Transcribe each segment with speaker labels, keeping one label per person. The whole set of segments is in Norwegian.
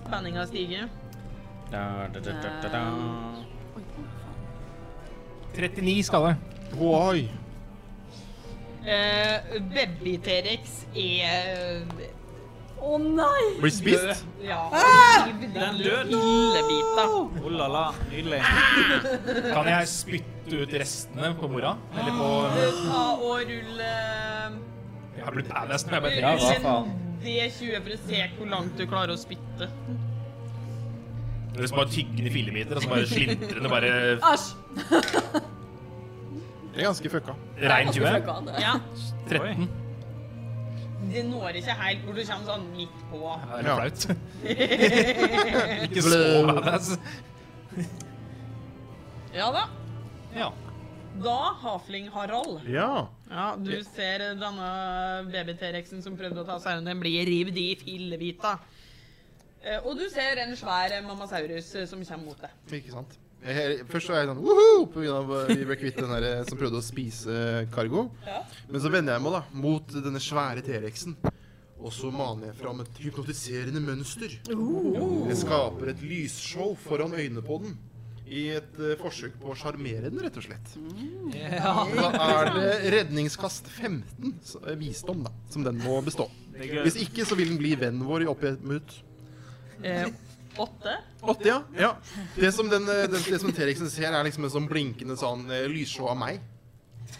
Speaker 1: Spenninga stiger.
Speaker 2: Da, da, da, da, da, da.
Speaker 3: 39 skade.
Speaker 4: Oi!
Speaker 1: Eh, Baby-T-rex er Å nei! Ah!
Speaker 4: Blir spist?
Speaker 1: Ja.
Speaker 2: Den døde.
Speaker 1: Illebita.
Speaker 2: Oh la la, nydelig.
Speaker 3: Kan jeg spytte ut restene på mora? Eller på
Speaker 1: Ta og eh, rulle
Speaker 3: Jeg har blitt badass når jeg bare
Speaker 2: Ja,
Speaker 3: tenker
Speaker 2: hva faen?
Speaker 1: D20 for å se hvor langt du klarer å spytte.
Speaker 3: Det er liksom bare tyggende fillebiter, og så bare slintrer det bare
Speaker 5: Æsj!
Speaker 4: Det er ganske fucka.
Speaker 3: rein
Speaker 5: Jeg skal
Speaker 3: 20.
Speaker 5: ikke ha det.
Speaker 1: Ja.
Speaker 3: 13.
Speaker 1: Det når ikke helt hvor du kommer sånn midt på.
Speaker 3: Ja, Det er
Speaker 4: Ja.
Speaker 3: litt flaut. Ikke så badass.
Speaker 1: Ja da.
Speaker 3: Ja.
Speaker 1: Da, Hafling Harald.
Speaker 4: Ja.
Speaker 1: Ja, du ser denne baby-T-rexen som prøvde å ta seg den blir rivd i fillebita. Eh, Og du ser en svær eh, mammasaurus eh, som kommer mot deg.
Speaker 4: Ikke sant. Jeg, først så er jeg sånn woho! På grunn av eh, vi ble kvitt den der eh, som prøvde å spise eh, Cargo.
Speaker 1: Ja.
Speaker 4: Men så vender jeg meg da mot denne svære T-rexen. Og så maner jeg fram et hypnotiserende mønster. Jeg skaper et lysshow foran øynene på den. I et eh, forsøk på å sjarmere den, rett og slett. Da er det redningskast 15, så, eh, visdom, da, som den må bestå.
Speaker 2: Det er
Speaker 4: Hvis
Speaker 2: gøy.
Speaker 4: ikke så vil den bli vennen vår i opp i et minutt.
Speaker 1: Eh, åtte.
Speaker 4: Åtte, ja. ja. Det som, den, eh, den, det som T-rexen ser, er liksom en sånn blinkende sånn eh, lysshow av meg.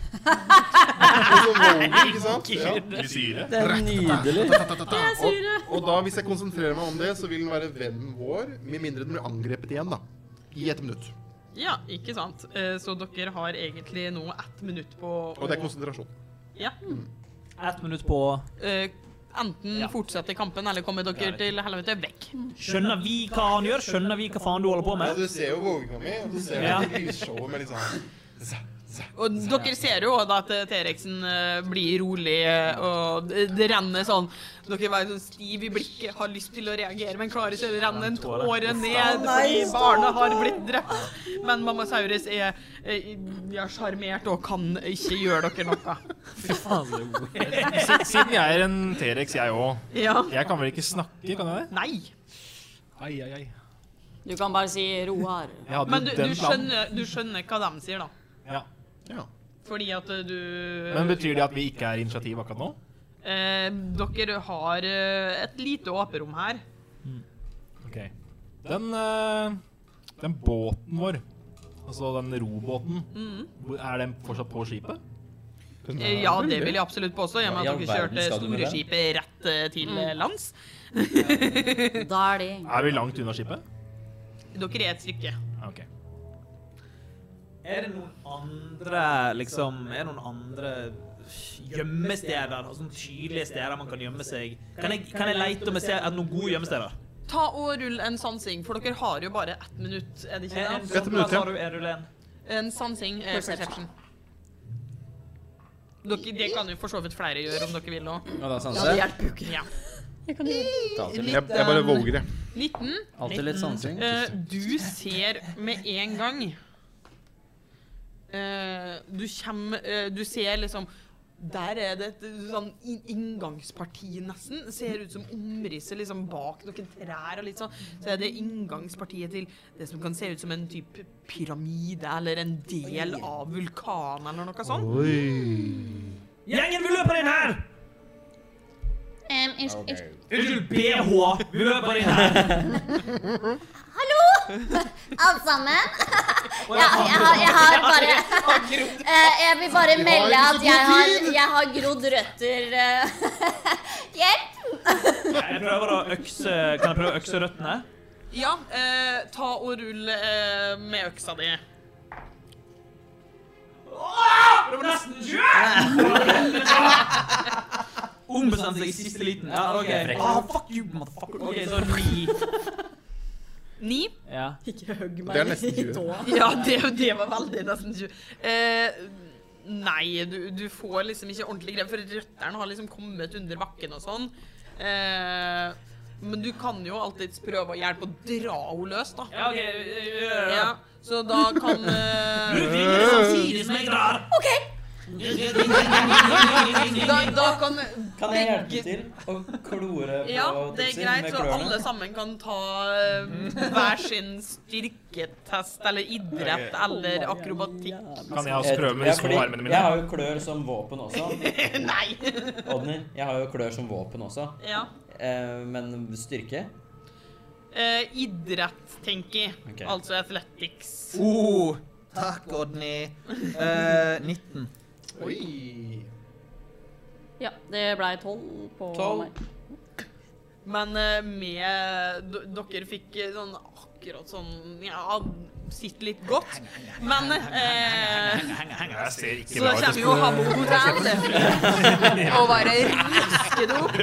Speaker 4: Og så Volvo, ikke sant? Ja.
Speaker 3: Litt syre.
Speaker 6: Det er nydelig.
Speaker 4: Og, og da, hvis jeg konsentrerer meg om det, så vil den være vennen vår, med mindre den blir angrepet igjen, da. I ett minutt.
Speaker 1: Ja, ikke sant. Eh, Så dere har egentlig nå ett minutt på
Speaker 4: Og det er konsentrasjon.
Speaker 1: Ja.
Speaker 6: Ett minutt på
Speaker 1: Eh, Enten
Speaker 6: Ja.
Speaker 1: fortsette kampen, eller komme dere til helvete vekk.
Speaker 6: Skjønner vi hva han gjør? Skjønner vi hva faen du holder på
Speaker 4: Ja,
Speaker 6: med?
Speaker 4: du ser jo våginga mi, og du ser
Speaker 6: Ja.
Speaker 4: jo lysshowet med litt sånn
Speaker 1: Og dere ser jo da at eh, T-rexen eh, blir rolig, eh, og det det renner sånn Dere var sånn stiv i blikket, har lyst til å reagere, men klarer ikke. Det renner en
Speaker 6: Tårer.
Speaker 1: tåre ned fordi
Speaker 5: nei,
Speaker 1: barnet har blitt drept. Men mamma Saurus er eh, ja, sjarmert og kan ikke gjøre dere noe.
Speaker 3: Si- Siden jeg er en T-rex, jeg òg.
Speaker 1: Ja.
Speaker 3: Jeg kan vel ikke snakke, kan jeg det?
Speaker 1: Nei.
Speaker 3: Ai, ai, ai.
Speaker 5: Du kan bare si Roar.
Speaker 3: Jeg hadde
Speaker 1: Men du,
Speaker 3: jo
Speaker 1: du,
Speaker 3: den planen.
Speaker 1: skjønner, du skjønner hva de sier, da.
Speaker 3: Ja.
Speaker 4: Ja.
Speaker 1: Fordi at eh, du
Speaker 3: Men betyr det at vi ikke er initiativ akkurat nå?
Speaker 1: eh, Dere har eh, et lite åperom her.
Speaker 3: Ok. Den, eh, den båten vår, altså den robåten, hvor- er den fortsatt på skipet?
Speaker 1: Eh, ja, det vil jeg absolutt påstå, i og med
Speaker 2: Ja,
Speaker 1: at
Speaker 2: i
Speaker 1: dere
Speaker 2: all verden
Speaker 1: kjørte
Speaker 2: skal du med Mm. den.
Speaker 1: storeskipet rett eh, til eh, lands.
Speaker 5: Da er det
Speaker 3: Er vi langt unna skipet?
Speaker 1: Dere er et stykke.
Speaker 3: Ah, Ok.
Speaker 6: Er det noen andre liksom Er det noen andre gjemmesteder? altså Sånne tydelige steder man kan gjemme seg? Kan jeg, kan jeg leite om jeg ser er det noen gode gjemmesteder?
Speaker 1: Ta og rull en sansing, for dere har jo bare ett minutt, er det ikke
Speaker 6: En
Speaker 1: det?
Speaker 4: Ett
Speaker 6: sånn, hva
Speaker 4: minutt, ja.
Speaker 6: sa du, er du len?
Speaker 1: En sansing er perception. Dere, det kan jo for så vidt flere gjøre om dere vil òg.
Speaker 2: Og
Speaker 5: Ja,
Speaker 2: da
Speaker 5: det
Speaker 2: sanser.
Speaker 5: hjelper jo ikke.
Speaker 1: Ja.
Speaker 2: Ta til.
Speaker 4: Jeg, jeg bare våger det.
Speaker 1: 19.
Speaker 2: Alltid litt sansing.
Speaker 1: Eh, du ser med en gang eh, Du kjem eh, Du ser liksom Der er det et sånn in- inngangsparti, nesten. Ser ut som omrisset liksom bak noen trær og litt sånn. Så er det inngangspartiet til det som kan se ut som en type pyramide eller en del av vulkanen eller noe sånt.
Speaker 6: Gjengen, vi løper inn her!
Speaker 7: Um, unnskyld,
Speaker 2: Ok.
Speaker 7: unnskyld.
Speaker 6: Unnskyld, BH! Vi løper inn her!
Speaker 7: Hallo! Alle sammen.
Speaker 6: Og
Speaker 7: Ja,
Speaker 6: jeg-
Speaker 7: jeg har, jeg har bare Eh, Jeg vil bare melde at jeg har, jeg har grodd røtter eh. Hjelp!
Speaker 6: Jeg prøver å økse Kan jeg prøve å økse røttene?
Speaker 1: Ja, eh, ta og rull eh, med øksa di.
Speaker 6: Det var nesten 20! Ombestemt seg i siste liten. Ja, ok.
Speaker 2: Frekk.
Speaker 6: Ah, fuck you, motherfucker. Ok, så ni.
Speaker 1: Ni.
Speaker 6: Ja.
Speaker 5: Ikke hugg
Speaker 4: Det er
Speaker 5: meg
Speaker 4: nesten
Speaker 5: i
Speaker 4: tjue.
Speaker 5: tåa.
Speaker 1: Ja, det, det var veldig nesten tju- Eh, nei, du, du får liksom ikke ordentlig grep, for røttene har liksom kommet under bakken og sånn. Eh, men du kan jo alltids prøve å hjelpe å dra henne løs, da.
Speaker 6: Ja, ok. øh, øh, øh.
Speaker 1: Ja, så da kan eh,
Speaker 6: Du ringer samtidig som jeg drar.
Speaker 7: OK.
Speaker 1: Da, da kan
Speaker 2: Kan jeg hjelpe til å klore på
Speaker 1: Ja, det er
Speaker 2: Tutsi
Speaker 1: greit,
Speaker 2: med
Speaker 1: så
Speaker 2: klørne?
Speaker 1: alle sammen kan ta eh, hver sin styrketest eller idrett eller akrobatikk.
Speaker 3: Kan jeg også prøve med
Speaker 2: Ja,
Speaker 3: de små
Speaker 2: fordi
Speaker 3: armene mine?
Speaker 2: Jeg har jo klør som våpen også.
Speaker 1: Nei!
Speaker 2: Odner, jeg har jo klør som våpen også.
Speaker 1: Ja.
Speaker 2: Eh, men styrke?
Speaker 1: Eh, idrett, tenker jeg.
Speaker 2: Ok.
Speaker 1: Altså athletics.
Speaker 6: Oh, takk, Odny. Eh, 19.
Speaker 4: Oi.
Speaker 5: Ja, det blei tolv på
Speaker 2: Tolv.
Speaker 5: meg.
Speaker 1: Men eh, med d Dere fikk eh, sånn akkurat sånn Ja, sitt litt godt. Men eh,
Speaker 3: Jeg ser ikke
Speaker 1: Så da kommer jo han på hotell og bare rusker det opp.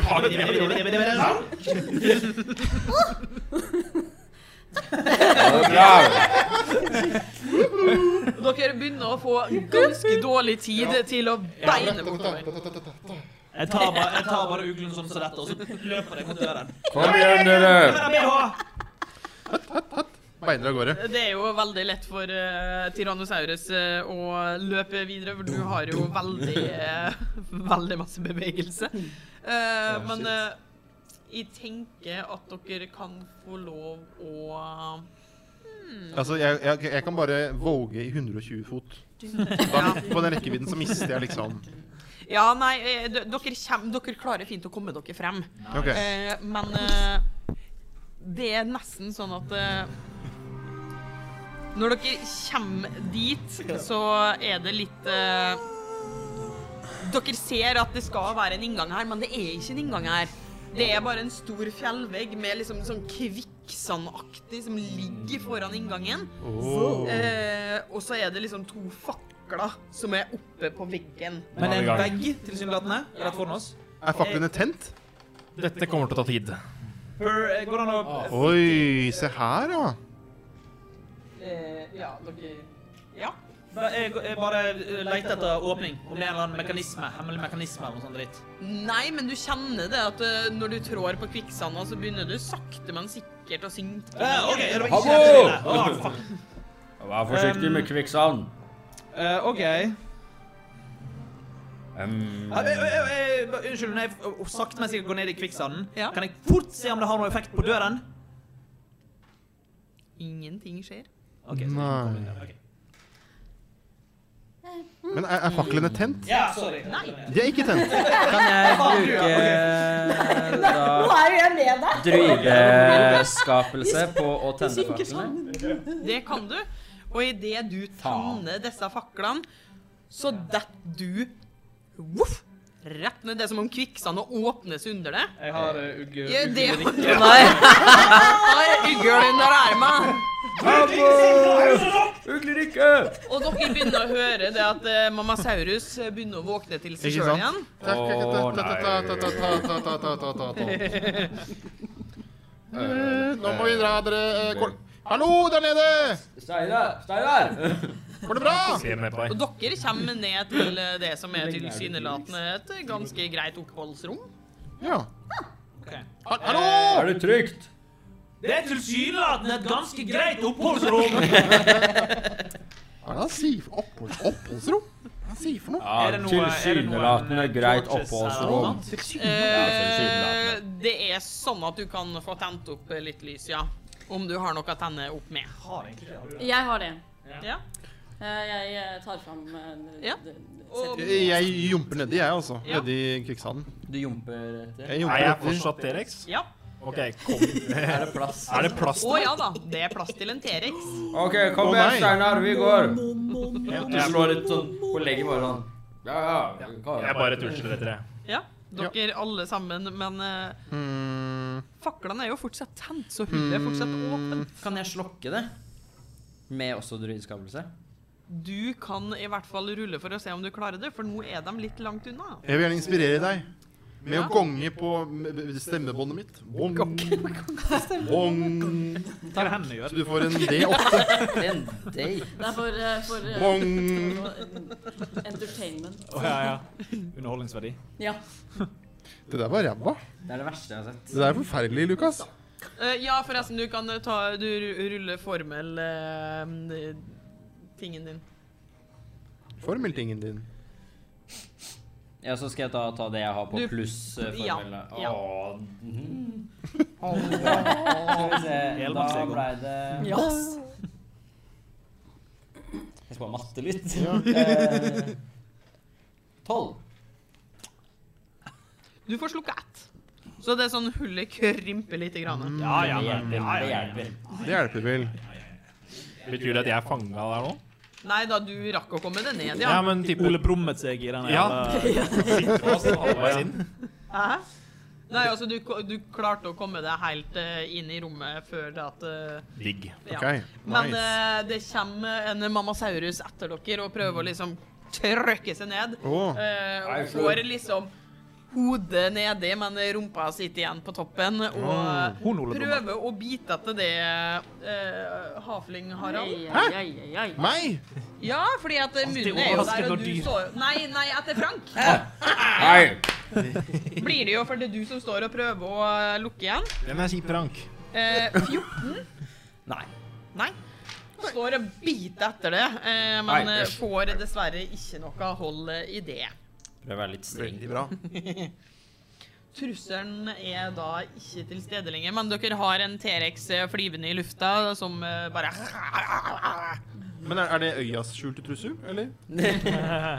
Speaker 1: Dere begynner å få ganske dårlig tid til å beine bortover.
Speaker 6: Jeg tar bare, jeg tar bare uglen sånn som dette, og så løper jeg mot døren.
Speaker 8: Kom igjen, dere!
Speaker 6: Der er BH!
Speaker 4: Beiner av gårde.
Speaker 1: Det er jo veldig lett for eh, Tyrannosaurus eh, å løpe videre, for du har jo veldig eh, Veldig masse bevegelse. Eh, men eh, jeg tenker at dere kan få lov å
Speaker 4: Altså, jeg, jeg, jeg kan bare våge i 120 fot. Da, på den rekkevidden så mister jeg liksom
Speaker 1: Ja, nei, eh, d- dere, kjem, dere klarer fint å komme dere frem.
Speaker 4: OK.
Speaker 1: Eh, men eh, det er nesten sånn at eh, Når dere kommer dit, så er det litt eh, Dere ser at det skal være en inngang her, men det er ikke en inngang her. Det er bare en stor fjellvegg med liksom sånn kvikksandaktig som ligger foran inngangen.
Speaker 4: Åh.
Speaker 1: Eh, og så er det liksom to fakler som er oppe på veggen.
Speaker 6: Men det er en vegg, tilsynelatende, rett foran oss.
Speaker 4: Er faklene tent?
Speaker 3: Dette kommer til å ta tid.
Speaker 6: Per, eh, går det an
Speaker 4: Ah.
Speaker 6: å
Speaker 4: Oi, se her, ja.
Speaker 1: Eh, ja, dere Ja.
Speaker 6: Ba- Jeg jeg bare eh, leter etter åpning. Om det er en eller annen mekanisme. Hemmelig mekanisme eller noe sånt dritt.
Speaker 1: Nei, men du kjenner det at eh, når du trår på kvikksanda, så begynner du sakte, men sikkert å synke.
Speaker 6: Eh, OK, er det ikke
Speaker 8: Hallo!
Speaker 6: Ah, fuck.
Speaker 8: Vær forsiktig med kvikksand.
Speaker 6: Eh, OK.
Speaker 8: Um,
Speaker 6: Eh, eh, eh, eh, ba- Unnskyld, når jeg f- oh, sakte, men sikkert går ned i kvikksanden,
Speaker 1: Ja.
Speaker 6: kan jeg fort se om det har noe effekt på døren?
Speaker 1: Ingenting skjer.
Speaker 6: Ok,
Speaker 4: Mm.
Speaker 6: så-
Speaker 4: Nei.
Speaker 6: ok.
Speaker 4: Men er, er faklene tent?
Speaker 6: Ja, sorry.
Speaker 4: De er ikke tent.
Speaker 2: Kan jeg bruke da
Speaker 7: Nå er jo jeg med deg.
Speaker 2: drygeskapelse på å tenne faklene?
Speaker 6: sånn.
Speaker 1: Det kan du. Og idet du tenner disse faklene, så detter du voff, rett ned. Det er som om kvikksanda åpnes under det.
Speaker 6: Jeg har uh, ugg...
Speaker 1: Ja, det
Speaker 6: uggene riktig.
Speaker 1: Nei! Har uggel under ermet.
Speaker 8: Uglerykke!
Speaker 1: Og dere begynner å høre det at eh, mamma Saurus begynner å våkne til seg
Speaker 4: Ikke
Speaker 1: sjøl
Speaker 4: sant?
Speaker 1: igjen.
Speaker 8: Å,
Speaker 4: Eh, Nå må vi dra, dere. Eh, Går... Hallo der nede!
Speaker 8: Steinar! Steinar!
Speaker 4: Går det bra?
Speaker 3: Se ned på
Speaker 1: Og
Speaker 3: deg.
Speaker 1: dere kommer ned til eh, det som er tilsynelatende et ganske greit oppholdsrom.
Speaker 4: Ja.
Speaker 6: Ok.
Speaker 4: Ha- Hallo!
Speaker 8: Er det trygt?
Speaker 6: Det er tilsynelatende et ganske greit oppholdsrom.
Speaker 4: Hva er det han sier? Oppholds, oppholdsrom? Hva er det han sier for noe?
Speaker 8: Ja,
Speaker 6: Er det noe-
Speaker 8: tilsynelatende
Speaker 6: er det noen
Speaker 8: greit
Speaker 6: torches her
Speaker 8: oppholdsrom.
Speaker 1: Eh, det er sånn at du kan få tent opp eh, litt lys, ja. Om du har noe å tenne opp med.
Speaker 6: Har egentlig det, har du det?
Speaker 5: Jeg har det.
Speaker 1: Ja.
Speaker 5: Eh, Jeg eh, tar fram eh,
Speaker 1: Ja.
Speaker 5: d- d-
Speaker 1: Og-
Speaker 5: setter-
Speaker 4: Jeg jumper nedi, jeg, altså.
Speaker 1: Ja.
Speaker 4: Nedi kvikksanden.
Speaker 2: Du jumper etter.
Speaker 4: Jeg
Speaker 3: Er
Speaker 4: jumper
Speaker 3: jeg
Speaker 4: nedi.
Speaker 3: fortsatt T-rex?
Speaker 1: ja.
Speaker 3: OK, kom. Er
Speaker 2: Er det plass?
Speaker 3: det plass
Speaker 1: Å
Speaker 3: til meg?
Speaker 1: ja da, det er plass til en T-rex.
Speaker 8: OK,
Speaker 4: Å,
Speaker 8: kom igjen,
Speaker 4: nei.
Speaker 8: Steinar. Vi går.
Speaker 3: Jeg
Speaker 8: Jeg slår litt sånn på legget bare sånn. Ja, ja. vi kan.
Speaker 3: Jeg bare tusler etter det.
Speaker 1: Ja, dere alle sammen, men eh,
Speaker 4: Hmm.
Speaker 1: faklene er jo fortsatt tent, så hullet er fortsatt åpent.
Speaker 2: Kan jeg slokke det? Med også druidskapelse?
Speaker 1: Du kan i hvert fall rulle for å se om du klarer det, for nå er de litt langt unna.
Speaker 4: Jeg vil gjerne inspirere deg med
Speaker 1: Ja.
Speaker 4: å gonge på mm, stemmebåndet mitt. Bong. Bong.
Speaker 6: Hva er det hendene gjør?
Speaker 4: Så du får en D8.
Speaker 2: En day?
Speaker 5: Det er for, eh, for eh,
Speaker 4: Bong.
Speaker 5: entertainment.
Speaker 6: Å, ja, ja. Underholdningsverdi.
Speaker 5: Ja.
Speaker 4: Det der var ræva.
Speaker 2: Det er det verste jeg har sett.
Speaker 4: Det der er forferdelig, Lukas.
Speaker 1: Eh, ja, forresten, du kan eh, ta Du ru- ruller formel eh, tingen din.
Speaker 4: Formeltingen din.
Speaker 9: Ja, så skal jeg ta, ta det jeg har på
Speaker 1: Du-
Speaker 9: pluss eh,
Speaker 1: ja,
Speaker 9: formelle.
Speaker 1: ja.
Speaker 9: Åh, mhm. Skal vi
Speaker 1: Åh.
Speaker 9: se.
Speaker 6: Hjelm,
Speaker 9: Da
Speaker 6: Axel.
Speaker 9: ble det
Speaker 1: Yes.
Speaker 9: Jeg skal bare matte litt. Eh, Tolv.
Speaker 1: Du får slukka ett. Så det er sånn hullet krymper litt. Grann.
Speaker 6: Ja, ja,
Speaker 9: det
Speaker 6: men-
Speaker 9: hjelper.
Speaker 6: ja,
Speaker 9: Det
Speaker 6: ja.
Speaker 9: hjelper.
Speaker 4: Det hjelper vel.
Speaker 3: Betyr det at jeg er fanga der nå?
Speaker 1: Nei da, du rakk å komme deg ned,
Speaker 3: Ja,
Speaker 1: ja.
Speaker 3: men typ
Speaker 6: Ole brummet seg i den
Speaker 3: Ja.
Speaker 6: jævla-
Speaker 3: Sitter fast halvveis inn.
Speaker 1: Hæ? Nei, altså, du, ko- du klarte å komme deg helt eh, inn i rommet før det at eh,
Speaker 3: Digg.
Speaker 1: Ja.
Speaker 4: OK.
Speaker 1: Men
Speaker 4: Nice.
Speaker 1: eh, det kommer en mammasaurus etter dere og prøver å liksom trøkke seg ned.
Speaker 4: Åh.
Speaker 1: Eh,
Speaker 10: Nei,
Speaker 1: og
Speaker 10: for-
Speaker 1: får liksom hodet nedi, men rumpa sitter igjen på toppen. Og eh,
Speaker 3: Hun Ole Brumm.
Speaker 1: prøver å bite etter det, eh, Hafling Harald.
Speaker 11: Ai, ai, ai, ai, ai.
Speaker 4: Meg?
Speaker 1: Ja, fordi at eh, munnen er jo der,
Speaker 6: overraskende
Speaker 1: og du
Speaker 6: dyr.
Speaker 1: står Nei, nei, etter Frank
Speaker 10: Nei!
Speaker 1: blir det jo, for det er du som står og prøver å eh, lukke igjen.
Speaker 3: Den er kjip, Frank.
Speaker 1: Eh, 14?
Speaker 9: Nei.
Speaker 1: Nei. Står og biter etter det, eh, men
Speaker 10: Nei,
Speaker 1: eh,
Speaker 10: æsj.
Speaker 1: får dessverre ikke noe hold eh, i det.
Speaker 9: Prøv å være litt streng.
Speaker 4: Veldig bra.
Speaker 1: Trusselen er da ikke til stede lenger, men dere har en T-rex eh, flyvende i lufta som eh, bare
Speaker 4: Men er, er det øyas skjulte trussel, eller?
Speaker 6: Eh,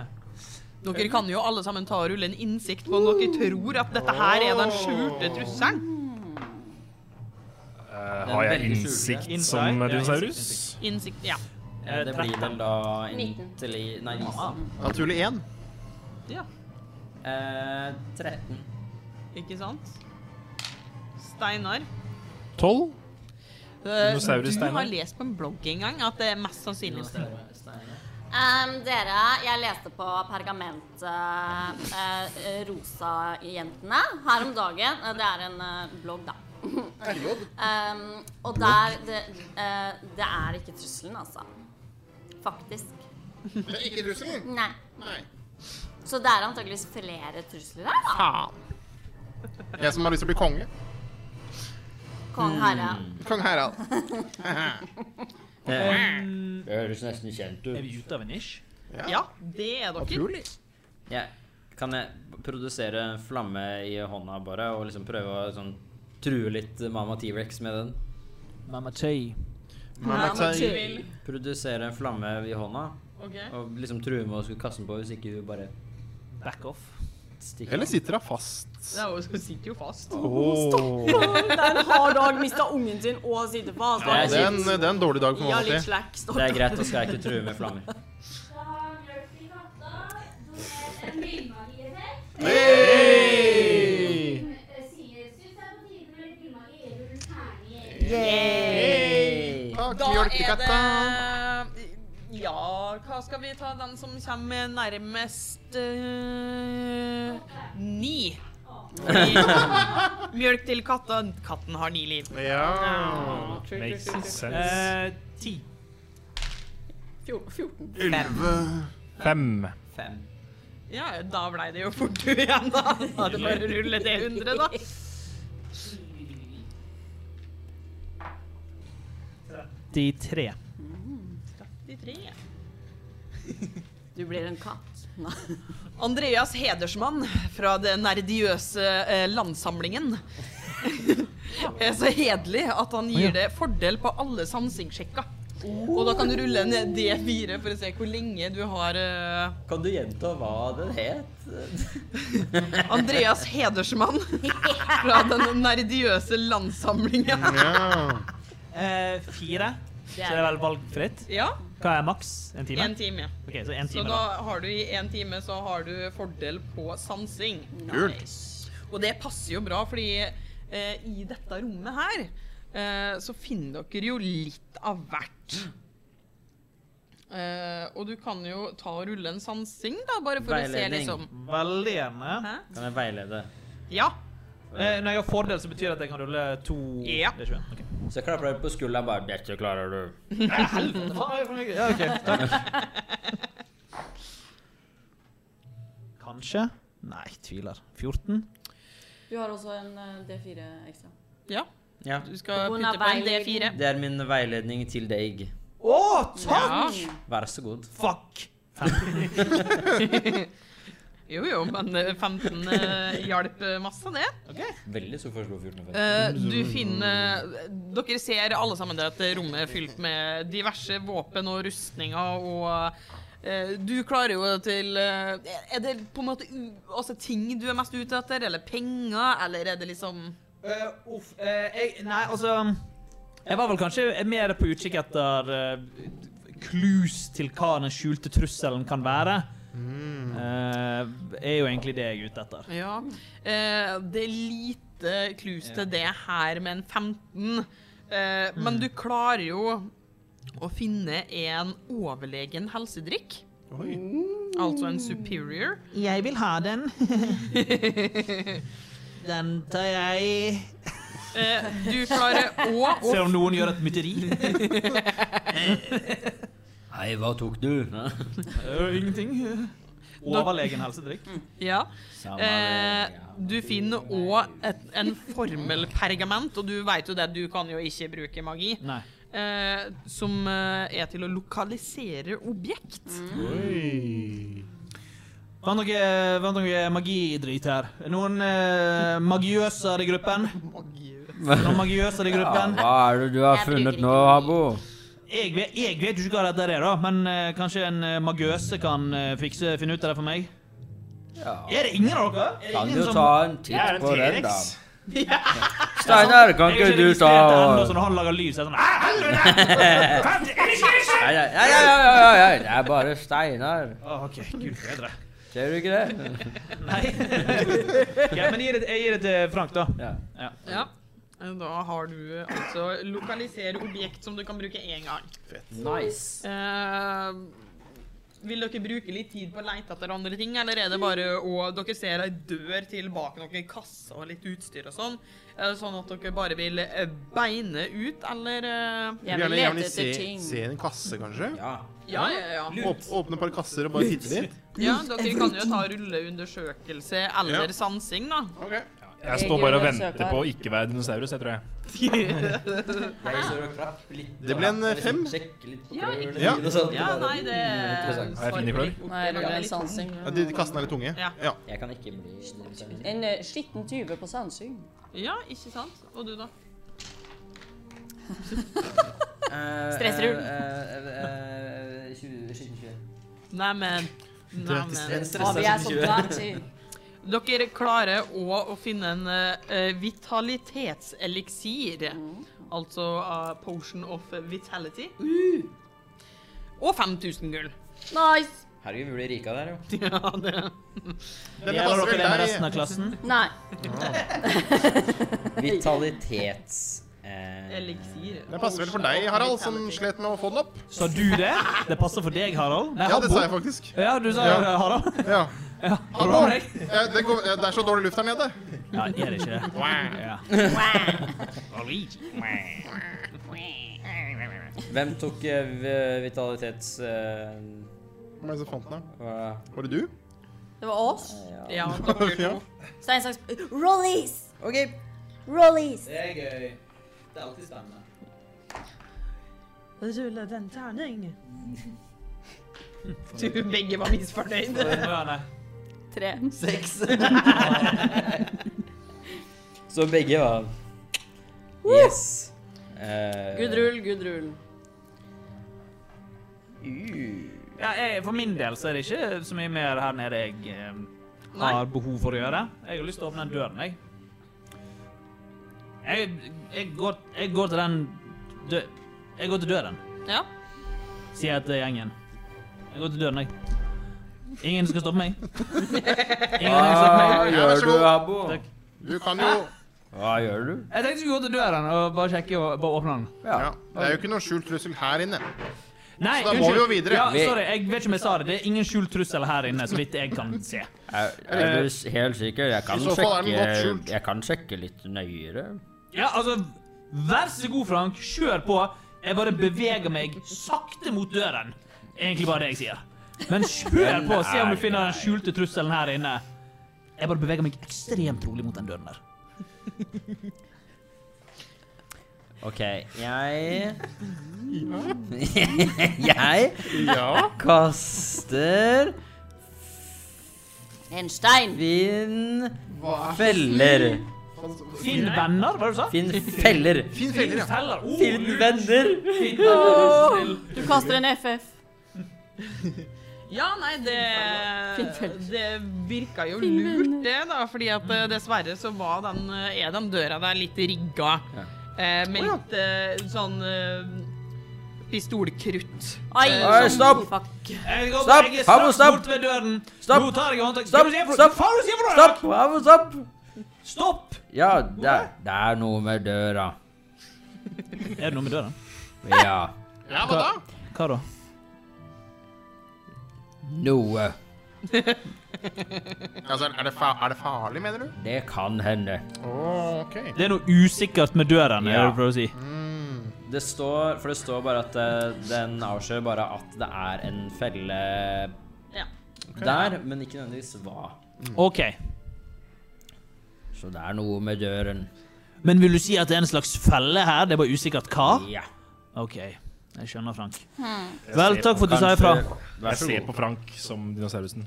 Speaker 1: Dere kan jo alle sammen ta og rulle en innsikt på om dere tror at dette her er den skjulte trusselen.
Speaker 3: Eh, har
Speaker 9: Den
Speaker 3: jeg
Speaker 9: veldig
Speaker 3: innsikt
Speaker 6: skjulte.
Speaker 3: som
Speaker 6: Inside? Ja,
Speaker 3: dinosaurus?
Speaker 6: innsikt,
Speaker 1: Innsikt Ja.
Speaker 9: Eh, Det blir vel da intelli... Nei, nitten.
Speaker 4: Naturlig én.
Speaker 1: ja.
Speaker 9: Eh, 13.
Speaker 1: Ikke sant? Steinar.
Speaker 3: Tolv?
Speaker 1: eh,
Speaker 3: Dinosaurus,
Speaker 1: Du
Speaker 3: Steinar.
Speaker 1: har lest på en blogg en gang at det er mest sannsynlig
Speaker 7: Ehm, dere, jeg leste på pergamentet eh, Rosajentene her om dagen. Eh, Det er en eh, blogg, da. Ehm, og der det, eh, det er ikke trusselen, altså. Faktisk.
Speaker 4: Det er ikke trusselen.
Speaker 7: Nei.
Speaker 4: Nei.
Speaker 7: Så det er antakeligvis flere trusler her, da.
Speaker 1: Faen.
Speaker 4: Jeg som har lyst til å bli konge.
Speaker 7: Kong Herre.
Speaker 4: Kong Harald.
Speaker 9: Det
Speaker 6: Um,
Speaker 9: det høres nesten kjent
Speaker 6: Er
Speaker 9: ut.
Speaker 6: vi ute av en nisj?
Speaker 1: Ja, det er dere.
Speaker 4: Naturlig.
Speaker 9: Jeg, kan jeg produsere en flamme i hånda bare, og liksom prøve å sånn, true litt Mama T-rex med den?
Speaker 6: Mamma Tay.
Speaker 4: Mamma Tay.
Speaker 9: Produsere en flamme i hånda,
Speaker 1: Ok.
Speaker 9: og liksom true med å skulle kaste den på hvis ikke hun bare
Speaker 6: Back off.
Speaker 9: stikker.
Speaker 4: Eller sitter hun fast?
Speaker 1: Det er jo, så sitter jo fast.
Speaker 4: Åh.
Speaker 11: Det er en hard dag, mista ungen sin og sitter fast.
Speaker 9: Nei,
Speaker 4: Det er en, det er en dårlig dag for
Speaker 11: Ja,
Speaker 4: mamma
Speaker 11: litt
Speaker 4: Tay.
Speaker 11: slack.
Speaker 9: Det er greit, da skal jeg ikke true med flammer.
Speaker 12: eh,
Speaker 4: Takk,
Speaker 1: Da er
Speaker 4: mjølkekatta.
Speaker 1: det Ja, hva skal vi ta? Den som kommer nærmest eh, ni. Fordi Mjølk til katta. Katten har ni liv.
Speaker 4: Ja.
Speaker 3: Makes sense.
Speaker 6: Eh, ti.
Speaker 11: 14.
Speaker 4: Elleve.
Speaker 3: Fem.
Speaker 9: Fem.
Speaker 1: Ja, da blei det jo fort du igjen, da. Da er det bare å rulle det hundre, da.
Speaker 6: De tre.
Speaker 1: 33.
Speaker 11: Du blir en katt. Nei.
Speaker 1: Andreas Hedersmann fra den nerdiøse eh, landsamlingen. er så hederlig at han gir deg fordel på alle sansingssjekker. Og da kan du rulle en D4 for å se hvor lenge du har eh,
Speaker 9: Kan du gjenta hva den het?
Speaker 1: Andreas Hedersmann fra den nerdiøse landsamlingen.
Speaker 4: Ja.
Speaker 6: Eh, fire. Så er det vel valgfritt.
Speaker 1: Ja,
Speaker 6: Hva er maks? En time?
Speaker 1: én time.
Speaker 6: Ok, så en
Speaker 1: Så
Speaker 6: time
Speaker 1: da
Speaker 6: da.
Speaker 1: har du i én time så har du fordel på sansing.
Speaker 4: Kult.
Speaker 1: Og det passer jo bra, fordi eh, i dette rommet her eh, så finner dere jo litt av hvert. Eh, og du kan jo ta og rulle en sansing, da, bare for å
Speaker 9: Veiledning.
Speaker 1: se, liksom.
Speaker 6: Veldig gjerne.
Speaker 1: Hæ?
Speaker 9: Kan jeg veilede?
Speaker 1: Ja.
Speaker 6: Eh, når jeg har fordel, så betyr det at jeg kan rulle to
Speaker 1: Ja.
Speaker 6: Det er 21. Ok.
Speaker 9: Så jeg klapper deg på skuldra og bare Dette klarer du.
Speaker 6: Ja, ok, takk. Kanskje? Nei, tviler. 14?
Speaker 11: Du har også en eh,
Speaker 7: uh,
Speaker 11: D4 ekstra.
Speaker 1: ja.
Speaker 9: Ja.
Speaker 1: Du skal
Speaker 7: Hun har
Speaker 1: putte på en D4.
Speaker 7: veiledning.
Speaker 9: Det er min veiledning til deg.
Speaker 6: Å,
Speaker 1: Ja.
Speaker 6: takk!
Speaker 9: Vær så god.
Speaker 6: Fuck!
Speaker 1: Jo jo, men eh, 15 eh, hjalp eh, masse, det.
Speaker 2: Veldig stor forskjell på 14 og 15.
Speaker 1: Eh, du finner Dere ser alle sammen det at rommet er fylt med diverse våpen og rustninger og eh, du klarer jo til eh, Er det på en måte u- altså ting du er mest ute etter, eller penger, eller er det liksom
Speaker 6: Eh, uff, eh, jeg, nei, altså Jeg var vel kanskje mer på utkikk etter eh, clues til hva den skjulte trusselen kan være. Mm. Eh, er jo egentlig det jeg er ute etter.
Speaker 1: Ja. Eh, det er lite clues til det her med en 15. Eh, Men du klarer jo å finne en overlegen helsedrikk. Altså en superior.
Speaker 9: Jeg vil ha den. den tar jeg.
Speaker 1: Eh, du klarer òg å
Speaker 6: Se om noen gjør et mytteri.
Speaker 2: Hei, hva tok du?
Speaker 6: Eh, ingenting. Overlegen helsedrikk.
Speaker 1: Ja.
Speaker 2: Samme det,
Speaker 1: Eh,
Speaker 2: ja.
Speaker 1: du finner òg en formelpergament, og du veit jo det, du kan jo ikke bruke magi,
Speaker 6: Nei.
Speaker 1: eh, som eh, er til å lokalisere objekt.
Speaker 2: Mm.
Speaker 6: Var det noe, var det noe eh, magidrit her? Noen eh, magiøser i gruppen? Noen magiøser i
Speaker 2: Ja,
Speaker 6: gruppen?
Speaker 2: hva er det du har
Speaker 7: Jeg bruker
Speaker 2: funnet
Speaker 7: ikke
Speaker 2: nå,
Speaker 7: magi.
Speaker 2: Habo?
Speaker 6: Jeg vet, jeg vet jo ikke hva dette er, da, men eh, kanskje en eh, magøse kan eh, fikse, finne ut av det for meg?
Speaker 2: Ja.
Speaker 6: Er det ingen av dere? Er det
Speaker 2: Kan
Speaker 6: ingen
Speaker 2: du
Speaker 6: som-
Speaker 2: ta en titt på den, da?
Speaker 3: T-rex.
Speaker 2: Steinar, kan
Speaker 6: Jeg har
Speaker 2: ikke du ta
Speaker 6: registrert det enda,
Speaker 2: og
Speaker 6: så når han lager lyd, så er jeg sånn «Hæ, helvete!»
Speaker 2: Nei, nei, nei, nei, nei, nei, nei, det er bare Steinar.
Speaker 6: Å, Ah, OK, gud bedre.
Speaker 2: Ser du ikke det?
Speaker 6: Nei. ja, men jeg gir, det, jeg gir det til Frank, da.
Speaker 2: Ja.
Speaker 6: Ja.
Speaker 1: Ja. Eh, Da har du altså lokalisere objekt som du kan bruke én gang.
Speaker 2: Nice.
Speaker 1: Eh, vil dere bruke litt tid på å leite etter andre ting, eller er det bare å Dere ser ei dør til bak noen kasser og litt utstyr og sånn. Er det sånn at dere bare vil eh, beine ut, eller eh,
Speaker 5: Jeg vil
Speaker 4: gjerne
Speaker 5: lete
Speaker 4: se,
Speaker 5: etter ting.
Speaker 4: se en kasse, kanskje.
Speaker 2: Ja.
Speaker 1: Ja, ja, ja.
Speaker 4: Åp, åpne et par kasser og bare titte litt.
Speaker 1: ja dere kan jo ta rulleundersøkelse eller
Speaker 4: Ja.
Speaker 1: sansing, da.
Speaker 4: Ok.
Speaker 3: Jeg står bare og venter på å ikke være dinosaurus, jeg tror jeg.
Speaker 4: Det ble en eh, fem.
Speaker 2: liksom
Speaker 1: Ja,
Speaker 4: Ja.
Speaker 2: sånn.
Speaker 1: ja nei, det
Speaker 2: Interessant.
Speaker 3: Har jeg funnet flør?
Speaker 5: Nei, jeg lager en
Speaker 1: sånn.
Speaker 5: sansing.
Speaker 4: Ja, de, de kassene er litt tunge.
Speaker 1: Ja.
Speaker 4: Ja.
Speaker 2: Jeg kan ikke bli
Speaker 5: En
Speaker 7: uh,
Speaker 5: eh, skitten tyve på sansing.
Speaker 1: Ja, ikke sant? Og du, da?
Speaker 2: eh,
Speaker 7: Stressrull.
Speaker 1: Neimen Neimen
Speaker 5: Å, vi
Speaker 7: sånn
Speaker 5: er så glad til.
Speaker 1: Dere klarer òg å finne en eh, vitalitetseliksir.
Speaker 5: Mm.
Speaker 1: Altså eh, potion of vitality.
Speaker 5: Uh.
Speaker 1: Og 5000 gull.
Speaker 7: Nice!
Speaker 2: Herregud, vi blir rike av det her, jo.
Speaker 1: Ja, det.
Speaker 4: Denne
Speaker 6: Deler
Speaker 4: passer
Speaker 6: dere
Speaker 4: vel
Speaker 6: det med resten
Speaker 4: der.
Speaker 6: av klassen?
Speaker 7: Nei.
Speaker 2: Vitalitets... eh,
Speaker 1: Eliksir.
Speaker 4: Den passer vel for deg, Harald, som slet med å få den opp.
Speaker 6: Sa du det? Det passer for deg, Harald? Nei,
Speaker 4: Ja, det sa jeg
Speaker 6: Harbo.
Speaker 4: faktisk.
Speaker 6: Ja, du sa
Speaker 4: Ja.
Speaker 6: det, Harald?
Speaker 4: Ja.
Speaker 6: Har du
Speaker 4: Harbo,
Speaker 6: det?
Speaker 4: ja, det, går, ja, det er så dårlig luft her nede.
Speaker 6: Ja, er det ikke det? Ja.
Speaker 2: Hvem tok eh, v- vitalitets... eh,
Speaker 4: Hvem er det som fant den? da?
Speaker 2: hva-
Speaker 4: Var det du?
Speaker 7: Det var oss.
Speaker 1: Ja, dere to.
Speaker 4: Ja.
Speaker 7: Stein, saks Rollies!
Speaker 2: OK.
Speaker 7: Rollies!
Speaker 6: Det er gøy. Det er alltid spennende.
Speaker 1: Rulle den terning. Du, begge var misfornøyd.
Speaker 7: Tre.
Speaker 2: Seks. Så begge var Yes. Eh,
Speaker 5: Good rull, good rull.
Speaker 6: Ja, jeg, for min del så er det ikke så mye mer her nede jeg eh,
Speaker 1: Nei.
Speaker 6: har behov for å gjøre. Jeg har lyst til å åpne den døren, jeg. Jeg, jeg, går, jeg går til den dø Jeg går til døren,
Speaker 1: Ja.
Speaker 6: sier jeg til gjengen. Jeg går til døren, jeg. Ingen skal stoppe meg. Ingen skal stoppe
Speaker 2: Hva
Speaker 6: meg.
Speaker 4: vær
Speaker 2: gjør
Speaker 4: så
Speaker 2: du,
Speaker 4: god.
Speaker 2: Abo?
Speaker 6: Takk.
Speaker 4: Du kan jo
Speaker 2: Hva gjør du?
Speaker 6: Jeg tenkte jeg skulle gå til døren og bare sjekke og bare åpne den.
Speaker 4: Ja, det er jo ikke noen skjult trussel her inne.
Speaker 6: Nei,
Speaker 4: Så da må vi jo videre.
Speaker 6: Ja,
Speaker 2: Vi-
Speaker 6: sorry, jeg vet ikke om jeg sa det. Det er ingen skjult trussel her inne, så vidt jeg kan se.
Speaker 2: Er, er du s- helt sikker? Jeg
Speaker 4: Eh,
Speaker 2: kan,
Speaker 4: I så fall er den godt
Speaker 2: sjekke,
Speaker 4: skjult.
Speaker 2: jeg kan sjekke litt nøyere.
Speaker 6: Ja, altså, vær så god, Frank. Kjør på. Jeg bare beveger meg sakte mot døren. Egentlig bare det jeg sier. Men kjør på, se om du finner den skjulte trusselen her inne. Jeg bare beveger meg ekstremt rolig mot den døren der.
Speaker 2: OK, jeg Jeg
Speaker 4: Ja.
Speaker 2: kaster
Speaker 7: En stein.
Speaker 2: Finn
Speaker 4: Hva er
Speaker 2: feller.
Speaker 6: Finn venner, hva er det du sa?
Speaker 2: Finn feller.
Speaker 4: Fin feller, ja.
Speaker 6: Feller. Oh,
Speaker 2: Finn venner.
Speaker 7: Du kaster en FF.
Speaker 1: Ja, nei,
Speaker 7: Finn
Speaker 1: det,
Speaker 7: felt.
Speaker 1: det virka jo lurt, det, da. Fordi at eh, dessverre så var den, eh, er den døra der litt rigga.
Speaker 2: Ja.
Speaker 1: Eh, med litt eh, sånn eh, pistolkrutt.
Speaker 7: Oi,
Speaker 2: Oi, stopp.
Speaker 7: Fuck.
Speaker 6: Jeg går-
Speaker 2: Stopp!
Speaker 6: jeg er
Speaker 2: Hallo,
Speaker 6: straks
Speaker 2: stopp!
Speaker 6: bort ved døren.
Speaker 2: Stopp!
Speaker 6: Nå tar jeg håndtak. Hva
Speaker 2: Stopp!
Speaker 6: er det du sier for- Hva
Speaker 2: Stopp!
Speaker 6: er det du sier for noe?
Speaker 2: Stopp! Ja, men stopp!
Speaker 6: Stopp!
Speaker 2: Ja, det, det er noe med døra.
Speaker 6: Er det noe med døren?
Speaker 2: Ja,
Speaker 4: Ja, hva da?
Speaker 6: Hva da?
Speaker 2: noe.
Speaker 4: Altså, er, det fa er det farlig, mener du?
Speaker 2: Det kan hende.
Speaker 4: Å, ok.
Speaker 6: Det er noe usikkert med døren,
Speaker 2: Ja.
Speaker 6: er det for å si.
Speaker 2: Det står, for det står bare at eh, den avslører bare at det er en felle
Speaker 1: Ja.
Speaker 2: der, men ikke nødvendigvis hva.
Speaker 6: OK.
Speaker 2: Så det er noe med døren.
Speaker 6: Men vil du si at det er en slags felle her? Det er bare usikkert hva?
Speaker 2: Ja.
Speaker 6: OK. Jeg skjønner, Frank. Vel, takk for at du sa ifra.
Speaker 2: Kanskje- Vær
Speaker 3: Jeg
Speaker 2: så
Speaker 3: ser
Speaker 2: god.
Speaker 3: på Frank som dinosaurusen.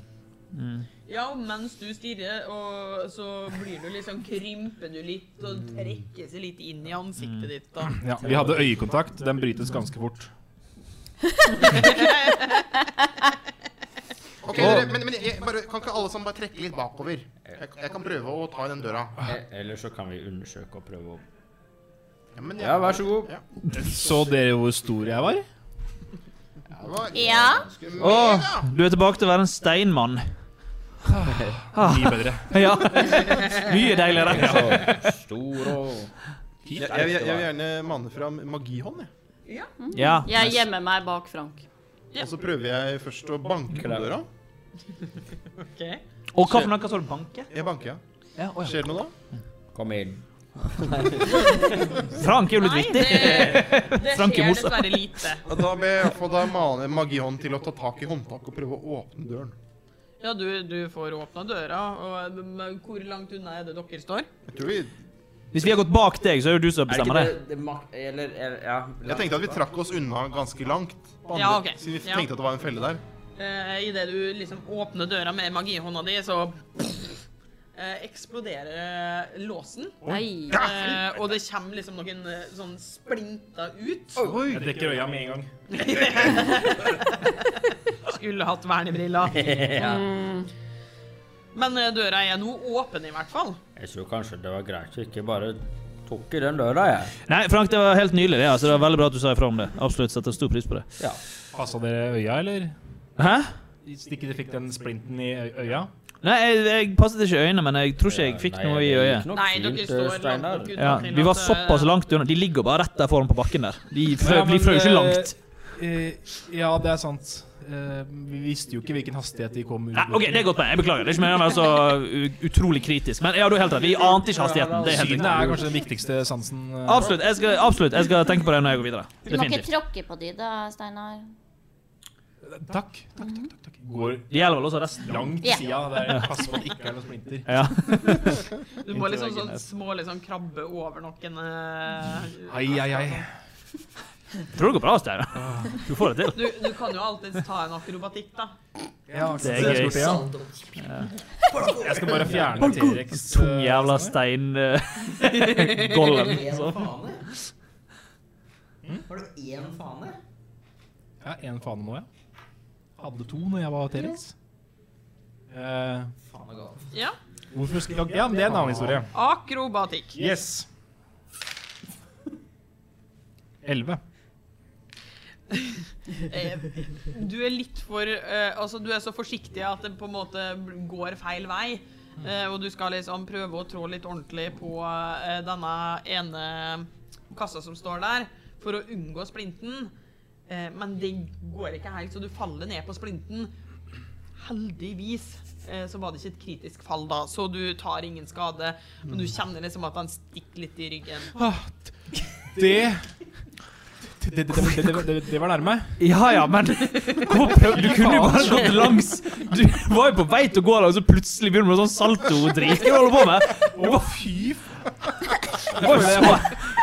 Speaker 1: Ja, mens du stirrer, og så blir du liksom Krymper du litt og trekker seg litt inn i ansiktet ditt, da.
Speaker 3: Ja, vi hadde øyekontakt. Den brytes ganske fort.
Speaker 4: Ok, dere, men, men jeg, bare, Kan ikke alle sammen bare trekke litt bakover? Jeg, jeg kan prøve å ta i den døra.
Speaker 2: E- Eller så kan vi undersøke og prøve å
Speaker 4: Ja, men jeg,
Speaker 2: Ja, vær så god.
Speaker 3: Så dere hvor stor jeg var?
Speaker 4: det var
Speaker 7: Ja.
Speaker 4: ganske
Speaker 6: Å,
Speaker 4: mye, da.
Speaker 6: du er tilbake til å være en steinmann.
Speaker 3: Mye bedre.
Speaker 6: Ja. Mye deiligere.
Speaker 2: Så stor og
Speaker 4: Jeg, jeg, jeg, vil gjerne manne fram magihånd, jeg.
Speaker 6: Ja.
Speaker 7: Jeg gjemmer meg bak Frank.
Speaker 4: Og så prøver jeg først å banke på døra.
Speaker 6: Og hva for noe sa du? Banke?
Speaker 4: Jeg banker, ja.
Speaker 6: Ja, å ja.
Speaker 4: Skjer det noe da?
Speaker 2: Kom inn.
Speaker 6: Frank er jo litt
Speaker 1: Nei,
Speaker 6: vittig.
Speaker 1: det, det
Speaker 6: Frank i
Speaker 1: skjer
Speaker 6: mosa.
Speaker 1: dessverre lite.
Speaker 4: Ja, Da ber jeg få da mane magihånd til å ta tak i håndtaket og prøve å åpne døren.
Speaker 1: Ja, du, du får åpna døra, og men hvor langt unna er det dere står?
Speaker 4: Jeg tror vi
Speaker 6: Hvis vi har gått bak deg, så er det jo du som
Speaker 2: Er det
Speaker 6: bestemmer
Speaker 2: ikke
Speaker 6: det.
Speaker 2: det, det mak- Eller, eller ja.
Speaker 4: Jeg tenkte at vi trakk oss unna ganske langt. på
Speaker 1: Ja, ok.
Speaker 4: Siden vi
Speaker 1: Ja.
Speaker 4: tenkte at det var en felle der.
Speaker 1: Eh, Idet du liksom åpner døra med magihånda di, så eh, eksploderer eh, låsen.
Speaker 7: Nei.
Speaker 1: Eh, og det kommer liksom noen eh, sånn splinter ut.
Speaker 4: Oi!
Speaker 3: Jeg dekker øya med en gang.
Speaker 1: Skulle hatt vernebriller. Mm.
Speaker 2: ja.
Speaker 1: Men eh, døra er nå åpen, i hvert fall.
Speaker 2: Jeg tror kanskje det var greit å ikke bare tok i den døra, jeg.
Speaker 6: Nei, Frank, det var helt nydelig. det, altså. Det var Veldig bra at du sa ifra om det. Absolutt setter stor pris på det.
Speaker 2: Ja.
Speaker 3: Passa dere øya, eller?
Speaker 6: Hæ?
Speaker 3: Hvis ikke dere fikk den splinten i ø- øya?
Speaker 6: Nei, jeg, jeg passet ikke øynene, men jeg tror ikke jeg fikk
Speaker 2: Nei,
Speaker 6: noe i
Speaker 2: det gikk
Speaker 6: øyet.
Speaker 2: nok
Speaker 1: Nei,
Speaker 2: fint, eh,
Speaker 1: dere står
Speaker 9: eh,
Speaker 1: langt
Speaker 2: Steinar.
Speaker 1: nok unna.
Speaker 6: Ja,
Speaker 1: til
Speaker 6: Vi var
Speaker 1: at, eh,
Speaker 6: såpass langt unna. De ligger bare rett der foran på bakken der. De
Speaker 3: Ja,
Speaker 6: frø-
Speaker 3: men,
Speaker 6: de frøy ikke
Speaker 3: eh,
Speaker 6: langt.
Speaker 3: Eh, ja, det er sant. Eh, vi visste jo ikke hvilken hastighet de kom
Speaker 6: Nei, OK, det er godt poeng. Jeg beklager. Det er ikke meningen å være så u- utrolig kritisk. Men ja, du har helt rett. Vi ante ikke hastigheten. Det er helt
Speaker 3: Synet
Speaker 6: riktig.
Speaker 3: er kanskje den viktigste sansen. eh.
Speaker 6: Absolutt. Jeg skal, absolutt. Jeg skal tenke på det når jeg går videre.
Speaker 7: Du må ikke
Speaker 6: Definitivt.
Speaker 7: tråkke på de da, Steinar.
Speaker 3: Takk. Takk, takk, takk, takk. Går
Speaker 6: Det gjelder vel også resten.
Speaker 3: langt
Speaker 7: Ja.
Speaker 3: sida der pass på at det ikke er noen splinter.
Speaker 6: Ja.
Speaker 1: Du må liksom
Speaker 3: Inntil
Speaker 1: sånn små liksom krabbe over noen eh,
Speaker 3: Ai, ai, ai.
Speaker 6: Tror det går bra, Steinar. Du får det til.
Speaker 1: du, du kan jo alltids ta en akrobatikk, da.
Speaker 3: Ja,
Speaker 6: Det er
Speaker 3: så
Speaker 6: gøy.
Speaker 3: stort, ja. Jeg skal bare fjerne T-rex.
Speaker 6: Tung
Speaker 3: eh,
Speaker 6: jævla
Speaker 3: sånn her.
Speaker 6: stein eh, Golem. Så.
Speaker 9: fane?
Speaker 1: Hmm?
Speaker 9: Har du én fane?
Speaker 3: Ja, én fane nå, ja. Hadde to når jeg var T-rex. Eh,
Speaker 1: Ja,
Speaker 3: hvorfor skal Ja, men det er en annen historie.
Speaker 1: akrobatikk.
Speaker 3: Yes. Elleve.
Speaker 1: Eh, Du er litt for eh, Altså, du er så forsiktig at det på en måte bl- går feil vei. Eh, og du skal liksom prøve å trå litt ordentlig på eh, denne ene kassa som står der, for å unngå splinten. Eh, men det går ikke helt, så du faller ned på splinten. Heldigvis eh, så var det ikke et kritisk fall da, så du tar ingen skade. Men du kjenner liksom at han stikker litt i ryggen.
Speaker 3: Ah, t- det det, det, det, det, det, det var nærme.
Speaker 6: Ja ja, men gå og prøv. Du kunne jo bare gått langs. Du var jo på vei til å gå der, og så plutselig begynner du med sånn salto-drit. Hva holder du på med? Du var fy Det var jo så-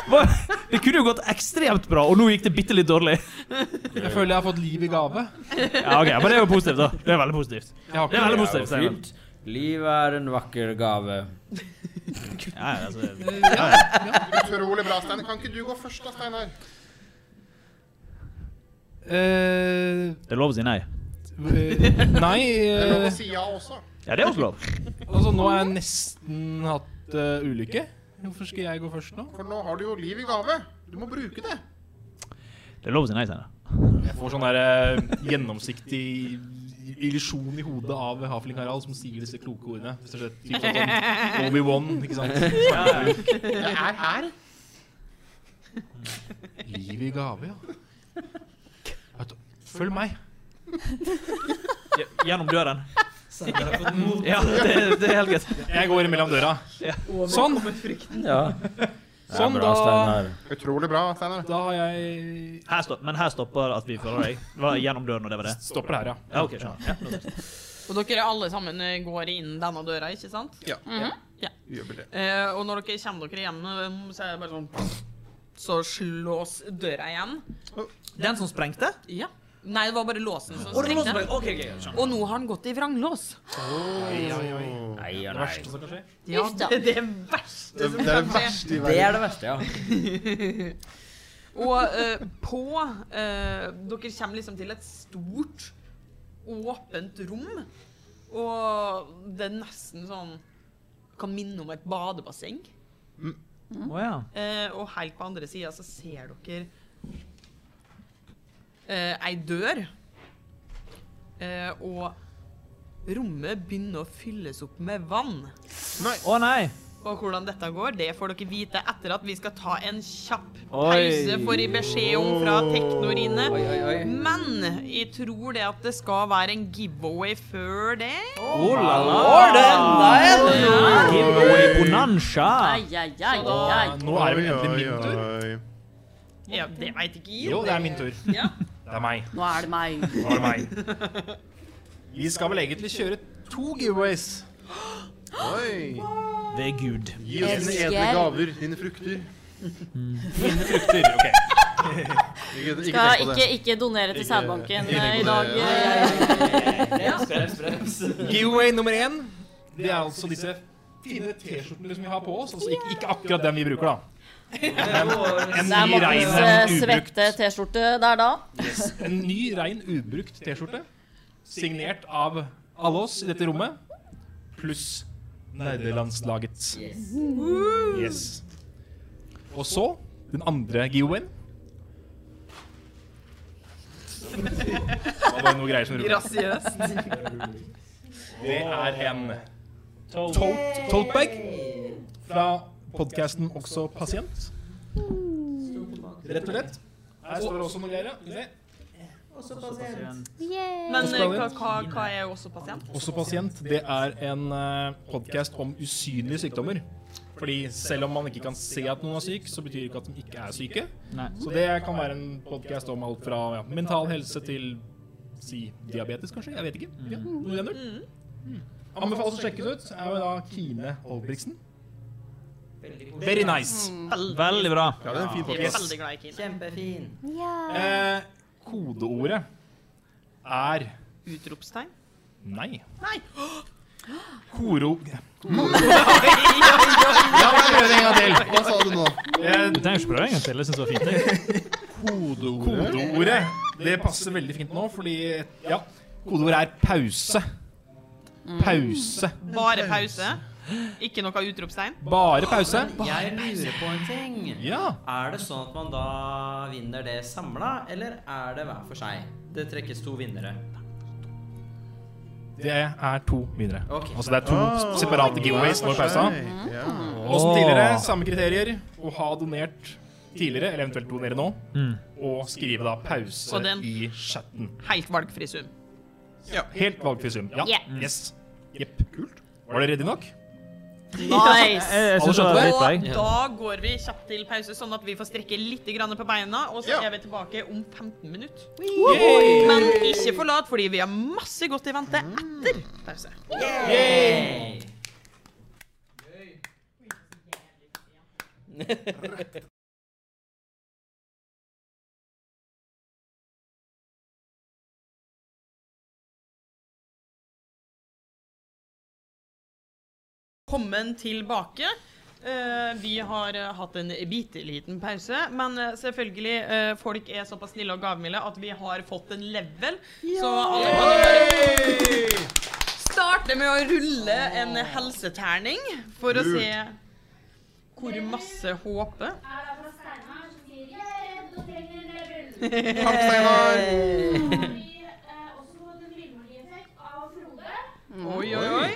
Speaker 6: var- Det kunne jo gått ekstremt bra, og nå gikk det bitte litt dårlig.
Speaker 3: Jeg føler jeg har fått liv i gave.
Speaker 6: Ja, ok, Men det er jo positivt, da. Det er veldig positivt.
Speaker 3: Jeg har
Speaker 6: Det er
Speaker 3: ikke
Speaker 6: veldig positivt. Steinar.
Speaker 2: Fint. Livet er en vakker gave.
Speaker 6: Ja, ja, altså,
Speaker 4: Utrolig bra, Steinar. Kan ikke du gå først, da, Steinar?
Speaker 3: Eh,
Speaker 6: det er lov å si nei.
Speaker 3: eh, nei
Speaker 4: Det er
Speaker 3: eh,
Speaker 4: lov å si ja også.
Speaker 6: Ja, det er også lov.
Speaker 3: Altså, nå har jeg nesten hatt eh, ulykke. Hvorfor skal jeg gå først nå?
Speaker 4: For nå har du jo liv i gave. Du må bruke det.
Speaker 6: Det er lov å si nei, Steinar.
Speaker 3: Jeg får sånn der eh, gjennomsiktig illusjon i hodet av Hafling Harald som sier disse kloke ordene. Rett og slett typ sånn Obi-Wan, ikke sant?
Speaker 4: Jeg er her.
Speaker 3: Liv i gave, ja. Vet du, Følg meg.
Speaker 6: Gjennom døren.
Speaker 9: Steinar har fått mot.
Speaker 6: Ja, det, det er helt greit.
Speaker 3: Jeg går mellom døra. Sånn.
Speaker 2: Ja.
Speaker 3: Sånn,
Speaker 2: det er bra,
Speaker 3: da.
Speaker 2: Steinar.
Speaker 4: Utrolig bra, Steinar.
Speaker 3: Da har jeg
Speaker 6: Her stopp, men her stopper at vi følger deg. Det var gjennom døren, og det var det.
Speaker 3: Stopper her, ja.
Speaker 6: Ja, ok, skjønner. Ja, nå skjønner jeg.
Speaker 1: Og dere alle sammen eh, går inn denne døra, ikke sant?
Speaker 4: Gjør vel det.
Speaker 1: Eh, og når dere kommer dere hjem, eh, så er det bare sånn Så slås døra igjen.
Speaker 6: Den som sprengte?
Speaker 1: Ja. Nei, det var bare låsen som
Speaker 6: Å, det var noen som
Speaker 1: sprengte.
Speaker 6: sprengte. Ok, ok, jeg skjønner.
Speaker 1: Og nå har den gått i vranglås.
Speaker 2: Nei,
Speaker 3: Det
Speaker 2: ja,
Speaker 3: verste
Speaker 2: nei.
Speaker 3: som kan skje.
Speaker 1: Ja,
Speaker 7: Uff da.
Speaker 1: det, det verste
Speaker 4: Det,
Speaker 1: som
Speaker 4: det er
Speaker 1: kan
Speaker 4: det
Speaker 1: skje.
Speaker 4: verste i
Speaker 2: Det er
Speaker 4: verden.
Speaker 2: det verste, ja.
Speaker 1: Og eh, på eh, Dere kommer liksom til et stort, åpent rom. Og det er nesten sånn Kan minne om et badebasseng.
Speaker 6: Å ja.
Speaker 1: Eh, og helt på andre sida så ser dere eh, ei dør. Eh, og rommet begynner å fylles opp med vann.
Speaker 6: Å nei!
Speaker 1: Og hvordan dette går, det får dere vite etter at vi skal ta en kjapp
Speaker 6: Oi.
Speaker 1: pause, får jeg beskjed om fra Teknorine.
Speaker 8: Oi, oi, oi.
Speaker 1: Men jeg tror det at det skal være en giveaway før det.
Speaker 6: Oh la la!
Speaker 1: Ja.
Speaker 6: Giveaway bonanza!
Speaker 7: Ai, ai, ai, ai.
Speaker 3: Nå er det vel egentlig min tur.
Speaker 1: Ja, det veit ikke jeg.
Speaker 3: Jo, det er min tur.
Speaker 1: Ja.
Speaker 3: Det er meg.
Speaker 7: Nå er det meg.
Speaker 3: Nå er det meg. Vi skal vel egentlig kjøre to giveaways.
Speaker 4: Oi.
Speaker 6: Ved Gud.
Speaker 4: Gi oss dine edle gaver, dine frukter.
Speaker 3: Mine frukter. ok.
Speaker 4: Ikke, ikke
Speaker 7: Skal
Speaker 4: tenk på
Speaker 7: ikke,
Speaker 4: det.
Speaker 7: ikke donere til
Speaker 4: Ikke-
Speaker 7: sædbanken
Speaker 4: ikke
Speaker 7: eh, i
Speaker 4: tenk på
Speaker 7: dag.
Speaker 4: det.
Speaker 7: eh.
Speaker 3: Giveaway nummer én Det er altså disse fine T-skjortene som vi har på oss. Altså ikke, ikke akkurat dem vi bruker, da. En,
Speaker 7: Det er
Speaker 3: ny, rein,
Speaker 7: Mortens eh,
Speaker 3: eh, ubrukt,
Speaker 7: svette T-skjorte der da.
Speaker 3: en ny, rein, ubrukt T-skjorte. Signert av alle oss i dette rommet. Pluss nerdelandslaget. Yes. Og så den andre giveawayen. Det var bare noe greier som rullet.
Speaker 1: Grasiøst.
Speaker 3: Det er en tote, tote bag fra podkasten Også pasient. Rett og slett. Her står det også noe greier. ja.
Speaker 1: Men eh, hva,
Speaker 3: Spennende.
Speaker 1: hva, hva er også pasient?
Speaker 3: Også pasient, det er en podkast om usynlige sykdommer. Fordi selv om man ikke kan se at noen er syk, så betyr det ikke at de ikke er syke.
Speaker 6: Nei.
Speaker 3: Så det kan være en podkast om alt fra ja, mental helse til si diabetes, kanskje? Jeg vet ikke. Ja, noe i den duren. Anbefales å sjekke det ut. Er jo da Kine Olbriksen. Very nice.
Speaker 6: Veldig bra.
Speaker 4: Ja, det er en
Speaker 1: Jeg
Speaker 4: fin
Speaker 1: er
Speaker 4: podcast.
Speaker 1: veldig glad i Kine.
Speaker 9: Kjempefin.
Speaker 3: Eh, kodeordet er
Speaker 1: Utropstegn.
Speaker 3: nei.
Speaker 1: Nei.
Speaker 3: Koro... La meg prøve det en gang til.
Speaker 4: Hva sa du nå?
Speaker 3: Eh,
Speaker 6: Du trenger ikke prøve en gang til. Jeg syns det var fint. jeg.
Speaker 4: Kodeordet?
Speaker 3: Kodeordet. Det passer veldig fint nå, fordi ja, kodeordet er pause. Pause.
Speaker 1: Bare pause. Ikke noe utropstegn.
Speaker 3: Bare pause.
Speaker 9: Jeg lurer på en ting.
Speaker 3: Ja.
Speaker 9: Er det sånn at man da vinner det samla, eller er det hver for seg? Det trekkes to vinnere.
Speaker 3: Det er to vinnere.
Speaker 9: Ok.
Speaker 3: Altså det er to s- separate giveaways når pausa.
Speaker 4: Ja.
Speaker 3: Og som tidligere, samme kriterier. Å ha donert tidligere, eller eventuelt donere nå. Og skrive da pause
Speaker 1: Og den-
Speaker 3: i chatten.
Speaker 1: Helt valgfri sum.
Speaker 3: Helt valgfri sum. Ja.
Speaker 7: Yeah.
Speaker 3: Yes. Jepp. Kult. Var dere ready nok?
Speaker 7: Nice.
Speaker 6: Jeg synes det var
Speaker 3: Alle
Speaker 1: Eh, Og
Speaker 6: dritbra.
Speaker 1: da går vi kjapt til pause, sånn at vi får strekke litt grann på beina. Og så
Speaker 4: Ja.
Speaker 1: er vi tilbake om 15 minutter.
Speaker 3: Yay!
Speaker 1: Men ikke forlat, fordi vi har masse godt i vente etter pause. Velkommen tilbake. Eh, vi har eh, hatt en bitte liten pause, men eh, selvfølgelig, eh, folk er såpass snille og gavmilde at vi har fått en level. Så alle kan bare starte med å rulle en helseterning for å se hvor masse HP
Speaker 4: Takk, Steinar.
Speaker 12: eh,
Speaker 1: Oi, oi, oi.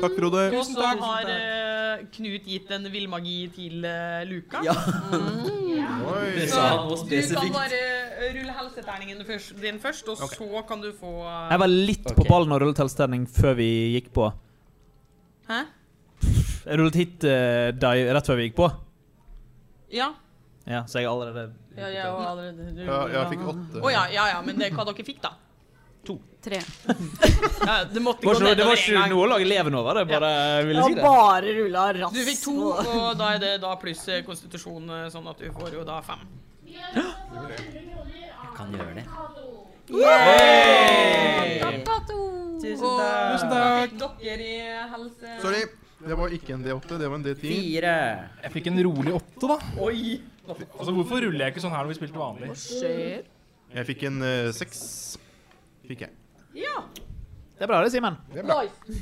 Speaker 4: Takk, Frode.
Speaker 1: Og så har eh, Knut gitt en villmagi til eh, Luka.
Speaker 4: Oi.
Speaker 1: Så du kan bare eh, rulle helseterningen først, din først, og så kan du få
Speaker 6: Jeg var litt på ballen og rullet helseterning før vi gikk på.
Speaker 1: Hæ?
Speaker 6: Jeg rullet hit eh, dive rett før vi gikk på.
Speaker 1: Ja.
Speaker 6: Ja, så jeg er allerede
Speaker 5: Ja, jeg var allerede du-
Speaker 4: Ja, jeg fikk åtte.
Speaker 1: Å ja, ja, ja, men det er hva dere fikk, da.
Speaker 5: Tre.
Speaker 1: Ja, det måtte
Speaker 6: Det
Speaker 1: gå
Speaker 6: var ikke, det var
Speaker 1: nedover en
Speaker 6: ikke
Speaker 1: gang.
Speaker 6: noe å lage leven over. Det bare ville si
Speaker 5: Jeg har
Speaker 6: det.
Speaker 5: bare rulla raskt.
Speaker 1: Du fikk to, og da er det da pluss eh, konstitusjon, eh, sånn at du får jo da fem.
Speaker 2: Kan gjøre det.
Speaker 1: Tusen takk. Tusen takk. Dere i helse...
Speaker 4: Sorry. Det var ikke en D8, det var en D10.
Speaker 2: Fire.
Speaker 3: Jeg fikk en rolig åtte, da.
Speaker 1: Oi.
Speaker 3: Altså, Hvorfor ruller jeg ikke sånn her når vi spilte vanlig?
Speaker 5: Skjer.
Speaker 4: Jeg fikk en eh, seks. Fikk jeg.
Speaker 1: Ja.
Speaker 6: Det er bra, det, Simen.
Speaker 4: Det er bra.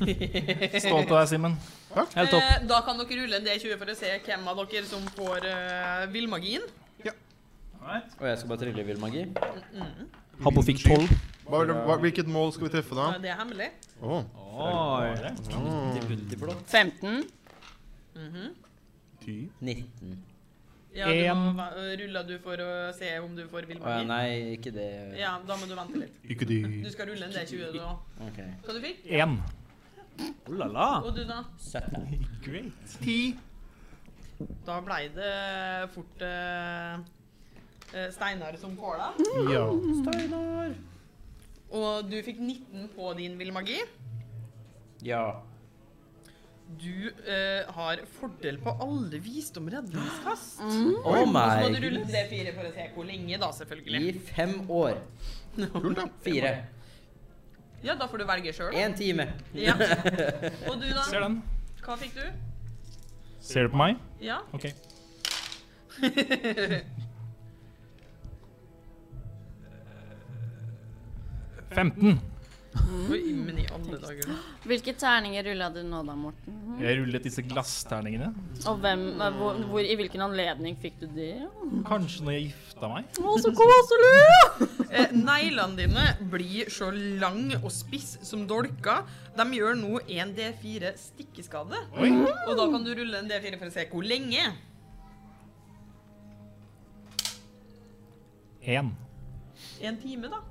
Speaker 3: Stolt av deg, Simen.
Speaker 6: Helt topp.
Speaker 1: Eh, da kan dere rulle en D20 for å se hvem av dere som får eh, villmagien.
Speaker 2: Og jeg skal bare trille vill magi.
Speaker 6: Habbo fikk tolv.
Speaker 4: Hva, hva, hvilket mål skal vi treffe, da?
Speaker 1: Eh, Det er hemmelig.
Speaker 4: Åh,
Speaker 6: Oi.
Speaker 5: 15.
Speaker 2: 19.
Speaker 1: Mhm. Ja,
Speaker 3: En.
Speaker 1: du må, ruller du for å se om du får
Speaker 2: Å ja,
Speaker 1: villmagi?
Speaker 2: nei, ikke det.
Speaker 1: Ja, da må du vente litt.
Speaker 4: Ikke de
Speaker 1: Du skal rulle en D20 nå.
Speaker 2: Ok.
Speaker 1: Hva du fikk?
Speaker 3: Én.
Speaker 6: Oh la la.
Speaker 1: Og du, da?
Speaker 2: 17.
Speaker 1: Da blei det fort eh, eh, Steinar som får deg.
Speaker 4: Ja.
Speaker 1: Og du fikk 19 på din villmagi.
Speaker 2: Ja.
Speaker 1: Du eh, har fordel på alle visdom redningskast.
Speaker 2: Oh
Speaker 1: Og så må du rulle
Speaker 2: my.
Speaker 1: en D4 for å se hvor lenge, da,
Speaker 2: I
Speaker 1: selvfølgelig.
Speaker 2: fem år.
Speaker 4: Kult, da.
Speaker 2: Fire.
Speaker 1: Ja, da får du velge sjøl.
Speaker 2: Én time.
Speaker 1: Ja. Og du,
Speaker 3: Ser
Speaker 1: da?
Speaker 3: den.
Speaker 1: Hva fikk du?
Speaker 3: Ser du på meg?
Speaker 1: Ja.
Speaker 3: OK.
Speaker 1: Å
Speaker 3: 15.
Speaker 1: Oi, men i alle dager.
Speaker 5: Hvilke terninger rulla du nå da, Morten?
Speaker 3: Jeg rullet disse glassterningene.
Speaker 5: Og hvem, eh, hvor, hvor, i hvilken anledning fikk du det?
Speaker 3: Kanskje når jeg gifta meg?
Speaker 5: Å, så koselig!
Speaker 1: Eh, neglene dine blir så lang og spiss som dolker. De gjør nå en D4 stikkeskade.
Speaker 3: Oi.
Speaker 1: Og da kan du rulle en D4 for å se hvor lenge.
Speaker 3: Én.
Speaker 1: En time, da.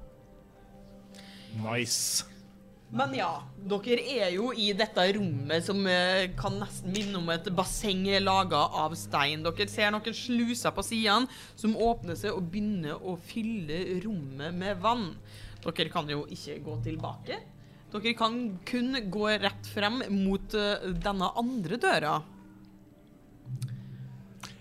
Speaker 3: Nice.
Speaker 1: Men ja, dere er jo i dette rommet som eh, kan nesten minne om et basseng laga av stein. Dere ser noen sluser på sidene som åpner seg og begynner å fylle rommet med vann. Dere kan jo ikke gå tilbake. Dere kan kun gå rett frem mot eh, denne andre døra.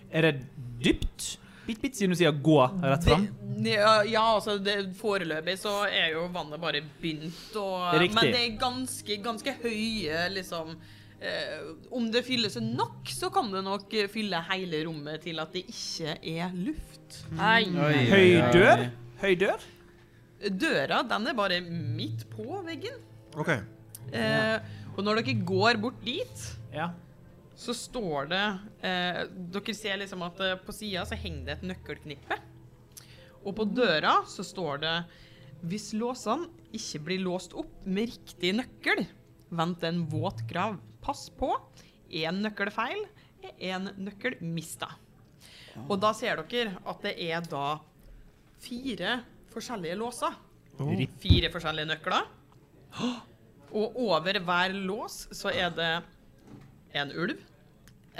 Speaker 6: Er det dypt? Bitt, bitt, siden du sier gå rett
Speaker 1: Det,
Speaker 6: fram.
Speaker 1: ja, ja, altså det, foreløpig så er jo vannet bare begynt og
Speaker 6: Riktig.
Speaker 1: Men det er ganske, ganske høye, liksom eh, Om det fylles nok, så kan det nok eh, fylle hele rommet til at det ikke er luft.
Speaker 5: Nei.
Speaker 6: Høy dør. Høy dør.
Speaker 1: Døra, den er bare midt på veggen.
Speaker 4: OK.
Speaker 1: Eh, og når dere går bort dit
Speaker 6: Ja.
Speaker 1: så står det eh, Dere ser liksom at eh, på sida så henger det et nøkkelknippe. Og på døra så står det Hvis låsene ikke blir låst opp med riktig nøkkel, vent en våt grav. Pass på. Én nøkkel feil, én nøkkel mista. Og da ser dere at det er da fire forskjellige låser. Fire forskjellige nøkler. Og over hver lås så er det en ulv,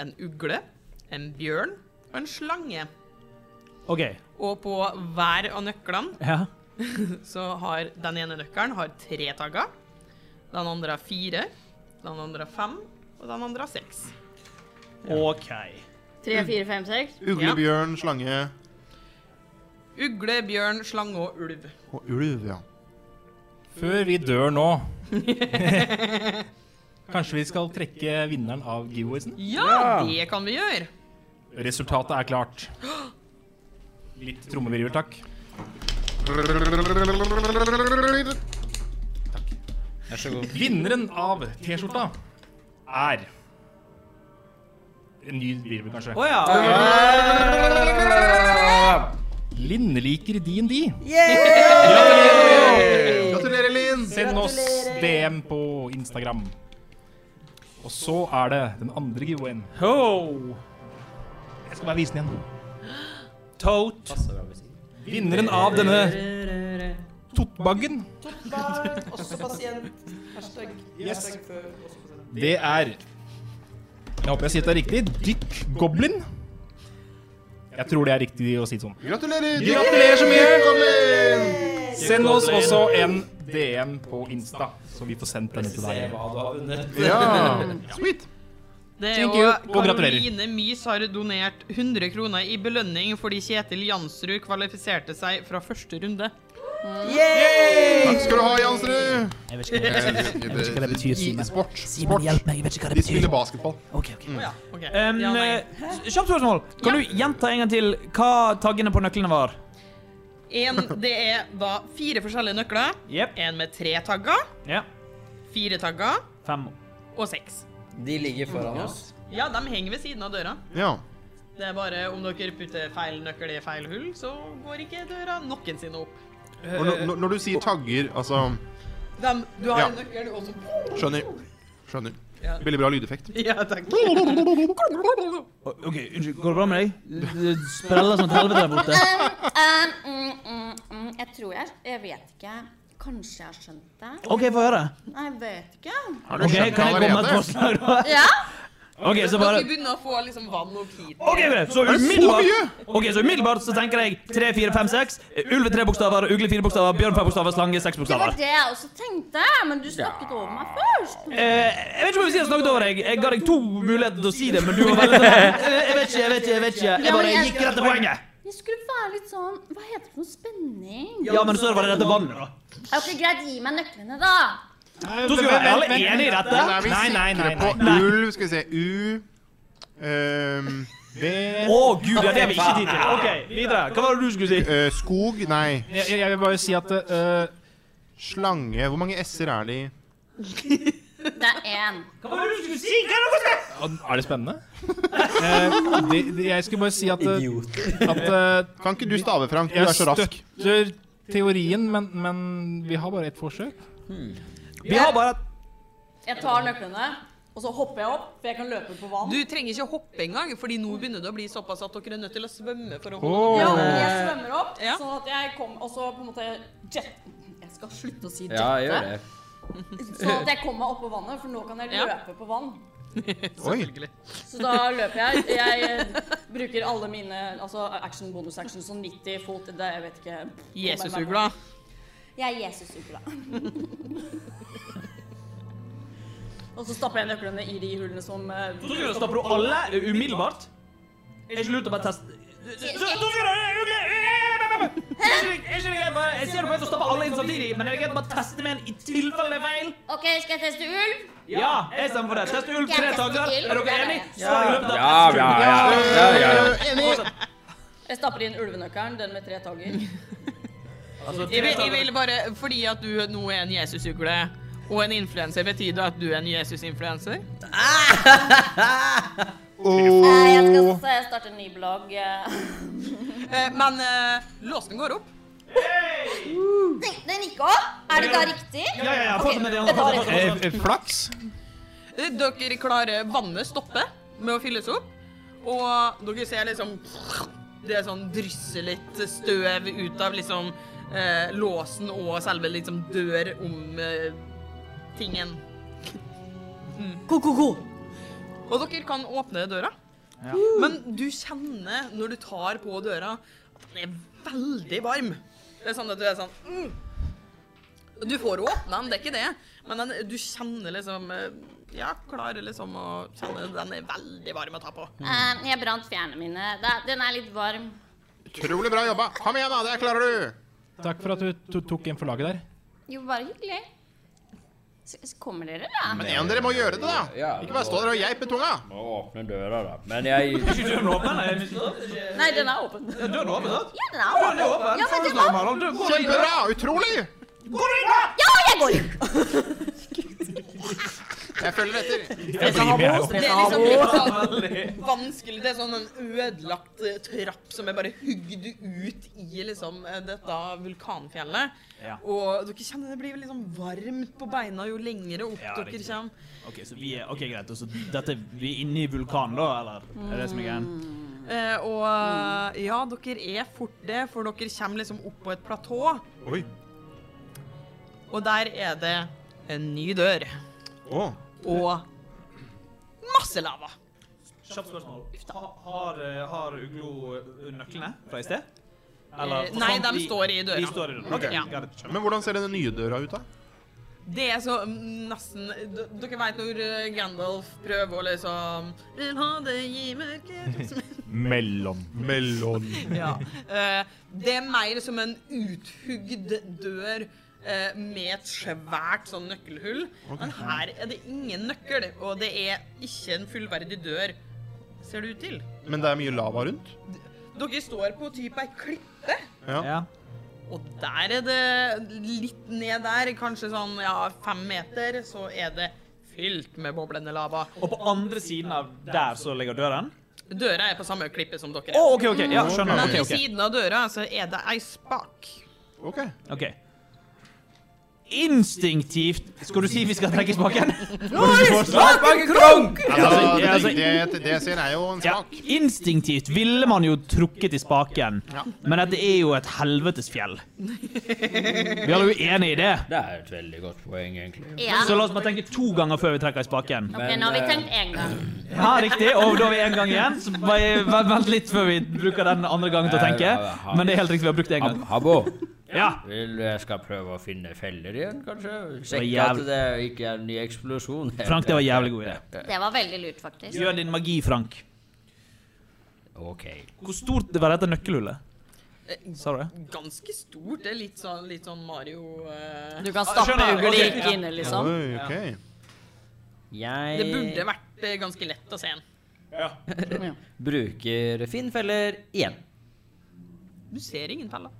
Speaker 1: en ugle, en bjørn og en slange.
Speaker 6: OK.
Speaker 1: Og på hver av nøklene
Speaker 6: Ja.
Speaker 1: så har den ene nøkkelen har tre tagger. Den andre har fire, den andre har fem, og den andre har seks.
Speaker 6: OK.
Speaker 5: Tre, fire, fem, seks.
Speaker 1: Ja.
Speaker 4: Ugle, bjørn, slange
Speaker 1: Ugle, bjørn, slange og ulv.
Speaker 4: og ulv, ja.
Speaker 3: Før vi dør nå Kanskje vi skal trekke vinneren av giveawaysen?
Speaker 1: Ja, det kan vi gjøre.
Speaker 3: Resultatet er klart. Litt trommevirvel, takk.
Speaker 2: Vær så god.
Speaker 3: Vinneren av T-skjorta er En ny virvel, kanskje.
Speaker 6: Å ja.
Speaker 3: Linn liker DND.
Speaker 4: Gratulerer, Linn!
Speaker 3: Send oss DM på Instagram. Og så er det den andre giveawayen.
Speaker 6: Ho!
Speaker 3: Jeg skal bare vise den igjen.
Speaker 6: Tote.
Speaker 2: Passer bra hvis ikke.
Speaker 3: Vinneren av denne Tottbaggen,
Speaker 9: Også pasient. Hashtag.
Speaker 3: Yes.
Speaker 9: Hashtag før, også pasient.
Speaker 3: det er Jeg håper jeg sier det er riktig. Dick Goblin. Jeg tror det er riktig å si det sånn.
Speaker 4: Gratulerer!
Speaker 3: Gratulerer så mye!
Speaker 4: Velkommen!
Speaker 3: Send oss også en DM på Insta, så vi får sendt den til
Speaker 2: Se
Speaker 3: deg.
Speaker 2: hva du har vunnet.
Speaker 4: Ja, sweet.
Speaker 1: Det er jo
Speaker 3: Thank you, og gratulerer.
Speaker 1: Karoline Mys har donert 100 kroner i belønning fordi Kjetil Jansrud kvalifiserte seg fra første runde.
Speaker 4: Takk skal du ha, Jansrud.
Speaker 13: Jeg vet ikke hva det betyr. Jeg vet ikke hva det betyr, Simen.
Speaker 4: eh, Sport.
Speaker 13: Simen,
Speaker 4: Sport.
Speaker 13: hjelp meg, jeg vet ikke hva
Speaker 4: De
Speaker 13: det betyr.
Speaker 4: spiller basketball.
Speaker 13: Ok,
Speaker 3: Mm.
Speaker 13: ok.
Speaker 1: Å ja, ok.
Speaker 6: Um,
Speaker 1: ja, nei.
Speaker 6: eh, Kjapt spørsmål. Kan du gjenta en gang til hva taggene på nøklene var?
Speaker 1: En, det er da fire forskjellige nøkler.
Speaker 6: Jepp.
Speaker 1: En med tre tagger,
Speaker 6: Ja.
Speaker 1: fire tagger
Speaker 6: Fem.
Speaker 1: og seks.
Speaker 2: De ligger foran oss.
Speaker 1: Ja, de henger ved siden av døra.
Speaker 4: Ja.
Speaker 1: Det er bare om dere putter feil nøkkel i feil hull, så går ikke døra noensinne opp.
Speaker 4: Og når, når- når du sier tagger, altså
Speaker 1: Dem- du har
Speaker 4: Ja.
Speaker 1: en nøkkel, og så
Speaker 4: Skjønner. Skjønner.
Speaker 1: Ja.
Speaker 4: Veldig bra lydeffekt.
Speaker 1: Ja, takk.
Speaker 6: O- OK, unnskyld. Går det bra med deg? Det spreller som et helvete der borte.
Speaker 7: Um, mm, mm, mm, jeg tror jeg Jeg vet ikke. Kanskje jeg har skjønt det?
Speaker 6: OK, få høre.
Speaker 7: Nei, jeg vet ikke.
Speaker 4: Har
Speaker 6: Ok, Kan jeg komme med et forslag, da?
Speaker 7: Ja?
Speaker 6: OK,
Speaker 1: Dere
Speaker 6: så bare
Speaker 1: begynner å få liksom vann og kit.
Speaker 6: Ok, greit. Så umiddelbart, Ok, så umiddelbart så tenker jeg 3, 4, 5, 6. Ulv 3 bokstaver, ugle 4 bokstaver, bjørn 5 bokstaver, slange 6
Speaker 7: Det var
Speaker 6: bokstaver.
Speaker 7: det jeg også tenkte, men du snakket over meg først.
Speaker 6: Eh, jeg vet ikke om jeg har snakket over deg. Jeg ga deg to muligheter til å si det, men du var veldig sånn eh, Jeg vet ikke, jeg vet ikke. Jeg vet ikke. Jeg bare gikk rett til poenget.
Speaker 7: Jeg skulle være litt sånn Hva heter det for noe spenning?
Speaker 6: Ja, men så var det dette vannet, da.
Speaker 7: Ok, greit, gi meg nøklene, da.
Speaker 6: Da skal vi være alle enige i dette.
Speaker 4: Da er vi
Speaker 3: Nei, nei, nei,
Speaker 4: sikre på ulv. Skal vi se U ehm,
Speaker 6: Å gud, ja, det har vi ikke tid til. Ok, videre. Hva var det du skulle si?
Speaker 4: eh, Skog? Nei.
Speaker 3: Jeg, jeg- jeg vil bare si at eh,
Speaker 4: Slange. Hvor mange s-er er det i
Speaker 7: Det er én.
Speaker 6: Hva var det du skulle si? Hva er det du skulle si?
Speaker 3: Er det spennende? Eh, det, det, jeg skulle bare si at, eh, at eh,
Speaker 4: Kan ikke du stave, Frank? Du er
Speaker 3: jeg
Speaker 4: så rask.
Speaker 3: støtter teorien, men, men vi har bare ett forsøk.
Speaker 6: Vi har bare
Speaker 5: Jeg tar nøklene, og så hopper jeg opp, for jeg kan løpe på vann.
Speaker 1: Du trenger ikke å hoppe engang, fordi nå begynner det å bli såpass at dere er nødt til å svømme for å holde
Speaker 3: Åh.
Speaker 5: Ja, jeg svømmer opp,
Speaker 1: Ja.
Speaker 5: sånn at jeg kommer Og så på en måte jet... Jeg skal slutte å si
Speaker 2: Ja, gjør
Speaker 5: jette.
Speaker 2: det.
Speaker 5: sånn at jeg kommer meg opp på vannet, for nå kan jeg
Speaker 1: Ja.
Speaker 5: løpe på vann.
Speaker 4: Oi.
Speaker 5: Så da løper jeg. Jeg eh, bruker alle mine altså action, bonus action, sånn 90 fot det, Jeg vet ikke.
Speaker 1: Jesusugla.
Speaker 7: Jeg er Jesusugla.
Speaker 5: Og så stapper jeg nøklene i de hullene som eh,
Speaker 6: Så skal vi stoppe alle umiddelbart. Er ikke lurt å bare teste Så- så skal du- Er ikke det- er ikke det greit bare- Jeg ser du på å stoppe alle inn samtidig, men er det greit å bare teste med en i tilfelle det er feil?
Speaker 7: Ok, skal jeg teste ulv?
Speaker 6: Ja, jeg stemmer for det. Test ulv tre tagger. Er dere enige? Svar i løpet av
Speaker 2: Ja, ja, ja. ja, ja, ja.
Speaker 5: Jeg stapper inn ulvenøkkelen, den med tre tagger.
Speaker 1: Jeg
Speaker 6: Altså, tre
Speaker 1: vil, jeg vil
Speaker 6: tagger.
Speaker 1: bare, fordi at du nå er en Jesusugle og en influenser, betyr det at du er en Jesus-influenser?
Speaker 7: Eh, Jeg skal s- starte en ny blogg. eh.
Speaker 1: Eh, men eh, låsen går opp.
Speaker 7: Den den gikk opp? Er det da riktig?
Speaker 6: Ja, ja, ja. Fortsett med det.
Speaker 7: Ok, jeg tar
Speaker 6: fortsett,
Speaker 7: det.
Speaker 6: fortsett, fortsett.
Speaker 3: Flaks.
Speaker 1: Eh, Dere klarer vannet stoppe med å fylles opp, og dere ser liksom Det er sånn drysser litt støv ut av liksom eh, låsen og selve liksom dør om eh, tingen. Mm.
Speaker 5: Ko-ko-ko!
Speaker 1: Og dere kan åpne døra. Men du kjenner når du tar på døra, at den er veldig varm. Det er sånn at du er sånn mm. Du får jo åpne den, det er ikke det, men den, du kjenner liksom eh, Ja, klarer liksom å kjenne den er veldig varm å ta på.
Speaker 7: Eh, Jeg brant fjærene mine. Da- Den er litt varm.
Speaker 4: Utrolig bra jobba. Kom igjen, da. Det klarer du.
Speaker 3: Takk for at du to- tok en for laget der.
Speaker 7: Jo, bare hyggelig. S- s- Kommer dere, da?
Speaker 4: Men en av dere må gjøre det, da.
Speaker 2: Ja,
Speaker 4: Ikke bare stå der og geipe tunga.
Speaker 2: Nå åpner døra, da. Men jeg
Speaker 7: Nei, den er åpen.
Speaker 6: Ja, døren er åpen, sant?
Speaker 7: Ja, den
Speaker 6: Døren er åpen.
Speaker 7: er åpen. Ja, men det var...
Speaker 6: Kjempebra!
Speaker 4: Kjempebra! Utrolig!
Speaker 7: Ja, jeg går!
Speaker 4: Jeg følger etter.
Speaker 3: Jeg blir med her
Speaker 1: Det
Speaker 3: oppe.
Speaker 1: er liksom litt sånn vanskelig Det er sånn en ødelagt eh, trapp som er bare hugd ut i liksom eh, dette vulkanfjellet.
Speaker 6: Ja.
Speaker 1: Og dere kjenner det blir liksom varmt på beina jo lengre opp
Speaker 6: Ja,
Speaker 1: dere
Speaker 6: riktig.
Speaker 1: kommer.
Speaker 6: OK, så vi er, ok, greit. og Så dette, vi er inne i vulkanen, da? Eller er det det som er greien?
Speaker 1: Eh, og
Speaker 4: Mm.
Speaker 1: eh, ja, dere er fort det, for dere kommer liksom opp på et platå.
Speaker 4: Oi.
Speaker 1: Og der er det en ny dør.
Speaker 4: Å.
Speaker 1: Og masse lava.
Speaker 6: Kjapt spørsmål. Ha- Har, eh, har Uglo eh, nøklene fra i sted? Eller
Speaker 1: Eh, nei,
Speaker 6: forsvant
Speaker 1: de står i døra.
Speaker 6: De står i døra. Ok,
Speaker 1: Ja.
Speaker 6: greit, skjønner.
Speaker 4: Men hvordan ser denne nye døra ut, da?
Speaker 1: Det er så mm, nesten d Dere veit når eh, Gandalf prøver å liksom Vil ha det i mørket
Speaker 3: Mellom.
Speaker 4: Mellom
Speaker 1: ja. eh, Det er mer som en uthugd dør eh, med et svært sånn nøkkelhull. Men her er det ingen nøkkel, og det er ikke en fullverdig dør, ser det ut til.
Speaker 4: Men det er mye lava rundt?
Speaker 1: Dere står på type ei klippe,
Speaker 4: Ja.
Speaker 6: Ja.
Speaker 1: og der er det litt ned der, kanskje sånn ja, fem meter, så er det fylt med boblende lava.
Speaker 6: Og på andre siden av der så ligger døren?
Speaker 1: Døra er på samme klippe som dere
Speaker 6: Å,
Speaker 1: er.
Speaker 6: OK, OK. Ja, skjønner.
Speaker 1: Men
Speaker 6: Ok,
Speaker 1: ved
Speaker 6: ok.
Speaker 1: siden av døra så er det ei spak.
Speaker 4: OK.
Speaker 6: ok. Instinktivt Skal du si vi skal trekke spaken?
Speaker 4: Altså,
Speaker 6: altså,
Speaker 4: det,
Speaker 6: altså-
Speaker 4: det, det jeg ser, er jo en
Speaker 6: Ja,
Speaker 4: smak.
Speaker 6: instinktivt ville man jo trukket i spaken,
Speaker 4: Ja.
Speaker 6: men dette er jo et helvetes fjell. Vi er jo enig i det.
Speaker 2: Det er et veldig godt poeng, egentlig.
Speaker 7: Ja.
Speaker 6: Så eh, la oss bare tenke to ganger før vi trekker i spaken.
Speaker 7: Ok, nå har vi tenkt én gang.
Speaker 6: Ja, riktig. Og da er vi en gang igjen. Så bare v- vent litt før vi bruker den andre gangen til å tenke. Men det er helt riktig, vi har brukt det en gang.
Speaker 2: Hab- Habbo,
Speaker 6: Ja.
Speaker 2: vil du jeg skal prøve å finne feller igjen, kanskje?
Speaker 6: Det
Speaker 2: Sjekke
Speaker 6: var
Speaker 2: at
Speaker 6: jævlig-
Speaker 2: det ikke er en ny eksplosjon.
Speaker 6: Frank, det var jævlig god idé.
Speaker 7: Det var veldig lurt, faktisk.
Speaker 6: Gjør din magi, Frank.
Speaker 2: OK.
Speaker 6: Hvor stort det var dette nøkkelhullet? Sa du det?
Speaker 1: Ganske stort. Det er litt sånn, litt sånn Mario eh,
Speaker 7: Du kan
Speaker 6: stappe
Speaker 7: stappe
Speaker 6: skjønner, ugler
Speaker 7: ugler
Speaker 6: ok, ikke ja.
Speaker 7: inne, liksom.
Speaker 4: Oi, OK.
Speaker 2: Jeg
Speaker 1: Det burde vært eh, ganske lett å se en.
Speaker 2: bruker Finn feller igjen.
Speaker 1: Du ser ingen feller.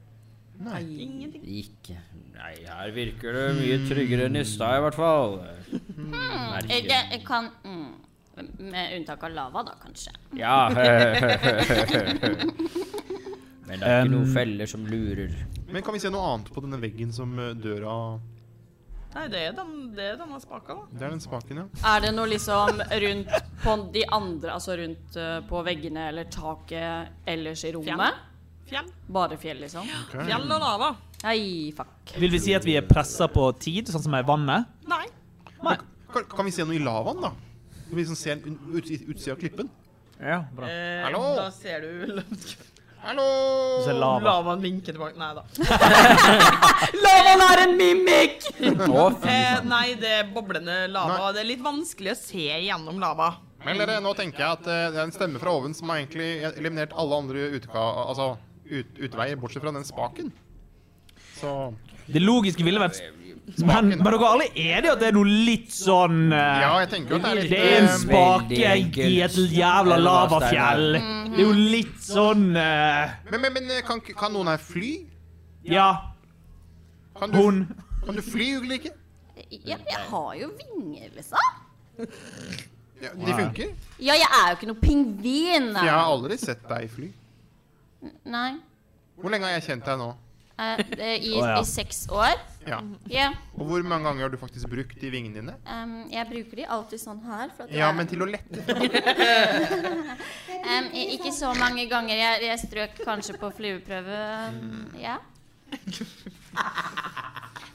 Speaker 1: Nei. Ingenting.
Speaker 2: Ikke Nei, her virker det mye tryggere enn i stad, i hvert fall. Merker.
Speaker 7: Jeg, Eh, jeg kan mm, Med unntak av lava, da, kanskje.
Speaker 2: Ja. Men det er ikke
Speaker 6: Um,
Speaker 2: noen feller som lurer.
Speaker 4: Men kan vi se noe annet på denne veggen som eh, døra
Speaker 1: Nei, det er, den, det er denne spaka, da.
Speaker 4: Det er den spaken, ja.
Speaker 5: Er det noe liksom rundt på de andre, altså rundt eh, på veggene eller taket ellers i rommet?
Speaker 1: Fjell. Fjell.
Speaker 5: Bare fjell, liksom?
Speaker 1: Fjell og lava.
Speaker 5: Nei, fuck.
Speaker 6: Vil vi si at vi er pressa på tid, sånn som er vannet?
Speaker 1: Nei.
Speaker 4: Kan, kan vi se noe i lavaen, da? Kan vi liksom se en un- ut, utsida av klippen?
Speaker 6: Ja, bra.
Speaker 1: Eh,
Speaker 4: Hallo?
Speaker 1: Da ser du
Speaker 4: Hallo!
Speaker 6: Så Sånn er lava.
Speaker 1: lavaen vinke tilbake. Nei da.
Speaker 5: Lavaen er en mimikk!
Speaker 1: Eh, nei, det er boblende lava. Det er litt vanskelig å se gjennom lava.
Speaker 4: Men dere, nå tenker jeg at eh, det er en stemme fra oven som har egentlig eliminert alle andre uteka, altså, ut, utveier, bortsett fra den spaken. Så
Speaker 6: Det logiske ville vært Men, men dere er alle enige at det er noe litt sånn eh,
Speaker 4: Ja, jeg tenker jo at det er litt
Speaker 6: Det er en
Speaker 4: eh,
Speaker 2: veldig
Speaker 6: spake i
Speaker 2: enkelt.
Speaker 6: et jævla lavafjell. Det er jo litt sånn eh,
Speaker 4: Men, men, men eh, kan, ikke- kan noen her fly?
Speaker 6: Ja,
Speaker 4: Kan du,
Speaker 6: hun
Speaker 4: Kan du fly, Ulrikke?
Speaker 7: Ja, jeg har jo vinger, liksom.
Speaker 4: Ja, de funker.
Speaker 7: Ja, jeg er jo ikke noe pingvin.
Speaker 4: Jeg har aldri sett deg fly.
Speaker 7: Nei.
Speaker 4: Hvor lenge har jeg kjent deg nå?
Speaker 7: Eh, det- I,
Speaker 6: Å, ja.
Speaker 7: I seks år.
Speaker 4: Ja.
Speaker 7: Ja.
Speaker 4: Og hvor mange ganger har du faktisk brukt de vingene dine?
Speaker 7: em, jeg bruker de alltid sånn her. For at
Speaker 4: Ja,
Speaker 7: jeg-
Speaker 4: men til å lette.
Speaker 7: Em, i- ikke så mange ganger. Jeg, jeg strøk kanskje på flueprøve.
Speaker 4: Mm.
Speaker 7: Ja.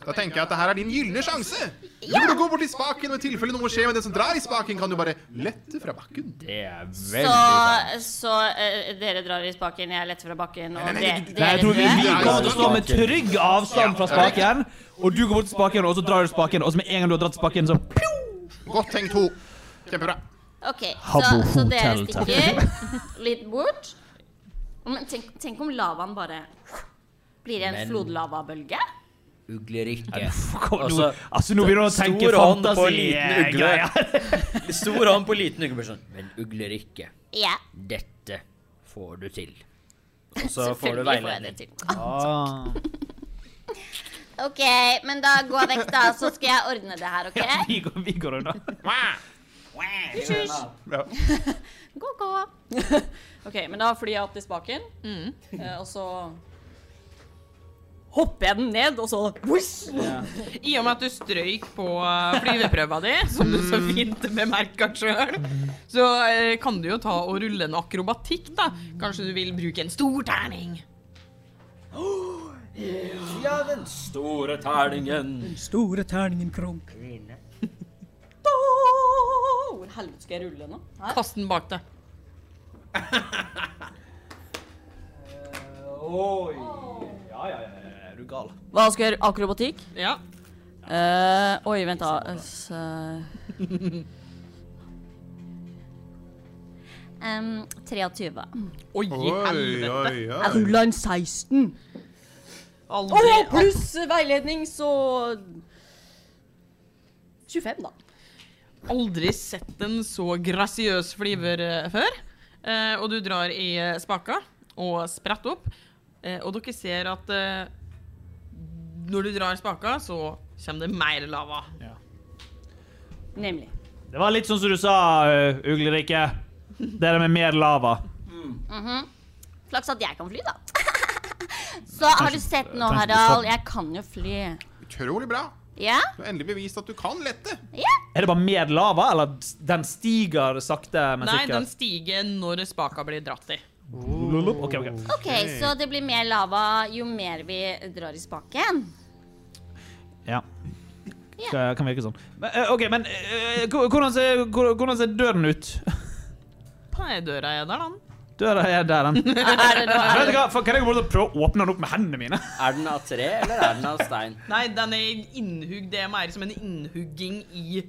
Speaker 4: Da tenker jeg at det her er din gylne sjanse. Du burde gå bort til spaken, og i tilfelle noe skjer med den som drar i spaken, kan du bare lette fra bakken.
Speaker 2: Det er veldig sant.
Speaker 7: Så, så eh, dere drar i spaken, jeg letter fra bakken, og
Speaker 4: nei,
Speaker 7: det,
Speaker 4: du-
Speaker 6: Nei,
Speaker 7: dere
Speaker 6: jeg tror vi, vi
Speaker 7: dør.
Speaker 6: kommer til å stå med trygg avstand fra spaken, og du går bort til spaken, og så drar du spaken, og så med en gang du har dratt spaken, så
Speaker 4: Godt tenkt, Ho. Kjempebra.
Speaker 7: Ok, så,
Speaker 6: Habbo
Speaker 7: så dere
Speaker 6: Hotel, takk.
Speaker 7: stikker litt bort. Men tenk, tenk om lavaen bare blir en
Speaker 2: Men-
Speaker 7: flodlavabølge?
Speaker 2: uglerikke.
Speaker 6: Kom,
Speaker 2: Og
Speaker 6: nå,
Speaker 2: så
Speaker 6: altså, nå begynner du å
Speaker 2: stor
Speaker 6: tenke
Speaker 2: hånd på
Speaker 6: fantasi.
Speaker 2: liten ugle.
Speaker 6: greier.
Speaker 2: Stor hånd på liten ugle. bare Sånn. Men uglerikke,
Speaker 7: Ja.
Speaker 2: dette får du til. Og så får du
Speaker 7: Selvfølgelig får jeg det
Speaker 2: veiledning. Ah.
Speaker 7: til. Ah, OK, men da gå vekk, da, så skal jeg ordne det her,
Speaker 6: Ja,
Speaker 7: OK?
Speaker 6: vi, går, vi går unna.
Speaker 7: Hysj, hysj.
Speaker 6: Ja.
Speaker 7: Gå, gå. Mm.
Speaker 5: OK, men da flyr jeg opp til spaken, eh, og så hopper jeg den ned, og så Whish!
Speaker 1: I og med at du strøyk på eh, flyveprøva di, som du så fint bemerka sjøl, så eh, kan du jo ta og rulle en akrobatikk, da. Kanskje du vil bruke en stor terning?
Speaker 2: Ja, den store terningen.
Speaker 14: Store terningen krunk.
Speaker 5: Åh, Hvor helvete skal jeg rulle nå? Her.
Speaker 1: Kast den bak deg.
Speaker 6: Oi. Ja, ja, ja. Er du gal?
Speaker 5: Hva skal jeg gjøre? Akrobatikk?
Speaker 1: Ja.
Speaker 5: Eh, oi, vent da. S- eh,
Speaker 7: Em, 23.
Speaker 1: Oi,
Speaker 4: Oi, oi,
Speaker 5: Jeg
Speaker 4: oi.
Speaker 5: rulla en 16. Å,
Speaker 1: Aldri
Speaker 5: pluss veiledning, så 25, da.
Speaker 1: aldri sett en så grasiøs flyver eh, før. Eh, og du drar i eh, spaka og spretter opp. Eh, og dere ser at eh, når du drar spaka, så kommer det mer lava.
Speaker 5: Nemlig.
Speaker 6: Det var litt sånn som du sa, eh, Uglerike. Det der med mer lava.
Speaker 7: Mhm. Flaks at jeg kan fly, da. Så har du sett nå, Harald, jeg kan jo fly.
Speaker 4: Utrolig bra.
Speaker 7: Ja?
Speaker 4: Du har endelig bevist at du kan lette.
Speaker 7: Ja?
Speaker 6: Er det bare mer lava, eller den stiger sakte, men
Speaker 1: Nei, den
Speaker 6: sikkert?
Speaker 1: stiger når spaka blir dratt i.
Speaker 6: Lolop. OK, OK.
Speaker 7: OK, så det blir mer lava jo mer vi drar i spaken.
Speaker 6: Ja.
Speaker 7: Ja.
Speaker 6: Skal, kan virke sånn. Men, eh, OK, men eh, hvor- hvordan ser, hvor- hvordan ser døren ut?
Speaker 1: Nei, døra er der, da.
Speaker 6: Døra er der, den. Vet
Speaker 5: Er det da?
Speaker 6: du hva, faen, Kan jeg gå bort og prøve å åpne den opp med hendene mine?
Speaker 2: Er den av tre, eller er den av stein?
Speaker 1: Nei, den er innhugd. Det er mer som en innhugging i,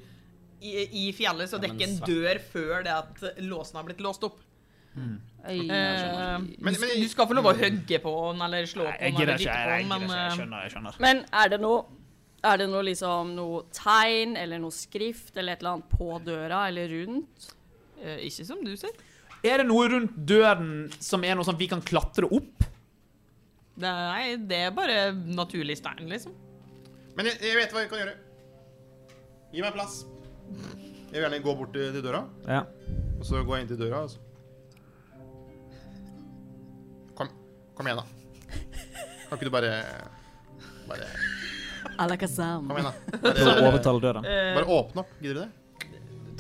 Speaker 1: i, i fjellet, så det er
Speaker 2: men
Speaker 1: ikke en
Speaker 2: sa-
Speaker 1: dør før det at låsen har blitt låst opp.
Speaker 7: Oi.
Speaker 1: Eh,
Speaker 4: Men- men-
Speaker 1: du skal få lov å hogge på den, eller slå på
Speaker 6: Jeg
Speaker 1: den, eller
Speaker 6: gidder ikke.
Speaker 1: dytte
Speaker 6: Jeg,
Speaker 1: på den,
Speaker 6: jeg, gidder
Speaker 1: men
Speaker 6: ikke, jeg
Speaker 1: eh,
Speaker 6: skjønner. jeg skjønner.
Speaker 5: Men er det noe er det noe, liksom, noe tegn eller noe skrift eller et eller annet på døra eller rundt?
Speaker 1: eh, ikke som du ser.
Speaker 6: Er det noe rundt døren som er noe sånn vi kan klatre opp?
Speaker 1: Nei, det er bare naturlig stein, liksom.
Speaker 4: Men jeg, jeg vet hva jeg kan gjøre. Gi meg plass. Jeg vil gjerne gå bort til, til døra,
Speaker 6: Ja.
Speaker 4: og så går jeg inn til døra. altså. og så- Kom, kom igjen, da. Kan ikke du bare Bare
Speaker 5: Alakazam.
Speaker 4: Kom igjen, da.
Speaker 6: For å
Speaker 4: Bare,
Speaker 6: overtale døren.
Speaker 1: Eh,
Speaker 4: bare åpne opp. Gidder du det?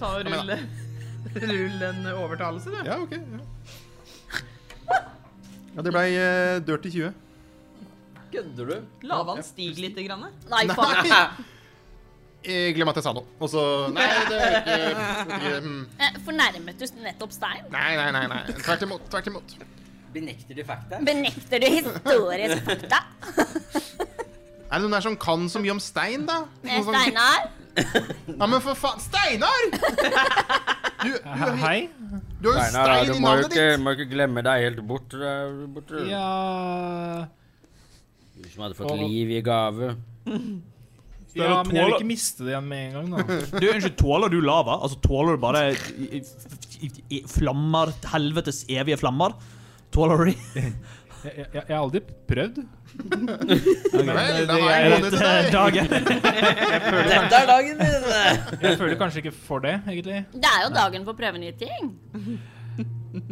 Speaker 1: ta og
Speaker 4: Kom igjen, da.
Speaker 1: rulle, rull en overtalelse, du.
Speaker 4: Ja, OK. Ja, ja det blei uh, dør til 20.
Speaker 2: Kødder du?
Speaker 1: Lavaen stiger litt. Grann.
Speaker 5: Nei, faen.
Speaker 4: Eh, Glem at jeg sa noe. Og så Nei, det er ikke, det er ikke mm.
Speaker 7: Eh, Fornærmet du nettopp stein?
Speaker 4: Nei, nei, nei. nei. Tvert imot. Tvert imot.
Speaker 2: Benekter de fakta?
Speaker 7: Benekter du historisk fakta?
Speaker 4: Er det noen der som kan så mye om stein, da?
Speaker 7: Eh,
Speaker 4: Noen som-
Speaker 7: Steinar?
Speaker 4: Ja, men for faen Steinar! Du, du,
Speaker 3: He- Hei.
Speaker 4: du har jo stein i navnet ditt.
Speaker 2: må ikke glemme deg helt bort. eh, bort, eh.
Speaker 3: Ja
Speaker 2: Du som hadde fått liv i gave.
Speaker 3: Ja, men jeg vil
Speaker 6: tåler-
Speaker 3: ikke miste det igjen med en gang, da.
Speaker 6: Du, unnskyld, tåler du lava? Altså, tåler du bare i, i, i, i flammer, helvetes evige flammer? Tåler du de?
Speaker 3: Jeg, jeg, jeg har aldri prøvd.
Speaker 4: Vel, da
Speaker 3: det-
Speaker 4: har jeg
Speaker 3: jeg
Speaker 4: gått til
Speaker 6: Eh,
Speaker 4: deg.
Speaker 6: Dagen.
Speaker 2: Dette er dagen din!
Speaker 3: Jeg føler kanskje ikke for det, egentlig.
Speaker 7: Det er jo dagen for å prøve nye ting.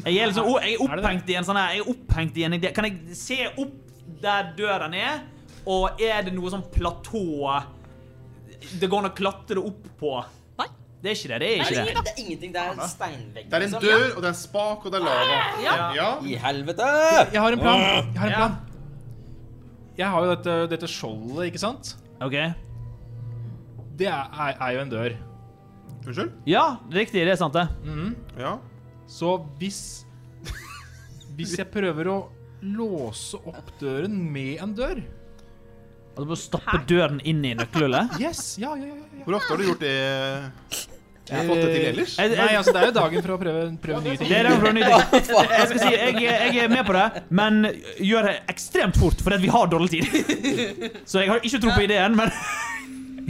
Speaker 6: Jeg er, liksom, jeg er
Speaker 3: Er det
Speaker 6: opphengt i en sånn her, jeg er opphengt i en idé. Kan jeg se opp der døren er, og er det noe sånn platå det går an å klatre opp på?
Speaker 1: Nei.
Speaker 6: Det er ikke det, det er ikke det.
Speaker 2: Det er ingenting. Det er steinvegg.
Speaker 4: Det er en
Speaker 9: Sånn,
Speaker 2: liksom.
Speaker 4: dør, og det er en spak, og det er lava. Ja.
Speaker 2: I helvete!
Speaker 3: Jeg har en plan. Jeg har en
Speaker 6: Ja.
Speaker 3: plan. Jeg har jo dette, dette skjoldet, ikke sant?
Speaker 6: Ok.
Speaker 3: Det er, er, er jo en dør.
Speaker 4: Unnskyld?
Speaker 6: Ja, riktig, det er sant det.
Speaker 4: Ja.
Speaker 3: Så hvis Hvis jeg prøver å låse opp døren med en dør
Speaker 6: Altså, Og du må stappe døren inn i nøkkelhullet.
Speaker 3: Yes, ja, ja, ja, ja, ja.
Speaker 4: Hvor ofte har du gjort det? Jeg har fått det til ellers.
Speaker 3: Nei, altså, det er jo dagen for å prøve, prøve nye ting.
Speaker 6: Det er den fra Nyding. Jeg skal si, jeg, jeg er med på det, men gjør det ekstremt fort, fordi at vi har dårlig tid. Så jeg har ikke tro på ideen, men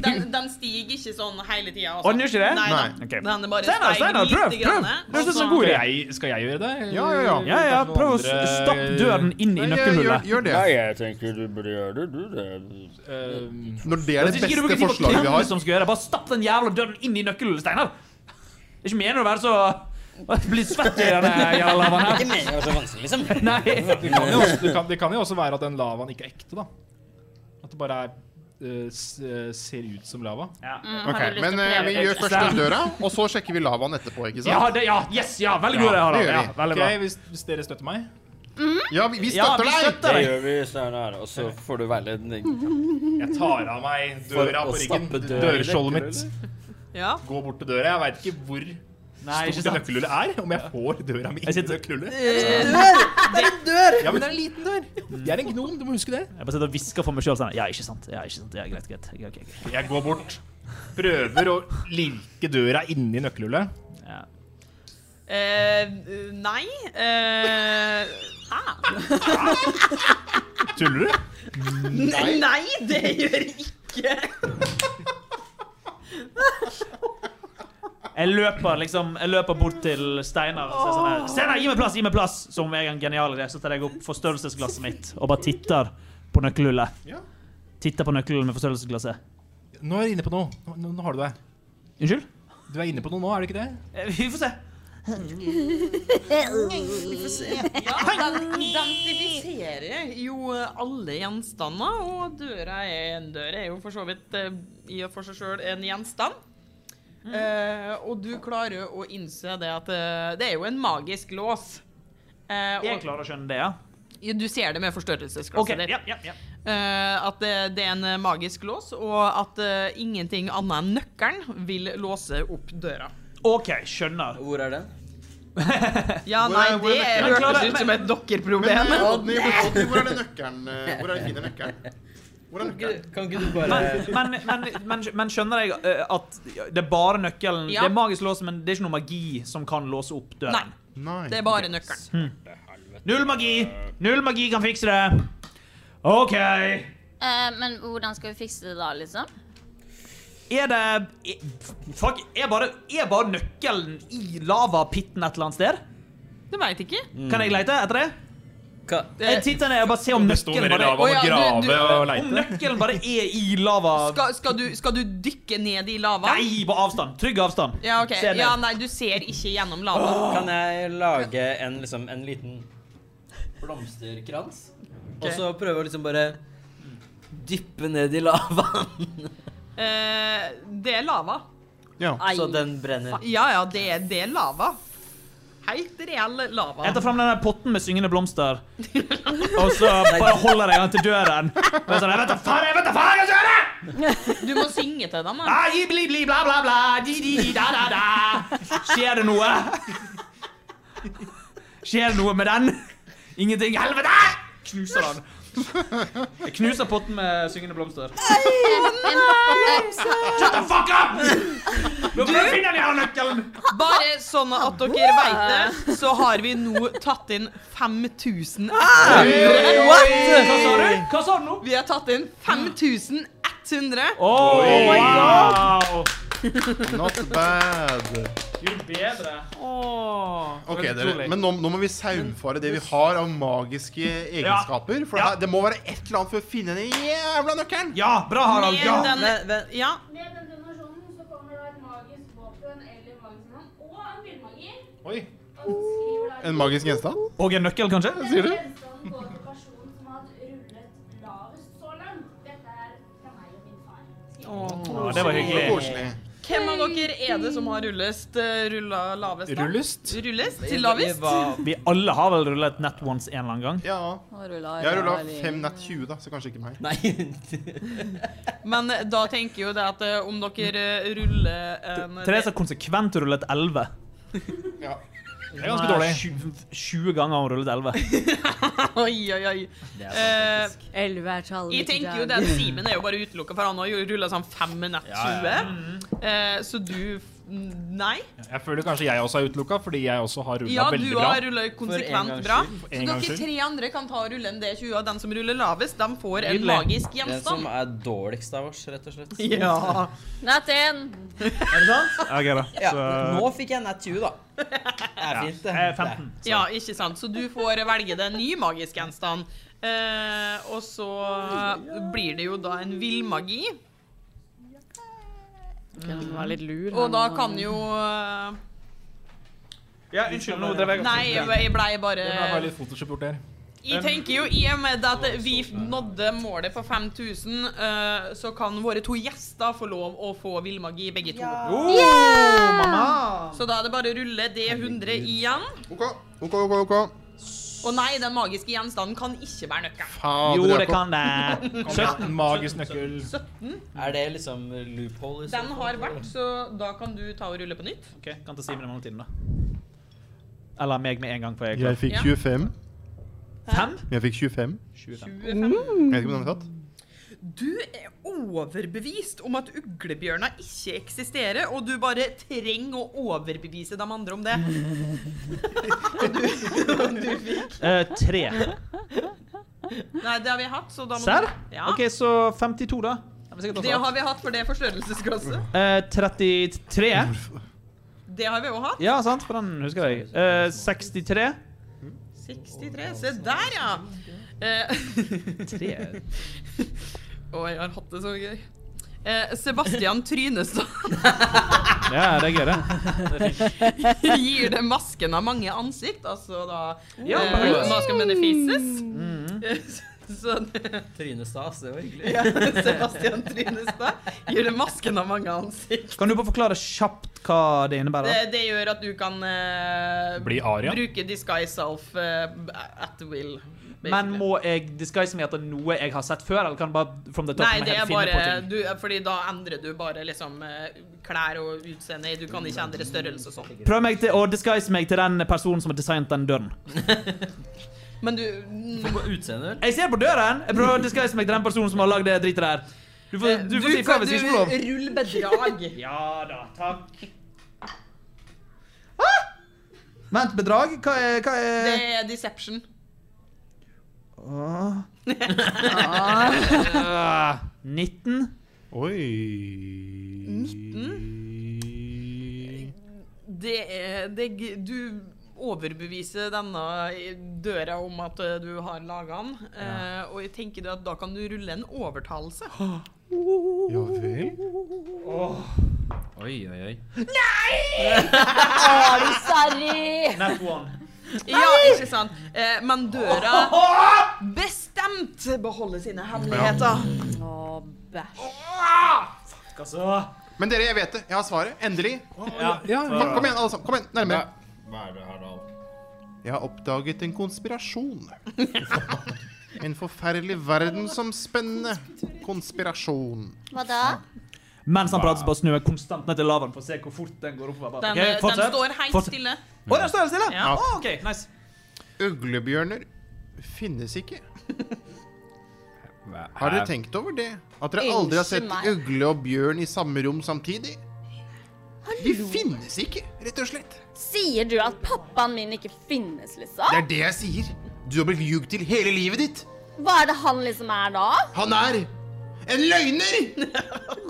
Speaker 1: Den, den stiger ikke sånn hele tida.
Speaker 6: Å, den gjør ikke det?
Speaker 1: Nei, da.
Speaker 6: Nei. Ok.
Speaker 1: Den er bare
Speaker 6: Steinar,
Speaker 1: steiger
Speaker 6: Steinar,
Speaker 1: lite
Speaker 6: prøv,
Speaker 1: grann, altså.
Speaker 6: prøv.
Speaker 1: og
Speaker 6: Høres ut som
Speaker 1: så-
Speaker 6: en god idé.
Speaker 3: Skal jeg, skal jeg gjøre det? eller?
Speaker 4: Ja, ja, ja.
Speaker 6: Ja, ja, prøv å s- stappe døren inn Eh, i
Speaker 4: Nei, ja,
Speaker 6: nøkkelhullet.
Speaker 4: Gjør, gjør det.
Speaker 8: jeg tenker du burde gjøre det, du det.
Speaker 3: eh,
Speaker 4: Når det er det
Speaker 6: Jeg synes ikke
Speaker 4: beste
Speaker 6: du bruker tid på
Speaker 4: forslaget vi
Speaker 6: hvem
Speaker 4: har.
Speaker 6: Som skal gjøre. det. Bare stapp den jævla døren inn i nøkkelen, Steinar. Det er ikke meningen å være så Bli svett i den jævla lavaen her.
Speaker 8: Ikke meningen å være så vanskelig, liksom.
Speaker 6: Nei.
Speaker 3: Det kan, jo også, det, kan, det kan jo også være at den lavaen ikke er ekte, da. At det bare er, eh, s- eh, ser ut som lava.
Speaker 4: Ok, Men eh, vi gjør først den døra, og så sjekker vi lavaen etterpå, ikke
Speaker 6: Ja,
Speaker 4: sant?
Speaker 6: det, ja, yes, ja, veldig god idé, Harald.
Speaker 4: det gjør
Speaker 6: Ja,
Speaker 4: vi.
Speaker 3: Ok,
Speaker 6: veldig bra.
Speaker 3: hvis, hvis dere støtter meg
Speaker 4: Ja, vi, vi
Speaker 6: Ja,
Speaker 4: støtter
Speaker 6: vi
Speaker 4: deg!
Speaker 8: Det
Speaker 6: støtter deg.
Speaker 8: gjør vi, Steinar. Og så får du veiledning.
Speaker 3: Jeg tar av meg
Speaker 8: For
Speaker 3: døra
Speaker 8: å
Speaker 3: på ryggen.
Speaker 8: stappe døra i
Speaker 3: Dørskjoldet mitt.
Speaker 1: Ja.
Speaker 3: Gå bort til døra. Jeg veit ikke hvor
Speaker 6: Nei, ikke
Speaker 3: stort det
Speaker 6: sant.
Speaker 3: nøkkelhullet er. Om jeg får døra mi
Speaker 6: Jeg
Speaker 3: inn i
Speaker 6: sitter-
Speaker 3: nøkkelhullet.
Speaker 1: Det er en dør!
Speaker 3: Ja, men det er en liten dør. Jeg er en gnom, du må huske det.
Speaker 6: Jeg bare sitter og hvisker for meg sjøl. Ja, ikke sant. Ja, ikke sant. Ja, greit, greit. Ja, ok, ok.
Speaker 3: Jeg går bort. Prøver å lirke døra inni nøkkelhullet.
Speaker 6: Ja.
Speaker 1: Eh, nei eh, hæ?
Speaker 3: Tuller du?
Speaker 1: Nei, nei, det gjør ikke
Speaker 6: Jeg løper liksom Jeg løper bort til Steinar og sier sånn her Steinar, gi meg plass! Gi meg plass! Som jeg er en genial idé, så tar jeg opp forstørrelsesglasset mitt og bare titter på nøkkelhullet.
Speaker 3: Ja.
Speaker 6: Titter på nøkkelhullet med forstørrelsesglasset.
Speaker 3: Nå er jeg inne på noe. Nå, nå, nå har du deg.
Speaker 6: Unnskyld?
Speaker 3: Du er inne på noe nå, er du ikke det?
Speaker 6: Eh, Vi får se.
Speaker 1: Identifiserer jo alle gjenstander, og døra er en dør er jo for så vidt eh, i og for seg sjøl en gjenstand.
Speaker 4: Mm.
Speaker 1: Eh, og du klarer å innse det at eh, det er jo en magisk lås. Eh,
Speaker 6: Jeg
Speaker 1: og
Speaker 6: klarer å skjønne det, ja.
Speaker 1: Ja, du ser det med forstørrelsesglasset
Speaker 6: OK.
Speaker 1: ditt.
Speaker 6: Ja, ja, ja.
Speaker 1: Eh, at det, det er en eh, magisk lås, og at eh, ingenting annet enn nøkkelen vil låse opp døra.
Speaker 6: OK, skjønner.
Speaker 9: Hvor er den?
Speaker 1: Ja,
Speaker 4: Hvor
Speaker 1: nei,
Speaker 4: er- hvor er
Speaker 1: det
Speaker 4: nøkkelen?
Speaker 1: hørtes ut som et dokkerproblem.
Speaker 4: Men eh, Oddny, Oddny, hvor er det nøkkelen? eh, Hvor er det finner nøkkelen? Hvor er nøkkelen?
Speaker 9: Kan ikke du bare
Speaker 6: Men, men, men, men, men skjønner jeg eh, at det er bare nøkkelen
Speaker 1: Ja.
Speaker 6: Det er magisk lås, men det er ikke noe magi som kan låse opp døren?
Speaker 1: Nei,
Speaker 4: Nei.
Speaker 1: det er bare nøkkelen.
Speaker 6: Null magi! Null magi kan fikse det. OK. Er
Speaker 7: Eh, men hvordan skal vi fikse det da, liksom?
Speaker 6: det er, Fuck, er bare, er bare nøkkelen i lavapitten et eller annet sted?
Speaker 1: Du veit ikke?
Speaker 6: Kan jeg lete etter det?
Speaker 9: Hva?
Speaker 6: Jeg titter ned og bare ser om
Speaker 3: Det står
Speaker 6: nøkkelen
Speaker 3: nede i
Speaker 6: bare,
Speaker 1: Å,
Speaker 3: lavaen
Speaker 1: ja,
Speaker 3: og
Speaker 1: du- du-
Speaker 3: grave og
Speaker 6: om
Speaker 3: leite.
Speaker 6: nøkkelen bare er i lava
Speaker 1: Skal, skal, du, skal du dykke ned i lava?
Speaker 6: Nei, på avstand. Trygg avstand.
Speaker 1: Ja, ok.
Speaker 6: Se ned.
Speaker 1: Ja, nei, du ser ikke gjennom lava.
Speaker 9: Kan jeg lage en, liksom, en liten blomsterkrans? Og så prøve å liksom bare dyppe ned i lavaen,
Speaker 1: Eh, det er lava.
Speaker 4: Ja.
Speaker 9: så den brenner.
Speaker 1: Ja ja, det er, det er lava. Helt reell lava.
Speaker 6: Jeg tar fram den der potten med syngende blomster, og så bare holder jeg den til døren. Og jeg er sånn, jeg vet da faen, jeg vet da faen, jeg skal gjøre det!
Speaker 1: Du må synge til dem. da.
Speaker 6: Ah, gi, bli, bli, bla, bla, bla, di, di, di, da, da, da. Skjer det noe? Skjer det noe med den? Ingenting. Helvete! Knuser den. Jeg knuser potten med syngende blomster. Shut the fuck up! Nå må jeg finne den her nøkkelen!
Speaker 1: Bare sånn at dere veit
Speaker 6: Ah!
Speaker 1: det, så har vi nå tatt inn 5000
Speaker 6: Ah! Hva sa du? Hva sa du nå?
Speaker 1: Vi har tatt inn 5100.
Speaker 6: Oh, my god!
Speaker 4: Not bad.
Speaker 6: Gjorde bedre.
Speaker 4: Ok, dere, men nå, nå må vi saumfare det vi har av magiske egenskaper. For det,
Speaker 6: Ja.
Speaker 4: her, det må være et eller annet for å finne den jævla nøkkelen.
Speaker 6: Ja, bra, Harald. Ja.
Speaker 1: Med den,
Speaker 9: Vent, vent.
Speaker 1: ja.
Speaker 12: Med den donasjonen så kommer det et magisk våpen eller magisk navn og en villmagier.
Speaker 4: Oi.
Speaker 12: Og så skriver da
Speaker 4: En magisk gjenstand?
Speaker 6: Og en nøkkel, kanskje?
Speaker 12: Sier du? Gjenstanden går til personen som har rullet lavest så langt. Dette er fra meg og min far.
Speaker 6: Ja, det var hyggelig.
Speaker 4: Koselig.
Speaker 1: Hvem av dere er det som har rullest? eh, Rulla lavest? da?
Speaker 3: Rullest?
Speaker 1: Rullest til lavest?
Speaker 6: Vi alle har vel rullet nett once en eller annen gang.
Speaker 4: Ja. Jeg har rulla fem nett 20, da, så kanskje ikke meg.
Speaker 9: Nei.
Speaker 1: Men eh, da tenker jo det at eh, om dere eh, ruller en
Speaker 6: Therese har konsekvent rullet 11.
Speaker 4: Ja.
Speaker 3: Det er ganske dårlig.
Speaker 6: 20 ganger har hun rullet 11.
Speaker 1: Oi, oi, oi. Eh,
Speaker 12: Elleve er tallet
Speaker 1: jeg tenker jo det
Speaker 3: Mm.
Speaker 1: at Simen er jo bare utelukka, for han har jo rulla sånn fem med nett 20. Eh, så du f- Nei.
Speaker 3: Jeg føler kanskje jeg også er utelukka, fordi jeg også har rulla
Speaker 1: Ja, du
Speaker 3: veldig bra.
Speaker 1: har rullet konsekvent bra. Så
Speaker 3: For en gangs
Speaker 1: dere
Speaker 3: skyld.
Speaker 1: tre andre kan ta og rulle en D20, og den som ruller lavest, de får en
Speaker 2: Nydelig.
Speaker 1: magisk
Speaker 2: Den som
Speaker 1: gjenstand.
Speaker 2: er dårligst av oss, rett og slett.
Speaker 1: Ja.
Speaker 7: Natt én.
Speaker 2: Er det sant?
Speaker 3: Ok, da.
Speaker 2: Ja,
Speaker 3: Så-
Speaker 2: nå fikk jeg nat 20, da. Det er
Speaker 3: Ja.
Speaker 2: fint, det.
Speaker 3: Eh, 15.
Speaker 1: Ja, ikke sant. Så du får velge deg en ny magisk gjenstand. Eh, og så blir det jo da en villmagi.
Speaker 15: Den var litt lur.
Speaker 1: Og
Speaker 15: den,
Speaker 1: da
Speaker 15: da.
Speaker 1: kan jo eh,
Speaker 6: Ja, unnskyld, nå drev jeg og
Speaker 1: Nei, jeg jeg blei
Speaker 3: Det ble bare
Speaker 1: bare
Speaker 3: litt Photoshop gjort der.
Speaker 1: Jeg tenker jo, I og med at vi nådde målet på 5000, eh, så kan våre to gjester få lov å få villmagi, begge to.
Speaker 6: Oh, Yeah! mamma!
Speaker 1: Så da er det bare å rulle D100 igjen.
Speaker 4: OK, OK, OK.
Speaker 1: Og nei, den magiske gjenstanden kan ikke være nøkkelen.
Speaker 4: Fader,
Speaker 6: Jo,
Speaker 4: jeg
Speaker 6: det
Speaker 4: på-
Speaker 6: kan det.
Speaker 3: Søtten, magisk nøkkel.
Speaker 1: 17.
Speaker 2: Er det liksom loophole? i så
Speaker 1: Den
Speaker 2: fall?
Speaker 1: har vært, så da kan du ta og rulle på nytt.
Speaker 6: Ok, kan ta Simen i mellomtiden, da. Eller meg med en gang, for jeg er
Speaker 4: Jeg fikk 25.
Speaker 6: Fem?
Speaker 4: Jeg fikk 25.
Speaker 1: Jeg vet
Speaker 4: ikke om den er tatt.
Speaker 1: Du er overbevist om at uglebjørner ikke eksisterer, og du bare trenger å overbevise de andre om det.
Speaker 6: Mm. Eh, tre.
Speaker 1: Nei, det har vi hatt, så da må
Speaker 6: Serr?
Speaker 1: du Ja.
Speaker 6: OK, så 52, da. Det er sikkert
Speaker 1: Det
Speaker 6: også
Speaker 1: har vi hatt, for det er forstørrelsesglasse.
Speaker 6: Eh, 33.
Speaker 1: Det har vi òg hatt.
Speaker 6: Ja, sant, for den husker jeg. Eh, 63.
Speaker 1: 63. Se der, ja! Eh,
Speaker 6: Tre.
Speaker 1: Å, jeg har hatt det så gøy. Eh, Sebastian Trynestad
Speaker 6: Ja, det er gøy, det. det er fint.
Speaker 1: gir det masken av mange ansikt, altså da
Speaker 6: Ja, Mm.
Speaker 1: eh,
Speaker 6: bare-
Speaker 1: Masken benefices. Så det-
Speaker 2: Trynestas, det var hyggelig.
Speaker 1: ja, Sebastian Trynestad gir det masken av mange ansikt.
Speaker 6: Kan du bare forklare kjapt hva det
Speaker 1: Det,
Speaker 6: innebærer?
Speaker 1: det gjør at du kan eh,
Speaker 6: Bli Arya?
Speaker 1: bruke disguise self eh, at will.
Speaker 6: Men må jeg disguise meg etter noe jeg har sett før, eller kan jeg bare from the top
Speaker 1: Nei,
Speaker 6: of my
Speaker 1: det
Speaker 6: head
Speaker 1: er
Speaker 6: finne
Speaker 1: bare
Speaker 6: på ting?
Speaker 1: du, Fordi da endrer du bare liksom eh, klær og utseende. Du kan ikke endre størrelse og sånn.
Speaker 6: Prøv meg til å disguise meg til den personen som har designet den døren.
Speaker 1: Men du
Speaker 2: Utseende,
Speaker 6: Jeg ser på døren! Jeg prøver å disguise meg til den personen som har lagd det dritet der. Du får, du
Speaker 1: Eh,
Speaker 6: får si fra hvis du ikke får lov.
Speaker 1: Rull bedrag.
Speaker 6: ja da, takk. Ah! Vent, bedrag? Hva er, hva er...
Speaker 1: Det er deception.
Speaker 6: Åh. Ah. 19.
Speaker 4: Oi
Speaker 1: 19. Det er det, er g- Du overbeviser denne i døra om at eh, du har laga den. eh, og jeg tenker det at da kan du rulle en overtalelse.
Speaker 4: Ja vel?
Speaker 2: Oi, oi, oi.
Speaker 1: Nei!
Speaker 7: Sorry.
Speaker 6: Nat one.
Speaker 1: Ja, ikke sant. Eh, men døra bestemt beholder sine hemmeligheter.
Speaker 7: Å, bæsj.
Speaker 4: Men dere, jeg vet det. Jeg har svaret. Endelig.
Speaker 6: Ja,
Speaker 4: ja, Kom, kom igjen, alle sammen. Kom igjen, Nærmere.
Speaker 8: Hva er det her, da?
Speaker 4: Jeg har oppdaget en konspirasjon. En forferdelig verdensomspennende konspirasjon.
Speaker 7: Hva da?
Speaker 6: Mens han prater, så bare snur jeg konstant ned til lavaen for å se hvor fort den går oppover.
Speaker 1: Den,
Speaker 6: Ok,
Speaker 1: eh, den
Speaker 6: fortsett.
Speaker 1: står helt
Speaker 6: Fortsett.
Speaker 1: stille.
Speaker 6: Å, den står helt stille?
Speaker 1: Ja.
Speaker 6: Å, ok, nice.
Speaker 4: Uglebjørner finnes ikke. Har dere tenkt over det? At dere aldri har sett
Speaker 7: Unnskyld meg.
Speaker 4: ugle og bjørn i samme rom samtidig? De finnes ikke, rett og slett.
Speaker 7: Sier du at pappaen min ikke finnes,
Speaker 4: Det
Speaker 7: liksom?
Speaker 4: er det jeg sier. Du har blitt ljugd til hele livet ditt.
Speaker 7: Hva er det han liksom er da?
Speaker 4: Han er en løgner!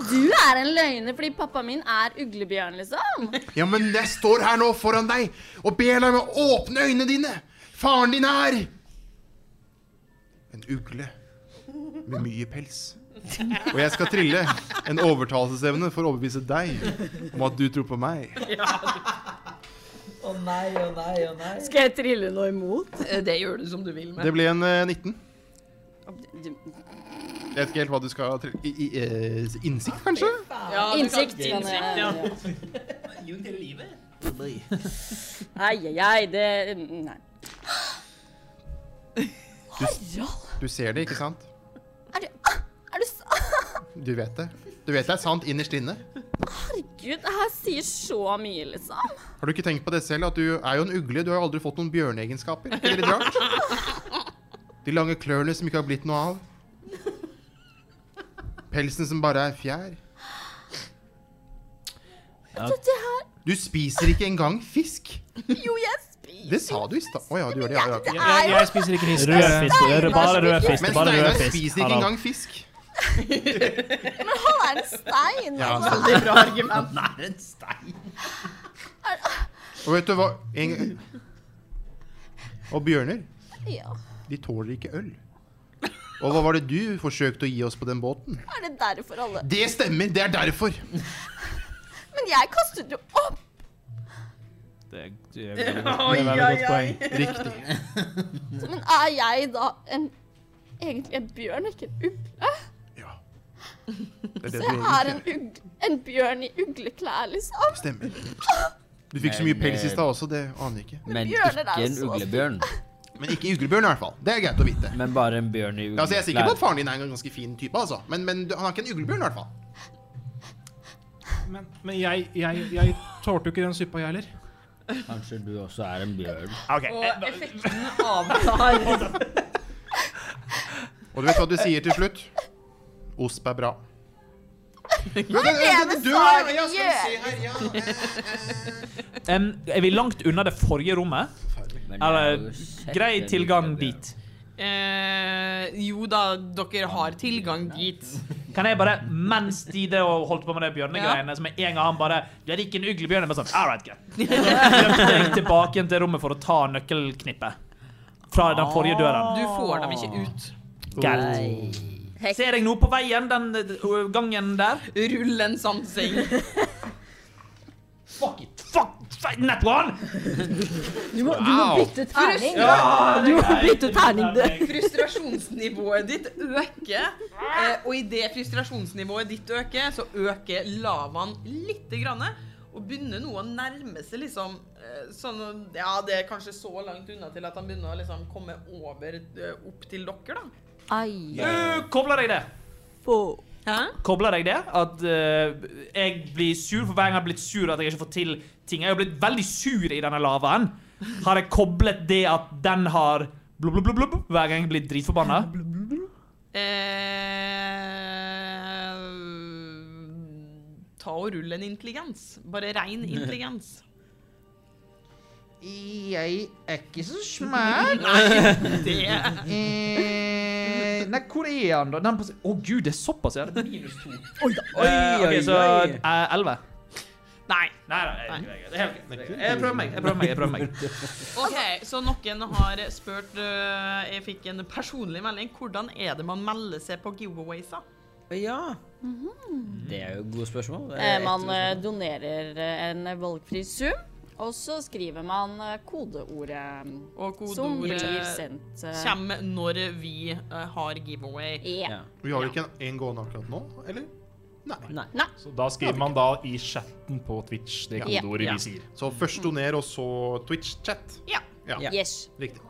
Speaker 7: Du er en løgner fordi pappaen min er uglebjørn, liksom.
Speaker 4: Ja, men jeg står her nå foran deg og ber deg om å åpne øynene dine. Faren din er en ugle med mye pels. Og jeg skal trille en overtalelsesevne for å overbevise deg om at du tror på meg.
Speaker 9: Å nei, å nei, å nei.
Speaker 15: Skal jeg trille noe imot?
Speaker 1: eh, Det gjør du som du vil med.
Speaker 4: Det ble en eh, 19.
Speaker 7: Du-
Speaker 4: Jeg vet ikke helt hva du skal trille. I, i, eh, innsikt, kanskje?
Speaker 1: Ja, du kan-
Speaker 7: Innsikt.
Speaker 1: Innsikt, ja.
Speaker 9: Ljug hele livet?
Speaker 7: Ai, ai, ai, det Nei. Harald,
Speaker 4: Du ser det, ikke sant?
Speaker 7: er du ah, Er du så
Speaker 4: Du vet det. Du vet det er sant innerst inne.
Speaker 7: Herregud, det her sier så mye, liksom.
Speaker 4: Har du ikke tenkt på det selv, at du er jo en ugle? Du har jo aldri fått noen bjørneegenskaper. Er det litt rart? De lange klørne som ikke har blitt noe av. Pelsen som bare er fjær.
Speaker 7: Dette her
Speaker 4: Du spiser ikke engang fisk.
Speaker 7: Jo, jeg spiser
Speaker 4: Det sa du i stad. Å ja, du gjør det. Ja, ja. ok.
Speaker 7: Jeg- jeg spiser ikke fisk. Rødfisk, rød- bare rødfisk,
Speaker 4: Men
Speaker 7: bare
Speaker 4: Steinar
Speaker 7: rødfisk,
Speaker 4: spiser ikke
Speaker 7: Harald.
Speaker 4: engang fisk.
Speaker 7: Men han er en stein!
Speaker 4: Ja,
Speaker 7: altså.
Speaker 4: veldig bra argument.
Speaker 7: Han er en stein.
Speaker 4: Og vet du hva en... Og bjørner,
Speaker 7: Ja.
Speaker 4: de tåler ikke øl. Og hva var det du forsøkte å gi oss på den båten?
Speaker 7: Er det derfor alle
Speaker 4: Det stemmer, det er derfor.
Speaker 7: Men jeg kastet jo opp!
Speaker 6: Det er,
Speaker 7: Oi, oi, oi. Så, Men er jeg da en egentlig en bjørn, ikke en ugle?
Speaker 4: Det er
Speaker 7: Så
Speaker 4: det du
Speaker 7: jeg
Speaker 4: egentlig
Speaker 7: er en, ugl, en bjørn i ugleklær, liksom?
Speaker 4: Stemmer. Du fikk så mye
Speaker 2: Men,
Speaker 4: pels i
Speaker 7: eh,
Speaker 4: stad også, det aner jeg ikke.
Speaker 2: Men
Speaker 7: bjørner
Speaker 2: ikke
Speaker 7: er jo
Speaker 2: en
Speaker 7: så
Speaker 2: uglebjørn.
Speaker 4: Men ikke uglebjørn i hvert fall. Det er greit å vite.
Speaker 2: Men bare en bjørn i
Speaker 4: Ja, altså, jeg er sikker på at
Speaker 2: ugleklær.
Speaker 4: faren din er en ganske fin type, altså. Men, men du- han er ikke en uglebjørn i hvert fall.
Speaker 3: Men, men jeg, jeg, jeg tålte jo ikke den suppa, jeg heller.
Speaker 2: Kanskje du også er en bjørn.
Speaker 1: Og effekten avtar.
Speaker 4: Og du vet hva du sier til slutt? Osp er bra.
Speaker 7: Hva er det
Speaker 4: Ja,
Speaker 7: vi
Speaker 4: du-
Speaker 7: sa vi
Speaker 4: ja, skal vi se her, ja.
Speaker 7: gjør?
Speaker 6: Eh, Em, er vi langt unna det forrige rommet? Eller grei tilgang dit?
Speaker 1: Eh, jo da, dere har tilgang dit.
Speaker 6: Kan jeg bare, mens de der og holdt på med de bjørnegreiene, som er en gang han bare Du er ikke en uglebjørn. Jeg bare sånn, all right, greit. Så løpte jeg tilbake igjen til rommet for å ta nøkkelknippet. Fra den
Speaker 1: Ah.
Speaker 6: forrige døren.
Speaker 1: Du får dem ikke ut.
Speaker 6: Galt. Ser jeg noe på veien, den ø, gangen der?
Speaker 1: Rull en sansing.
Speaker 6: Fuck it. Fuck fe- Nat one!
Speaker 15: Du må, du må
Speaker 6: Wow.
Speaker 15: bytte terning.
Speaker 1: Ja,
Speaker 15: du må bytte terning. du.
Speaker 1: Frustrasjonsnivået ditt øker, eh, og idet frustrasjonsnivået ditt øker, så øker lavaen lite grann. Og begynner nå å nærme seg liksom eh, sånn Ja, det er kanskje så langt unna til at han begynner å liksom komme over eh, opp til dere, da.
Speaker 15: Ai.
Speaker 6: Du kobler deg det.
Speaker 1: Hæ?
Speaker 6: Kobler deg det at eh, jeg blir sur for hver gang jeg har blitt sur at jeg ikke får til ting. Jeg har blitt veldig sur i denne lavaen. Har jeg koblet det at den har blubb, blubb, blubb, blubb hver gang jeg blir dritforbanna?
Speaker 1: Eh, ta og rull en intelligens. Bare rein intelligens.
Speaker 9: Jeg er ikke så smart.
Speaker 1: Nei, det-
Speaker 9: Eh, Nei, hvor er han, da? Den på Å, gud, det er såpass, ja. Det er minus to. Oi, da.
Speaker 6: Oi,
Speaker 9: oi,
Speaker 6: Eh, så
Speaker 9: oi.
Speaker 6: eh, 11.
Speaker 1: Nei.
Speaker 6: Nei, nei, nei, nei, det er helt greit. Jeg prøver meg. Jeg prøver meg. jeg prøver meg.
Speaker 7: Altså-
Speaker 1: OK, så noen har spurt øh, Jeg fikk en personlig melding. Hvordan er det man melder seg på giveawaysa?
Speaker 2: Ja. Det er jo et godt spørsmål. Det er
Speaker 7: Mhm. Eh, Man
Speaker 2: et-
Speaker 7: eh, donerer eh, en valgfri sum, og så skriver man eh, kodeordet mm,
Speaker 1: Og
Speaker 7: som
Speaker 1: kodeordet
Speaker 7: blir sendt. eh, E.
Speaker 1: kommer når vi øh, har giveaway.
Speaker 7: Ja.
Speaker 4: Vi har jo ikke en, en gående akkurat nå, eller?
Speaker 2: Nei.
Speaker 3: Så da skriver man da i chatten på Twitch det
Speaker 4: Ja.
Speaker 3: kodeordet
Speaker 4: Ja.
Speaker 3: vi sier.
Speaker 4: Så først doner, og så Twitch-chat.
Speaker 1: Ja.
Speaker 4: Ja.
Speaker 7: Yes.
Speaker 4: Riktig.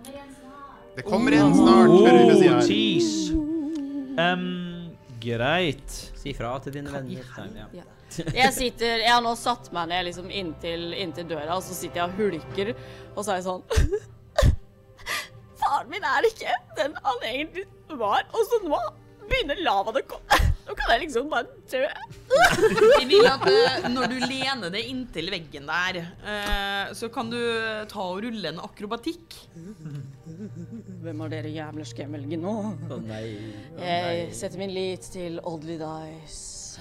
Speaker 4: Det kommer
Speaker 7: Oh,
Speaker 4: en
Speaker 7: eh,
Speaker 4: snart, hører du sier
Speaker 6: Oh,
Speaker 4: her.
Speaker 6: jeez. Em, greit.
Speaker 2: Si fra til dine venner. Stein, ja.
Speaker 7: Jeg sitter, jeg har nå satt meg ned liksom inntil, inntil døra, og så sitter jeg og hulker, og så er jeg sånn Faren min er ikke den han egentlig var, og så nå begynner lavaen å komme. Nå kan jeg liksom bare dø.
Speaker 1: Vi vil at øh, når du lener deg inntil veggen der, øh, så kan du ta og rulle en akrobatikk.
Speaker 7: Hvem av dere jævler skal jeg velge nå?
Speaker 2: Å nei. Å,
Speaker 7: Jeg
Speaker 2: nei.
Speaker 7: setter min lit til Oddly Dice.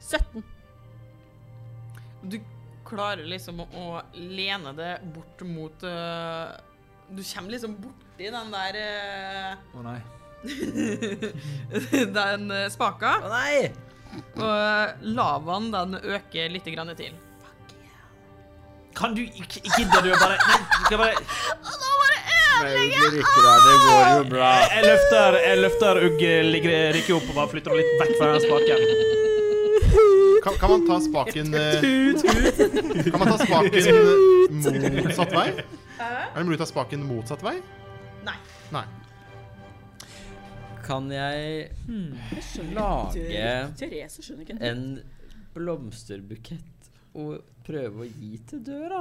Speaker 7: 17.
Speaker 1: Du klarer liksom å å lene det bort mot øh, Du kommer liksom borti den der øh,
Speaker 6: Å nei.
Speaker 1: den eh, spaka. Å nei! Og lavaen den øker litt grann til.
Speaker 6: Kan du ikke Gidder du å bare Nei, du kan bare
Speaker 2: Det går jo bra.
Speaker 6: Jeg løfter, jeg løfter Ugge, ligger- rykker opp og bare flytter den litt vekk fra den spaken.
Speaker 4: Kan, kan man ta spaken eh, Kan man ta spaken eh, motsatt vei? Er det mulig å ta spaken motsatt vei?
Speaker 1: Nei.
Speaker 4: Nei.
Speaker 2: Kan jeg lage
Speaker 7: Therese skjønner ikke
Speaker 2: en blomsterbukett og prøve å gi til døra?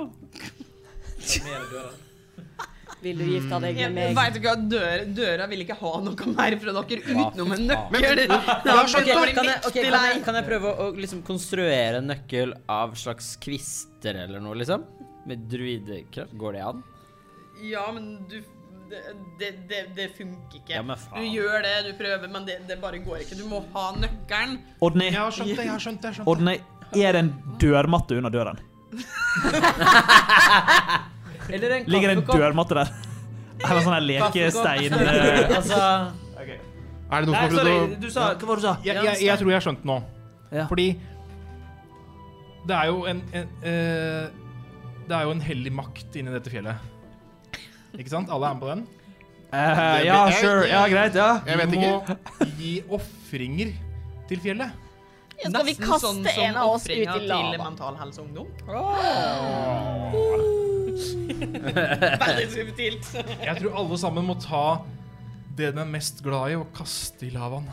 Speaker 5: Vil du gifte deg
Speaker 1: Jeg
Speaker 5: med meg?
Speaker 1: vet ikke, hva, døra, døra vil ikke ha noe mer fra dere utenom en
Speaker 2: Men-
Speaker 1: nøkkel. Det
Speaker 2: Ja,
Speaker 1: har
Speaker 2: ok,
Speaker 1: blitt dårlig
Speaker 2: kan, jeg, ok,
Speaker 1: viktig
Speaker 2: kan, jeg,
Speaker 1: lei.
Speaker 2: kan jeg prøve å liksom konstruere en nøkkel av slags kvister eller noe, liksom? Med druidekraft? Går det an?
Speaker 1: Ja, men du det, det, det, det funker ikke.
Speaker 2: Ja, men faen.
Speaker 1: Du gjør det, du prøver, men det, det bare går ikke. Du må ha nøkkelen.
Speaker 6: Odny.
Speaker 1: Jeg har skjønt det, jeg har skjønt det, jeg har skjønt det.
Speaker 6: Odny, er det en dørmatte under døren?
Speaker 2: Eller en
Speaker 6: Ligger det en
Speaker 2: kaffekopp?
Speaker 6: dørmatte der? Eller sånn her lekestein
Speaker 2: Kaffekopp.
Speaker 6: eh,
Speaker 2: Altså
Speaker 3: Er det noen som har
Speaker 6: Nei,
Speaker 3: prøvd å
Speaker 6: sorry, du sa- hva var det du sa?
Speaker 3: Jeg, jeg, jeg tror jeg har skjønt det nå. Fordi det er jo en, en eh, Det er jo en hellig makt inni dette fjellet. Ikke sant? Alle er med på den?
Speaker 6: Eh, ja, sure. Ja, greit, ja.
Speaker 3: Jeg vet
Speaker 6: Du
Speaker 3: ikke. Gi ofringer til fjellet.
Speaker 1: Ja,
Speaker 5: skal vi kaste en av oss ut i lava?
Speaker 1: sånn til Mental Helse Ungdom.
Speaker 3: Veldig
Speaker 1: subtilt.
Speaker 3: Jeg tror alle sammen må ta det den er mest glad i, og kaste i lavaen.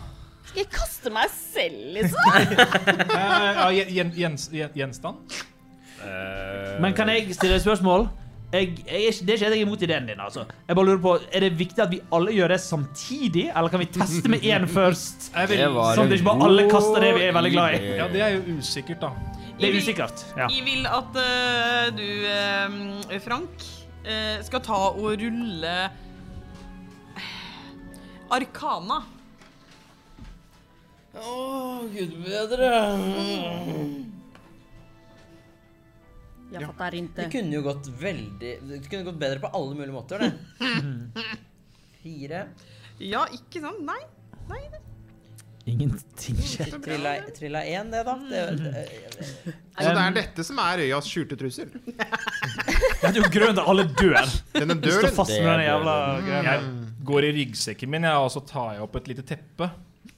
Speaker 5: Skal jeg kaste meg selv, liksom?
Speaker 3: Eh, ja, gjen- gjen- gjens- gjen- Gjenstand?
Speaker 6: Eh, Men kan jeg stille et spørsmål? Jeg, jeg, er ikke- det er ikke at jeg er imot ideen din. altså. Jeg bare lurer på, Er det viktig at vi alle gjør det samtidig, eller kan vi teste med én først?
Speaker 3: Jeg vil- Det var
Speaker 6: Sånn at
Speaker 3: en
Speaker 6: ikke bare alle
Speaker 3: god
Speaker 6: kaster det vi er veldig glad i.
Speaker 3: idé. Ja, det er jo usikkert, da.
Speaker 6: Det er usikkert. ja.
Speaker 1: Jeg vil at eh, du, eh, Frank, eh, skal ta og rulle eh, Arkana.
Speaker 9: Å, gud bedre.
Speaker 2: Mm.
Speaker 5: Jeg fattar
Speaker 9: Det
Speaker 5: inte.
Speaker 9: kunne jo gått veldig Det kunne gått bedre på alle mulige måter, det. Fire.
Speaker 1: Ja, ikke sant? Nei. Nei.
Speaker 6: Ingenting
Speaker 9: skjer. Trilla trilla én, det, da. Det,
Speaker 4: Så det er dette som er øyas skjulte trussel?
Speaker 6: Det er jo grunnen til at alle dør.
Speaker 4: Denne
Speaker 6: Vi står
Speaker 4: døren.
Speaker 6: fast med den jævla
Speaker 4: Mm.
Speaker 6: greia.
Speaker 4: Jeg-
Speaker 3: Jeg går i ryggsekken min, jeg, og så tar jeg opp et lite teppe.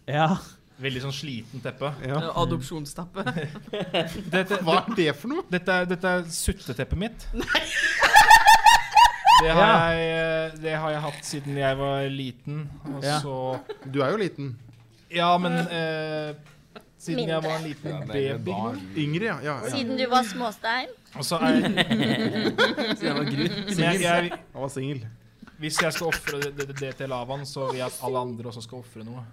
Speaker 6: Ja.
Speaker 3: Veldig sånn sliten teppe.
Speaker 1: Ja. Eh, Adopsjonstappe.
Speaker 3: Hva er det for noe? Dette er, dette er sutteteppet mitt. Det har,
Speaker 6: Ja.
Speaker 3: jeg, eh, det har jeg hatt siden jeg var liten. Og
Speaker 6: Ja.
Speaker 3: så
Speaker 4: Du er jo liten.
Speaker 3: Ja, men eh, siden jeg var en
Speaker 4: Ja,
Speaker 3: liten
Speaker 4: men
Speaker 3: baby.
Speaker 4: barn. Yngre, ja. ja, ja.
Speaker 7: Siden du var småstein.
Speaker 3: Og så er
Speaker 4: Siden jeg var gru.
Speaker 3: Men jeg- jeg-
Speaker 4: Han var singel.
Speaker 3: Hvis jeg skal ofre det, det, det til lavaen, så vil jeg at alle andre også skal ofre noe.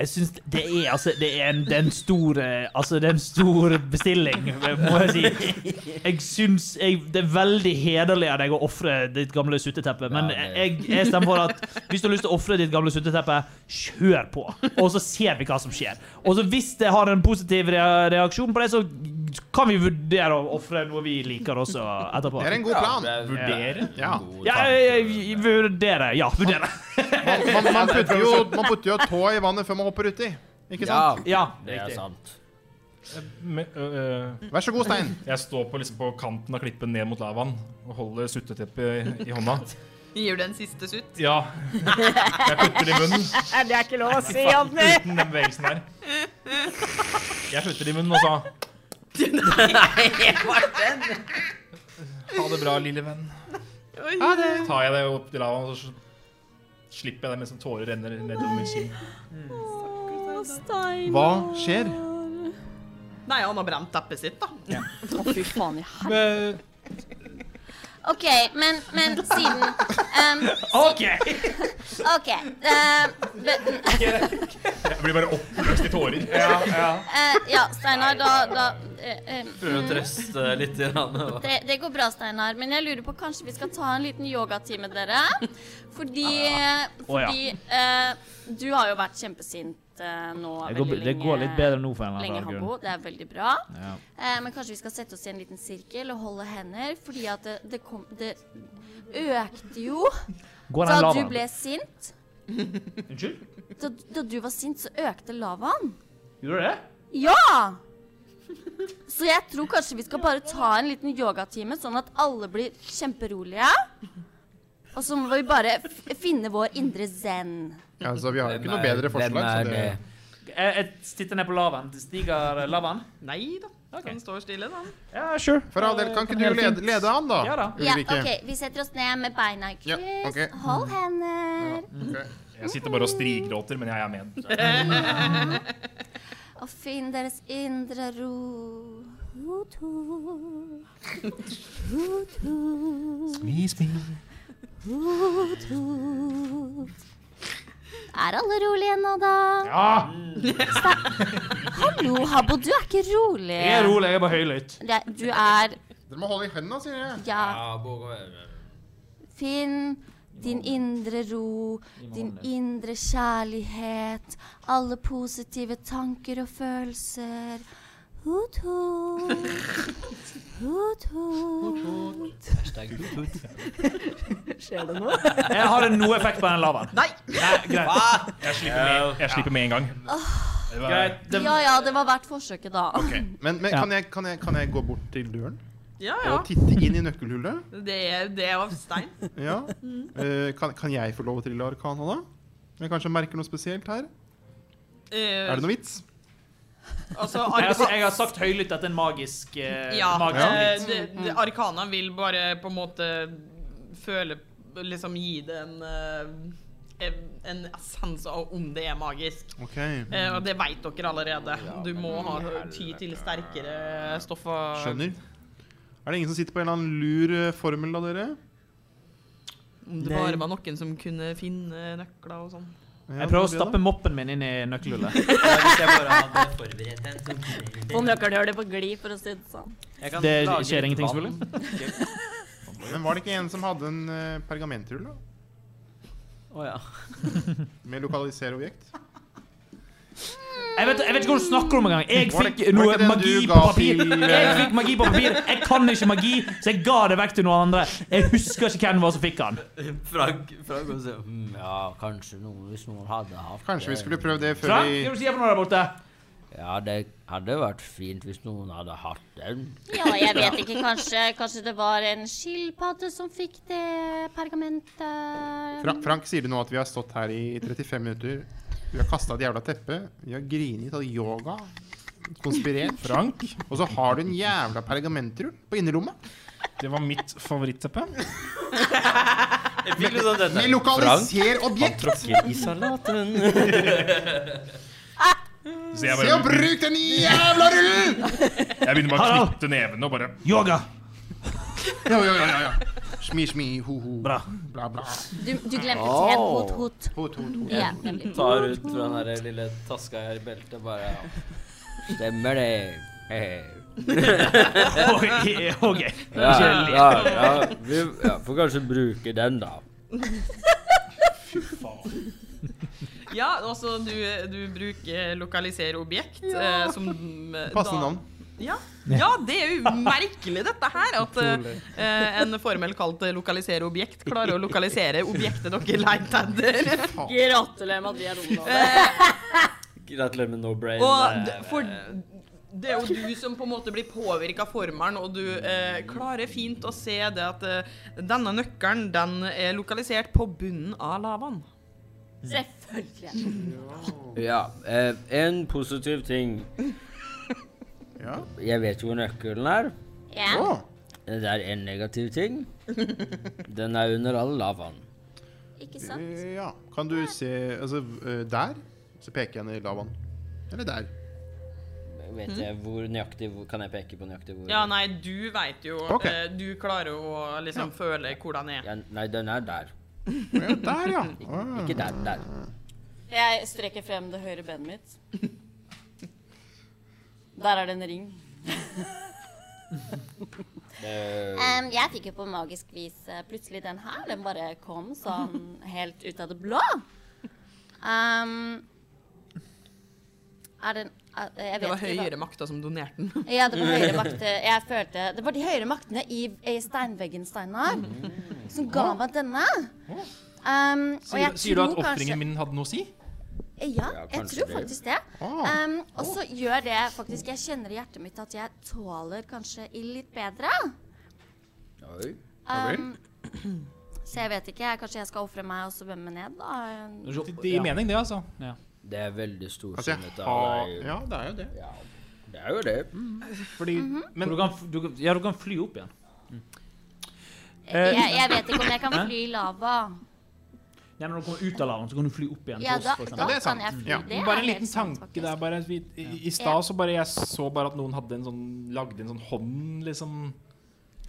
Speaker 6: Jeg syns det er altså Det er en, det er en stor eh, Altså, det er en stor bestilling, må jeg si. Jeg syns jeg, Det er veldig hederlig av deg å ofre ditt gamle sutteteppe, men jeg, jeg stemmer for at hvis du har lyst til å ofre ditt gamle sutteteppe, kjør på, og så ser vi hva som skjer. Og så hvis det har en positiv rea- reaksjon på det, så kan vi vurdere å ofre noe vi liker også etterpå.
Speaker 4: Det er en god plan.
Speaker 6: Ja,
Speaker 4: Vurdere? Ja.
Speaker 6: Ja, jeg, jeg vurderer. Ja, vurderer.
Speaker 4: Man, man, man putter jo, man putter jo tå i vannet før man hopper uti. Ikke sant?
Speaker 6: Ja,
Speaker 2: det er sant.
Speaker 3: Eh, Vær
Speaker 4: så god, Stein.
Speaker 3: Jeg står på, liksom, på kanten av klippen ned mot lavaen og holder sutteteppet i, i hånda.
Speaker 1: Gir du en siste sutt?
Speaker 3: Ja. Jeg putter det i munnen.
Speaker 1: Nei, det er ikke lov å si,
Speaker 3: Fuck,
Speaker 1: Anne.
Speaker 3: Uten den bevegelsen der. Jeg putter det i munnen altså. og sa
Speaker 1: Nei, Martin!
Speaker 3: ha det bra, lille venn.
Speaker 1: Ha det.
Speaker 3: tar jeg det opp til lavaen, og så slipper jeg det mens en tåre renner nedover min kinn.
Speaker 5: Stein.
Speaker 4: Hva skjer?
Speaker 1: Nei, han har brent teppet sitt, da.
Speaker 5: Å, fy faen i helvete.
Speaker 7: OK, men, men siden ehm,
Speaker 6: OK!
Speaker 7: OK. ehm, be-
Speaker 3: Jeg blir bare oppløst i tårer.
Speaker 7: eh, ja, Steinar, da, da eh, eh,
Speaker 2: Prøver å trøste litt. Grann, og-
Speaker 7: Det, det går bra, Steinar, men jeg lurer på kanskje vi skal ta en liten yogatime, dere? Fordi,
Speaker 6: Å, ja.
Speaker 7: fordi eh, du har jo vært kjempesint eh, nå
Speaker 6: Det går-
Speaker 7: veldig
Speaker 6: det går litt bedre nå for en eller annen
Speaker 7: lenge,
Speaker 6: rar grunn.
Speaker 7: Hambo. Det er veldig bra.
Speaker 6: Ja.
Speaker 7: Eh, men kanskje vi skal sette oss i en liten sirkel og holde hender, fordi at det, det kom Det økte jo
Speaker 6: Går den
Speaker 7: da du
Speaker 6: lavaen?
Speaker 7: ble sint.
Speaker 6: Unnskyld?
Speaker 7: Da, da du var sint, så økte lavaen.
Speaker 6: Gjorde du det?
Speaker 7: Ja! Så jeg tror kanskje vi skal bare ta en liten yogatime, sånn at alle blir kjemperolige. Og så må vi bare f finne vår indre zen.
Speaker 4: Altså, vi har jo
Speaker 2: Hvem
Speaker 4: ikke noe
Speaker 2: er-
Speaker 4: bedre forslag.
Speaker 2: hvem er
Speaker 4: så det-
Speaker 6: Jeg, jeg titter ned på lavaen. Stiger eh, lavaen?
Speaker 1: Nei da. Han står stille, da.
Speaker 6: Ja, sure.
Speaker 4: For all del, kan ikke du lede, lede han, da?
Speaker 6: Ja da.
Speaker 7: Ja,
Speaker 4: Ulrikke?
Speaker 7: OK, vi setter oss ned med beina i kryss.
Speaker 4: Ja, ok. Mm.
Speaker 7: Hold hender.
Speaker 3: Jeg sitter bare og strigråter, men jeg er med.
Speaker 7: Ja. Og finn deres indre ro. Ro-to. Ro-to.
Speaker 3: Smi, smi.
Speaker 7: Hot, hot. Er alle rolige nå, da? Hallo, Habbo, du er ikke rolig.
Speaker 3: Jeg er rolig, jeg er bare høylytt.
Speaker 7: Det- Du er
Speaker 4: Dere må holde i hendene, sier jeg.
Speaker 7: Ja. Finn din indre ro, din indre kjærlighet, alle positive tanker og følelser. Hot, hot. Hot, hot. Skjer det noe?
Speaker 6: Jeg har det noe effekt på den lavaen.
Speaker 7: Nei.
Speaker 6: greit.
Speaker 3: Jeg slipper med, jeg slipper med en gang.
Speaker 4: Det var-
Speaker 7: Ja ja, det var verdt forsøket, da.
Speaker 4: Men, men
Speaker 3: Ja.
Speaker 4: kan, jeg, kan, jeg, kan jeg gå bort til døren
Speaker 1: Ja, ja.
Speaker 4: og titte inn i nøkkelhullet?
Speaker 1: Det, det var stein.
Speaker 4: Ja.
Speaker 1: Mm.
Speaker 4: Eh, kan, kan jeg få lov å trille arkana, da? Om jeg kanskje merker noe spesielt her? Er det noe vits?
Speaker 1: Eh, Altså,
Speaker 6: jeg, har,
Speaker 1: arka-
Speaker 6: jeg har sagt høylytt at det er en magisk eh,
Speaker 1: ja,
Speaker 6: magisk
Speaker 1: eh,
Speaker 6: vits.
Speaker 1: det-
Speaker 4: Mm.
Speaker 1: det- Arkana vil bare på en måte føle Liksom gi det en eh, en- en essens av om det er magisk.
Speaker 4: Ok.
Speaker 1: Eh,
Speaker 4: Mm.
Speaker 1: og det veit dere allerede. Du må ha ty til sterkere stoffer.
Speaker 4: Skjønner. Er det ingen som sitter på en eller annen lur eh, formel av dere?
Speaker 1: Om det bare var noen som kunne finne nøkler og sånn.
Speaker 6: Jeg prøver å stappe moppen min inn i nøkkelhullet.
Speaker 2: sånn
Speaker 7: Om dere gjør det på glid, for å si sånn det sånn.
Speaker 6: Det skjer ingenting,
Speaker 4: Men var det ikke en som hadde en eh, pergamentrull, da?
Speaker 2: Å ja.
Speaker 4: Med lokalisere objekt?
Speaker 6: Jeg vet, jeg vet ikke hva du snakker om engang. Jeg
Speaker 4: Var det-
Speaker 6: fikk
Speaker 4: var det
Speaker 6: noe
Speaker 4: ikke den
Speaker 6: magi
Speaker 4: du
Speaker 6: på
Speaker 4: ga
Speaker 6: papir.
Speaker 4: til, eh,
Speaker 6: Jeg fikk magi på papir. Jeg kan ikke magi, så jeg ga det vekk til noen andre. Jeg husker ikke hvem det var som fikk den.
Speaker 2: Frank, Frank også. Mm, ja, kanskje noen hvis noen hadde hatt
Speaker 4: Kanskje vi
Speaker 2: det.
Speaker 4: skulle prøvd det før
Speaker 6: Frank,
Speaker 4: vi
Speaker 6: hva er det du sier for noe der borte?
Speaker 2: Ja, det hadde vært fint hvis noen hadde hatt den.
Speaker 7: Ja, jeg vet ikke. Kanskje, kanskje det var en skilpadde som fikk det pergamentet.
Speaker 4: Fra Frank sier du nå at vi har stått her i 35 minutter. Vi har kasta et jævla teppe. Vi har grinet, tatt yoga, konspirert.
Speaker 3: Frank?
Speaker 4: Og så har du en jævla pergamentrull på innerlommet.
Speaker 3: Det var mitt favorittteppe.
Speaker 4: Med, med lokaliser objekt!
Speaker 3: Så jeg
Speaker 4: Se og bruk den jævla rullen!
Speaker 3: Jeg begynner bare å knytte nevene og bare Yoga!
Speaker 4: Ja, ja, ja, ja, ja. Smi, smi, ho, ho. Bra. Bla, bla.
Speaker 7: Du, du glemte helt hot, hot.
Speaker 4: Hot, hot, hot.
Speaker 7: Ja, nemlig.
Speaker 2: Tar ut fra den der lille taska her i beltet bare ja. Stemmer det. Hei.
Speaker 6: Ok, ok.
Speaker 2: Ja,
Speaker 6: Ikke le.
Speaker 2: ja, ja, vi ja, får kanskje bruke den, da.
Speaker 1: Ja, altså du, du bruker lokalisere objekt
Speaker 4: Ja.
Speaker 1: eh, som
Speaker 4: Passende
Speaker 1: da-
Speaker 4: navn.
Speaker 1: Ja. ja, det er jo merkelig dette her. At eh, eh, en formel kalt eh, lokalisere objekt klarer å lokalisere objektet dere leter etter.
Speaker 5: Gratulerer med at vi er
Speaker 1: Eh,
Speaker 2: Gratulerer med no brain.
Speaker 1: og d-
Speaker 2: eh,
Speaker 1: for det er jo du som på en måte blir påvirka av formelen, og du eh, klarer fint å se det at eh, denne nøkkelen den er lokalisert på bunnen av lavaen.
Speaker 7: Selvfølgelig.
Speaker 2: Ja. Eh, en positiv ting. Jeg vet hvor nøkkelen er.
Speaker 7: Ja.
Speaker 2: Det er en negativ ting. Den er under all lavaen.
Speaker 7: Ikke sant?
Speaker 4: Eh, Ja. Kan du se Altså, eh, der? Så peker jeg ned i lavaen. Eller der.
Speaker 2: Vet jeg hvor nøyaktig hvor, Kan jeg peke på nøyaktig hvor
Speaker 1: Ja, nei, du veit jo
Speaker 2: Ok.
Speaker 1: eh, Du klarer å liksom føle hvor den er.
Speaker 2: Ja, Nei, den er der.
Speaker 4: der, ja. Ah.
Speaker 2: Ikke der, der.
Speaker 5: Jeg strekker frem det høyre benet mitt. Der er det en ring.
Speaker 2: Eh,
Speaker 7: Em, jeg fikk jo på magisk vis eh, plutselig den her. Den bare kom sånn helt ut av det blå. Em, er den er-
Speaker 1: Det
Speaker 7: jeg vet
Speaker 1: var
Speaker 7: ikke hva-
Speaker 1: høyere makter som donerte den.
Speaker 7: Ja, det var høyere makter. Jeg følte Det var de høyere maktene i, i steinveggen, Steinar,
Speaker 3: Mm.
Speaker 7: som ga meg denne. Um, og
Speaker 3: Sier,
Speaker 7: jeg
Speaker 3: sier du at
Speaker 7: tror kanskje-
Speaker 3: ofringen min hadde noe å si?
Speaker 7: Ja,
Speaker 3: Ja,
Speaker 7: jeg
Speaker 3: kanskje
Speaker 7: tror
Speaker 3: det.
Speaker 7: faktisk det.
Speaker 3: Ah.
Speaker 7: Um, og så gjør det faktisk Jeg kjenner i hjertet mitt at jeg tåler kanskje ild litt bedre.
Speaker 2: Oi.
Speaker 7: Um, så jeg vet ikke. Kanskje jeg skal ofre meg og så svømme ned, da.
Speaker 3: Det gir mening, det, altså. Ja.
Speaker 2: Det er veldig
Speaker 3: Altså, jeg
Speaker 2: storsinnet
Speaker 3: har-
Speaker 2: av deg.
Speaker 4: Ja, det er jo det.
Speaker 2: Det er jo det.
Speaker 3: Fordi Men
Speaker 6: du kan, du, kan- ja, du kan fly opp igjen.
Speaker 7: Jeg, jeg vet ikke om jeg kan
Speaker 6: Hæ?
Speaker 7: fly i lava.
Speaker 6: Nei, men når du kommer ut av lavaen, så kan du fly opp igjen. til
Speaker 7: Ja,
Speaker 6: oss,
Speaker 7: da-
Speaker 6: for eksempel.
Speaker 7: da Ja, det er sant. kan jeg fly.
Speaker 3: sånn. Ja.
Speaker 7: Det er
Speaker 3: Bare en
Speaker 7: helt
Speaker 3: liten
Speaker 7: sant,
Speaker 3: tanke der. Bare, vi, I i stad så bare jeg så bare at noen hadde en sånn, lagde en sånn hånd, liksom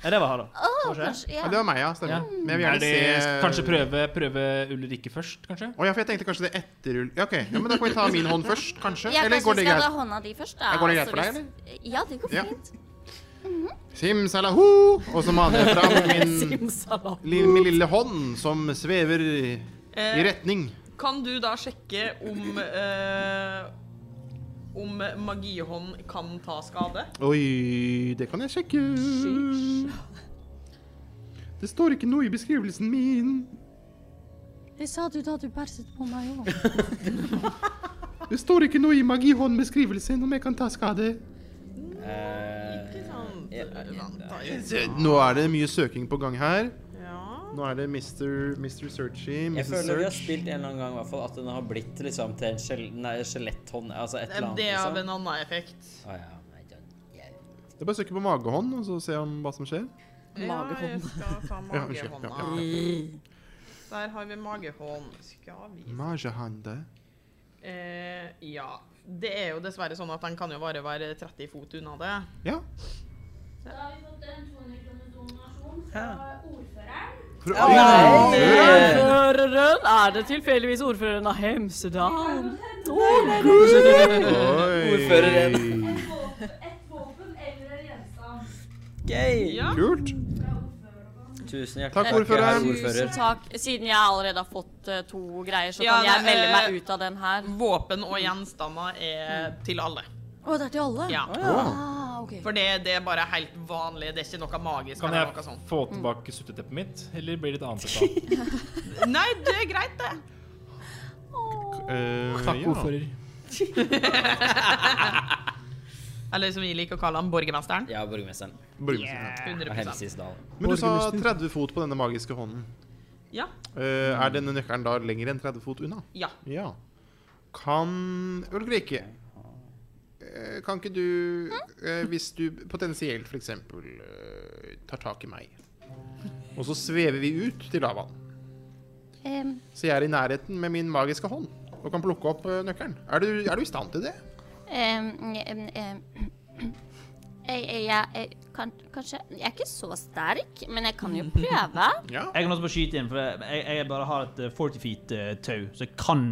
Speaker 6: Ja, det var Harald.
Speaker 7: Åh,
Speaker 6: Var det?
Speaker 7: kanskje- ja.
Speaker 4: Ja, det var meg, ja. Stemmer.
Speaker 7: Ja.
Speaker 4: Men jeg vil gjerne
Speaker 3: Er det-
Speaker 4: se
Speaker 3: kanskje prøve- Ulrikke først, kanskje?
Speaker 4: Å ja, for jeg tenkte kanskje det er etter Ulrikke. Ja, ok. Ja, men da kan vi ta min hånd først, kanskje?
Speaker 7: Ja,
Speaker 4: Eller
Speaker 7: kanskje
Speaker 4: går
Speaker 7: vi
Speaker 4: det
Speaker 7: skal
Speaker 4: greit?
Speaker 7: ta hånda di først, da.
Speaker 4: Ja, går det greit
Speaker 7: så
Speaker 4: for deg,
Speaker 7: hvis- Ja, det går
Speaker 4: Ja.
Speaker 7: fint.
Speaker 4: Simsalahu! Og så maner jeg fram min,
Speaker 1: Simsalam.
Speaker 4: li- min lille hånd som svever i, i
Speaker 1: Eh,
Speaker 4: retning.
Speaker 1: Kan du da sjekke om eh, Om magihånd kan ta skade?
Speaker 4: Oi, det kan jeg sjekke. Det står ikke noe i beskrivelsen min.
Speaker 16: Det sa du da du bæsjet på meg òg.
Speaker 4: Det står ikke noe i magihåndbeskrivelsen om jeg kan ta skade.
Speaker 1: Ikke sant?
Speaker 4: Se, Nå er det mye søking på gang her.
Speaker 1: Ja.
Speaker 4: Nå er det Mr. Mr. Searchy,
Speaker 2: Jeg
Speaker 4: Mrs.
Speaker 2: føler vi har
Speaker 4: Search.
Speaker 2: spilt en eller annen gang i hvert fall at den har blitt liksom til en skjel nei, skjeletthånd, altså et eller annet.
Speaker 1: Det er av
Speaker 2: liksom.
Speaker 1: en annen effekt.
Speaker 2: Å, ja.
Speaker 4: Det er bare å søke på magehånd og så se om hva som skjer.
Speaker 1: Ja, jeg skal ta
Speaker 4: Ja, unnskyld. Ja,
Speaker 1: magehånda. Der har vi magehånd. Skal vi
Speaker 4: Magehande.
Speaker 1: eh, Ja. Det er jo dessverre sånn at den kan jo bare være 30 fot unna det.
Speaker 4: Ja.
Speaker 12: Da har vi fått en 200 kroner donasjon fra ordføreren.
Speaker 4: Fra ordføreren!
Speaker 15: Ordføreren? Er det tilfeldigvis ordføreren av Hemsedal? Å,
Speaker 4: Ordføreren.
Speaker 12: Et våpen eller en gjenstand.
Speaker 2: Gøy!
Speaker 1: Ja.
Speaker 4: Kult.
Speaker 2: Tusen
Speaker 4: Takk,
Speaker 2: hjertelig takk, herr
Speaker 4: ordfører.
Speaker 2: ordfører.
Speaker 7: Tusen takk. Siden jeg allerede har fått eh, to greier, så
Speaker 1: Ja,
Speaker 7: kan jeg
Speaker 1: nei,
Speaker 7: melde
Speaker 1: eh,
Speaker 7: meg ut av den her.
Speaker 1: Våpen og gjenstander er til alle.
Speaker 7: Å, det er til alle?
Speaker 1: Ja.
Speaker 7: Ah, ok.
Speaker 1: For det, det er bare helt vanlig. Det er ikke noe magisk.
Speaker 3: Kan
Speaker 1: eller
Speaker 3: jeg
Speaker 4: sånn.
Speaker 1: noe sånt.
Speaker 7: Mm.
Speaker 3: få tilbake sutteteppet mitt, eller blir det et annet teppe?
Speaker 1: Nei, det er greit, det.
Speaker 4: Eh,
Speaker 3: Takk, ordfører.
Speaker 1: Eller som vi liker å kalle han borgermesteren.
Speaker 2: Ja, borgermesteren.
Speaker 4: Borgermesteren,
Speaker 2: ja.
Speaker 1: 100
Speaker 2: Av Hemsedal.
Speaker 4: Men du sa
Speaker 2: Borgermester.
Speaker 4: 30 fot på denne magiske hånden.
Speaker 1: Ja.
Speaker 4: Eh, er denne nøkkelen da lenger enn 30 fot unna?
Speaker 1: Ja.
Speaker 4: Ja. Kan Ulrikke eh, Kan ikke du, eh, hvis du potensielt f.eks. tar tak i meg, og så svever vi ut til lavaen,
Speaker 16: Em,
Speaker 4: så jeg er i nærheten med min magiske hånd og kan plukke opp eh, nøkkelen. Er du, er du i stand til det?
Speaker 7: Em, em, em. Jeg, jeg, jeg, jeg, kan, kanskje Jeg er ikke så sterk, men jeg kan jo prøve.
Speaker 6: Jeg kan også bare skyte inn, for jeg, jeg bare har et eh, 40 feet-tau, så jeg kan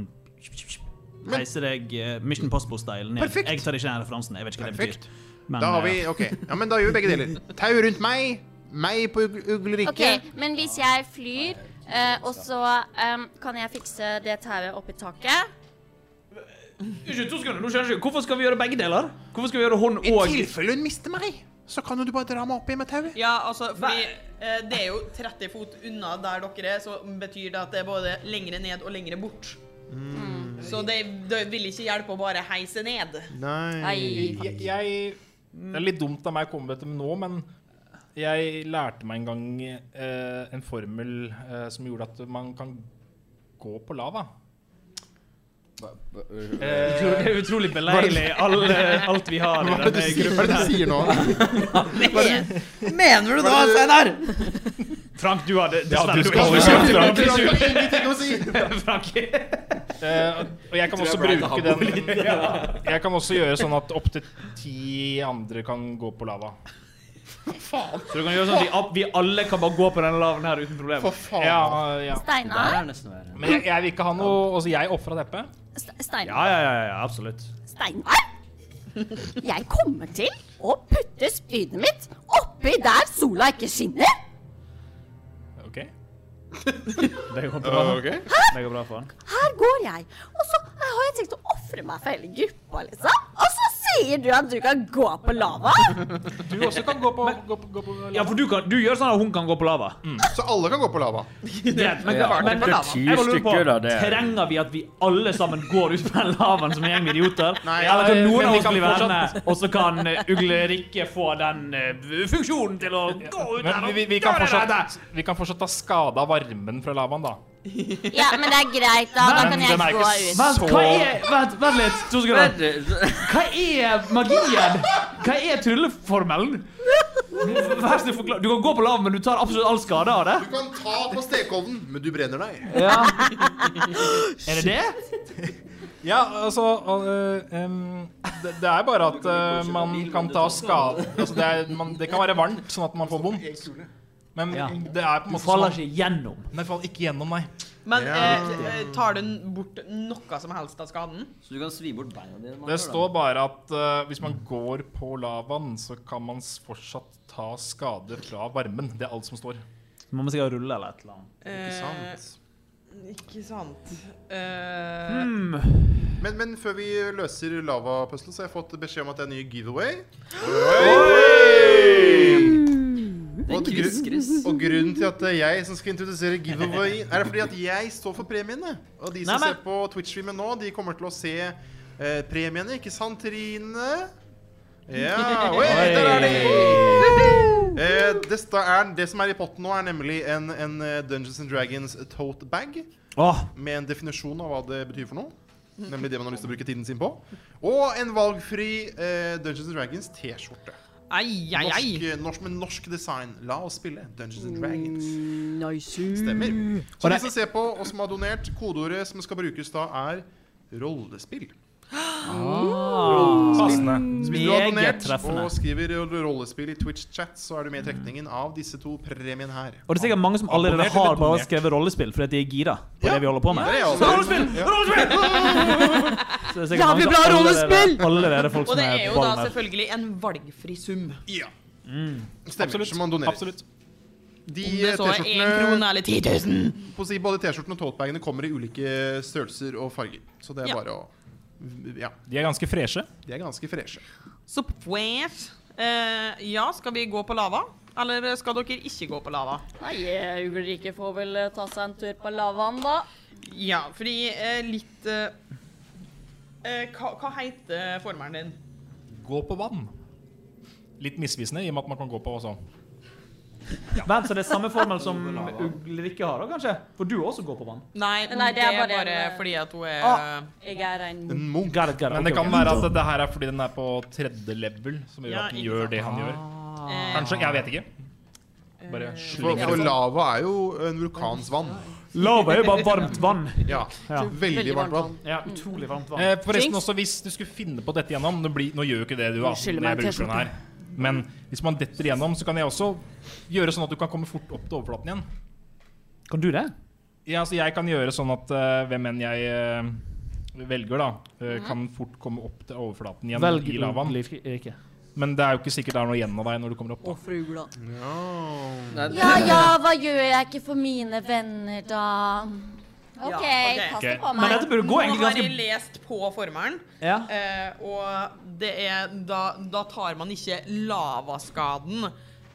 Speaker 6: heise deg eh, Mission Possible-style ned.
Speaker 4: Perfekt.
Speaker 6: Jeg tar ikke den referansen. Jeg vet ikke hva det
Speaker 4: Perfekt.
Speaker 6: betyr.
Speaker 4: da har vi
Speaker 6: eh,
Speaker 4: OK. Ja, men da gjør vi begge deler. Tau rundt meg, meg på Ug- Ulrikke.
Speaker 7: Ok, Men hvis jeg flyr, eh, og så em, kan jeg fikse det tauet oppi taket
Speaker 6: Unnskyld, to sekunder. Nå skjønner jeg ikke. Hvorfor skal vi gjøre begge deler? Hvorfor skal vi gjøre hånd og
Speaker 4: I tilfelle hun mister meg, så kan jo du bare dra meg opp igjen med tauet.
Speaker 1: Ja, altså, fordi eh, det er jo 30 fot unna der dere er, så betyr det at det er både lengre ned og lengre bort.
Speaker 3: Mm.
Speaker 1: Så det, det vil ikke hjelpe å bare heise ned.
Speaker 4: Nei.
Speaker 3: Jeg, jeg Det er litt dumt av meg å komme med dette nå, men jeg lærte meg en gang eh, en formel eh, som gjorde at man kan gå på lava.
Speaker 2: Eh,
Speaker 6: Det er utrolig beleilig all, eh, alt vi har i
Speaker 4: Hva er det
Speaker 6: denne
Speaker 4: du sier-
Speaker 6: gruppen.
Speaker 4: hva er det du sier nå? Hva er det-
Speaker 6: Mener
Speaker 4: du da, Steinar?
Speaker 6: Frank, du hadde
Speaker 3: Ja, du
Speaker 6: dessverre
Speaker 3: skal holde kjeft, Frank. Du har
Speaker 4: ingenting å si.
Speaker 6: Frank.
Speaker 3: Eh, og jeg kan
Speaker 6: Tror
Speaker 3: også
Speaker 6: jeg Brian
Speaker 3: bruke
Speaker 6: har bo
Speaker 3: den
Speaker 6: litt.
Speaker 3: Jeg kan også gjøre sånn at opptil ti andre kan gå på lava.
Speaker 6: Så du kan gjøre sånn at vi, opp- vi alle kan bare gå på denne laven her uten problem.
Speaker 3: For faen. Ja, ja.
Speaker 7: Steinar? Det der er
Speaker 3: Men jeg, jeg vil ikke ha noe Altså, jeg ofra teppet.
Speaker 7: Ste- Steinar?
Speaker 6: Ja, ja, ja, ja, absolutt.
Speaker 7: Steinar? Jeg kommer til å putte spydet mitt oppi der sola ikke skinner.
Speaker 6: OK? Det går bra.
Speaker 4: Ok.
Speaker 6: Det går bra for han.
Speaker 7: Her går jeg, og så har jeg tenkt å ofre meg for hele gruppa, liksom. Og så sier du at du kan gå på lava?
Speaker 3: Du også kan gå på, gå på, gå på lava.
Speaker 6: Ja, for du, kan, du gjør sånn at hun kan gå på lava.
Speaker 4: Så alle kan gå på lava?
Speaker 6: Greit, men,
Speaker 2: Ja,
Speaker 6: men,
Speaker 2: det er
Speaker 6: men
Speaker 2: ti
Speaker 6: jeg bare lurer på,
Speaker 2: stykker, da, det er-
Speaker 6: trenger vi at vi alle sammen går ut fra den lavaen som en gjeng med idioter?
Speaker 3: Nei,
Speaker 6: Eller kan
Speaker 3: eh,
Speaker 6: noen
Speaker 3: men
Speaker 6: av
Speaker 3: vi
Speaker 6: oss
Speaker 3: kan
Speaker 6: bli
Speaker 3: fortsatt-
Speaker 6: værende, og så kan eh, Ugle-Rikke få den eh, funksjonen til å gå ut
Speaker 3: Men
Speaker 6: her og
Speaker 3: vi, vi, kan
Speaker 6: gjøre det der?
Speaker 3: fortsatt, vi kan fortsatt ta skade av varmen fra lavaen, da.
Speaker 7: Ja, men det er greit, da. Da
Speaker 3: Men
Speaker 7: kan
Speaker 3: den
Speaker 7: jeg
Speaker 3: er
Speaker 7: gå
Speaker 3: ikke
Speaker 7: ut.
Speaker 3: så-
Speaker 6: Vent, hva er Vent, vent litt. To sekunder. Hva er magien? Hva er trylleformelen? Vær så snill, forklar. Du kan gå på lav, men du tar absolutt all skade av det?
Speaker 4: Du kan ta på stekeovnen, men du brenner deg.
Speaker 6: Ja. Er det det?
Speaker 3: Ja, altså øh, em, det, det er bare at øh, man kan ta skade altså det, er, man, det kan være varmt, sånn at man får vondt. Men
Speaker 6: Ja.
Speaker 3: det er på en
Speaker 6: Du
Speaker 3: måte
Speaker 6: faller
Speaker 3: sånn-
Speaker 6: ikke gjennom.
Speaker 3: Nei, faller ikke gjennom, nei.
Speaker 1: Men
Speaker 3: Ja.
Speaker 1: eh, tar du bort noe som helst av skaden?
Speaker 2: Så du kan svi bort beina dine?
Speaker 3: Det står bare at eh, hvis man går på lavaen, så kan man s- fortsatt ta skade fra varmen. Det er alt som står.
Speaker 6: Så må man sikkert rulle eller et eller annet.
Speaker 1: Eh, Ikke sant. Eh,
Speaker 6: Mm.
Speaker 4: Men, men før vi løser lavapuzzlet, så har jeg fått beskjed om at det er en ny giveaway. Og,
Speaker 8: Det er kryss,
Speaker 4: grunn,
Speaker 8: kryss.
Speaker 4: og grunnen til at det er jeg som skal introdusere giveawayen, er fordi at jeg står for premiene. Og de som
Speaker 6: Nei, men-
Speaker 4: ser på Twitch-streamen nå, de kommer til å se eh, premiene, ikke sant, Trine? Ja, oi, der er de! Eh, det, sta- er, det som er i potten nå, er nemlig en, en eh, Dungeons and Dragons tote bag. Med en definisjon av hva det betyr for noe. Nemlig det man har lyst til å bruke tiden sin på. Og en valgfri eh, Dungeons and Dragons T-skjorte.
Speaker 1: Ai, ai, ai.
Speaker 4: Norsk, eh, norsk, med norsk design. La oss spille Dungeons and Dragons. Stemmer.
Speaker 1: Mm, Og
Speaker 4: Så
Speaker 1: det-
Speaker 4: de som ser på, og som har donert, kodeordet som skal brukes da, er rollespill. Rollespill.
Speaker 3: Passende.
Speaker 4: Så hvis du har
Speaker 6: Meget
Speaker 4: donert
Speaker 6: treffende.
Speaker 4: og skriver rollespill i Twitch-chat, så er du med i trekningen av disse to premiene her.
Speaker 6: Og det er sikkert mange som allerede
Speaker 4: Abonnert
Speaker 6: har
Speaker 4: eller
Speaker 6: bare
Speaker 4: donert?
Speaker 6: skrevet rollespill fordi at de er gira på det vi holder på med.
Speaker 4: det er jeg også.
Speaker 6: rollespill!
Speaker 4: Ja.
Speaker 6: rollespill! Så det er
Speaker 1: Jævlig
Speaker 6: sikkert mange som
Speaker 1: bra
Speaker 6: allerede-
Speaker 1: rollespill!
Speaker 6: Allerede folk
Speaker 1: Og
Speaker 6: som
Speaker 1: det
Speaker 6: er
Speaker 1: er
Speaker 6: på
Speaker 1: jo da
Speaker 6: ballen her.
Speaker 1: selvfølgelig en valgfri sum.
Speaker 4: Ja.
Speaker 6: Mm.
Speaker 4: Stemmer.
Speaker 3: Absolutt.
Speaker 4: Så man donerer.
Speaker 3: Absolutt.
Speaker 4: De
Speaker 1: Om det så er
Speaker 4: T-skjortene-
Speaker 1: en krone eller 10 000.
Speaker 4: På å si, både T-skjortene og toatbagene kommer i ulike størrelser og farger. Så det er
Speaker 1: Ja.
Speaker 4: bare å Ja.
Speaker 3: De er ganske freshe.
Speaker 4: De er ganske freshe.
Speaker 1: Så pues. Eh, ja, skal vi gå på lava? Eller skal dere ikke gå på lava?
Speaker 5: Nei, eh, Ulrikke får vel eh, ta seg en tur på lavaen, da.
Speaker 1: Ja, fordi eh, litt eh, eh, hva, hva heter formeren din?
Speaker 3: Gå på vann. Litt misvisende i og med at man kan gå på sånn.
Speaker 6: Vent, så det er samme formel som Ulrikke har, da, kanskje? For du også går på vann.
Speaker 1: Nei,
Speaker 5: Nei,
Speaker 1: det er bare, eh, fordi at hun er eh,
Speaker 5: Jeg er en
Speaker 3: Mm.
Speaker 4: En munk.
Speaker 3: Men det kan være at det her er fordi den er på tredje level, som gjør
Speaker 1: Ja,
Speaker 3: at den
Speaker 1: ikke
Speaker 3: gjør
Speaker 1: sant.
Speaker 3: det han gjør.
Speaker 6: Ah.
Speaker 1: Eh.
Speaker 3: Kanskje. Jeg vet ikke. Bare
Speaker 4: For,
Speaker 3: slenger
Speaker 4: for
Speaker 3: det på.
Speaker 4: lava er jo en vulkans vann.
Speaker 6: Lava er jo bare varmt vann.
Speaker 4: Ja.
Speaker 6: Ja.
Speaker 4: Veldig varmt vann.
Speaker 6: Ja, utrolig varmt vann.
Speaker 3: Eh, forresten også, hvis du skulle finne på dette igjennom Nå, blir, nå gjør jo ikke det du,
Speaker 6: Du
Speaker 3: da.
Speaker 6: skylder
Speaker 3: når jeg
Speaker 6: meg en
Speaker 3: bruker den
Speaker 6: T-skjorte.
Speaker 3: her. Men hvis man detter igjennom, så kan jeg også gjøre sånn at du kan komme fort opp til overflaten igjen.
Speaker 6: Kan du det?
Speaker 3: Ja, altså jeg kan gjøre sånn at eh, hvem enn jeg eh, velger, da, eh, kan fort komme opp til overflaten igjen
Speaker 6: Velg
Speaker 3: i lavaen.
Speaker 6: Ulrikke.
Speaker 3: Men det er jo ikke sikkert det er noe igjen av deg når du kommer opp. da.
Speaker 7: Ja ja, hva gjør jeg ikke for mine venner, da?
Speaker 1: Ja,
Speaker 7: OK,
Speaker 1: ok.
Speaker 7: pass det på
Speaker 6: Men
Speaker 7: meg.
Speaker 6: dette burde gå egentlig
Speaker 1: Nå har
Speaker 6: ganske-
Speaker 1: jeg lest på formelen,
Speaker 6: Ja.
Speaker 1: eh, og det er da, da tar man ikke lavaskaden.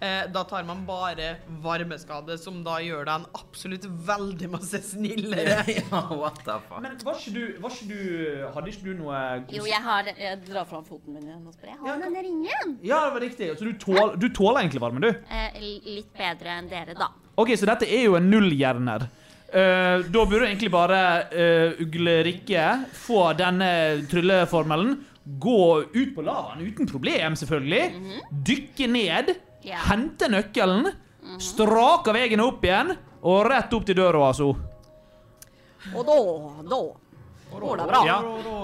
Speaker 1: Eh, da tar man bare varmeskade, som da gjør deg en absolutt veldig masse snillere.
Speaker 2: what the fuck?
Speaker 6: Men var ikke du, var ikke du Hadde ikke du noe
Speaker 7: Jo, jeg har det. Jeg drar fram foten min igjen. og spør, Jeg har denne ringen.
Speaker 6: Ja, det var riktig. Så du tåler, du tåler egentlig varmen, du?
Speaker 7: Eh, litt bedre enn dere, da.
Speaker 6: OK, så dette er jo en nullhjerner. Eh, da burde egentlig bare uh, Uglerikke få denne trylleformelen, gå ut på lavaen uten problem, selvfølgelig,
Speaker 1: Mhm.
Speaker 6: dykke ned,
Speaker 7: Ja.
Speaker 6: hente nøkkelen,
Speaker 1: Mhm.
Speaker 6: strake veien opp igjen, og rett opp til døra, altså.
Speaker 5: Og da, da går det bra.
Speaker 3: Ja.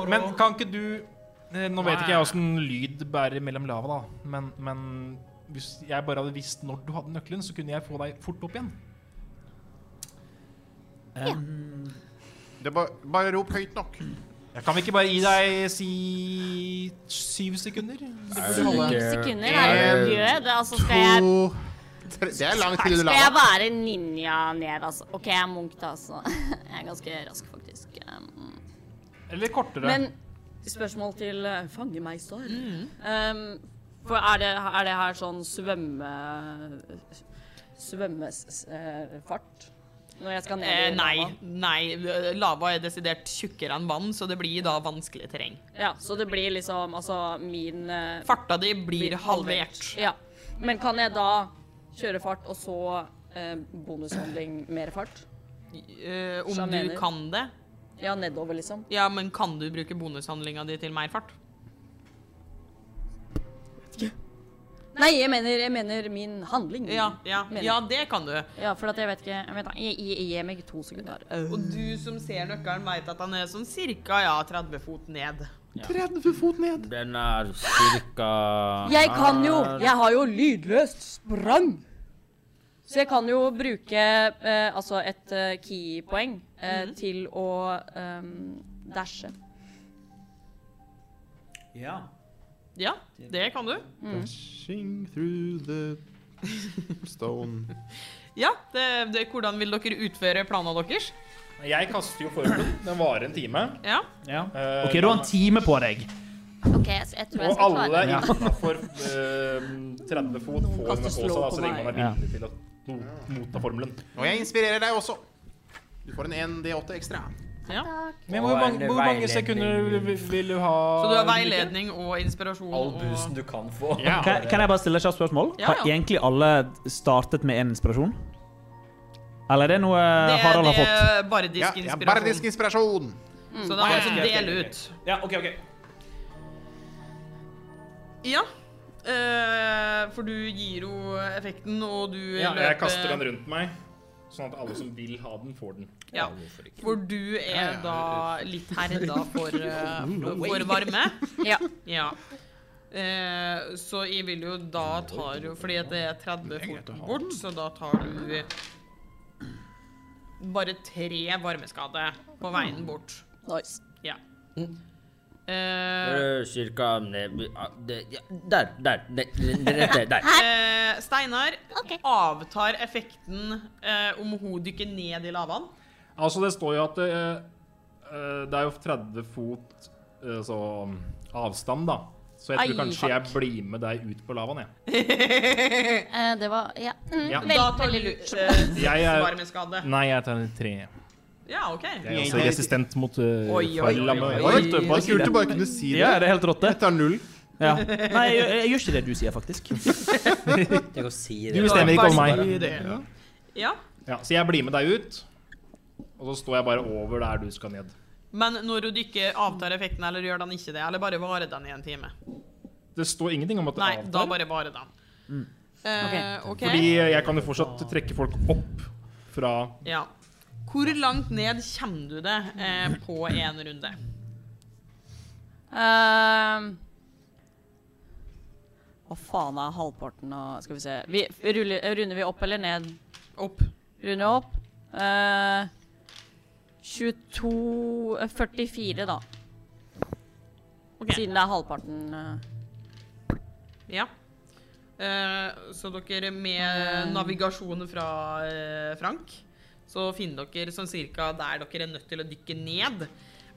Speaker 3: Men kan ikke du eh, Nå vet ikke jeg åssen lyd bærer mellom lava, da. Men, men hvis jeg bare hadde visst når du hadde nøkkelen, så kunne jeg få deg fort opp igjen.
Speaker 4: Det er bare, bare rop høyt nok.
Speaker 3: Jeg kan vi ikke bare gi deg si syv sekunder?
Speaker 7: Syv
Speaker 2: eh,
Speaker 7: sekunder er jo mye. Det, altså, skal jeg
Speaker 4: Tre, det er lang tid under
Speaker 7: Skal jeg
Speaker 4: lava.
Speaker 7: være ninja ned, altså? OK, jeg er munk, da, så jeg er ganske rask, faktisk. Um,
Speaker 3: Eller kortere.
Speaker 5: Men spørsmål til eh, fangemeister. Um, for er det, er det her sånn svømme... svømmefart? Når jeg skal ned i
Speaker 1: Eh, nei,
Speaker 5: lavaen?
Speaker 1: nei. Lava er desidert tjukkere enn vann, så det blir da vanskelig terreng.
Speaker 5: Ja, så det blir liksom, altså, min... eh,
Speaker 1: Farta di blir halvert.
Speaker 5: Ja. Men kan jeg da kjøre fart, og så eh, bonushandling mer fart?
Speaker 1: Eh, om
Speaker 5: Så jeg
Speaker 1: du
Speaker 5: mener-
Speaker 1: kan det.
Speaker 5: Ja, nedover, liksom.
Speaker 1: Ja, men kan du bruke bonushandlinga di til mer fart?
Speaker 5: Nei, jeg mener, jeg mener min handling.
Speaker 1: Ja, ja,
Speaker 5: Mener.
Speaker 1: ja, det kan du.
Speaker 5: Ja, for at jeg vet ikke jeg vet, da, jeg, jeg, Gi
Speaker 7: Eh,
Speaker 5: meg to sekunder.
Speaker 1: Og
Speaker 2: Øh.
Speaker 1: du som ser nøkkelen, veit at han er sånn cirka ja, 30 fot ned.
Speaker 4: 30 fot ned.
Speaker 2: Den er cirka Ah,
Speaker 5: Jeg kan jo Jeg har jo lydløst sprang! Så jeg kan jo bruke eh, altså et eh, key-poeng eh, til å eh, dashe.
Speaker 6: Ja.
Speaker 1: Ja, det kan du.
Speaker 4: Dashing through the stone.
Speaker 1: Ja, det, det, Hvordan vil dere utføre planene deres?
Speaker 3: Jeg kaster jo forhuden. Den varer en time. Eh,
Speaker 1: Ja.
Speaker 6: Ja. OK, du har en time på deg.
Speaker 16: OK, så jeg tror jeg
Speaker 3: Og
Speaker 16: skal
Speaker 3: alle
Speaker 16: klare det.
Speaker 3: innenfor eh, 30 fot får den
Speaker 4: kaster
Speaker 3: med på seg,
Speaker 4: slow
Speaker 3: da,
Speaker 4: på
Speaker 3: så lenge man er
Speaker 4: meg.
Speaker 3: villig til å no- motta formelen.
Speaker 4: Og jeg inspirerer deg også. Du får en 1D8 ekstra.
Speaker 1: Ja.
Speaker 3: Men hvor mange, hvor mange sekunder vil, vil du ha?
Speaker 1: Så du har veiledning og inspirasjon
Speaker 2: All
Speaker 1: og
Speaker 2: busen du kan få.
Speaker 6: Kan, kan jeg bare stille et kjapt spørsmål?
Speaker 1: Ja,
Speaker 6: Har
Speaker 1: ja.
Speaker 6: egentlig alle startet med én inspirasjon? Eller er det noe
Speaker 3: Eh,
Speaker 1: Det er
Speaker 6: Harald har
Speaker 1: det
Speaker 6: fått?
Speaker 1: er bare disk
Speaker 4: Ja, ja,
Speaker 1: inspirasjon.
Speaker 4: bare disk inspirasjon.
Speaker 1: Så da må jeg
Speaker 6: Ok,
Speaker 1: altså
Speaker 6: ok,
Speaker 1: dele
Speaker 6: ok, ok.
Speaker 1: ut.
Speaker 6: Ja, OK, OK.
Speaker 1: Ja. Eh, for du gir jo effekten, og du
Speaker 3: Ja, jeg
Speaker 1: løper-
Speaker 3: kaster den rundt meg, sånn at alle som vil ha den, får den.
Speaker 1: Ja, hvor du er da litt herda for, eh, for varme.
Speaker 5: Ja.
Speaker 1: Eh, så jeg vil jo da ta jo Fordi at det er 30 fot bort, så da tar du bare tre varmeskade på veien bort.
Speaker 5: Nice.
Speaker 1: Ja.
Speaker 2: Mm.
Speaker 1: Eh,
Speaker 2: Eh, Cirka ned- ah, det- ja, Der, der, ne- ne- rett der. der.
Speaker 1: eh, Steinar avtar effekten eh, om hun dykker ned i lavaen.
Speaker 3: Altså, det står jo at det, eh, det er jo 30 fot eh, så, avstand, da. Så jeg tror
Speaker 1: Ai,
Speaker 3: kanskje jeg blir med deg ut på lavaen, jeg.
Speaker 5: Eh, det var Ja. Mm,
Speaker 3: Ja.
Speaker 5: Veldig,
Speaker 1: Da tar
Speaker 5: veldig
Speaker 1: du
Speaker 5: lurt.
Speaker 1: eh,
Speaker 3: Jeg er-
Speaker 1: varmeskade.
Speaker 3: Nei, jeg tar en tre.
Speaker 1: Ja, OK.
Speaker 3: Jeg er også resistent mot uh,
Speaker 1: Oi, oi, oi, oi, oi.
Speaker 3: Det
Speaker 4: var kult du bare kunne si det.
Speaker 6: Ja, det er helt rått, det.
Speaker 4: Jeg tar null.
Speaker 6: Ja. Nei, jeg, jeg gjør ikke det du sier, faktisk.
Speaker 2: Tenk å si det.
Speaker 3: Du bestemmer ikke
Speaker 2: Bare
Speaker 3: over
Speaker 2: si
Speaker 3: meg.
Speaker 2: det.
Speaker 1: Ja.
Speaker 3: Ja, så jeg blir med deg ut, og så står jeg bare over der du skal ned.
Speaker 1: Men når hun dykker, avtar effekten, eller gjør den ikke det? Eller bare varer den i en time?
Speaker 3: Det står ingenting om at det
Speaker 1: Nei, da
Speaker 3: avtar.
Speaker 1: bare varer den. Eh, OK.
Speaker 3: Fordi jeg kan jo fortsatt trekke folk opp fra
Speaker 1: Ja. Hvor langt ned kommer du det eh, på én runde?
Speaker 5: Ehm. Hva faen er halvparten av Skal vi se. Vi, ruller, runder vi opp eller ned?
Speaker 1: Opp.
Speaker 5: Runder opp. Eh, 22 eh, 44, da. Siden det er halvparten. eh.
Speaker 1: Ja. Eh, så dere med navigasjon fra eh, Frank, så finner dere sånn cirka der dere er nødt til å dykke ned.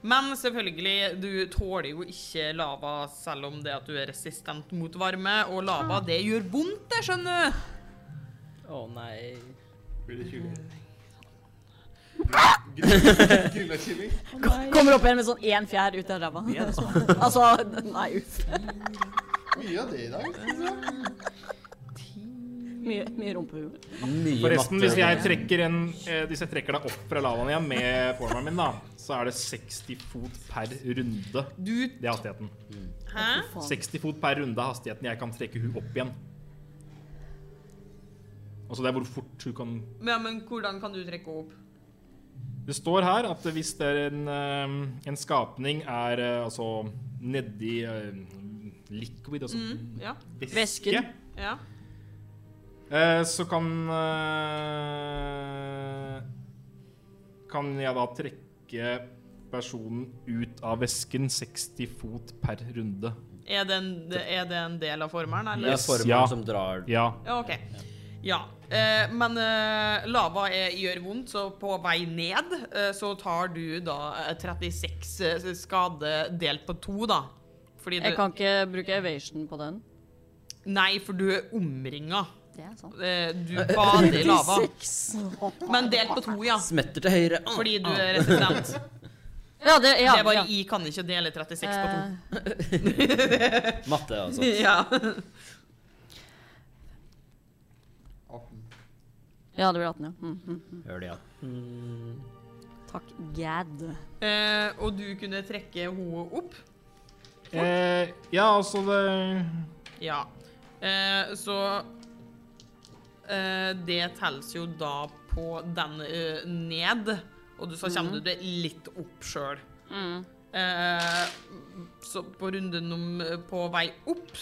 Speaker 1: Men selvfølgelig, du tåler jo ikke lava selv om det at du er resistent mot varme, og lava, det gjør vondt, det skjønner du.
Speaker 2: Å nei.
Speaker 4: Blir det
Speaker 5: Ko- Kommer opp igjen med sånn én fjær ut av ræva. altså Nei, uff.
Speaker 4: Mye av det i dag.
Speaker 5: Mye, mye rumpehue.
Speaker 3: Forresten, hvis jeg
Speaker 2: matte.
Speaker 3: trekker, en, eh, hvis jeg trekker deg opp fra lavaen igjen med formelen min, da, så er det 60 fot per runde. det er hastigheten.
Speaker 1: Hæ?
Speaker 3: 60 fot per runde er hastigheten jeg kan trekke hun opp igjen. Altså det er hvor fort hun kan
Speaker 1: Ja, men hvordan kan du trekke henne opp?
Speaker 3: Det står her at hvis det er en, eh, en skapning er eh, altså nedi eh, liquid, altså
Speaker 1: Mm, ja.
Speaker 3: væske,
Speaker 1: Ja.
Speaker 3: eh, så kan eh, Kan jeg da trekke personen ut av væsken 60 fot per runde.
Speaker 1: Er det en, er det en del av formelen, eller?
Speaker 3: Yes, ja. Ja.
Speaker 1: Ja, OK. Ja. Eh, men eh, lava er, gjør vondt, så på vei ned eh, så tar du da eh, 36 eh, skade delt på to, da. Fordi du
Speaker 5: Jeg kan ikke bruke evasion på den.
Speaker 1: Nei, for du er omringa.
Speaker 5: Det er sant.
Speaker 1: Eh, du bader i lava.
Speaker 5: 36.
Speaker 1: Men delt på to, ja.
Speaker 2: Smetter til høyre. Ah,
Speaker 1: Fordi du
Speaker 2: ah.
Speaker 1: er resistent.
Speaker 5: Ja, det- ja,
Speaker 1: det var
Speaker 5: ja. Eh,
Speaker 1: I kan ikke dele 36 på to.
Speaker 2: Matte, altså.
Speaker 1: Ja.
Speaker 5: Ja, det blir 18, ja. Mm, mm, mm.
Speaker 2: Gjør det, ja.
Speaker 3: Mm.
Speaker 5: Takk, gad.
Speaker 1: Eh, og du kunne trekke henne opp.
Speaker 3: Eh, ja, altså det
Speaker 1: Ja. Eh, så eh, Det telles jo da på den eh, ned, og du så kommer
Speaker 5: Mhm.
Speaker 1: du deg litt opp sjøl.
Speaker 5: Mm.
Speaker 1: Eh, så på runde nummer På vei opp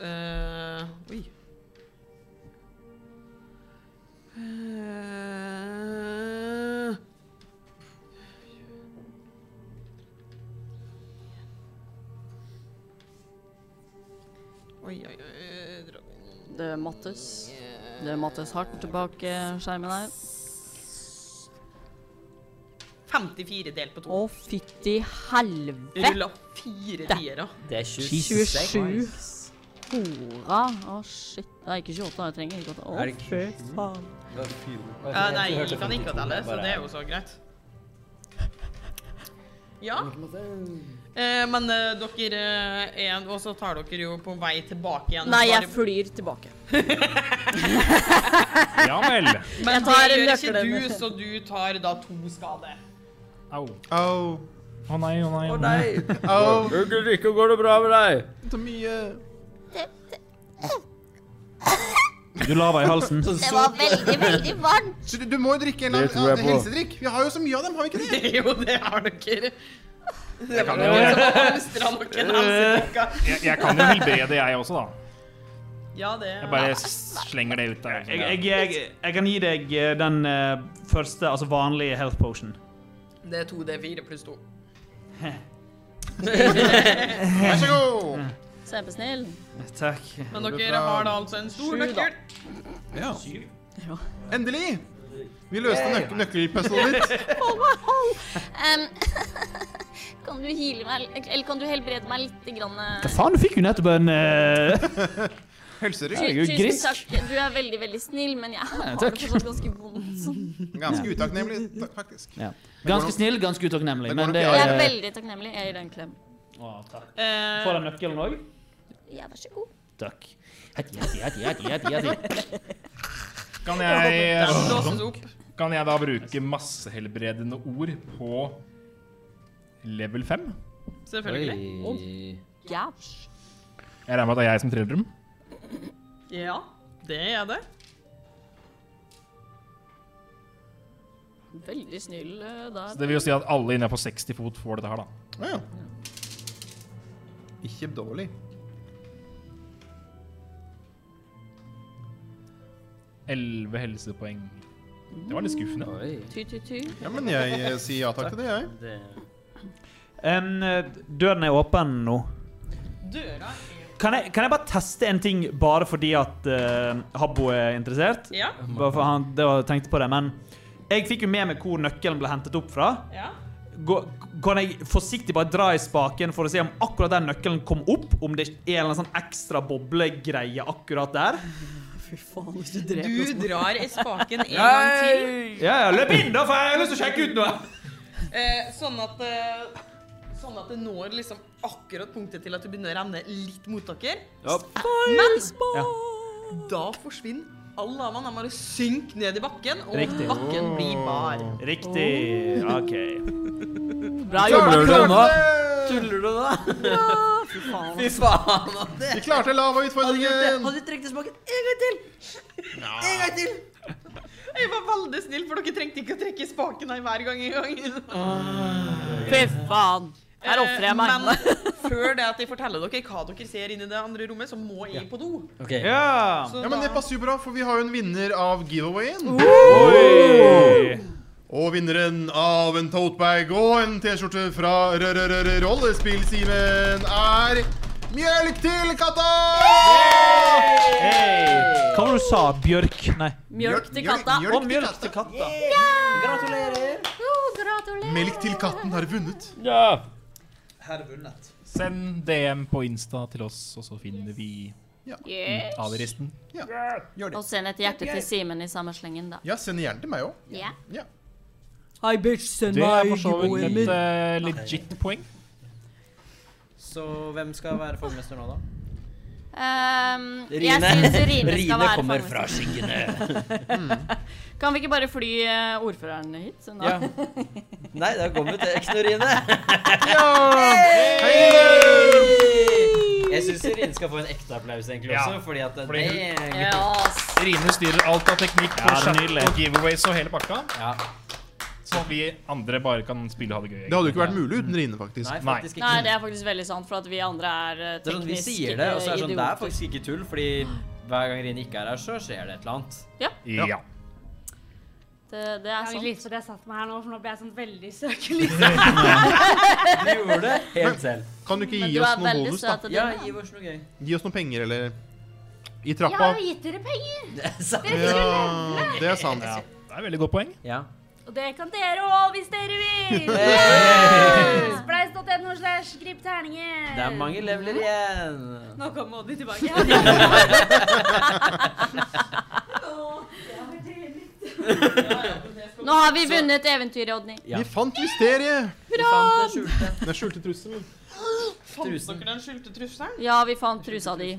Speaker 1: eh, Oi. Eh, Oi, oi, oi. dra-
Speaker 5: Det mattes. Det mattes hardt bak eh, skjermen her.
Speaker 1: 54 delt på to.
Speaker 5: Å, fytti helvete!
Speaker 1: Rulla fire tiere.
Speaker 2: Det er
Speaker 5: 27.
Speaker 2: 26.
Speaker 5: Hora. Ah, Å, shit. Det er ikke 28 jeg trenger. Ikke 8.
Speaker 2: Er
Speaker 5: Å,
Speaker 2: det
Speaker 5: fy faen.
Speaker 1: Ja, nei, jeg kan ikke telle, så det er jo så greit. Ja. Eh, men eh, dere eh, er Og så tar dere jo på vei tilbake igjen.
Speaker 5: Nei, jeg
Speaker 1: Bare-
Speaker 5: flyr tilbake.
Speaker 3: Ja vel.
Speaker 1: Men
Speaker 5: Jeg tar
Speaker 1: det gjør ikke
Speaker 5: nøkkelen.
Speaker 1: du, så du tar da to skade.
Speaker 3: Au. Å nei, å nei. Å
Speaker 4: Au.
Speaker 2: Ulrikke, går det bra med deg?
Speaker 4: Så mye
Speaker 3: Du la deg i halsen.
Speaker 4: Det var
Speaker 7: veldig, veldig varmt.
Speaker 4: Så du- du må jo drikke en eller
Speaker 3: Det tror jeg på.
Speaker 4: annen helsedrikk. Vi har jo så mye av dem, har vi ikke det?
Speaker 1: jo, det har dere.
Speaker 4: Jeg kan
Speaker 3: jo
Speaker 1: Jeg,
Speaker 3: jeg kan jo helbrede, jeg også, da.
Speaker 1: Ja, det
Speaker 3: Jeg bare s- slenger det ut der.
Speaker 6: Jeg, jeg, jeg, jeg kan gi deg eh, den eh, første, altså vanlige health potion.
Speaker 1: Det er 2D4 pluss 2.
Speaker 6: Vær
Speaker 1: så god.
Speaker 5: Kjempesnill.
Speaker 6: Takk.
Speaker 1: Men dere har da altså en stor
Speaker 5: Sju, da.
Speaker 1: nøkkel.
Speaker 4: Ja. Endelig! Vi løste
Speaker 7: Hey.
Speaker 4: nøk nøkkelpuzzlet ditt.
Speaker 7: Hold meg, hold! Em, kan du heale meg, eller kan du helbrede meg litt? Grann, eh?
Speaker 6: Hva faen, du fikk jo nettopp en eh,
Speaker 4: Helserygg.
Speaker 7: Tu-
Speaker 6: Jeg er jo
Speaker 7: Tusen
Speaker 6: grisk.
Speaker 7: takk. Du er veldig, veldig snill, men jeg har det
Speaker 6: takk.
Speaker 7: fortsatt ganske vondt.
Speaker 4: Ganske utakknemlig, ta- faktisk.
Speaker 6: Ja. Ganske snill, ganske utakknemlig, men det
Speaker 7: Jeg er veldig takknemlig. Jeg gir deg en klem.
Speaker 6: Å, takk.
Speaker 1: Eh,
Speaker 6: Får jeg nøkkelen òg?
Speaker 7: Ja, vær så god.
Speaker 6: Takk. Hatti, hatti, hatti, hatti, hatti, hatti.
Speaker 3: liksom. Kan jeg, øh,
Speaker 1: Den blåses opp.
Speaker 3: kan jeg da bruke massehelbredende ord på level 5?
Speaker 1: Selvfølgelig.
Speaker 7: Ja.
Speaker 3: Jeg regner med at det er jeg som triller dem.
Speaker 1: ja, det er det.
Speaker 5: Veldig snill eh, der.
Speaker 3: Så det vil jo si at alle inne på 60 fot får dette her, da.
Speaker 4: Ja. Ikke dårlig.
Speaker 3: Elleve helsepoeng. Det var litt skuffende.
Speaker 5: Ty-ty-ty.
Speaker 4: Ja, men jeg eh, sier ja takk til det, jeg.
Speaker 6: Em, eh, døren er åpen nå.
Speaker 1: Døra
Speaker 6: Kan jeg, kan jeg bare teste en ting bare fordi at eh, Habbo er interessert?
Speaker 1: Ja.
Speaker 6: Bare for han det var, tenkte på det, men jeg fikk jo med meg hvor nøkkelen ble hentet opp fra.
Speaker 1: Ja.
Speaker 6: Gå- Kan jeg forsiktig bare dra i spaken for å se om akkurat den nøkkelen kom opp? Om det er en eller annen sånn ekstra boblegreie akkurat der?
Speaker 5: Fy faen, hvis du
Speaker 1: Du drar i spaken en gang til.
Speaker 6: Hei! Ja, ja, løp inn, da, for jeg har lyst til å sjekke ut noe!
Speaker 1: Eh, sånn at eh, Sånn at det når liksom akkurat punktet til at du begynner å renne litt mot dere. Men da forsvinner all lavaen. Den bare synker ned i bakken, og
Speaker 6: Riktig.
Speaker 1: bakken blir bar.
Speaker 6: Riktig. OK.
Speaker 5: Bra
Speaker 6: jobba, Krone.
Speaker 9: Tuller du nå?
Speaker 5: Fy faen.
Speaker 9: Fy faen. ass.
Speaker 4: Vi klarte lavautfordringen!
Speaker 9: Hadde du trukket i smaken en gang til? En gang til!
Speaker 1: Jeg var veldig snill, for dere trengte ikke å trekke i spaken her hver gang. En gang.
Speaker 5: Fy faen. Her ofrer jeg meg.
Speaker 1: Eh, Men før det at jeg forteller dere hva dere ser inn i det andre rommet, så må jeg på do.
Speaker 6: Ja.
Speaker 1: Så
Speaker 4: Ja, men
Speaker 1: da-
Speaker 4: det passer jo bra, for vi har jo en vinner av giveawayen.
Speaker 6: Oi!
Speaker 4: Og vinneren av en totebag og en T-skjorte fra Rollespillsimen er Mjølk til katta!
Speaker 6: Hei! Hva var det du sa? Bjørk? Nei.
Speaker 5: Mjølk til
Speaker 4: Mjølk-
Speaker 5: katta.
Speaker 4: mjølk
Speaker 6: Og mjølk til katta.
Speaker 9: Gratulerer.
Speaker 4: Melk til katten har vunnet.
Speaker 3: Ja.
Speaker 9: Her vunnet.
Speaker 3: Send DM på Insta til oss, og så finner vi
Speaker 7: Yes.
Speaker 3: Aleristen.
Speaker 4: Ja, gjør
Speaker 7: Og send et hjerte til Simen i samme slengen, da.
Speaker 4: Ja, send gjerne til meg òg.
Speaker 7: Ja.
Speaker 5: Hei, bitch, send
Speaker 3: Det er
Speaker 5: meg
Speaker 3: for så vidt
Speaker 5: giveawayen
Speaker 3: et
Speaker 5: min.
Speaker 3: eh, legit poeng.
Speaker 9: Så hvem skal være formester nå, da?
Speaker 7: Ehm, jeg
Speaker 9: Rine-
Speaker 7: syns Rine skal
Speaker 9: Rine
Speaker 7: være
Speaker 9: kommer
Speaker 7: fangenes-
Speaker 9: fra skyggene.
Speaker 7: Kan vi ikke bare fly eh, ordføreren hit? Så nå?
Speaker 9: Ja. Nei, det har kommet Eknorine. Jeg syns Rine skal få en ekte applaus, egentlig
Speaker 3: Ja,
Speaker 9: også. Fordi at
Speaker 3: fordi hun-
Speaker 9: Dang.
Speaker 3: Rine styrer alt av teknikk på
Speaker 9: Ja,
Speaker 3: chat
Speaker 9: nydelig.
Speaker 3: og giveaways og hele pakka. Så vi andre bare kan spille og ha det gøy.
Speaker 4: Det hadde jo ikke vært mulig uten Rine, faktisk.
Speaker 3: Nei,
Speaker 4: Nei.
Speaker 7: Nei, det er faktisk veldig sant, for at vi andre er eh,
Speaker 9: Det er sånn, vi
Speaker 7: teknisk
Speaker 9: sier det, og så er det
Speaker 7: eh,
Speaker 9: sånn Det er
Speaker 7: idioter.
Speaker 9: faktisk ikke tull, fordi hver gang Rine ikke er her, så skjer det et eller annet.
Speaker 7: Ja.
Speaker 3: Ja.
Speaker 7: Det, Eh, det
Speaker 17: Jeg
Speaker 7: er
Speaker 17: har
Speaker 5: sånn.
Speaker 7: sant.
Speaker 17: ikke lyst til at jeg satte meg her nå, for nå ble jeg sånn veldig søkelys.
Speaker 9: Du gjorde det
Speaker 4: Men
Speaker 9: helt selv.
Speaker 4: Kan du ikke
Speaker 17: Men
Speaker 4: gi
Speaker 17: du
Speaker 4: oss
Speaker 17: er
Speaker 4: noen
Speaker 17: veldig
Speaker 4: bonus,
Speaker 17: søt
Speaker 4: da?
Speaker 17: og din, Ja, da.
Speaker 9: gi oss noe gøy.
Speaker 4: Gi oss noen penger, eller I
Speaker 17: Jeg
Speaker 4: trappa.
Speaker 17: har jo gitt dere penger!
Speaker 9: Det er
Speaker 17: sant.
Speaker 4: Ja, det er sant.
Speaker 3: Det er et veldig godt poeng.
Speaker 9: Ja.
Speaker 17: Og det kan dere òg, hvis dere vil!
Speaker 9: Hey!
Speaker 17: Ja! Spleis.no slash grip terninger.
Speaker 9: Det er mange leveler igjen.
Speaker 17: Nå kom Oddi tilbake. Å, det var deilig.
Speaker 7: Nå har vi vunnet eventyret, Odny.
Speaker 4: Vi fant mysteriet!
Speaker 7: Hurra!
Speaker 4: Den skjulte trusselen.
Speaker 1: Fant dere den skjulte trusselen?
Speaker 7: Ja, vi fant trusa di.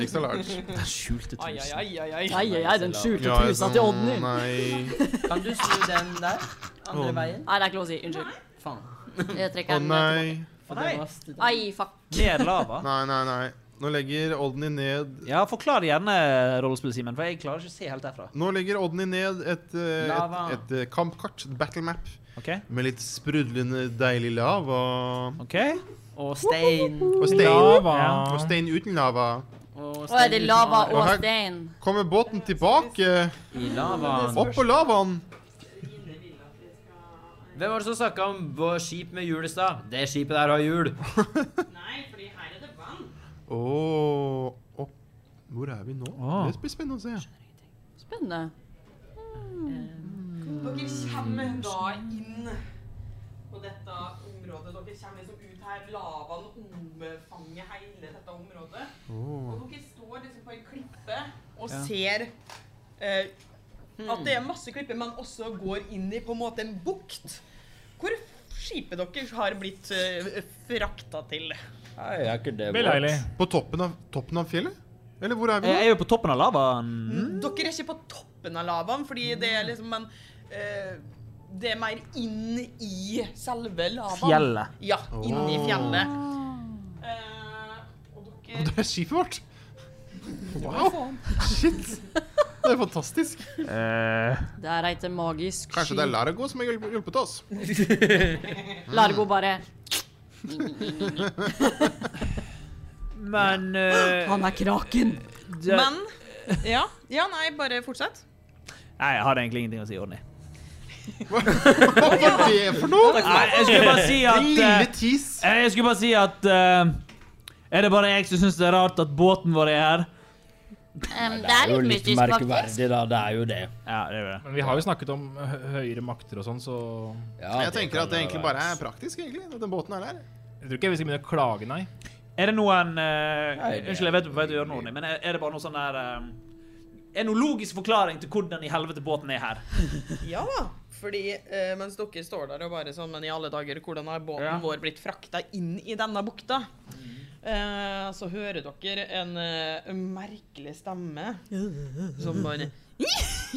Speaker 4: Extra large.
Speaker 1: Den skjulte
Speaker 7: Ai, ai,
Speaker 1: Ai, ai, ai.
Speaker 7: Ai, ai, ai, den skjulte
Speaker 4: Ja, trusa sånn, til Oddny. nei.
Speaker 9: Kan du snu den der? Andre
Speaker 4: Åh.
Speaker 9: veien?
Speaker 7: Nei, det er ikke lov å si. Unnskyld.
Speaker 9: Faen.
Speaker 7: Jeg
Speaker 4: Å
Speaker 7: trekker den eh,
Speaker 4: nei.
Speaker 9: For det var
Speaker 7: tilbake. Ai, fuck.
Speaker 4: Nei, nei, nei. Nå legger Odny ned
Speaker 6: Ja, forklar gjerne rollespill-Simen, for jeg klarer ikke å se helt derfra.
Speaker 4: Nå legger Odny ned et, eh,
Speaker 6: Lava.
Speaker 4: et, et eh, kampkart, et battle map,
Speaker 6: Ok.
Speaker 4: med litt sprudlende, deilig lava.
Speaker 9: Og stein.
Speaker 4: Og stein.
Speaker 3: Lava.
Speaker 4: Ja. Og stein uten lava.
Speaker 7: Å, er det lava og
Speaker 4: her
Speaker 7: stein?
Speaker 4: kommer båten tilbake.
Speaker 9: I lavaen.
Speaker 4: Opp på lavaen.
Speaker 9: Hvem var det som snakka om vår skip med hjul i stad? Det skipet der har hjul.
Speaker 4: Åh, opp. Hvor er vi nå?
Speaker 9: Åh.
Speaker 4: Det blir spennende å se.
Speaker 7: Spennende.
Speaker 1: Dere kommer da inn på dette området. Dere kommer liksom ut her. Lavaen omfanger hele dette området.
Speaker 4: Åh.
Speaker 1: Og dere står liksom på en klippe og
Speaker 4: Ja.
Speaker 1: ser eh,
Speaker 7: Hmm.
Speaker 1: at det er masse klipper, men også går inn i på en måte en bukt. Hvor skipet deres har blitt uh, frakta til.
Speaker 9: Nei, er ikke det
Speaker 4: På toppen av, toppen av fjellet? Eller hvor er vi nå?
Speaker 6: Jeg er jo på toppen av lavaen.
Speaker 1: Dere er ikke på toppen av lavaen, fordi det er liksom en eh, Det er mer inn i selve lavaen.
Speaker 6: Fjellet.
Speaker 1: Ja, inn i
Speaker 4: Åh.
Speaker 1: fjellet. Eh,
Speaker 4: Og det er skipet vårt! Wow! Shit! Det er fantastisk.
Speaker 7: Det er et magisk
Speaker 4: Kanskje det er
Speaker 7: skip.
Speaker 4: Largo som har hjulpet- hjulpet oss?
Speaker 7: Largo bare
Speaker 6: Men eh,
Speaker 7: Han er kraken.
Speaker 6: det-
Speaker 1: Men ja, ja, nei, bare fortsett.
Speaker 6: Nei, jeg har egentlig ingenting å si, Ordny.
Speaker 4: Hva var det for noe?
Speaker 6: Nei, jeg skulle bare si at
Speaker 4: Lille
Speaker 6: eh,
Speaker 4: tis.
Speaker 6: eh, Jeg skulle bare si at eh, Er det bare jeg som syns det er rart at båten vår er her?
Speaker 7: Em, det er litt mystisk, faktisk.
Speaker 2: da. Det er jo det.
Speaker 6: Ja, det er det.
Speaker 3: Men vi har jo snakket om hø- høyere makter og sånn, så
Speaker 4: Jeg tenker at det egentlig bare er praktisk, egentlig. At den båten er der.
Speaker 3: Jeg tror ikke vi skal begynne å klage, nei.
Speaker 6: Er det noen eh,
Speaker 3: Nei, det-
Speaker 6: Unnskyld, jeg vet du vet du gjør noe, Ronny, men er er det bare noe sånn der eh, Er det noen logisk forklaring til hvordan i helvete båten er her?
Speaker 1: Ja da. Fordi eh, mens dere står der og bare sånn Men i alle dager, hvordan har båten
Speaker 6: Ja.
Speaker 1: vår blitt frakta inn i denne bukta? Eh, så hører dere en eh, merkelig stemme som bare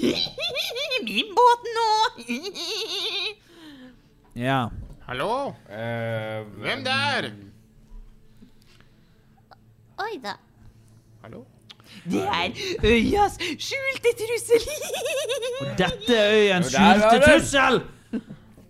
Speaker 1: Min båt nå!
Speaker 6: Ja.
Speaker 4: Hallo?
Speaker 3: Eh,
Speaker 4: Hvem der?
Speaker 18: Oi da.
Speaker 4: Hallo?
Speaker 18: Det er øyas skjulte trussel.
Speaker 6: Dette er
Speaker 18: Og
Speaker 6: øyens
Speaker 18: der var
Speaker 6: skjulte
Speaker 18: den!
Speaker 6: trussel!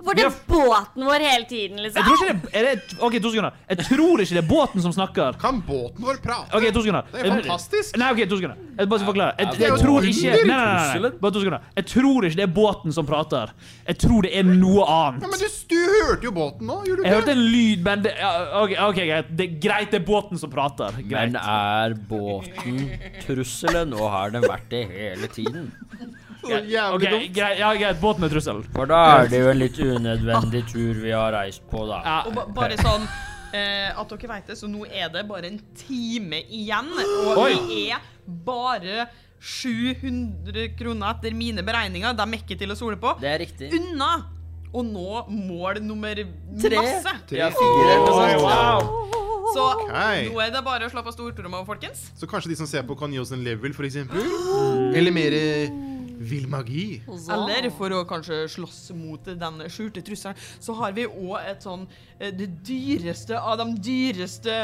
Speaker 7: Var det båten vår hele tiden,
Speaker 6: Jeg tror
Speaker 7: liksom?
Speaker 6: ikke det er det, OK, to sekunder. Jeg tror ikke det er båten som snakker.
Speaker 4: Kan båten vår prate?
Speaker 6: OK, to sekunder.
Speaker 4: Det er fantastisk.
Speaker 6: Nei, OK, to sekunder. Jeg bare skal forklare. Jeg,
Speaker 4: Ja, det er
Speaker 6: jeg
Speaker 4: jo
Speaker 6: tror ikke
Speaker 4: under
Speaker 6: Nei, nei, nei, nei. Bare to sekunder. Jeg tror ikke det er båten som prater. Jeg tror det er noe
Speaker 4: Ja,
Speaker 6: annet.
Speaker 4: men du, du hørte jo båten nå, gjorde du
Speaker 6: Jeg
Speaker 4: ikke?
Speaker 6: hørte en lyd, men det, ja, OK, ok, greit. Det er greit, det er båten som prater. Greit.
Speaker 2: Men er båten trusselen, og har den vært det hele tiden?
Speaker 6: Greit. Ok, greit, ja, greit. Båten er trusselen.
Speaker 2: For da er det jo en litt unødvendig tur vi har reist på, da.
Speaker 1: Og ba bare sånn eh, at dere vet det, så nå er det bare en time igjen. Og
Speaker 2: Oi.
Speaker 1: det er bare 700 kroner etter mine beregninger. De er ikke til å stole på.
Speaker 2: Det er riktig.
Speaker 1: Unna å nå mål nummer
Speaker 2: Tre.
Speaker 1: masse.
Speaker 2: Ja, fire eller noe sånt.
Speaker 1: Wow. Så
Speaker 4: Ok.
Speaker 1: nå er det bare å slå på stortromma, folkens.
Speaker 4: Så kanskje de som ser på, kan gi oss en level, for eksempel? Eller mer eh, vill magi?
Speaker 7: Sånn.
Speaker 1: Eller for å kanskje slåss mot den skjulte trusselen, så har vi òg et sånn eh, Det dyreste av de dyreste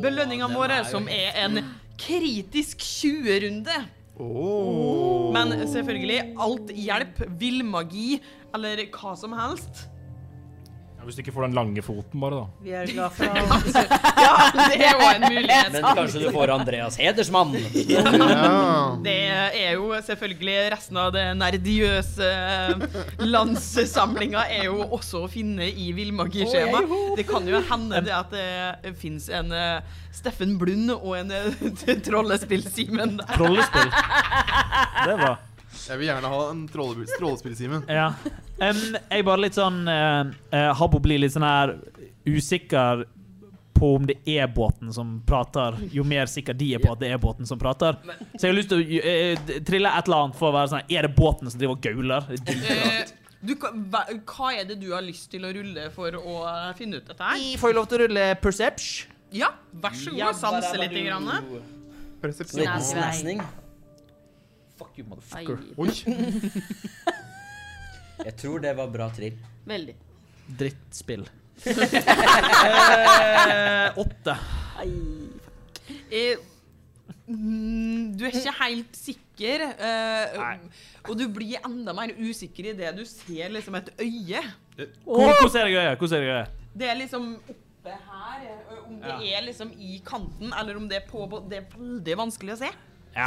Speaker 1: belønningene våre, som er en kritisk 20-runde. Men selvfølgelig, alt hjelp, villmagi eller hva som helst.
Speaker 3: Ja, hvis du ikke får den lange foten, bare, da.
Speaker 1: Vi er glad for Ja, det er jo en mulighet.
Speaker 2: Men kanskje du får Andreas Hedersmann?
Speaker 1: Det er jo selvfølgelig resten av det nerdiøse landssamlinga er jo også å finne i villmagiskjema. Det kan jo hende det at det fins en eh, Steffen Blund og en eh, Trollespill-Simen der.
Speaker 6: Trollespill? Det var
Speaker 4: Jeg vil gjerne ha en trollespill-Simen.
Speaker 6: Ja. Em, jeg bare litt sånn eh, eh, Habbo blir litt sånn her usikker på om det er båten som prater, jo mer sikker de er på at det er båten som prater. Så jeg har lyst til å eh, eh, trille et eller annet for å være sånn Er det båten som driver og gauler? Det er dritrart.
Speaker 1: Eh, Du, kan- hva, hva er det du har lyst til å rulle for å eh, finne ut dette her?
Speaker 6: Vi får jo lov til å rulle perception.
Speaker 1: Ja, vær så god.
Speaker 6: Ja,
Speaker 1: Sanse
Speaker 6: bare-
Speaker 1: litt. Grann.
Speaker 4: Perception.
Speaker 2: Liten snesning.
Speaker 6: Fuck you,
Speaker 2: motherfucker.
Speaker 1: Ai.
Speaker 2: Jeg tror det var bra trill.
Speaker 7: Veldig.
Speaker 6: Drittspill. eh, åtte.
Speaker 1: Eh, mm, Du er ikke helt sikker, eh, og du blir enda mer usikker i det du ser liksom et øye.
Speaker 6: Hvor- Hvordan er det greia? Hvordan er det greia?
Speaker 1: Det er liksom oppe her, eh, om det er liksom i kanten, eller om det er på bå- Det er veldig vanskelig å se.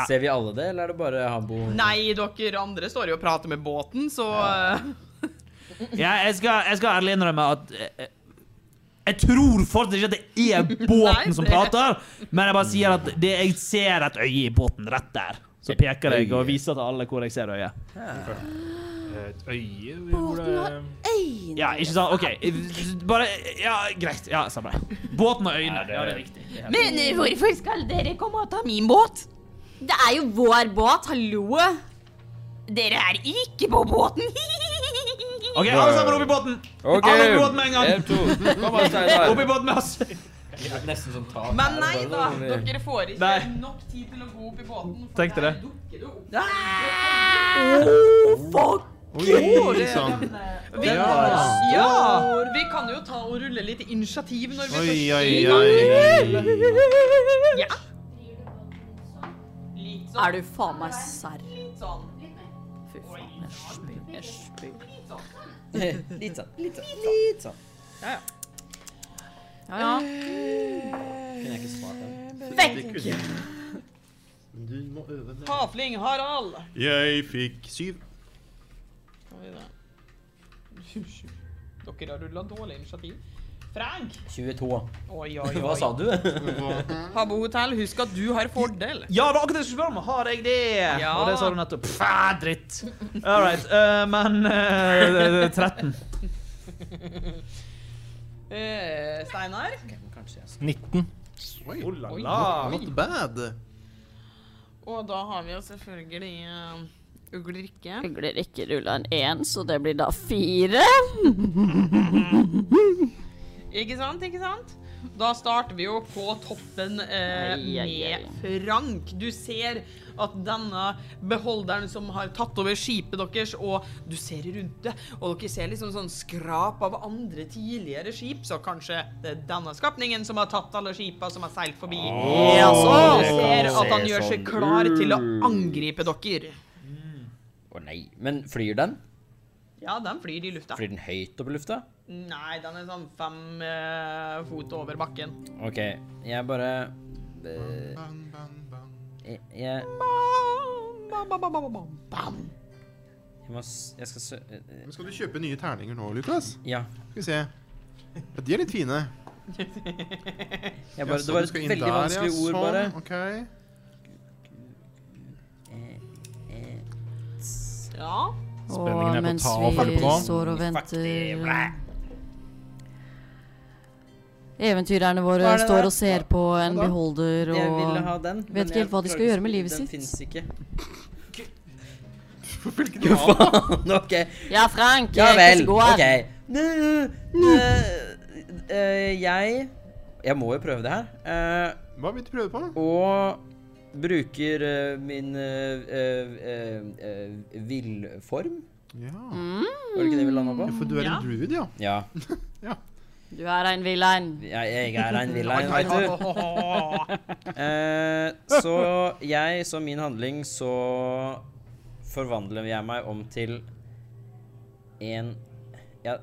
Speaker 2: Ser vi alle det, eller er det bare Habbo?
Speaker 1: Nei, dere andre står jo og prater med båten, så eh,
Speaker 6: Ja, jeg skal, jeg skal ærlig innrømme at eh, jeg tror fortsatt ikke at det er båten som
Speaker 1: det-
Speaker 6: prater, men jeg bare sier at det, jeg ser et øye i båten rett der. Så peker jeg og viser til alle hvor jeg ser øyet.
Speaker 3: Eh, Et øye
Speaker 16: Båten har øyne.
Speaker 6: Ja, ikke sant? OK. Bare Ja, greit. Ja, samme det. Båten og øynene. Ja, det er riktig.
Speaker 16: Men eh, hvorfor skal dere komme og ta min båt?
Speaker 7: Det er jo vår båt, hallo!
Speaker 16: Dere er ikke på båten!
Speaker 6: OK, alle sammen opp i båten!
Speaker 2: Ok.
Speaker 6: Alle opp i båten med en gang!
Speaker 2: En, to. Kom an, Steinar.
Speaker 6: Opp i båten med oss!
Speaker 2: Nesten som tak.
Speaker 1: Men nei da, dere får ikke
Speaker 6: Nei.
Speaker 1: nok tid til å gå opp i båten. for
Speaker 6: Tenkte
Speaker 1: der
Speaker 6: det.
Speaker 1: dukker det opp.
Speaker 4: Oi, sann.
Speaker 1: Vi,
Speaker 4: Den var stor.
Speaker 1: ja, vi kan jo ta og rulle litt initiativ når vi
Speaker 4: Oi,
Speaker 1: først
Speaker 4: oi,
Speaker 1: i gang.
Speaker 4: oi.
Speaker 1: Ja.
Speaker 7: Er du faen meg serr?
Speaker 1: Litt sånn. Litt mer.
Speaker 7: Fy faen, jeg spyr. Jeg spyr.
Speaker 2: Litt sånn. Litt sånn. Litt sånn. Ja, ja.
Speaker 7: Ja, ja.
Speaker 2: Kunne jeg ikke spart den?
Speaker 1: Vekk!
Speaker 4: Men Du må øve mer.
Speaker 1: Havling Harald.
Speaker 4: Jeg fikk syv.
Speaker 1: Skal vi da. Dere har rulla dårlig initiativ. Frank!
Speaker 2: 22.
Speaker 1: Oi, oi, oi.
Speaker 2: Hva sa du?
Speaker 1: Habbo Hotel, husk at du har fordel.
Speaker 6: Ja, det var akkurat det jeg skulle spørre om. Har jeg det?
Speaker 1: Ja.
Speaker 6: Og det sa du nettopp. Pffa, ah, dritt. All right. eh, men eh, 13.
Speaker 1: Eh, Steinar?
Speaker 3: 19.
Speaker 4: Oi.
Speaker 1: Oi.
Speaker 4: Not bad.
Speaker 1: Og da har vi jo selvfølgelig uh, Ulrikke.
Speaker 7: Ugler ikke ruller en én, så det blir da fire.
Speaker 1: Ikke sant, ikke sant? Da starter vi jo på toppen eh,
Speaker 7: Ai, ai, ai.
Speaker 1: med Frank. Du ser at denne beholderen som har tatt over skipet deres, og du ser rundt det, og dere ser liksom sånn skrap av andre tidligere skip, så kanskje det er denne skapningen som har tatt alle skipa som har seilt forbi.
Speaker 2: Åh,
Speaker 1: og du
Speaker 2: det
Speaker 1: ser
Speaker 2: kan
Speaker 1: at han
Speaker 2: se
Speaker 1: gjør seg
Speaker 2: sånn
Speaker 1: klar til å
Speaker 2: ut.
Speaker 1: angripe dere.
Speaker 2: Å nei. Men flyr den?
Speaker 1: Ja, den flyr i lufta.
Speaker 2: Flyr den høyt opp i lufta?
Speaker 1: Nei, den er sånn fem eh, fot over bakken.
Speaker 2: OK, jeg bare eh, jeg, jeg,
Speaker 1: Bam, bam, bam, bam, bam.
Speaker 2: jeg må s- Jeg skal sø... eh,
Speaker 4: Men skal du kjøpe nye terninger nå, Lukas?
Speaker 2: Ja.
Speaker 4: Skal vi se. Ja, de er litt fine.
Speaker 2: Jeg bare,
Speaker 4: Ja, så
Speaker 2: det var
Speaker 4: du
Speaker 2: et
Speaker 4: skal inn
Speaker 2: veldig
Speaker 4: der, ja,
Speaker 2: vanskelig ord,
Speaker 4: sånn,
Speaker 2: bare.
Speaker 4: ok.
Speaker 1: Ja.
Speaker 3: Spenningen er på ta og følge på.
Speaker 16: står og venter Eventyrerne våre
Speaker 2: Hva er det der?
Speaker 16: står og ser på en
Speaker 2: Hva da?
Speaker 16: beholder og
Speaker 2: Jeg ville ha den. men
Speaker 16: vet ikke
Speaker 2: jeg
Speaker 16: helt hva de skal
Speaker 2: klarte-
Speaker 16: gjøre med livet
Speaker 2: den
Speaker 16: sitt.
Speaker 2: finnes ikke.
Speaker 7: Ja,
Speaker 2: faen, ok.
Speaker 7: Ja, Frank.
Speaker 2: Ja
Speaker 7: eh,
Speaker 2: vel,
Speaker 7: hvordan går?
Speaker 2: ok. Eh, eh, jeg
Speaker 9: Jeg må jo prøve det her.
Speaker 2: Eh,
Speaker 4: Hva vil du prøve på?
Speaker 9: Og bruker eh, min eh, eh, eh, eh, villform.
Speaker 4: Ja.
Speaker 2: Mm,
Speaker 9: Var det ikke det vi landa på?
Speaker 1: Mm.
Speaker 4: For du er en druid, ja.
Speaker 9: Ja.
Speaker 5: Du er en villain.
Speaker 9: Jeg, jeg er en villain,
Speaker 5: Ai,
Speaker 9: veit
Speaker 5: ai,
Speaker 9: du. Eh, så jeg, som min handling, så forvandler jeg meg om til en Ja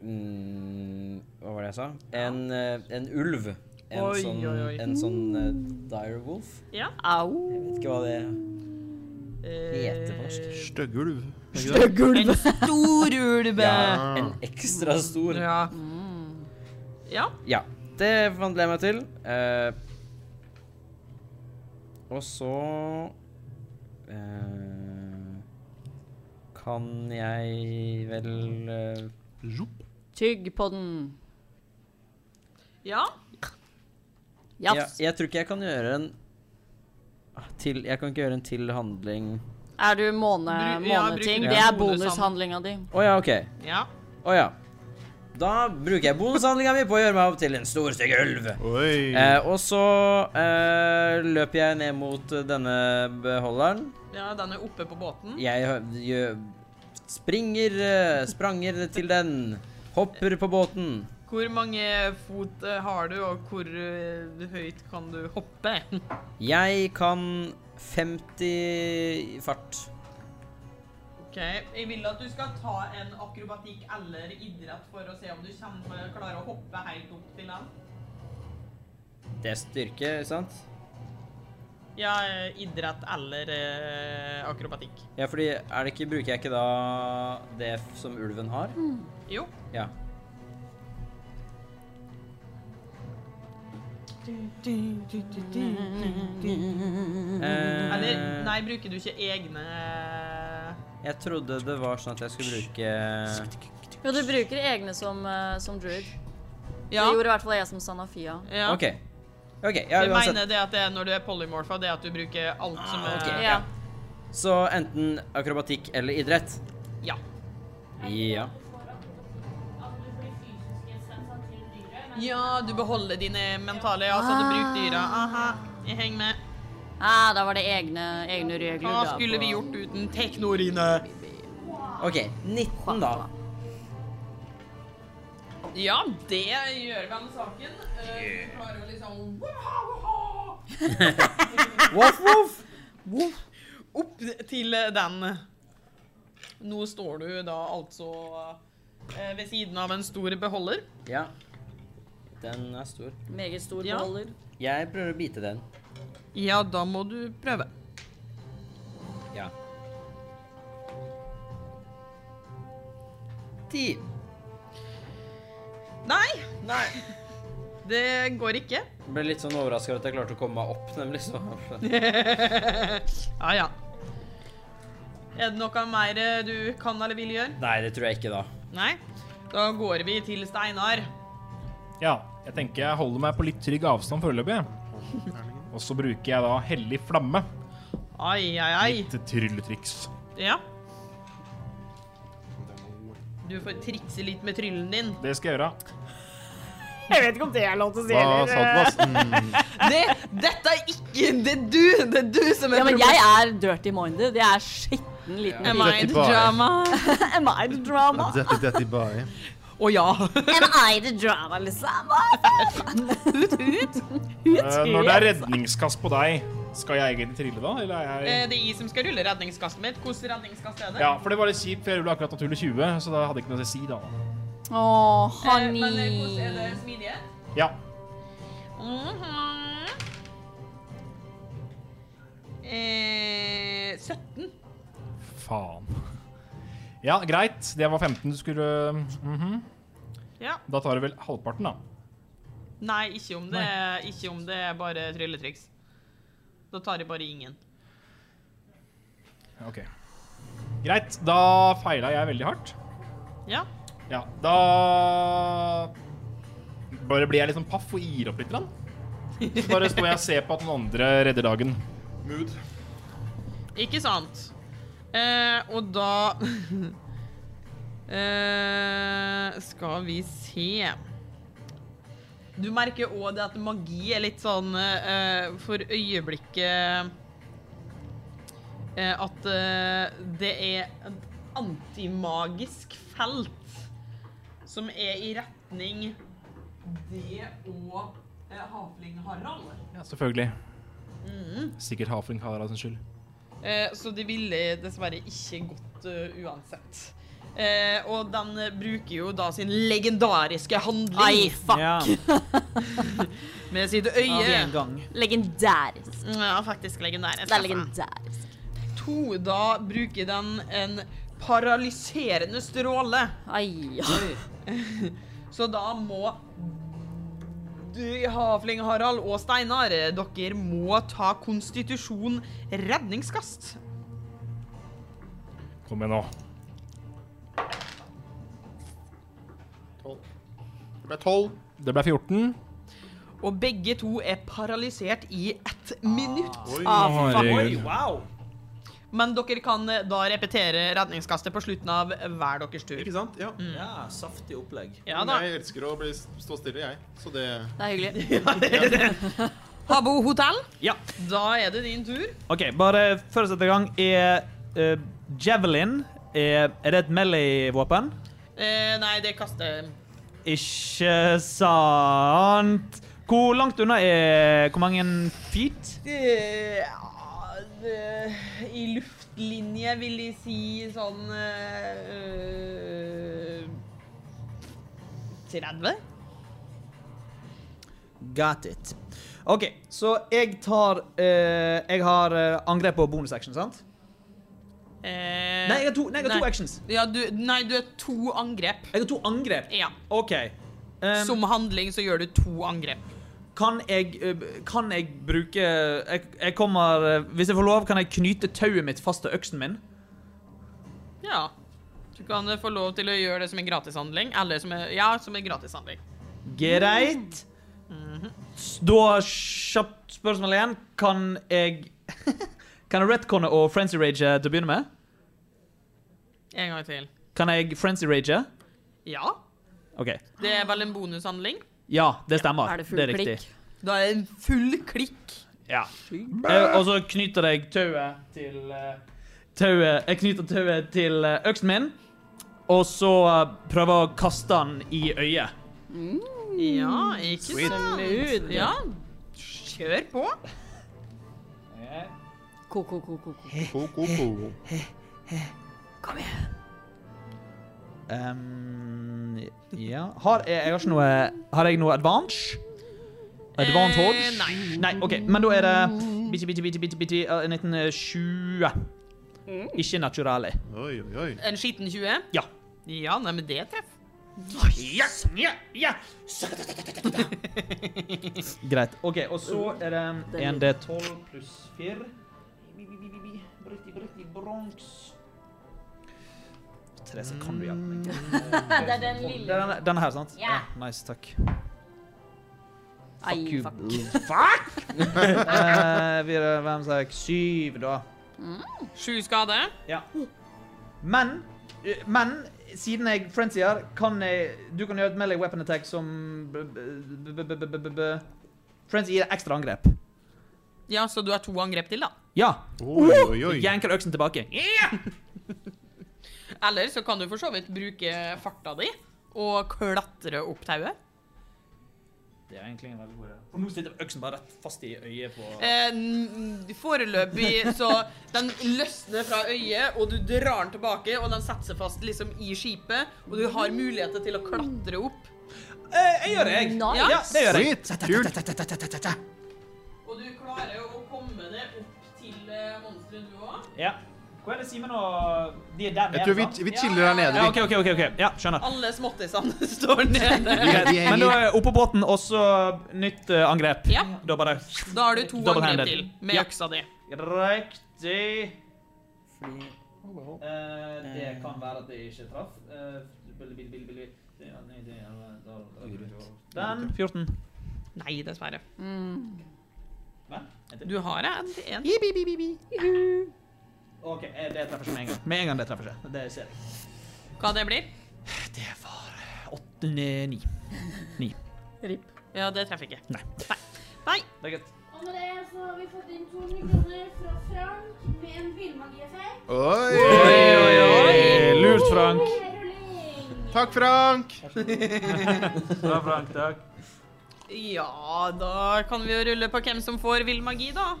Speaker 9: mm, Hva var det jeg sa? En, eh, en ulv. En
Speaker 1: Oi,
Speaker 9: sånn,
Speaker 1: oi, oi.
Speaker 9: En sånn eh, dire wolf.
Speaker 1: Ja.
Speaker 9: Jeg vet ikke hva det heter på norsk.
Speaker 4: Støggulv.
Speaker 9: Støggulv.
Speaker 1: En stor ulve.
Speaker 4: Ah.
Speaker 9: Ja, en ekstra stor.
Speaker 1: Eh, Ja. Mm. ja.
Speaker 9: Ja, det forvandler jeg meg til. Eh, og så eh, kan jeg vel eh,
Speaker 5: Tygg på den.
Speaker 1: Ja.
Speaker 9: ja, Jeg tror ikke jeg kan gjøre en ah, til, Jeg kan ikke gjøre en til handling
Speaker 5: Er du måne,
Speaker 9: Bru- ja,
Speaker 5: måneting?
Speaker 9: bruker
Speaker 5: Det er
Speaker 9: bonushandling.
Speaker 5: bonushandlinga di.
Speaker 9: Å ja, OK. Å
Speaker 1: Ja.
Speaker 9: ja. Da bruker jeg bonushandlinga mi på å gjøre meg opp til en stor, stygg ulv.
Speaker 4: Oi.
Speaker 9: Eh, og så eh, løper jeg ned mot denne beholderen.
Speaker 1: ja, den er oppe på båten.
Speaker 9: Jeg hø- gjø- springer eh, Spranger til den. Hopper på båten.
Speaker 1: Hvor mange fot eh, har du, og hvor eh, høyt kan du hoppe?
Speaker 9: Jeg kan 50 i fart.
Speaker 1: Ok, Jeg vil at du skal ta en akrobatikk eller idrett for å se om du kommer, klarer å hoppe helt opp til den.
Speaker 9: Det er styrke, sant?
Speaker 1: Ja, eh, idrett eller eh, akrobatikk.
Speaker 9: Ja, fordi er det ikke, bruker jeg ikke da det f- som ulven har?
Speaker 1: Jo.
Speaker 9: Ja. Eh,
Speaker 1: Eller nei, bruker du ikke egne
Speaker 9: Jeg trodde det var sånn at jeg skulle bruke
Speaker 5: Jo, du bruker egne som, eh, som druid.
Speaker 1: Ja.
Speaker 5: Det gjorde i hvert fall jeg som Sanafia.
Speaker 1: Ja.
Speaker 9: OK. OK, ja,
Speaker 1: Jeg
Speaker 9: uansett. Ah,
Speaker 1: mener det at det er når du er polymorfa, det er at du bruker alt som er
Speaker 9: ok.
Speaker 1: ja.
Speaker 9: Så enten akrobatikk eller idrett?
Speaker 1: Ja.
Speaker 9: Ja.
Speaker 1: ja, du beholder dine mentale, ja, så du bruker dyra. Aha, jeg henger med.
Speaker 5: Ah, da var det egne, egne regler.
Speaker 1: Hva
Speaker 5: da,
Speaker 1: skulle
Speaker 5: på-
Speaker 1: vi gjort uten teknorine?
Speaker 9: OK, 19 da.
Speaker 1: Ja, det gjør vel saken. Eh, Du klarer å liksom
Speaker 9: Voff, voff!
Speaker 1: Opp til den. Nå står du da altså eh, ved siden av en stor beholder.
Speaker 9: Ja. Den er stor.
Speaker 5: Meget stor
Speaker 1: Ja.
Speaker 5: beholder.
Speaker 9: Jeg prøver å bite den.
Speaker 1: Ja, da må du prøve.
Speaker 9: Ja. Ti.
Speaker 1: Nei! Det går ikke.
Speaker 9: Jeg ble litt sånn overraska at jeg klarte å komme meg opp, nemlig. Så.
Speaker 1: ja, ja. Er det noe mer eh, du kan eller vil gjøre?
Speaker 9: Nei, det tror jeg ikke, da.
Speaker 1: Nei? Da går vi til Steinar.
Speaker 3: Ja, jeg tenker jeg holder meg på litt trygg avstand foreløpig. Og så bruker jeg da hellig flamme.
Speaker 1: Ai, ai, ai.
Speaker 3: Litt trylletriks.
Speaker 1: Ja. Du får trikse litt med tryllen din.
Speaker 3: Det skal jeg gjøre.
Speaker 15: Jeg vet ikke om det er lov til å si
Speaker 3: Hva
Speaker 15: heller.
Speaker 3: sa du, Mads? Mm.
Speaker 1: Det, dette er ikke Det er du! Det er du som er
Speaker 5: Ja, men
Speaker 1: problemet.
Speaker 5: jeg er dirty minded. Jeg er skitten liten.
Speaker 1: Ja. Am I Dirty the boy. drama?
Speaker 5: Am I the drama?
Speaker 4: Dette, dette bare.
Speaker 1: Å ja.
Speaker 5: Am I the drama, liksom? Ut, ut.
Speaker 3: Eh, når det er redningskast på deg, skal jeg egentlig trille da? Eller er
Speaker 1: Eh,
Speaker 3: jeg
Speaker 1: Det er jeg som skal rulle redningskastet mitt. Hvordan redningskast er det? Eh,
Speaker 3: Ja, for det var litt kjipt, for jeg rulla akkurat naturlig 20, så da hadde jeg ikke noe å si, da.
Speaker 5: Å, honey.
Speaker 1: Men eh, hvordan er det smidighet?
Speaker 3: Ja.
Speaker 1: Mhm. eh, 17.
Speaker 3: Faen. Ja, greit. Det var 15 du skulle mhm.
Speaker 1: Ja.
Speaker 3: Da tar du vel halvparten, da.
Speaker 1: Nei, ikke om det, ikke om det er bare trylletriks. Da tar jeg bare ingen.
Speaker 3: Ok. Greit. Da feila jeg veldig hardt.
Speaker 1: Ja.
Speaker 3: Ja, da Bare blir jeg litt sånn paff og gir opp litt. Grann. Så bare står jeg og ser på at noen andre redder dagen.
Speaker 4: Mood.
Speaker 1: Ikke sant? Eh, og da eh, Skal vi se Du merker òg det at magi er litt sånn eh, For øyeblikket eh, At eh, det er et antimagisk felt som er i retning det og eh, Hafling Harald.
Speaker 3: Ja, selvfølgelig.
Speaker 4: Mm.
Speaker 1: Mhm.
Speaker 3: Sikkert Hafling Harald sin skyld.
Speaker 1: Eh, Så det ville dessverre ikke gått eh, uansett. Eh, og den eh, bruker jo da sin legendariske handling.
Speaker 7: Ai, fuck.
Speaker 1: Med sitt øye.
Speaker 7: Av en gang.
Speaker 1: Legendarisk. Ja, faktisk legendarisk.
Speaker 7: Det er
Speaker 1: legendarisk. To, da bruker den en paralyserende stråle. Ai, Så da må du, Havling, Harald og Steinar, eh, dere må ta konstitusjon redningskast.
Speaker 3: Kom igjen nå.
Speaker 4: Det ble 12.
Speaker 3: Det ble 14.
Speaker 1: Og begge to er paralysert i ett minutt.
Speaker 3: Oi. Ah, fuck. Herregud. Oi,
Speaker 1: Men dere kan eh, da repetere redningskastet på slutten av hver deres tur. Ikke
Speaker 4: sant? Ja.
Speaker 1: Mm.
Speaker 6: Saftig opplegg.
Speaker 1: Ja da.
Speaker 4: Jeg elsker å bli stå stille, jeg. Så det
Speaker 1: Det er hyggelig. Habo hotell,
Speaker 6: Ja.
Speaker 1: da er det din tur.
Speaker 6: OK, bare før vi setter i gang Er eh, javelin er, er det et melee-våpen?
Speaker 1: Eh, nei, det kaster
Speaker 6: Ikke sant Hvor langt unna er Hvor mange feet?
Speaker 1: Eh, ja, det- I luftlinje vil de si sånn eh, øh, 30?
Speaker 6: Got it. OK, så jeg tar eh, Jeg har eh, angrep og bonusaction, sant?
Speaker 1: Eh,
Speaker 6: Nei, jeg har to- nei, jeg har to actions.
Speaker 1: Ja, du, nei, du har to angrep.
Speaker 6: Jeg har to angrep?
Speaker 1: Ja.
Speaker 6: OK. Um,
Speaker 1: Som handling så gjør du to angrep.
Speaker 6: Kan jeg, eh, kan jeg bruke jeg, jeg kommer eh, Hvis jeg får lov, kan jeg knyte tauet mitt fast til øksen min?
Speaker 1: Ja. Du kan eh, få lov til å gjøre det som en gratishandling. Eller som en, ja, som en gratishandling.
Speaker 6: Greit.
Speaker 1: Mm.
Speaker 6: S- Da kjapt spørsmål igjen. Kan jeg Kan jeg retconne og frenzy rage til å begynne med?
Speaker 1: En gang til.
Speaker 6: Kan jeg frenzy rage?
Speaker 1: Ja.
Speaker 6: OK.
Speaker 1: Det er vel en bonushandling?
Speaker 6: Ja, det stemmer.
Speaker 1: er det
Speaker 6: det,
Speaker 1: full
Speaker 6: er riktig.
Speaker 1: klikk? Da er det en full klikk.
Speaker 6: Ja. Eh, Og så knyter jeg tauet til eh, Tauet Jeg knyter tauet til eh, øksen min, og så eh, prøver jeg å kaste den i øyet.
Speaker 1: Mm. Ja, ikke
Speaker 6: Sweet.
Speaker 1: sant? Ja. Kjør på.
Speaker 16: Ko-ko, ko-ko.
Speaker 6: Kom igjen. Um, ja har jeg, jeg har ikke noe Har jeg noe advantage? Advantage?
Speaker 1: Eh, nei.
Speaker 6: nei. OK, men da er det bitte, bitte, bitte, bitte, bitte eh, 1920.
Speaker 1: Mm.
Speaker 6: Ikke naturally.
Speaker 4: Oi, oi, oi.
Speaker 1: En skitten 20?
Speaker 6: Ja.
Speaker 1: Ja, nei, men det treffer.
Speaker 6: Yes, ja, ja. Greit. OK, og så er det en D12 pluss 4. Therese, kan du hjelpe meg?
Speaker 7: Det er den lille.
Speaker 6: Denne, denne her, sant?
Speaker 7: Ja.
Speaker 6: Nice, takk.
Speaker 7: Ai,
Speaker 6: you.
Speaker 7: fuck.
Speaker 6: Fuck! Eh, vi er, hvem sa jeg? Syv, da.
Speaker 1: Sju skade.
Speaker 6: Ja. Men, eh, men siden jeg frenzier, kan jeg Du kan gjøre et melee weapon attack som b- b- b- b- b- b- b- Frenzy gir ekstra angrep.
Speaker 1: Ja, så du har to angrep til, da.
Speaker 6: Ja.
Speaker 4: Oi, oi, oi.
Speaker 6: Jeg Jenker øksen tilbake.
Speaker 1: Eller så kan du for så vidt bruke farta di og klatre opp tauet.
Speaker 6: Det er egentlig en veldig god idé. For nå sitter øksen bare rett fast i øyet på
Speaker 1: Eh, n- foreløpig så Den løsner fra øyet, og du drar den tilbake, og den setter seg fast liksom i skipet, og du har muligheter til å klatre opp.
Speaker 6: Eh, Jeg gjør det, jeg.
Speaker 1: Ja.
Speaker 6: Ja, det gjør jeg.
Speaker 4: Sweet. Kult.
Speaker 1: Og du klarer jo å komme deg opp til eh, monsteret, du òg.
Speaker 6: Ja. Hvor er det Simen og De er der nede?
Speaker 4: Jeg tror vi,
Speaker 6: sant?
Speaker 4: vi chiller her nede.
Speaker 6: Ja, OK, OK. ok, ok. Ja, skjønner.
Speaker 1: Alle småttisene står nede.
Speaker 6: Greit. Men da er jeg oppå båten, og så nytt eh, angrep.
Speaker 1: Ja.
Speaker 6: Da bare
Speaker 1: Da har du to
Speaker 6: Double
Speaker 1: angrep
Speaker 6: handed.
Speaker 1: til med
Speaker 6: Ja.
Speaker 1: øksa di.
Speaker 6: Riktig. Eh, det kan være at det ikke traff. Eh, billi, billi, billi, billi. Det er- nei, det er- da- da- Den 14.
Speaker 1: Nei, dessverre.
Speaker 6: Hva? En
Speaker 1: Du
Speaker 6: til.
Speaker 1: har en. en.
Speaker 6: OK, eh, det treffer ikke med en gang. Med en gang det treffer ikke. Det ser jeg.
Speaker 1: Hva det blir?
Speaker 6: Den er ni. Ni.
Speaker 1: Rip. Ja, det treffer ikke.
Speaker 6: Nei.
Speaker 1: Nei.
Speaker 6: Det er greit.
Speaker 12: Og med det så har vi fått inn 200 kroner fra Frank med en villmagieffekt.
Speaker 4: Oi!
Speaker 6: Oi, oi, oi! Lurt, Frank.
Speaker 4: Takk, Frank.
Speaker 6: Bra, Frank. Takk.
Speaker 1: Ja, da kan vi jo rulle på hvem som får vill magi, da.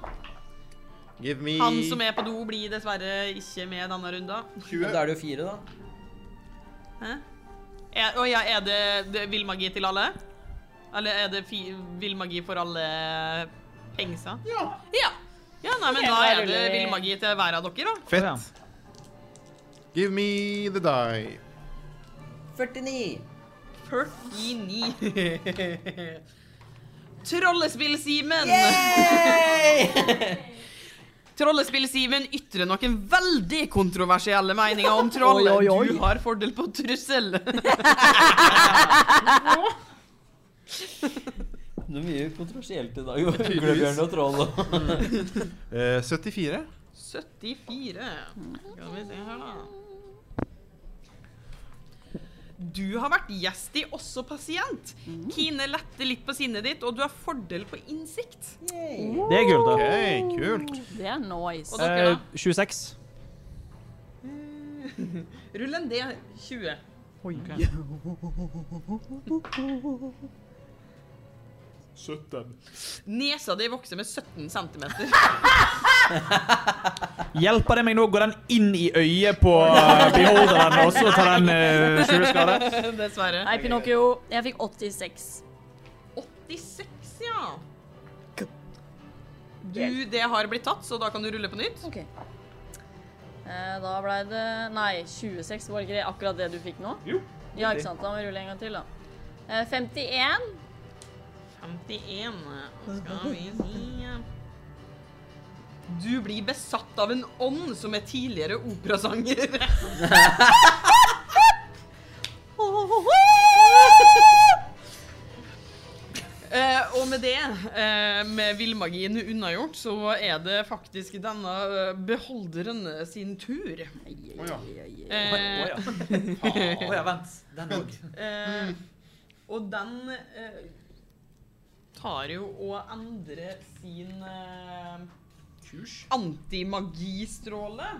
Speaker 4: Give me
Speaker 1: Han som er på do, blir dessverre ikke med denne runden.
Speaker 2: Men Da er det jo fire, da.
Speaker 1: Hæ? Er, å ja, er det, det vill magi til alle? Eller er det fi, vill magi for alle pengsa? Ja. Ja, nei, men
Speaker 18: Ok,
Speaker 1: da
Speaker 18: da
Speaker 1: er det
Speaker 18: ruller vi.
Speaker 1: vill magi til hver av dere, da.
Speaker 4: Fett. Give me the die.
Speaker 1: 49. 49. Trollespill-Simen. Trollespill-Simen ytrer noen veldig kontroversielle meninger om troll.
Speaker 18: Oi, oi, oi.
Speaker 1: Du har fordel på trussel.
Speaker 2: Det er mye kontroversielt i dag. Gløbjørn og troll og
Speaker 4: Eh, 74.
Speaker 1: 74. Skal vi se her, da. Du har vært gjest i Også pasient. Kine letter litt på sinnet ditt, og du har fordel på innsikt.
Speaker 6: Det er gull, da.
Speaker 4: Ok, kult.
Speaker 5: Det er nice.
Speaker 1: Og dere, da?
Speaker 6: Eh, 26.
Speaker 1: Rull en D20.
Speaker 6: Oi.
Speaker 4: 17.
Speaker 1: Nesa di vokser med 17 cm.
Speaker 6: Hjelper det meg nå? Går den inn i øyet på eh, beholderen, og så tar den uh, skjuleskade?
Speaker 1: Dessverre.
Speaker 5: Nei, Pinocchio. Jeg fikk 86.
Speaker 1: 86, ja. Du, det har blitt tatt, så da kan du rulle på nytt.
Speaker 5: Ok. Eh, da ble det Nei, 26 var ikke det akkurat det du fikk nå?
Speaker 6: Jo.
Speaker 5: Ja, ikke sant. Da må vi rulle en gang til, da. Eh, 51.
Speaker 1: 51. Skal vi si Du blir besatt av en ånd som er tidligere operasanger. Eh, og med det, eh, med villmagien unnagjort, så er det faktisk denne eh, beholderen sin tur.
Speaker 4: Å ja.
Speaker 1: Eh,
Speaker 6: Å ja, vent. Den òg.
Speaker 1: Eh, og den eh, tar jo og endrer sin eh, antimagistråle.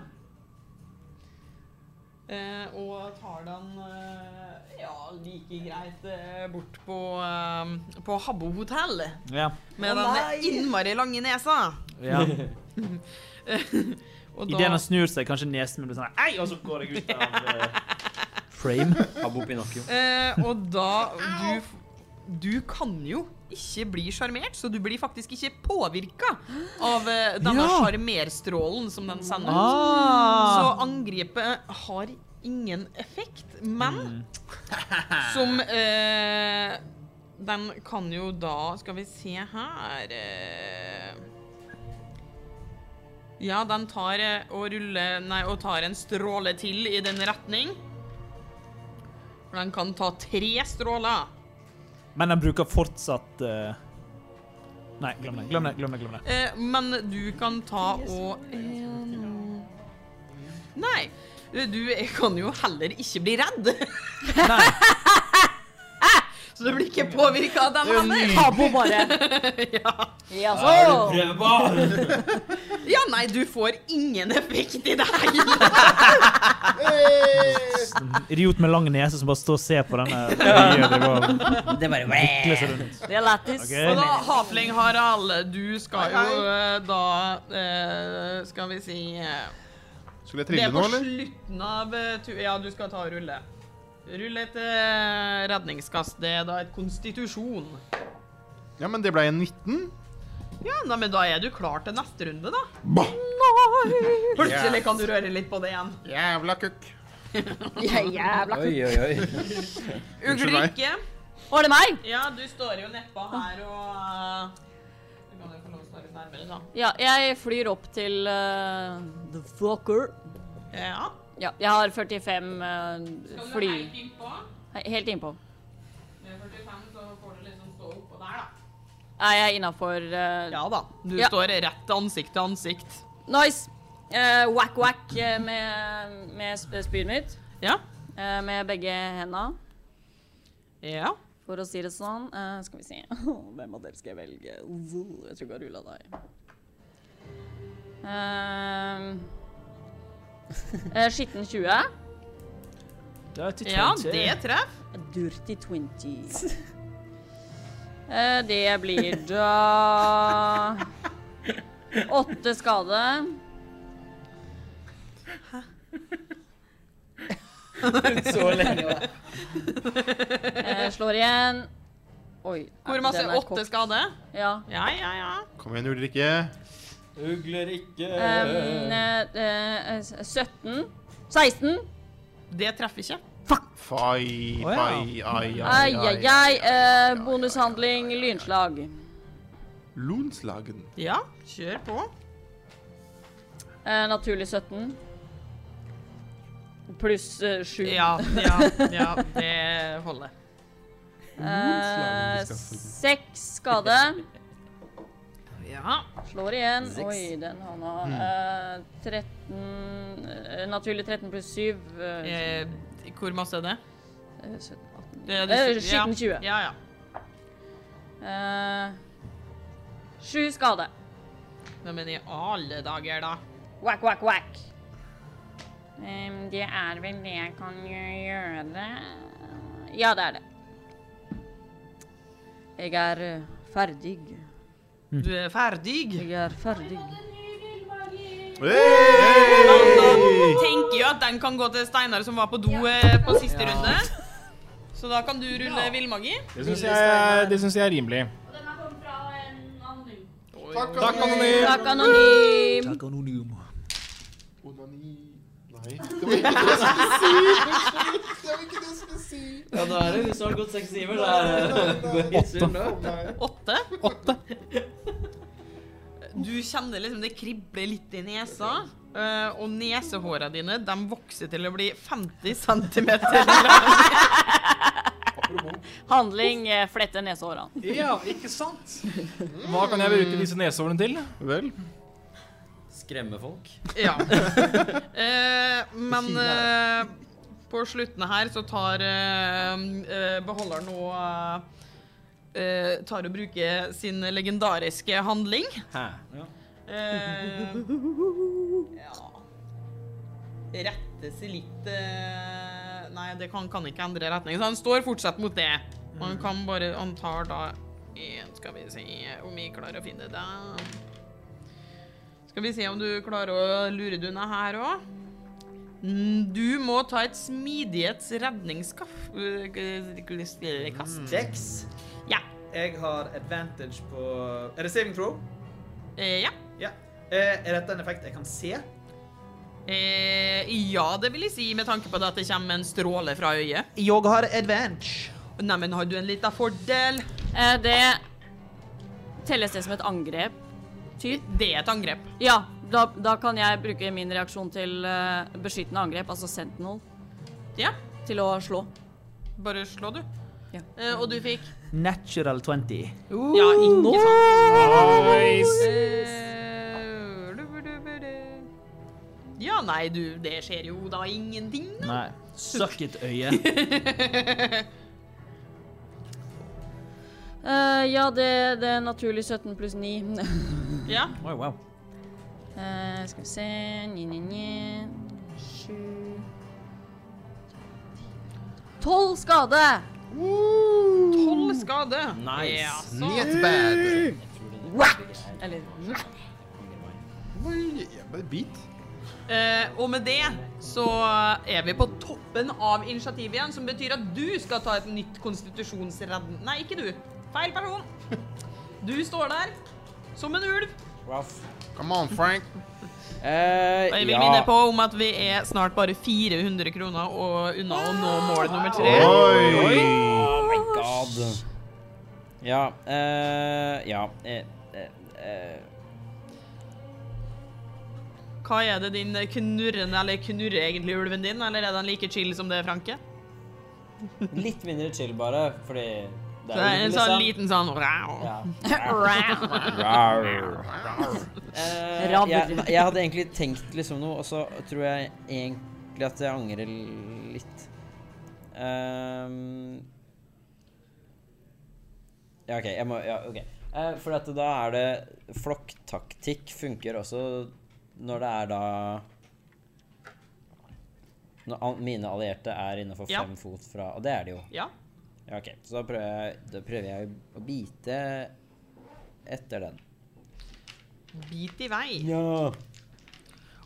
Speaker 1: Eh, og tar den eh, ja, like greit eh, bort på, eh, på Habbo hotell.
Speaker 6: Ja.
Speaker 1: Med den innmari lange nesa.
Speaker 6: ja.
Speaker 1: Og
Speaker 6: Idet han snur seg, kanskje nesen min blir sånn Ei, og så går jeg ut av eh, frame. Abo Pinocchio.
Speaker 1: Eh, og da du, f- du kan jo ikke bli sjarmert, så du blir faktisk ikke påvirka av eh, denne
Speaker 18: Ja.
Speaker 1: sjarmerstrålen som den sender ut.
Speaker 18: Ah.
Speaker 1: Så angrepet har ingen effekt, men som eh, Den kan jo da Skal vi se her eh, Ja, den tar eh, og ruller Nei, og tar en stråle til i den retning. For den kan ta tre stråler.
Speaker 6: Men han bruker fortsatt eh, Nei, glem det. Glem det. glem det, glem det.
Speaker 1: Eh, men du kan ta og en... Nei, du kan jo heller ikke bli redd. Så du blir ikke påvirka av den
Speaker 18: Det er
Speaker 1: heller.
Speaker 18: nydelig. Abo
Speaker 1: bare. ja.
Speaker 18: Er du prøvebar?
Speaker 1: ja, nei, du får ingen effekt i det hele
Speaker 6: Idiot med lang nese som bare står og ser på denne
Speaker 1: Ja.
Speaker 6: Det bare vikler seg rundt.
Speaker 5: Det er lættis.
Speaker 6: Ok.
Speaker 1: Og da, Hafling Harald, du skal jo eh, da eh, Skal vi si eh,
Speaker 4: Skulle
Speaker 1: Det
Speaker 4: jeg trille
Speaker 1: er på
Speaker 4: nå, eller?
Speaker 1: slutten av eh, tu- Ja, du skal ta og rulle. Rull et eh, redningskast. Det er da et konstitusjon.
Speaker 4: Ja, men det ble en 19.
Speaker 1: Ja, nei, men da er du klar til neste runde, da.
Speaker 4: Bah!
Speaker 1: Nei! Plutselig kan du røre litt på det igjen.
Speaker 4: Jævla kukk.
Speaker 1: Ja,
Speaker 5: jævla
Speaker 4: Oi, oi, oi. Unnskyld meg.
Speaker 1: Ulrikke.
Speaker 5: Var det meg?
Speaker 1: Ja, du står jo nedpå her og eh, Du kan jo få lov å stå litt nærmere, da.
Speaker 5: Ja, jeg flyr opp til eh, The Fucker.
Speaker 1: Ja.
Speaker 5: Jeg har 45 eh,
Speaker 1: Skal du
Speaker 5: fly.
Speaker 1: helt innpå?
Speaker 5: He- Helt innpå.
Speaker 1: Med 45 så får du liksom stå oppå der, da.
Speaker 5: Er jeg innafor eh,
Speaker 1: Ja da. Du står rett ansikt til ansikt.
Speaker 5: Nice! Eh, whack, whack eh, med, med sp- spydet mitt.
Speaker 1: Ja.
Speaker 5: Eh, med begge henda.
Speaker 1: Ja.
Speaker 7: For å si det sånn, eh, skal vi si Hvem av dere skal jeg velge? Uh, Jeg tror ikke jeg har rulla deg. Eh, eh, Skitten 20.
Speaker 6: Dirty
Speaker 1: Ja, det treff.
Speaker 7: Dirty 20. Eh, det blir da Åtte skade.
Speaker 1: Så lenge,
Speaker 7: da. Eh, slår igjen. Oi.
Speaker 1: Hvor masse?
Speaker 7: den er
Speaker 1: Åtte
Speaker 7: kort.
Speaker 1: skade?
Speaker 7: Ja.
Speaker 1: Ja, ja, ja.
Speaker 4: Kom igjen, Ulrikke.
Speaker 2: Uglerikke
Speaker 7: Um, eh, eh, 17. 16.
Speaker 1: Det treffer ikke.
Speaker 4: Fai,
Speaker 1: Å, ja.
Speaker 4: fai, ai, ai,
Speaker 7: Ai, ai,
Speaker 4: ai.
Speaker 7: ai. eh, bonushandling, lynslag.
Speaker 4: Lonslagen.
Speaker 1: Ja, kjør på.
Speaker 7: Eh, naturlig 17. Pluss eh, 7.
Speaker 1: Ja, ja, ja, det holder.
Speaker 7: Eh, Seks skade.
Speaker 1: Ja.
Speaker 7: Slår igjen.
Speaker 1: Seks.
Speaker 7: Oi, den han har. Eh, 13 eh, Naturlig 13 pluss 7.
Speaker 1: Eh, hvor masse er det?
Speaker 7: Eh, 17, 18.
Speaker 1: Det- det-
Speaker 7: Eh,
Speaker 1: ja.
Speaker 7: skitten 20.
Speaker 1: Ja, ja.
Speaker 7: Eh, Sju skade.
Speaker 1: Nei, Men i alle dager, da.
Speaker 7: Whack, whack, whack. Ehm, det er vel det jeg kan gjøre. Ja, det er det. Jeg er eh, ferdig.
Speaker 1: Du er ferdig?
Speaker 7: Jeg er ferdig.
Speaker 1: Hey! Tenker jo at den kan gå til Steinar som var på do eh, på siste runde. Så da kan du rulle villmagi.
Speaker 3: Det syns jeg, det syns jeg er rimelig.
Speaker 1: Takk,
Speaker 3: anonym.
Speaker 7: Takk, anonym.
Speaker 6: Takk, anonym.
Speaker 4: Nei, det var ikke det jeg skulle si! Unnskyld, det var ikke det jeg skulle si.
Speaker 2: Ja, da er det hvis du har gått seks timer, da er det
Speaker 3: Åtte.
Speaker 1: Åtte? Du kjenner liksom det kribler litt i nesa. eh, og nesehåra dine de vokser til å bli 50 cm
Speaker 7: Handling eh, flette nesehårene.
Speaker 3: Ja, ikke sant? Hva kan jeg bruke disse nesehårene til? Vel
Speaker 2: Skremme folk.
Speaker 1: Ja. Eh, men eh, på slutten her så tar eh, eh, beholderen nå eh, eh, Tar og bruker sin legendariske handling.
Speaker 2: Hæ? Ja.
Speaker 1: Eh, ja Rette seg litt eh, Nei, det kan, kan ikke endre retning. Så han står fortsatt mot det. Og han kan bare Han tar da en, Skal vi se om vi klarer å finne det. Skal vi se om du klarer å lure det unna her òg. Du må ta et eh, smidighetsredningskast.
Speaker 6: Dex.
Speaker 1: Ja.
Speaker 6: Jeg har advantage på Er det saving throw?
Speaker 1: ja.
Speaker 6: ja. Eh, er dette en effekt jeg kan se?
Speaker 1: Eh, ja, det vil jeg si, med tanke på det at det kommer en stråle fra øyet.
Speaker 6: Jeg har advantage.
Speaker 1: Neimen, har du en liten fordel?
Speaker 7: Eh, det telles det som et angrep? Typ?
Speaker 1: Det er et angrep.
Speaker 7: Ja, da, da kan jeg bruke min reaksjon til eh, beskyttende angrep, altså sentinel,
Speaker 1: Ja,
Speaker 7: til å slå.
Speaker 1: bare slå, du. Eh, og du fikk
Speaker 6: Natural 20.
Speaker 1: Ja, ikke sant?
Speaker 6: Nice.
Speaker 1: Eh, du, du, du, du. Ja, nei, du, det skjer jo da ingenting.
Speaker 6: Nei. Suck it, øye.
Speaker 7: Eh, ja, det, det er naturlig 17 pluss 9.
Speaker 1: Ja.
Speaker 6: Oi, wow.
Speaker 7: Eh, skal vi se 9, 9, 9 7 12 skade!
Speaker 1: Tolv skade.
Speaker 2: Nice.
Speaker 1: Ja, så.
Speaker 4: Netbad.
Speaker 7: Whack! Eller whack.
Speaker 4: Bare bit.
Speaker 1: Eh, og med det så er vi på toppen av initiativet igjen, som betyr at du skal ta et nytt konstitusjonsredning... Nei, ikke du. Feil person. Du står der som en ulv.
Speaker 4: Come on, Frank.
Speaker 9: Eh,
Speaker 1: Og jeg vil
Speaker 9: ja.
Speaker 1: minne på om at vi er snart bare 400 kroner og unna å nå mål nummer tre.
Speaker 9: Oh my god. Ja, eh, ja. eh, eh, eh.
Speaker 1: Hva er det din knurrende, eller knurrer egentlig ulven din, eller er den like chill som det, Franke?
Speaker 2: Litt mindre chill, bare, fordi
Speaker 1: Så det er en
Speaker 9: liksom.
Speaker 1: sånn liten sånn
Speaker 2: Eh,
Speaker 9: jeg,
Speaker 2: jeg,
Speaker 9: jeg hadde egentlig tenkt liksom noe, og så tror jeg egentlig at jeg angrer litt. Ehm, Ja, ok. Jeg må, ja, ok. Eh, for at da er det Flokktaktikk funker også når det er da Når al- mine allierte er innenfor
Speaker 1: Ja.
Speaker 9: fem fot fra Og det er de jo.
Speaker 1: Ja.
Speaker 9: Ja, ok. Så da prøver jeg, da prøver jeg å bite etter den.
Speaker 1: Bit i vei.
Speaker 9: Ja.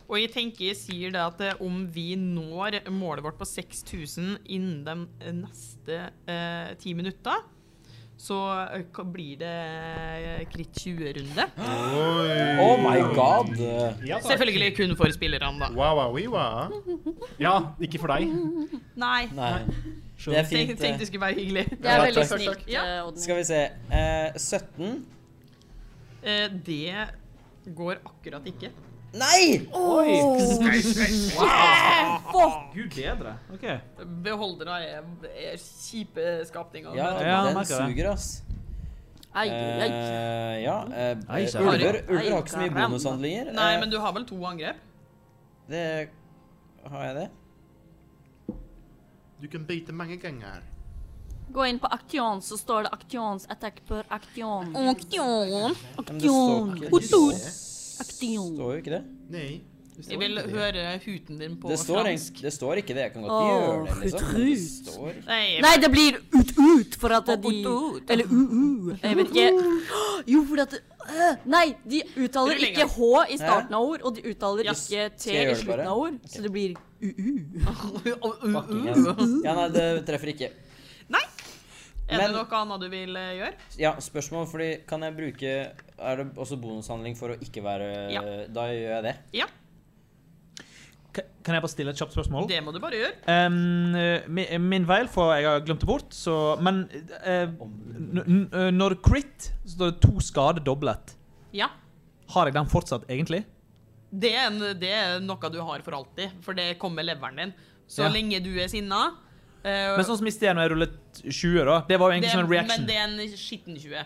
Speaker 1: Og jeg tenker jeg sier det at eh, om vi når målet vårt på 6000 innen de neste eh, ti minutta, så eh, ka- blir det eh, kritt 20-runde.
Speaker 9: Oh my god!
Speaker 3: Ja, takk.
Speaker 1: Selvfølgelig kun for spillerne, da.
Speaker 4: Wow, wow, wow.
Speaker 3: Ja, ikke for deg.
Speaker 1: Nei.
Speaker 9: Nei.
Speaker 3: Skjønner.
Speaker 9: Det er fint.
Speaker 1: Tenk- tenkte det skulle være hyggelig. Det
Speaker 9: Ja,
Speaker 1: er veldig
Speaker 9: takk.
Speaker 1: snilt, Ja. Oddny.
Speaker 9: Skal vi se. Eh, 17.
Speaker 1: Eh, det går akkurat ikke.
Speaker 9: Nei!
Speaker 6: Oi!
Speaker 1: Wow!
Speaker 6: Gud bedre. OK.
Speaker 1: Beholdere er, er kjipe skapninger.
Speaker 9: Ja,
Speaker 6: Ja,
Speaker 9: den
Speaker 6: merker det.
Speaker 9: suger, ass.
Speaker 1: Ai, ai.
Speaker 9: Eh, ja. eh,
Speaker 6: Ai, sa-
Speaker 9: ulver, ulver
Speaker 1: Ai,
Speaker 9: har ikke så mye
Speaker 1: karam.
Speaker 9: bonushandlinger.
Speaker 1: Nei,
Speaker 9: Eh,
Speaker 1: men du har vel to angrep?
Speaker 9: Det Har jeg det?
Speaker 4: Du kan bite mange ganger.
Speaker 7: Gå inn på Action, så står det Actions attack per Action.
Speaker 1: Action.
Speaker 9: Men det står ikke det står jo ikke det.
Speaker 4: Nei.
Speaker 1: Jeg vil høre huten din på
Speaker 9: Det står,
Speaker 1: fransk.
Speaker 9: egentlig- det står ikke det. Jeg kan godt
Speaker 7: Åh,
Speaker 9: gjøre det, liksom. men Det
Speaker 7: utrus.
Speaker 9: står
Speaker 1: Nei,
Speaker 7: Nei, det blir ut-ut for at de
Speaker 1: ut-ut.
Speaker 7: Eller u-u. Jeg vet ikke. Jo, fordi at øh, Nei, de uttaler
Speaker 1: Rullingen.
Speaker 7: ikke H i starten av ord, og de uttaler
Speaker 1: Yes.
Speaker 7: ikke
Speaker 9: Skal
Speaker 7: T
Speaker 9: jeg
Speaker 7: i
Speaker 9: gjøre det
Speaker 7: slutten
Speaker 9: bare?
Speaker 7: av ord, så det blir
Speaker 9: Fucking
Speaker 1: Mm,
Speaker 7: u-u.
Speaker 9: ass. Ja, nei, det treffer ikke.
Speaker 1: Er
Speaker 9: Men-
Speaker 1: det noe annet du vil eh, gjøre?
Speaker 9: Ja, spørsmål, fordi kan jeg bruke Er det også bonushandling for å ikke være
Speaker 1: Ja.
Speaker 9: Da gjør jeg det.
Speaker 6: Kan jeg bare stille et kjapt spørsmål?
Speaker 1: Det må du bare gjøre.
Speaker 6: Ehm, mi- min feil, for jeg har glemt det bort. Så, men eh, n- n- eh, når crit, så står det to skade doblet.
Speaker 1: Ja.
Speaker 6: Har jeg den fortsatt, egentlig?
Speaker 1: Det er, en, det er noe du har for alltid, for det kommer leveren din. Så
Speaker 6: Ja.
Speaker 1: lenge du er sinna eh,
Speaker 6: Men sånn som i sted når jeg rullet 20, da. Det var jo
Speaker 1: det,
Speaker 6: egentlig som en sånn
Speaker 1: Men
Speaker 6: reaction.
Speaker 1: det er en skitten 20.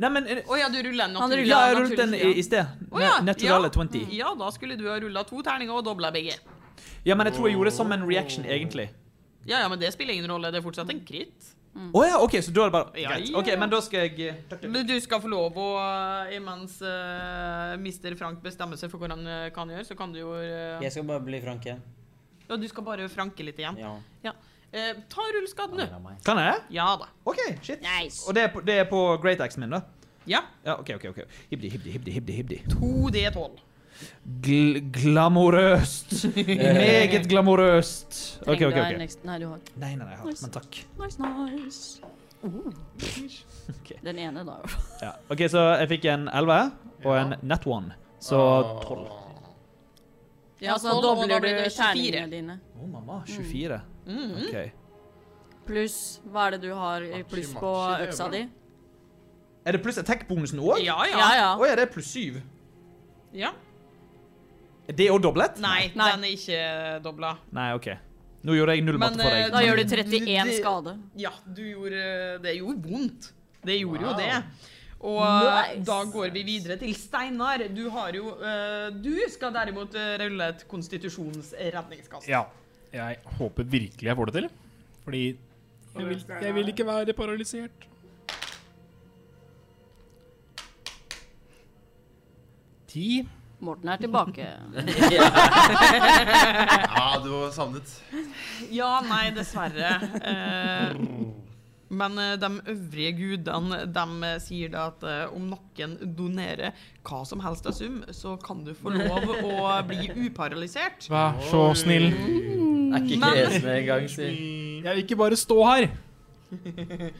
Speaker 6: Nei, men eh,
Speaker 1: Å ja, du ruller en
Speaker 6: Han
Speaker 1: naturlig.
Speaker 6: ja, jeg rullet
Speaker 1: naturlig
Speaker 6: den i,
Speaker 1: 20, ja.
Speaker 6: i sted.
Speaker 1: Å ja, Mm.
Speaker 6: Ne- Naturale
Speaker 1: ja.
Speaker 6: 20.
Speaker 1: Ja, da skulle du ha rulla to terninger og dobla begge.
Speaker 6: Ja, men jeg tror jeg gjorde det som en reaction,
Speaker 1: Mm.
Speaker 6: egentlig.
Speaker 1: Ja, ja, men det spiller ingen rolle. Det er fortsatt en kritt.
Speaker 6: Å ja, OK, så da er det bare
Speaker 1: Ja,
Speaker 6: greit.
Speaker 1: ja,
Speaker 6: OK,
Speaker 1: ja.
Speaker 6: men da skal jeg eh,
Speaker 1: Men du skal få lov å eh, Imens eh, mister Frank bestemmer seg for hva han eh, kan gjøre, så kan du jo eh,
Speaker 9: Jeg skal bare bli frank igjen.
Speaker 1: Ja, du skal bare franke litt igjen.
Speaker 9: Ja.
Speaker 1: Eh, ta rullskaden, du.
Speaker 6: Kan jeg det?
Speaker 1: Ja da.
Speaker 6: OK, shit. Og det er på, det er på great axe-en min, da?
Speaker 1: Ja.
Speaker 6: Ja, OK, OK. ok. Hibdi, hibdi, hibdi, hibdi. hibdi.
Speaker 1: 2D12.
Speaker 6: Gl glamorøst. Meget glamorøst. OK,
Speaker 5: Trenger
Speaker 6: OK.
Speaker 5: du en
Speaker 6: ok.
Speaker 5: ekstra- Nei, du har ikke.
Speaker 6: Nei, nei, nei, jeg har ikke, men takk.
Speaker 5: Nice, nice.
Speaker 7: Den ene, da.
Speaker 6: Ja. OK, så jeg fikk en 11 og en net one, så
Speaker 1: Ah.
Speaker 6: 12.
Speaker 5: Ja, så
Speaker 7: tolv, og da
Speaker 5: dobler du
Speaker 7: blir det 24.
Speaker 5: terningene dine.
Speaker 6: Å, mamma. 24.
Speaker 1: Mm.
Speaker 7: Mhm.
Speaker 6: OK.
Speaker 5: Pluss
Speaker 7: Hva er det du har i pluss på
Speaker 5: machi, det er
Speaker 7: øksa
Speaker 5: bra.
Speaker 7: di?
Speaker 6: Er det pluss attack-bonusen òg?
Speaker 1: Ja, ja.
Speaker 7: Ja,
Speaker 6: Å ja, det er pluss 7.
Speaker 1: Ja.
Speaker 6: Er det òg doblet?
Speaker 1: Nei, den er ikke dobla.
Speaker 6: Nei, OK. Nå gjorde jeg null matte for
Speaker 1: eh,
Speaker 6: deg.
Speaker 1: Da gjør du 31
Speaker 7: Det-
Speaker 1: skade. Ja, du gjorde Det gjorde vondt. Det gjorde
Speaker 6: Wow.
Speaker 1: jo det. Og
Speaker 7: Nice.
Speaker 1: da går vi videre til Steinar. Du har jo eh, Du skal derimot eh, rulle et konstitusjonsredningskast.
Speaker 3: Ja. Jeg håper virkelig jeg får det til. Fordi jeg vil, jeg vil ikke være paralysert. Ti.
Speaker 7: Morten er tilbake.
Speaker 4: ja, du var savnet.
Speaker 1: Ja, nei, dessverre. Eh, men eh, de øvrige gudene de eh, sier da at eh, om noen donerer hva som helst av sum, så kan du få lov å bli uparalysert.
Speaker 3: Vær så snill.
Speaker 1: Er ikke Men- kresen
Speaker 2: engang,
Speaker 3: si. Jeg vil ikke bare stå her.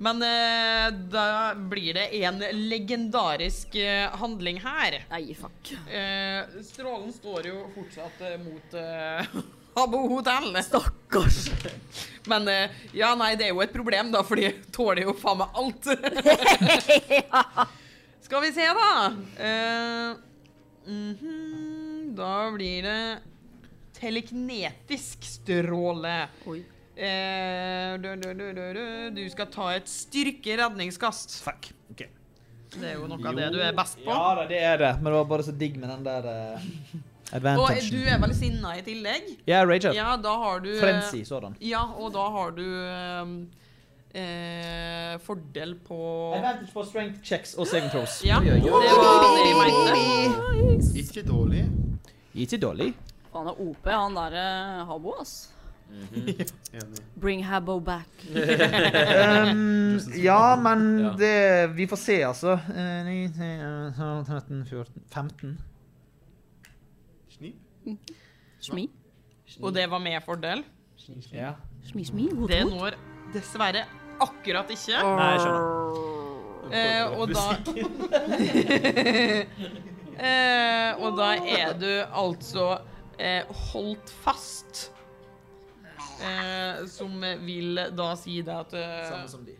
Speaker 1: Men eh, da blir det en legendarisk eh, handling her.
Speaker 7: Nei, fuck.
Speaker 1: Eh, strålen står jo fortsatt eh, mot eh, Habbo hotell.
Speaker 7: Stakkars.
Speaker 1: Men eh, ja, nei, det er jo et problem, da, for de tåler jo faen meg alt. Skal vi se, da. Eh, mhm, da blir det teleknetisk stråle. Eh,
Speaker 7: Oi.
Speaker 1: du, du, du, du, du. du skal ta et styrkeredningskast.
Speaker 6: Fuck. ok.
Speaker 1: Det er jo noe av det du er best på.
Speaker 6: Ja da, det er det, men det var bare så digg med den der eh,
Speaker 1: Og
Speaker 6: advantagen.
Speaker 1: du er vel sinna i tillegg?
Speaker 6: Ja, eh, rage up.
Speaker 1: Ja, da har du
Speaker 6: Frenzy, sådan.
Speaker 1: Ja, og da har du ehm, eh, fordel på
Speaker 6: Advantage for strength checks og saving throws.
Speaker 1: Ja,
Speaker 6: Oi, oi, oi.
Speaker 1: det var det jeg mente.
Speaker 4: Ikke dårlig.
Speaker 6: Ikke dårlig.
Speaker 5: Han er OP, han der eh, Habo, ass.
Speaker 4: Enig.
Speaker 5: Bring Habbo back.
Speaker 6: um, ja, men det Vi får se, altså. Eh, ni, ti, eh, tolv, 13, 14 15.
Speaker 5: Smi.
Speaker 1: Og det var med fordel.
Speaker 6: Ja.
Speaker 5: Smi, smi, god
Speaker 1: Det
Speaker 5: mot.
Speaker 1: når dessverre akkurat ikke.
Speaker 6: Nei, jeg
Speaker 1: Eh, og da eh, Og da er du altså eh, holdt fast. Eh, som vil da si det at eh,
Speaker 6: Samme som de.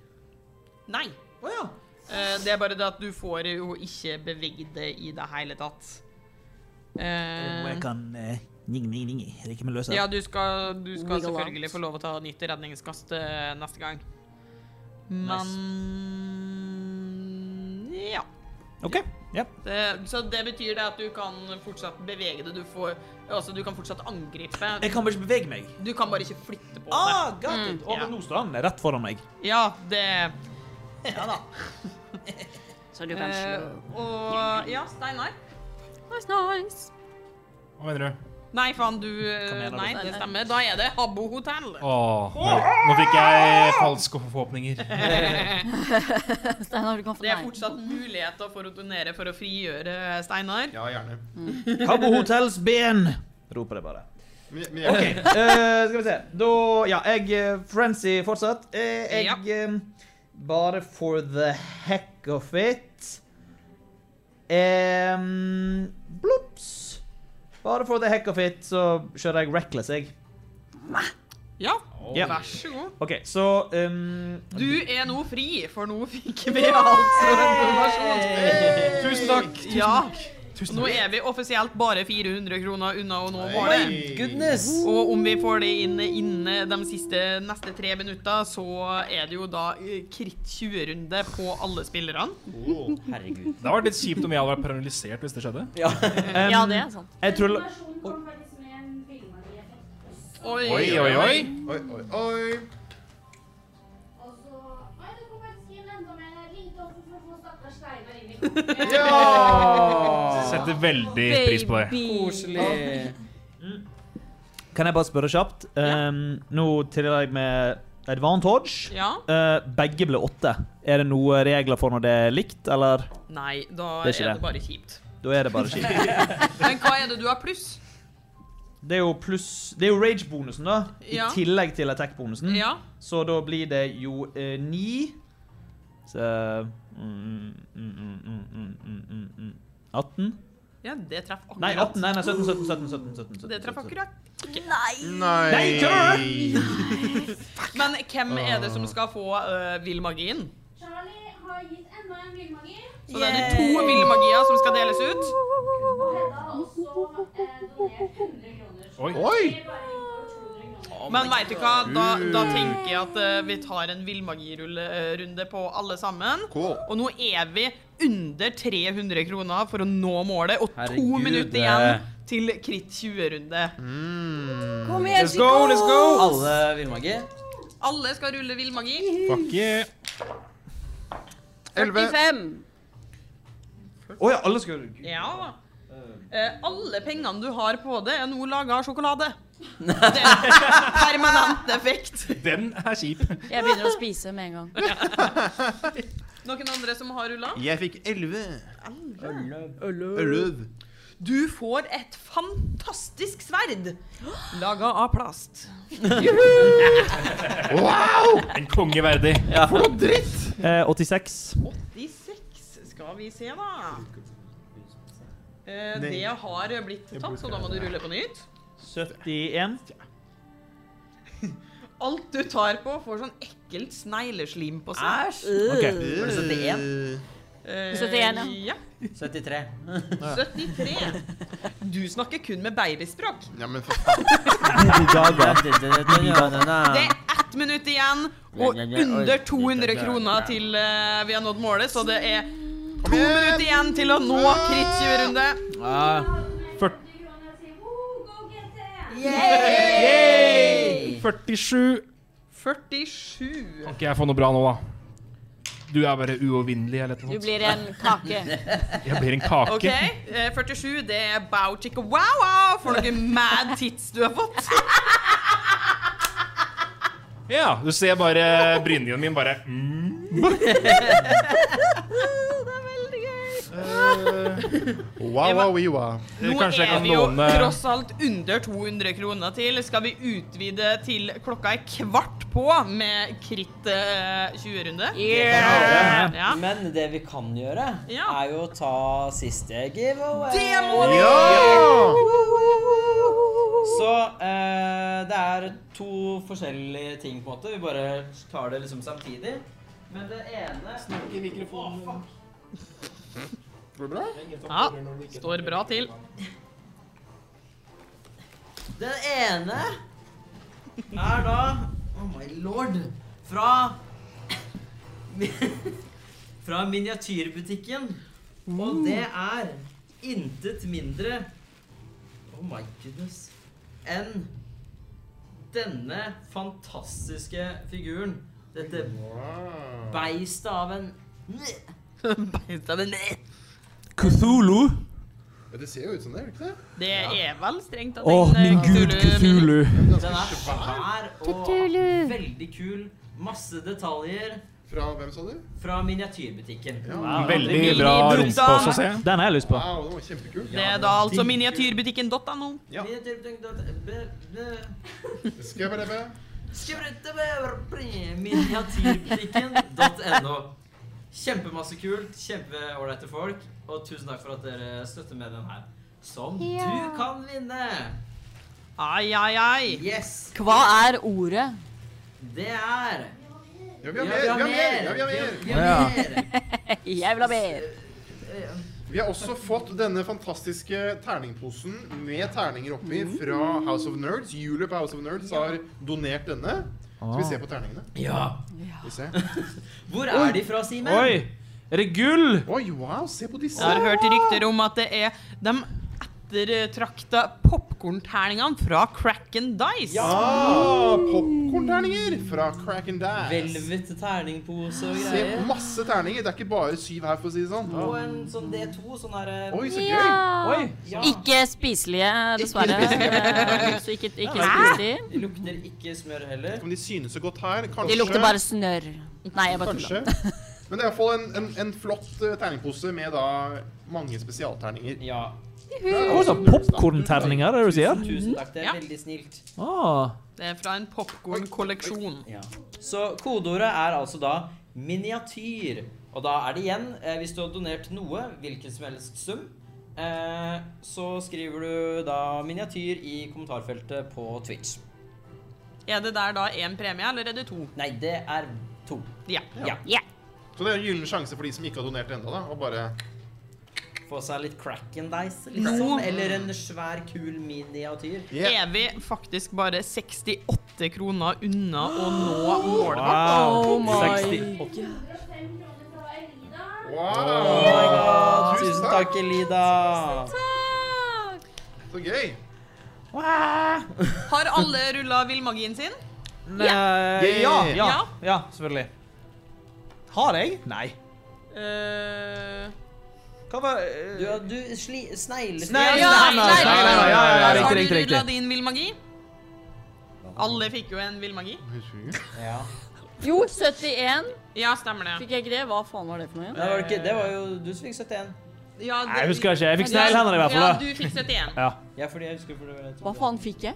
Speaker 1: Nei. Eh, det er bare det at du får jo ikke beveget det i det hele tatt.
Speaker 6: Om jeg
Speaker 1: Eh,
Speaker 6: kan eh, ning, ning, ning. Er det ikke mulig å løse?
Speaker 1: ja, du skal, du skal
Speaker 6: Wiggle out.
Speaker 1: selvfølgelig få lov å ta nytt redningskast eh, neste gang. Men ja.
Speaker 6: OK. Ja.
Speaker 1: Det, så det betyr det at du kan fortsatt bevege det. Du, får, altså, du kan fortsatt angripe.
Speaker 6: Jeg kan bare ikke bevege meg.
Speaker 1: Du kan bare ikke flytte på
Speaker 6: Ah,
Speaker 1: det.
Speaker 6: got it. Og Nordstrand er rett foran meg.
Speaker 1: Ja, det Ja da.
Speaker 5: Så
Speaker 6: du kan slå.
Speaker 1: eh, og ja, Steinar.
Speaker 5: Nice, nice.
Speaker 3: Hva mener du?
Speaker 1: Nei, faen, du
Speaker 3: mener du?
Speaker 1: Nei, det stemmer. Da er det Habbo hotell.
Speaker 3: Åh, nå, nå fikk jeg falske forhåpninger.
Speaker 1: Steinar, du kan få Det er fortsatt muligheter for å donere for å frigjøre Steinar.
Speaker 4: Ja, gjerne.
Speaker 6: Habbo Hotels ben. Roper jeg bare.
Speaker 4: Men- men jeg-
Speaker 6: OK, eh, skal vi se. Da Ja, jeg eh, Frenzy fortsatt. Eh, jeg eh, Bare for the heck of it um, Blops. Bare for the heck of it, så kjører jeg Reckless, jeg.
Speaker 1: Ja,
Speaker 6: Ja.
Speaker 1: vær så god.
Speaker 6: OK, så um,
Speaker 1: Du er nå fri, for nå fikk vi altså informasjon.
Speaker 6: Hey! Tusen takk, tusen
Speaker 1: ja. Nå er vi offisielt bare 400 kroner unna å nå
Speaker 6: Hey.
Speaker 1: målet.
Speaker 6: My goodness.
Speaker 1: Og om vi får det inn innen de siste, neste tre minutter, så er det jo da eh, kritt 20-runde på alle spillerne.
Speaker 3: herregud. Det hadde vært litt kjipt om jeg hadde vært paralysert hvis det skjedde.
Speaker 6: Ja,
Speaker 1: Ja, det er sant.
Speaker 6: Jeg tror
Speaker 12: Informasjonen kom faktisk med en billedverdi.
Speaker 1: Oi,
Speaker 3: Oi, oi, oi.
Speaker 4: Oi, oi, oi.
Speaker 12: Og så Oi, det kom faktisk inn enda mer. Lite offer for å få stakkars Steinar inn i kongen.
Speaker 3: Setter veldig pris på det.
Speaker 9: Koselig.
Speaker 6: Kan jeg bare spørre kjapt? Um, Nå triller jeg med advantage.
Speaker 1: Ja.
Speaker 6: Eh, begge ble åtte. Er det noen regler for når det er likt, eller?
Speaker 1: Nei, da
Speaker 6: Det
Speaker 1: er
Speaker 6: er ikke
Speaker 1: det
Speaker 6: det.
Speaker 1: bare kjipt.
Speaker 6: Da er det bare skitt.
Speaker 1: Men hva er det du har pluss?
Speaker 6: Det er jo pluss Det er jo rage-bonusen, da.
Speaker 1: Ja.
Speaker 6: I tillegg til attack-bonusen.
Speaker 1: Ja.
Speaker 6: Så da blir det jo eh, ni Så mm, mm, mm, mm, mm, mm, mm, mm, mm. 18?
Speaker 1: Ja, det traff akkurat.
Speaker 6: Nei, 18. Nei, nei 17, 17, 17, 17, 17, 17.
Speaker 1: Det traff akkurat.
Speaker 4: Nei.
Speaker 6: Nei, kødder
Speaker 1: Men hvem er det som skal få eh, vill magien?
Speaker 12: Charlie har gitt enda en villmagi.
Speaker 1: Så det er to villmagier som skal deles ut.
Speaker 12: Og Hedda har også eh, donert 100 kroner.
Speaker 1: Oi.
Speaker 12: Det er bare innenfor 200 kroner.
Speaker 1: Men veit du hva, da, da tenker jeg at eh, vi tar en villmagirunde eh, på alle sammen.
Speaker 4: Cool.
Speaker 1: Og nå er vi under 300 kroner for å nå målet, og to
Speaker 9: Herregud,
Speaker 1: minutter
Speaker 9: det-
Speaker 1: igjen til kritt 20-runde.
Speaker 9: Kom
Speaker 1: igjen,
Speaker 9: let's go, let's go!
Speaker 1: Chicos!
Speaker 9: Alle villmagi.
Speaker 1: Alle skal rulle villmagi.
Speaker 3: Fuck yeah.
Speaker 5: 45.
Speaker 6: Å ja, alle skal
Speaker 1: Ja. Eh, alle pengene du har på det, er nå laga av sjokolade. Det er permanent effekt.
Speaker 3: Den er kjip.
Speaker 5: Jeg begynner å spise med en gang.
Speaker 1: Noen andre som har rulla?
Speaker 4: Jeg fikk elleve.
Speaker 1: Elleve. Du får et fantastisk sverd laga av plast.
Speaker 3: Wow! En konge verdig.
Speaker 6: For
Speaker 4: noe dritt!
Speaker 6: Eh, 86.
Speaker 1: 86 skal vi se, da. Eh, det har blitt tatt, så da må du rulle på nytt.
Speaker 6: 71.
Speaker 1: Alt du tar på, får sånn ekkelt snegleslim på seg.
Speaker 9: Æsj. Ok, var det 71?
Speaker 1: Eh,
Speaker 5: 71,
Speaker 1: ja.
Speaker 9: 73.
Speaker 1: 73. Du snakker kun med babyspråk.
Speaker 4: Ja, men for faen.
Speaker 1: Det er ett minutt igjen, og under 200 kroner til eh, vi har nådd målet, så det er to minutter igjen til å nå kritt 20-runde.
Speaker 3: Fyrt-
Speaker 6: 47.
Speaker 1: 47.
Speaker 3: Kan ikke jeg få noe bra nå, da? Du er bare uovervinnelig eller
Speaker 7: Du
Speaker 3: noe sånt.
Speaker 7: blir en kake.
Speaker 3: Jeg blir en kake.
Speaker 1: Ok, eh, 47, det er bow chicka wow wow for noen mad tits du har fått.
Speaker 3: Ja, du ser bare brynjen min bare mm.
Speaker 4: Wow, wow, we, wow.
Speaker 3: Eh,
Speaker 1: Nå
Speaker 3: kanskje jeg
Speaker 1: er
Speaker 3: kan
Speaker 1: vi jo
Speaker 3: låne-
Speaker 1: tross alt under 200 kroner til. Skal vi utvide til klokka er kvart på med kritt eh, 20-runde?
Speaker 9: Yeah!
Speaker 1: Ja.
Speaker 9: Men det vi kan gjøre, er jo å ta siste giveaway.
Speaker 1: Det må vi
Speaker 9: Ja!
Speaker 1: gjøre!
Speaker 9: Så eh, det er to forskjellige ting, på en måte. Vi bare tar det liksom samtidig. Men det ene Snakk i mikrofonen.
Speaker 4: Går det bra?
Speaker 1: Ja, står bra til.
Speaker 9: Den ene er da Oh my lord. Fra Fra miniatyrbutikken. Og det er intet mindre Oh my goodness. Enn denne fantastiske figuren. Dette beistet av en
Speaker 1: Beistet av en
Speaker 13: Cthulhu.
Speaker 4: Ja, det ser jo ut som det, gjør det ikke det?
Speaker 1: Det er vel strengt tatt
Speaker 13: Åh,
Speaker 1: en, eh,
Speaker 13: min gud, Cthulhu.
Speaker 9: Den er svær og veldig kul. Masse detaljer.
Speaker 4: Fra hvem, sa du?
Speaker 9: Fra miniatyrbutikken.
Speaker 3: Veldig bra
Speaker 1: Minibutikk.
Speaker 3: rumpe også, ser jeg.
Speaker 6: Den har jeg lyst på.
Speaker 4: Wow, det var kjempekul.
Speaker 1: Det er da altså miniatyrbutikken.no.
Speaker 4: Skubberebe.
Speaker 9: Miniatyrbutikken.no. Kjempemasse kult, kjempeålreite folk, og tusen takk for at dere støtter med den her. Som du kan vinne!
Speaker 1: Ai, ai, ai.
Speaker 9: Yes.
Speaker 5: Hva er ordet?
Speaker 9: Det er
Speaker 4: Ja, vi har mer! Vi har mer! Ja, vi har mer.
Speaker 9: Vi har mer.
Speaker 5: Jeg vil ha mer.
Speaker 4: Vi har også fått denne fantastiske terningposen med terninger oppi fra House of Nerds. Julie på House of Nerds har donert denne. Så vi ser på terningene.
Speaker 6: Ja.
Speaker 4: Vi ser.
Speaker 9: Hvor
Speaker 6: er
Speaker 9: de fra, Simen?
Speaker 6: Oi! Er det gull?
Speaker 4: Oi, wow, se på disse.
Speaker 1: Jeg har hørt rykter om at det er de ettertrakta popkornterningene fra Cracken Dice.
Speaker 4: Ja! Ah, Popkornterninger fra Crack and Dash.
Speaker 9: Velvet terningpose og
Speaker 4: Se,
Speaker 9: greier.
Speaker 4: masse terninger. Det er ikke bare syv her, for å si det sånn.
Speaker 9: Og en sånn D2, sånn her eh,
Speaker 4: Oi, så gøy.
Speaker 7: Ja.
Speaker 9: Oi, ja.
Speaker 7: Ikke spiselige, dessverre. Eh, Så ikke, ikke
Speaker 9: Hæ?
Speaker 7: spis de.
Speaker 9: Det lukter ikke smør heller.
Speaker 4: Om de synes så godt her, kanskje
Speaker 7: De lukter bare sånn. snørr. Nei, jeg bare
Speaker 4: Kanskje.
Speaker 7: tuller.
Speaker 4: Men det er iallfall en, en, en flott eh, terningpose med da mange spesialterninger.
Speaker 9: Ja.
Speaker 6: Hva er det, popcornterninger, er det du sier?
Speaker 9: Tusen takk, det er
Speaker 1: Ja.
Speaker 9: veldig snilt.
Speaker 6: Ah.
Speaker 1: Det er fra en popkornkolleksjon.
Speaker 9: Så kodeordet er altså da miniatyr. Og da er det igjen, eh, hvis du har donert noe, hvilken som helst sum, eh, så skriver du da miniatyr i kommentarfeltet på Twitch.
Speaker 1: Er det der da én premie, eller er det to?
Speaker 9: Nei, det er to.
Speaker 1: Ja.
Speaker 9: Ja.
Speaker 4: Så det er en gyllen sjanse for de som ikke har donert ennå, da. Og bare
Speaker 9: Få seg litt crackendice, liksom. Eller en svær, kul miniatyr.
Speaker 1: Er vi faktisk bare 68 kroner unna å nå målet
Speaker 6: Wow.
Speaker 1: vårt?
Speaker 6: Oh my 68.
Speaker 4: Wow!
Speaker 9: Oh my god, tusen takk,
Speaker 6: Ah.
Speaker 9: Elida.
Speaker 4: Så gøy.
Speaker 1: Har alle rulla villmagien sin?
Speaker 6: Nei, ja,
Speaker 1: Yeah.
Speaker 6: ja,
Speaker 1: Ja.
Speaker 6: ja, selvfølgelig. Har jeg? Nei.
Speaker 1: Eh,
Speaker 6: Hva var eh,
Speaker 9: Du, ja, du sli, snegle...
Speaker 6: Snegle-
Speaker 9: Ja,
Speaker 6: snegle-
Speaker 9: snegle-
Speaker 6: snegle- ja, ja, ja, ja,
Speaker 1: har
Speaker 6: riktig,
Speaker 1: du
Speaker 6: riktig, riktig.
Speaker 1: rulla din villmagi? Alle fikk jo en villmagi.
Speaker 9: Ja.
Speaker 5: Jo, 71.
Speaker 1: Ja, stemmer det.
Speaker 5: Fikk jeg ikke det? Hva faen var det for noe?
Speaker 9: Nei, var det, ikke, det var jo du som fikk 71.
Speaker 1: Ja,
Speaker 6: Nei, jeg husker ikke. Jeg fikk sneglehender i hvert fall.
Speaker 1: Ja,
Speaker 6: da.
Speaker 1: du fikk 71.
Speaker 6: Ja.
Speaker 9: Ja, fordi jeg husker for det var
Speaker 5: Hva faen fikk jeg?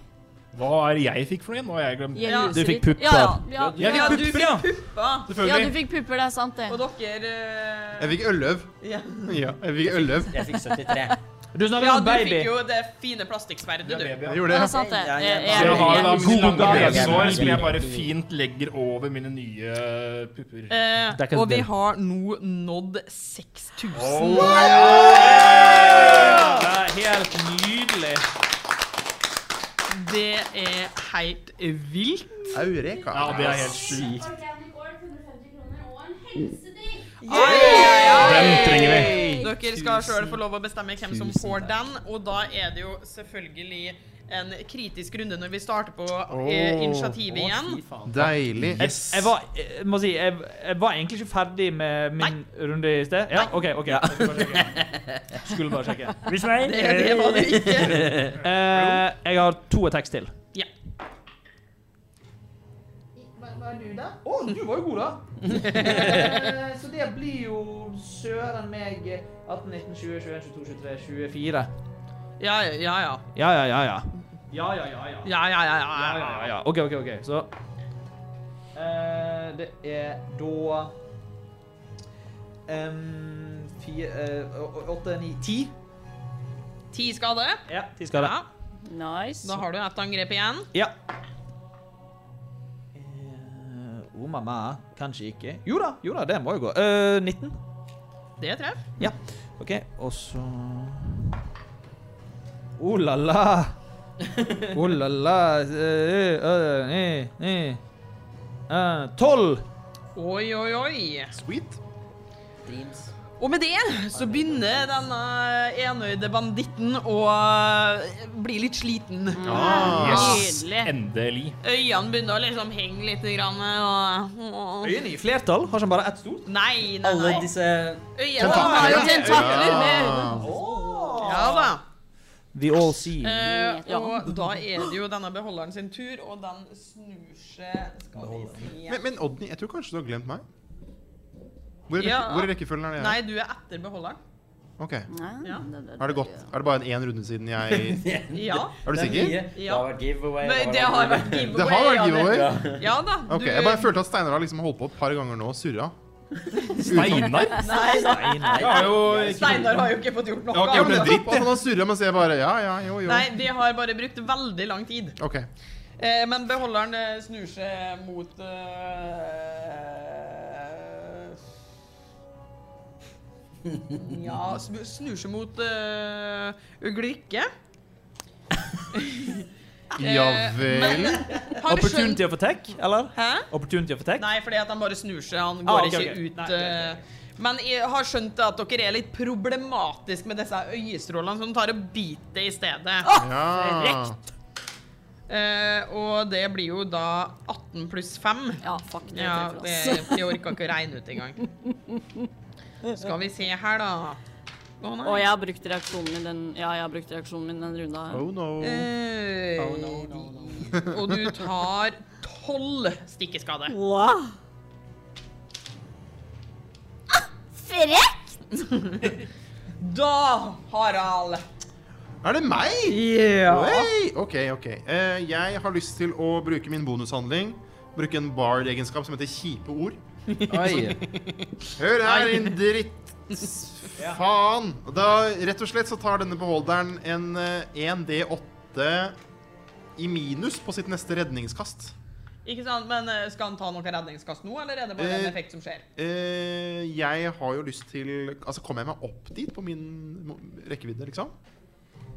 Speaker 3: Hva er det jeg fikk for noe igjen? Nå har jeg glemt.
Speaker 5: Jeg husker
Speaker 3: Du fikk
Speaker 5: ikke.
Speaker 3: pupper.
Speaker 5: Ja, ja, ja.
Speaker 3: Jeg fikk
Speaker 1: du
Speaker 3: pupper, ja.
Speaker 1: fikk pupper.
Speaker 5: Ja, du
Speaker 3: Selvfølgelig.
Speaker 5: fikk pupper, det er sant det.
Speaker 1: Og dere eh,
Speaker 4: Jeg fikk øløv.
Speaker 1: ja.
Speaker 4: Ja, jeg fikk øløv.
Speaker 9: Jeg fikk 73.
Speaker 6: Du snakker
Speaker 1: ja,
Speaker 6: om
Speaker 1: du
Speaker 6: baby.
Speaker 1: fikk jo det fine plastikksverdet, du. Eh,
Speaker 4: Jeg gjorde
Speaker 5: Ja,
Speaker 4: det.
Speaker 5: sant det. Eh,
Speaker 9: Ja, ja,
Speaker 5: Jeg-
Speaker 3: Så jeg
Speaker 5: jeg-
Speaker 3: har jo da
Speaker 5: jeg-
Speaker 3: mine
Speaker 6: God
Speaker 3: lange
Speaker 6: dag.
Speaker 3: besår som jeg bare fint legger over mine nye pupper.
Speaker 1: Eh,
Speaker 6: Det er ikke
Speaker 1: og vi
Speaker 6: det.
Speaker 1: har nå nådd 6000.
Speaker 6: Det er helt nydelig.
Speaker 1: Det er helt vilt.
Speaker 4: Eureka.
Speaker 3: Ja, det er helt sykt.
Speaker 12: Organic oil, 150 kroner, og en helsedrikk.
Speaker 3: Den trenger vi.
Speaker 1: Dere skal sjøl få lov å bestemme hvem som får den, og da er det jo selvfølgelig en kritisk runde når vi starter på eh, initiativet
Speaker 6: Å,
Speaker 1: igjen.
Speaker 6: fy faen.
Speaker 4: Deilig.
Speaker 6: Jeg, jeg, var, eh, jeg må si, jeg, jeg var egentlig ikke ferdig med min runde i sted. Ja, OK. ok. Jeg skulle bare sjekke. Skulle bare sjekke.
Speaker 1: Hvis nei- Det- det var det ikke.
Speaker 6: Eh, jeg har to attacks til.
Speaker 1: Ja.
Speaker 6: Hva er du, da? Å, du var jo god, da. Eh, Så det blir jo søren meg 18, 19, 20, 21, 22, 23, 24.
Speaker 1: Ja, ja, ja.
Speaker 6: Ja, ja, ja, ja. Ja, ja, ja, ja.
Speaker 1: Ja, ja, ja, ja.
Speaker 6: Ja, ja, ja. OK, OK. ok. Så eh, Det er da um, fire, eh, å- å- Åtte, ni, ti.
Speaker 1: Ti skade.
Speaker 6: Ja, ti skade.
Speaker 5: Nice.
Speaker 1: Da har du ett angrep igjen.
Speaker 6: Ja. Eh, oh, mamma. Kanskje ikke. Jo da, jo da, det må jo gå. Eh, 19.
Speaker 1: Det treff.
Speaker 6: Ja. OK, og så Oh la la. Oh la la. Eh, eh, eh, eh. Eh, Tolv!
Speaker 1: Oi, oi, oi.
Speaker 4: Sweet.
Speaker 9: Dreams.
Speaker 1: Og med det så begynner denne enøyde banditten å eh, bli litt sliten.
Speaker 3: Ah, yes.
Speaker 1: Nydelig.
Speaker 3: Endelig.
Speaker 1: Øynene begynner å liksom henge litt. Grann, og...
Speaker 6: Øyene i flertall? Har ikke han bare ett stort?
Speaker 1: Nei, nei,
Speaker 9: Alle
Speaker 1: nei.
Speaker 9: disse
Speaker 1: Øynene har jo tentakler med øynene. Ja da.
Speaker 6: We all see.
Speaker 1: Eh, og da er det jo denne beholderen sin tur, og den snur seg skal vi se.
Speaker 4: Men, men Odny, jeg tror kanskje du har glemt meg. Hvor er, rekke,
Speaker 1: Ja.
Speaker 4: hvor er rekkefølgen er det?
Speaker 1: Nei, du er etter beholderen.
Speaker 4: Ok.
Speaker 5: eh,
Speaker 1: Ja.
Speaker 4: Er det godt? Er det bare en én runde siden jeg
Speaker 1: Ja.
Speaker 4: Er du
Speaker 9: Det er
Speaker 4: sikker?
Speaker 9: mye. Det har vært giveaway.
Speaker 1: Men det har vært giveaway.
Speaker 4: Det har vært
Speaker 1: ja,
Speaker 4: giveaway?
Speaker 1: det- Ja da.
Speaker 4: Ok,
Speaker 1: du-
Speaker 4: Jeg bare følte at Steinar har liksom holdt på et par ganger nå og surra.
Speaker 1: Nei, nei.
Speaker 4: Steinar? Jeg har jo ikke-
Speaker 1: Steinar har jo ikke fått gjort noe.
Speaker 4: Ja, men nettopp, at Han har surra mens jeg bare Ja, ja, jo, jo.
Speaker 1: Nei, de har bare brukt veldig lang tid.
Speaker 4: Ok.
Speaker 1: Eh, men beholderen eh, snur seg mot eh, Ja, snu- snur seg mot eh, Ulrikke. Eh,
Speaker 4: Ja vel.
Speaker 1: Har du skjønt
Speaker 6: Opportunity of attack, eller?
Speaker 1: Hæ?
Speaker 6: Opportunity of attack?
Speaker 1: Nei, fordi at han bare snur seg. Han
Speaker 6: Ah,
Speaker 1: går
Speaker 6: ok, ok.
Speaker 1: ikke ut. eh, Men jeg har skjønt at dere er litt problematiske med disse øyestrålene, så de tar og biter i stedet.
Speaker 6: Ah!
Speaker 4: Ja.
Speaker 1: Eh, og det blir jo da 18 pluss 5.
Speaker 5: Ja, fuck det.
Speaker 1: Ja,
Speaker 5: treffer
Speaker 1: det,
Speaker 5: oss.
Speaker 1: jeg orka ikke å regne ut engang. Skal vi se her, da. Å
Speaker 5: Å,
Speaker 1: nei.
Speaker 7: Og jeg har brukt reaksjonen min den, ja, jeg har brukt reaksjonen min den runda.
Speaker 4: Oh no.
Speaker 1: Eh,
Speaker 7: Oh, no,
Speaker 1: Og du tar 12 stikkeskade.
Speaker 5: Wow.
Speaker 1: Frekt! da, Harald
Speaker 4: Er det meg?
Speaker 1: Ja.
Speaker 4: Oi, OK, OK. Eh, jeg har lyst til å bruke min bonushandling. Bruke en bard-egenskap som heter kjipe ord.
Speaker 2: Oi.
Speaker 4: Hør her, din dritt... Faen. Da, rett og slett så tar denne beholderen en eh, 1D8 i minus på sitt neste redningskast.
Speaker 1: Ikke sant, men eh, Skal han ta noe redningskast nå, eller er det bare
Speaker 4: Eh,
Speaker 1: en effekt som skjer?
Speaker 4: Eh, jeg har jo lyst til Altså, kommer jeg meg opp dit på min mo- rekkevidde, liksom?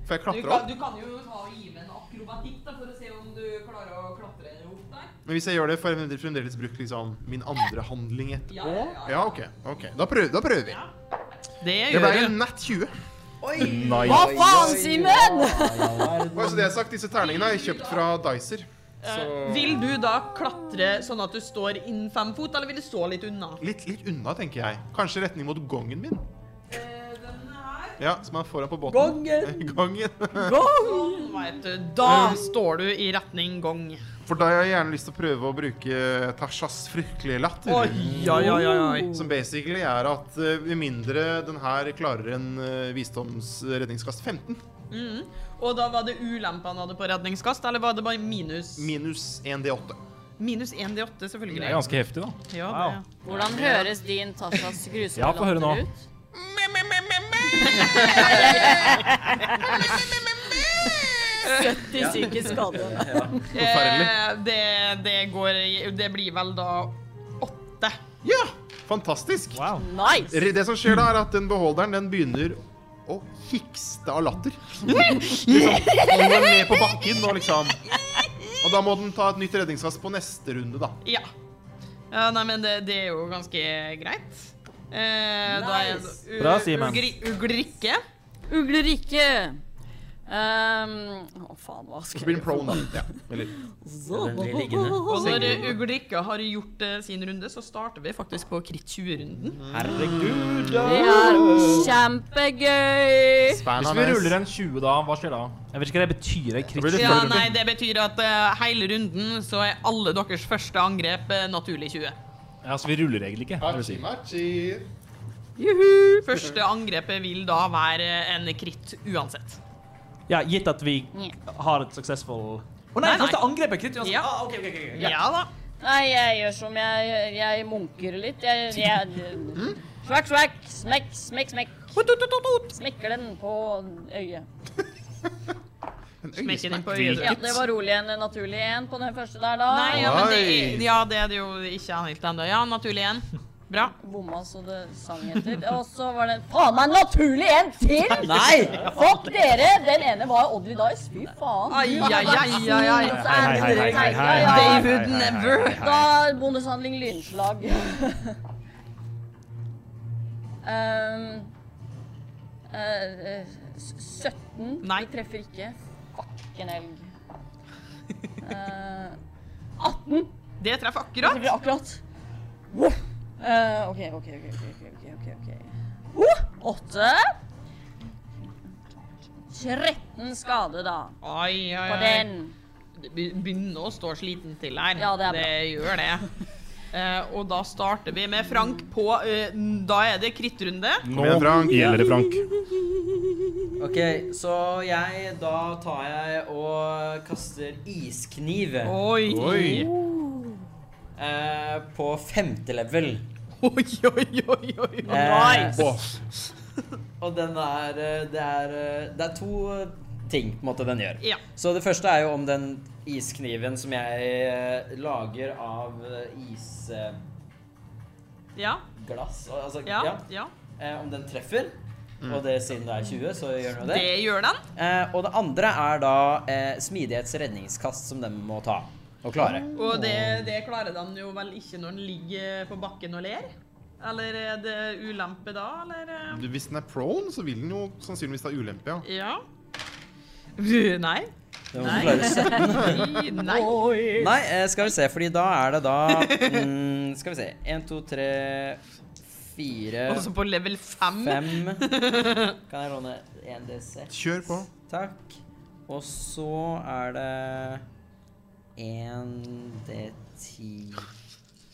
Speaker 4: For jeg
Speaker 1: Du
Speaker 4: klatrer
Speaker 1: kan,
Speaker 4: opp.
Speaker 1: du kan jo ta og gi med en akrobatikk da, for å se om du klarer å klatre opp der.
Speaker 4: Men hvis jeg gjør det, får jeg fremdeles brukt liksom, min andre handling etterpå?
Speaker 1: Ja, ja, ja.
Speaker 4: Ja, OK. ok. Da, prøver, da prøver vi.
Speaker 1: Det
Speaker 4: Det ble en nat 20.
Speaker 1: Nice. Hva faen, Simen?
Speaker 4: Bare så altså, det er sagt, disse terningene har jeg kjøpt fra Dicer. Så
Speaker 1: Vil du da klatre sånn at du står innen fem fot, eller vil du stå litt unna?
Speaker 4: litt, litt unna, tenker jeg. Kanskje retning mot gongen min?
Speaker 1: Eh,
Speaker 4: Ja, som er foran på båten.
Speaker 1: Gongen.
Speaker 4: Gongen.
Speaker 1: Sånn, vet du. Da står du i retning gong.
Speaker 4: For da har jeg gjerne lyst til å prøve å bruke Tashas fryktelige latter.
Speaker 1: Oi, oi, oi, oi, oi.
Speaker 4: Som basically er at eh, med mindre den her klarer en eh, visdomsredningskast 15,
Speaker 1: Mhm. Og da var det ulempe han hadde på redningskast, eller var det bare minus?
Speaker 4: minus 1D8.
Speaker 1: Minus 1D8, selvfølgelig.
Speaker 3: Det er ganske heftig, da.
Speaker 1: Ja,
Speaker 3: Wow.
Speaker 1: det.
Speaker 7: Hvordan høres din Tashas grusomme
Speaker 3: Ja, få høre nå.
Speaker 7: latter ut?
Speaker 1: Ja.
Speaker 5: 70 psykisk skade.
Speaker 1: Eh, det, det går i- Det blir vel da
Speaker 4: Ja! Fantastisk.
Speaker 1: Nice!
Speaker 4: Re- Det som skjer da, er at den beholderen den begynner å hikste av latter. liksom, han går ned på bakken og liksom Og da må den ta et nytt redningskast på neste runde, da.
Speaker 1: Ja. ja nei, men det, det er jo ganske greit. Eh, da er det
Speaker 6: Bra, Simen.
Speaker 1: Ugri Ugrikke.
Speaker 7: Uglerikke. Ehm, Å, faen, hva
Speaker 4: Og
Speaker 7: skal
Speaker 4: så blir den prone, da. Ja. Eller
Speaker 1: Og når eh, Ulrikka har gjort eh, sin runde, så starter vi faktisk på kritt 20-runden.
Speaker 19: Herregud!
Speaker 7: Det er kjempegøy!
Speaker 3: Hvis vi ruller en 20 da, hva skjer da? Jeg vet ikke hva det betyr.
Speaker 1: Ja, nei, det betyr at eh, hele runden så er alle deres første angrep eh, naturlig 20.
Speaker 3: Ja, så vi ruller egentlig ikke. vil du si.
Speaker 1: Juhu! Første angrepet vil da være eh, en kritt uansett.
Speaker 6: Ja, gitt at vi har et successful Å nei, første angrep er kritt uansett.
Speaker 1: Ja.
Speaker 6: Ah, ok, ok, ok, ok.
Speaker 1: da.
Speaker 7: Nei, jeg gjør som jeg Jeg munker litt. Jeg, jeg Svakk, svakk. Smekk, smekk, smekk. Smekker den på øyet.
Speaker 1: Smekker den på øyet.
Speaker 7: Ja, det var rolig en naturlig en på den første der, da.
Speaker 1: Nei, ja, men det, ja, det er det jo ikke helt ennå. Ja, naturlig igjen. Bra.
Speaker 7: Bomma så det sang etter. Og så var det faen meg naturlig en til!
Speaker 1: Nei!
Speaker 7: Fuck dere! Den ene var Oddly Dice. Fy faen.
Speaker 1: Ai, ai, ai, ai, ai.
Speaker 7: Hei, hei, hei, hei, hei, hei.
Speaker 1: David never.
Speaker 7: Da bonushandling lynslag. um, eh, eh, s- 17. Nei. Vi treffer ikke. Fucken elg. Eh, 18.
Speaker 1: Det treffer akkurat.
Speaker 7: Det treffer akkurat. Wow. Eh, OK, OK, OK. ok, ok, ok, ok, ok. Oh, 8. 13 skade, da.
Speaker 1: Ai, ai,
Speaker 7: På
Speaker 1: ai.
Speaker 7: den.
Speaker 1: Det be- begynner å stå sliten til her.
Speaker 7: Ja, det er bra.
Speaker 1: gjør det. Eh, og da starter vi med Frank på eh, Da er det krittrunde.
Speaker 19: Kom igjen, Frank. Gjelder det, Frank? Ok,
Speaker 1: Ok.
Speaker 9: så jeg Da tar jeg og kaster iskniv.
Speaker 1: Oi. Oi.
Speaker 9: Eh, på femte level.
Speaker 1: Oi, oi, oi, oi.
Speaker 7: Eh,
Speaker 9: nice. Og den er eh, Det er, eh, det er to eh, ting på en måte den gjør.
Speaker 1: Ja.
Speaker 9: Så det første er jo om den iskniven som jeg eh, lager av eh, isglass
Speaker 1: Ja.
Speaker 9: Altså,
Speaker 1: Ja.
Speaker 9: ja.
Speaker 1: ja.
Speaker 9: Eh, om den treffer. Og det siden det er 20, så gjør den jo det.
Speaker 1: Det gjør den.
Speaker 9: Eh, og det andre er da eh, smidighetsredningskast som den må ta og klare.
Speaker 1: Og det, det klarer den jo vel ikke når den ligger på bakken og ler? Eller er det ulempe da, eller? eh?
Speaker 4: Du, Hvis den er prone, så vil den jo sannsynligvis ta ulempe, ja.
Speaker 1: Ja. Nei.
Speaker 9: Det må
Speaker 1: Nei.
Speaker 9: klare 17.
Speaker 1: Nei.
Speaker 9: Nei, eh, skal vi se, fordi da er det da mm, Skal vi se. 1, 2, 3, 4
Speaker 1: Også på level 5.
Speaker 9: Fem. Kan jeg låne 1D6?
Speaker 4: Kjør på.
Speaker 9: Takk. Og så er det 1D10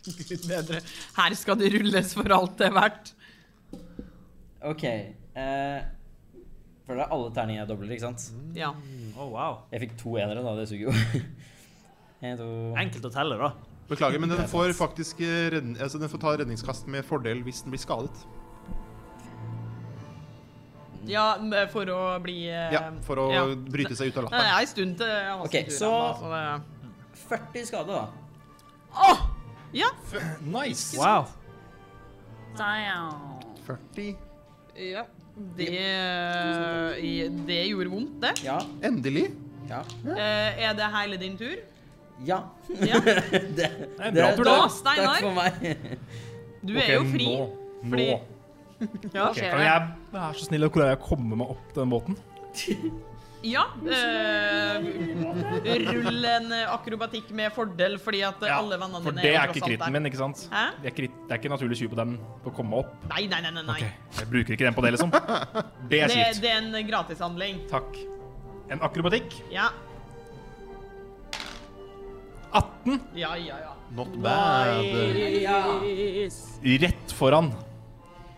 Speaker 1: Gud bedre. Her skal det rulles for alt det er verdt.
Speaker 9: OK. Eh, for det er alle terninger jeg dobler, ikke sant?
Speaker 1: Ja.
Speaker 6: Oh, wow.
Speaker 9: Jeg fikk to enere, da. Det suger jo. En, to
Speaker 6: Enkelt å telle, da.
Speaker 4: Beklager, men den får faktisk eh, redn- altså, den får ta redningskast med fordel hvis den blir skadet.
Speaker 1: Ja, m- for å bli eh,
Speaker 4: Ja, for å
Speaker 1: ja.
Speaker 4: bryte seg ut
Speaker 1: Det
Speaker 4: av
Speaker 1: er
Speaker 4: latteren.
Speaker 1: en stund til jeg har
Speaker 9: Ok,
Speaker 1: skutt
Speaker 9: så
Speaker 1: den, da, det-
Speaker 9: 40 skade, da.
Speaker 1: Ja.
Speaker 3: Nice.
Speaker 9: Wow.
Speaker 7: Damn.
Speaker 4: 40.
Speaker 1: ja. Det, eh, i- det gjorde vondt, det.
Speaker 9: Ja.
Speaker 4: Endelig.
Speaker 9: Ja.
Speaker 1: Eh, er det hele din tur?
Speaker 9: Ja. det,
Speaker 1: er en bra tur, da. Steinar.
Speaker 9: Takk for meg.
Speaker 1: Du er jo fri.
Speaker 3: Nå.
Speaker 1: Fordi
Speaker 3: nå.
Speaker 1: Ja,
Speaker 3: Ok, kan jeg være så snill å klare å komme meg opp den båten?
Speaker 1: ja eh, rull en akrobatikk med fordel, fordi at alle vennene
Speaker 3: For
Speaker 1: dine
Speaker 3: det
Speaker 1: jo
Speaker 3: er
Speaker 1: tross
Speaker 3: ikke
Speaker 1: alt
Speaker 3: kritten
Speaker 1: der.
Speaker 3: min, ikke sant?
Speaker 1: Hæ?
Speaker 3: Det er, krit, det er ikke naturlig 20 på den for å komme opp.
Speaker 1: Nei, nei, nei. nei, nei.
Speaker 3: Jeg bruker ikke den på det, liksom. Det er
Speaker 1: det,
Speaker 3: kjipt.
Speaker 1: det er en gratishandling.
Speaker 3: Takk. En akrobatikk.
Speaker 1: Ja.
Speaker 3: 18
Speaker 1: Ja, ja, ja.
Speaker 4: Not
Speaker 7: Yes.
Speaker 3: rett foran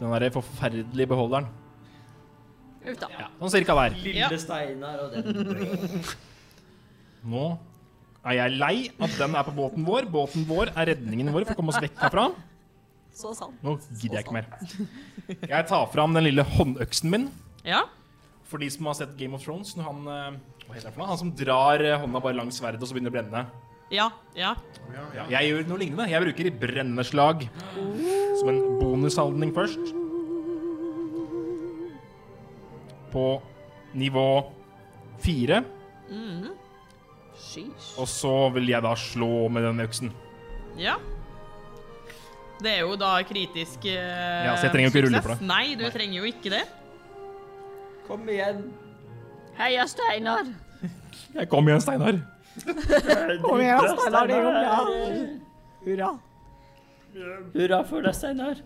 Speaker 3: den der forferdelige beholderen.
Speaker 7: Uff da.
Speaker 3: Sånn cirka der.
Speaker 9: Lille Steinar og den.
Speaker 3: Nå er jeg lei at den er på båten vår. Båten vår er redningen vår for å komme oss vekk herfra.
Speaker 7: Så sant.
Speaker 3: Nå gidder jeg ikke mer. Jeg tar fram den lille håndøksen min.
Speaker 1: Ja.
Speaker 3: For de som har sett Game of Thrones, når han eh, Hva heter det for noe? Han som drar eh, hånda bare langs sverdet, og så begynner det å brenne.
Speaker 1: Ja, ja.
Speaker 3: Ja, Jeg gjør noe lignende. Jeg bruker brennende slag som en bonushandling først. På nivå fire.
Speaker 1: Mhm.
Speaker 3: Og så vil jeg da slå med den øksen.
Speaker 1: Ja. Det er jo da kritisk eh,
Speaker 3: Ja, så jeg trenger jo ikke rulle for
Speaker 1: suksess.
Speaker 3: det.
Speaker 1: Nei, du trenger jo ikke det.
Speaker 9: Kom igjen.
Speaker 7: Heia Steinar.
Speaker 3: Jeg kom igjen, Steinar.
Speaker 18: Kom igjen, Steinar. Det går bra. Hurra.
Speaker 2: Hurra for deg, Steinar.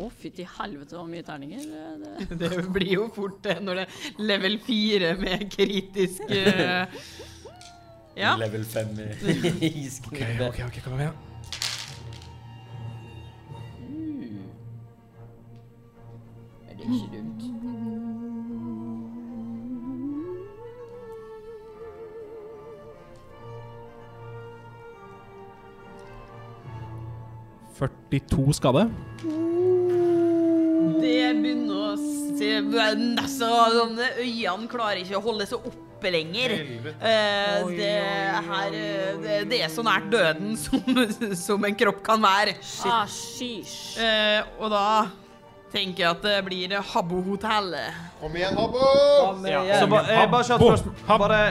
Speaker 7: Å, fytti helvete, hvor mye terninger. eh, det-
Speaker 1: Det blir jo fort eh, når det er level 4 med kritisk eh, Ja.
Speaker 2: Level 5 i
Speaker 3: Ok, ok, ok, kom igjen.
Speaker 9: Hmm. Er det ikke dumt?
Speaker 3: ja. 42 skade.
Speaker 1: Det begynner å se nesten sånn Øynene klarer ikke å holde seg oppe lenger. Eh, det, her, eh, det, det er så nært døden som, som en kropp kan være.
Speaker 7: Ah,
Speaker 1: Eh, og da tenker jeg at det blir Habbo-hotellet.
Speaker 4: Kom igjen, Habbo!
Speaker 6: Ja. Så ba, eh, bare kjapt spørsmål. Bare,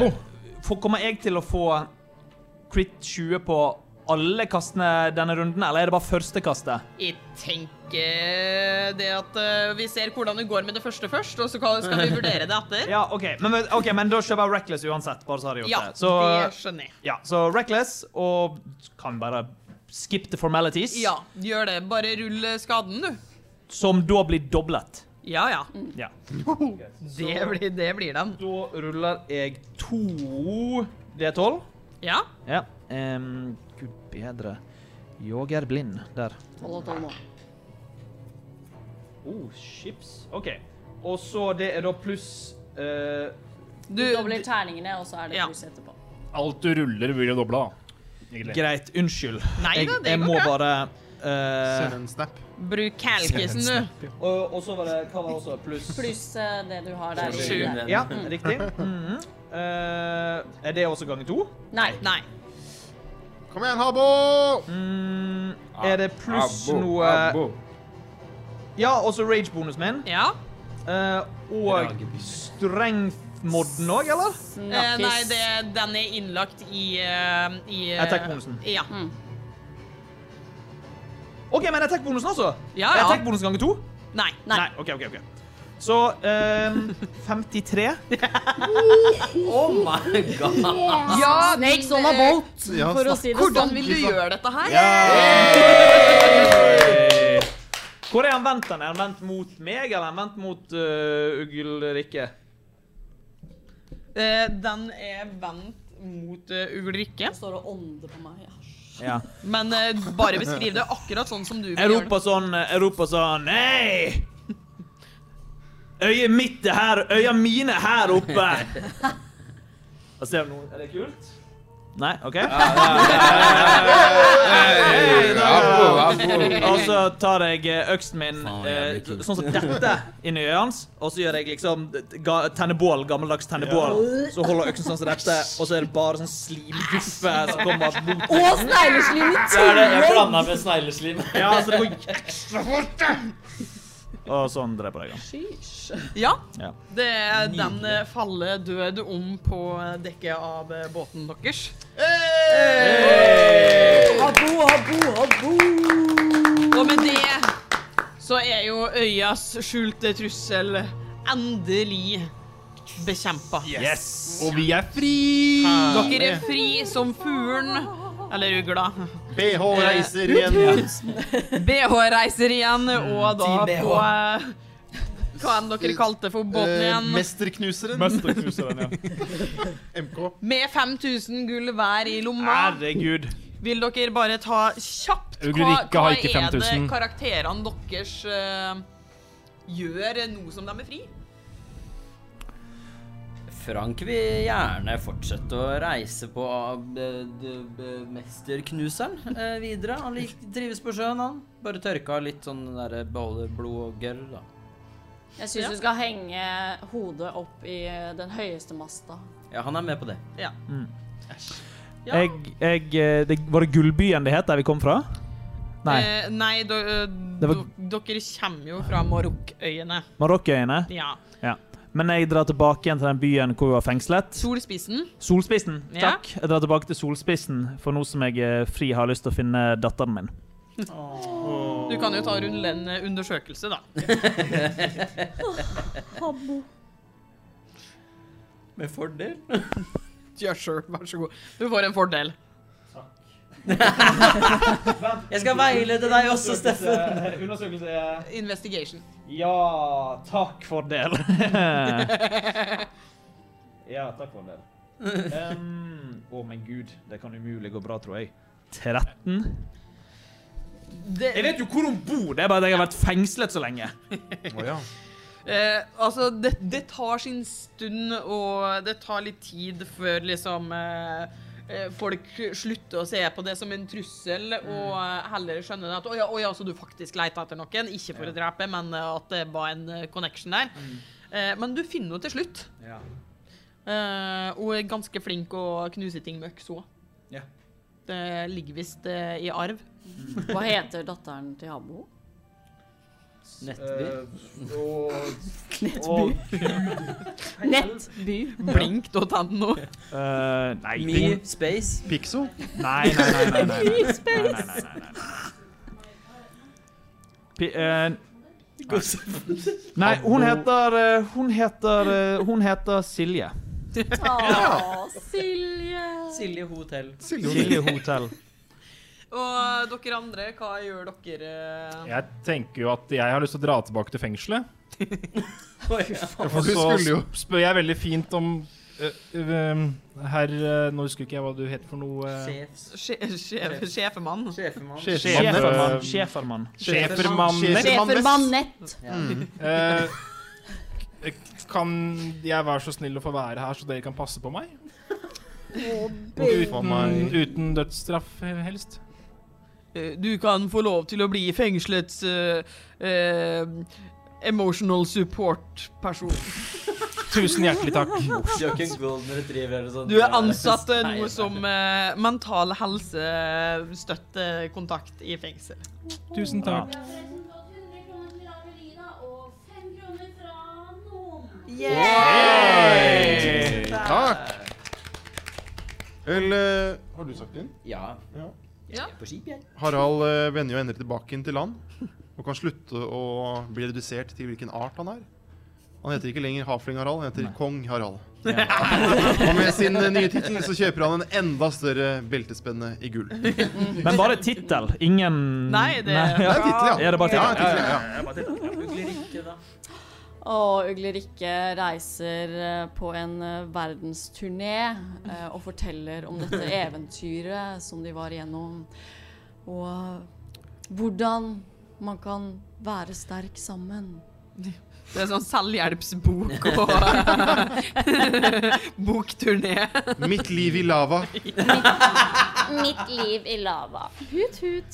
Speaker 6: får- kommer jeg til å få crit 20 på alle kastene denne runden, eller er det bare første kastet?
Speaker 1: Jeg tenker det at eh, vi ser hvordan det går med det første først, og så kan- skal vi vurdere det etter.
Speaker 6: Ja, OK. Men, men- ok, men da kjøper jeg Reckless uansett, bare så har jeg gjort
Speaker 1: Ja,
Speaker 6: det. Så,
Speaker 1: det skjønner jeg.
Speaker 6: Ja, så Reckless, og kan bare skip the formalities,
Speaker 1: Ja, gjør det. Bare rull eh, skaden, du. Mm.
Speaker 6: som da blir doblet.
Speaker 1: Ja, ja.
Speaker 6: Ja.
Speaker 1: Det blir, det blir den.
Speaker 6: Da ruller jeg to D12.
Speaker 1: Ja.
Speaker 6: Ja. ehm, Gud bedre. Jeg er blind. Der.
Speaker 7: Tolv og tolv nå.
Speaker 6: Oh, chips. OK. Og så det er da pluss eh,
Speaker 7: Du dobler terningene, og så er det pluss etterpå.
Speaker 3: Alt du ruller, vil jo doble, da.
Speaker 6: Greit. Unnskyld.
Speaker 1: Nei
Speaker 6: jeg,
Speaker 1: da, det
Speaker 6: jeg
Speaker 1: går
Speaker 6: må
Speaker 1: bra.
Speaker 6: bare eh,
Speaker 4: Send en snap.
Speaker 1: Bruk kalkisen, du.
Speaker 6: Og, og så var det Hva var det også? Pluss
Speaker 7: Pluss eh, det du har der. i
Speaker 6: Sju.
Speaker 7: der.
Speaker 6: Ja,
Speaker 7: Mm.
Speaker 6: riktig. Mhm. Eh, er det også ganger to?
Speaker 7: Nei.
Speaker 1: Nei.
Speaker 4: Kom igjen, Habbo!
Speaker 6: Er det pluss
Speaker 4: Abbo,
Speaker 6: noe
Speaker 4: abbo.
Speaker 6: Ja, også rage-bonusen min.
Speaker 1: Ja.
Speaker 6: Eh, og strength-modden òg, eller?
Speaker 1: Eh, nei, det, den er innlagt i, eh, i eh,
Speaker 6: Attack-bonusen.
Speaker 1: Ja.
Speaker 6: OK, men attack-bonusen også?
Speaker 1: Ja,
Speaker 6: Er
Speaker 1: ja.
Speaker 6: Attack-bonusen ganger to?
Speaker 1: Nei.
Speaker 6: Nei. OK, OK. ok. Så ehm, 53.
Speaker 9: oh my god.
Speaker 1: Ja,
Speaker 5: Snakes
Speaker 1: men,
Speaker 5: on a
Speaker 1: eh,
Speaker 5: bolt,
Speaker 1: ja,
Speaker 5: for å si det
Speaker 1: Hvordan
Speaker 5: sånn.
Speaker 1: vil du gjøre dette her?
Speaker 6: Hvor er han vendt den? Er han vendt mot meg, eller er han vendt mot uh, Uglrikke?
Speaker 1: Eh, den er vendt mot eh, Ulrikke.
Speaker 7: Står og ånder på meg.
Speaker 6: Ja.
Speaker 1: Men eh, bare beskriv det akkurat sånn som du vil
Speaker 6: Jeg
Speaker 1: gjøre det.
Speaker 6: roper sånn, jeg roper sånn Hei! Øyet mitt er her, øya mine er her oppe! Og se om noen Er det kult? Nei, OK? Hei, da. Og så tar jeg eh, øksen min eh, sånn som dette inni øyet hans, og så gjør jeg liksom ga, tennebål, gammeldags tennebål. Så holder jeg øksen sånn som dette, og så er det bare sånn slimguffe som kommer mot
Speaker 5: Og snegleslim i
Speaker 9: Ja, det- jeg
Speaker 5: tillegg!
Speaker 9: blanda med snegleslim.
Speaker 6: Ja, så det går ekstra fort! Og sånn dreper jeg han.
Speaker 1: Ja.
Speaker 6: Ja.
Speaker 1: Det, den eh, faller død om på eh, dekket av eh, båten deres.
Speaker 5: Habbo, habbo, habbo!
Speaker 1: Og med det så er jo øyas skjulte trussel endelig bekjempa.
Speaker 3: Og vi er fri!
Speaker 1: Dere er fri som fuglen eller ugla.
Speaker 4: BH reiser
Speaker 1: Eh,
Speaker 4: igjen.
Speaker 1: BH reiser igjen, og da
Speaker 4: Team BH.
Speaker 1: på eh, Hva enn dere kalte for båten
Speaker 4: Eh,
Speaker 1: igjen.
Speaker 4: Mesterknuseren.
Speaker 3: Mesterknuseren,
Speaker 4: ja. MK.
Speaker 1: Med 5000 gull hver i lomma.
Speaker 6: Herregud.
Speaker 1: Vil dere bare ta kjapt
Speaker 3: Ulrikke har ikke
Speaker 1: er det
Speaker 3: 5000.
Speaker 1: karakterene deres eh, gjør nå som de er fri?
Speaker 2: Frank vil gjerne fortsette å reise på eh, d- b- mesterknuseren eh, videre. Han lik, trives på sjøen, han. Bare tørka litt sånn der beholder blod og gørr, da.
Speaker 7: Jeg syns
Speaker 1: Ja.
Speaker 7: du skal henge hodet opp i eh, den høyeste masta.
Speaker 2: Ja, han er med på det.
Speaker 1: Ja.
Speaker 6: Jeg, jeg eh, det, Var det Gullbyen det het, der vi kom fra? Nei.
Speaker 1: Eh, nei do, eh,
Speaker 6: Det var-
Speaker 1: do- dere kommer jo fra Marokkøyene.
Speaker 6: Marokkøyene?
Speaker 1: Ja.
Speaker 6: Ja. Men jeg drar tilbake igjen til den byen hvor vi var fengslet.
Speaker 1: Solspissen.
Speaker 6: Solspissen.
Speaker 1: Ja.
Speaker 6: Takk. Jeg drar tilbake til Solspissen, for nå som jeg er fri, har jeg lyst til å finne datteren min.
Speaker 1: Du kan jo ta og rulle en eh, undersøkelse, da.
Speaker 5: Habbo.
Speaker 2: Med fordel.
Speaker 1: Ja, sure. Vær så god. Du får en fordel.
Speaker 2: Jeg skal veilede deg også, Steffen.
Speaker 6: Undersøkelse er
Speaker 1: Investigation.
Speaker 6: Ja, takk for del. ja, takk for del. Um, Å, men gud, det kan umulig gå bra, tror jeg. 13? Jeg vet jo hvor hun bor, det er bare at jeg har vært fengslet så lenge.
Speaker 1: Eh, altså, det, det tar sin stund, og det tar litt tid før liksom eh, eh, Folk slutter å se på det som en trussel, og eh, heller skjønner at 'Å ja, å ja, så du faktisk leita etter noen?' Ikke for å drepe, men eh, at det var en eh, connection der. Eh, men du finner henne til slutt.
Speaker 6: Ja.
Speaker 1: Eh, hun er ganske flink å knuse ting med øks òg.
Speaker 6: Ja.
Speaker 1: Det ligger visst eh, i arv.
Speaker 7: Hva heter datteren til Habo?
Speaker 6: Eh, og
Speaker 1: Nettby.
Speaker 15: Nettby.
Speaker 1: Blink da, tann nå.
Speaker 6: Eh, nei
Speaker 2: Me
Speaker 6: ping-
Speaker 2: Space.
Speaker 3: Pixo?
Speaker 6: Nei, nei, nei. nei, nei, nei.
Speaker 15: Me
Speaker 6: nei,
Speaker 15: Space.
Speaker 6: nei, nei, nei, nei. Pi- eh, Nei, hun heter eh, Hun heter eh, Hun heter Silje.
Speaker 5: Å, Silje.
Speaker 2: Silje Hotel.
Speaker 6: Silje Hotel.
Speaker 1: Og dere andre, hva gjør dere? eh?
Speaker 3: Jeg tenker jo at jeg har lyst til å dra tilbake til fengselet. Og
Speaker 4: Du
Speaker 3: så
Speaker 4: skulle jo.
Speaker 3: sp- spør jeg veldig fint om eh, um, Herr eh, Nå husker ikke jeg hva du heter for noe eh,
Speaker 1: Sje- sje- Sjefemann.
Speaker 6: Sjefermann. Sjefermann.
Speaker 3: Sjefermannet.
Speaker 7: Sjefermannet. Ja.
Speaker 3: Mm. Eh, kan jeg være så snill å få være her, så dere kan passe på meg?
Speaker 4: Mm.
Speaker 3: Uten, uten dødsstraff, eh, helst.
Speaker 1: Eh, Du kan få lov til å bli fengslets eh, eh, emotional support-person.
Speaker 3: Tusen hjertelig takk.
Speaker 4: Oh,
Speaker 2: Du er ikke en golden retriever eller sånn.
Speaker 1: Du er ansatt eh, noe som eh, mental helse-støttekontakt i fengsel.
Speaker 3: Tusen takk.
Speaker 12: Vi har forresten fått 100 kroner til Avelina og 5 kroner fra noen.
Speaker 4: Hey! Takk. Vel, eh, har du sagt din?
Speaker 2: Ja.
Speaker 4: Ja.
Speaker 1: Jeg
Speaker 2: er på skip, jeg.
Speaker 4: Harald eh, vender jo ender tilbake inn til land og kan slutte å bli redusert til hvilken art han er. Han heter ikke lenger Hafling Harald, han heter Kong Harald. og med sin eh, nye tittel så kjøper han en enda større beltespenne i gull.
Speaker 6: Men bare tittel, ingen
Speaker 1: Nei, det-
Speaker 4: Det er tittel, ja.
Speaker 6: Er det bare
Speaker 4: Ja,
Speaker 6: tittel?
Speaker 4: tittel, ja, ja.
Speaker 6: det er bare tittel.
Speaker 7: Og Uglerikke reiser eh, på en eh, verdensturné eh, og forteller om dette eventyret som de var igjennom. Og eh, hvordan man kan være sterk sammen.
Speaker 1: Det er sånn selvhjelpsbok og bokturné.
Speaker 4: Mitt liv i lava.
Speaker 7: Mitt liv i lava. Hut, hut.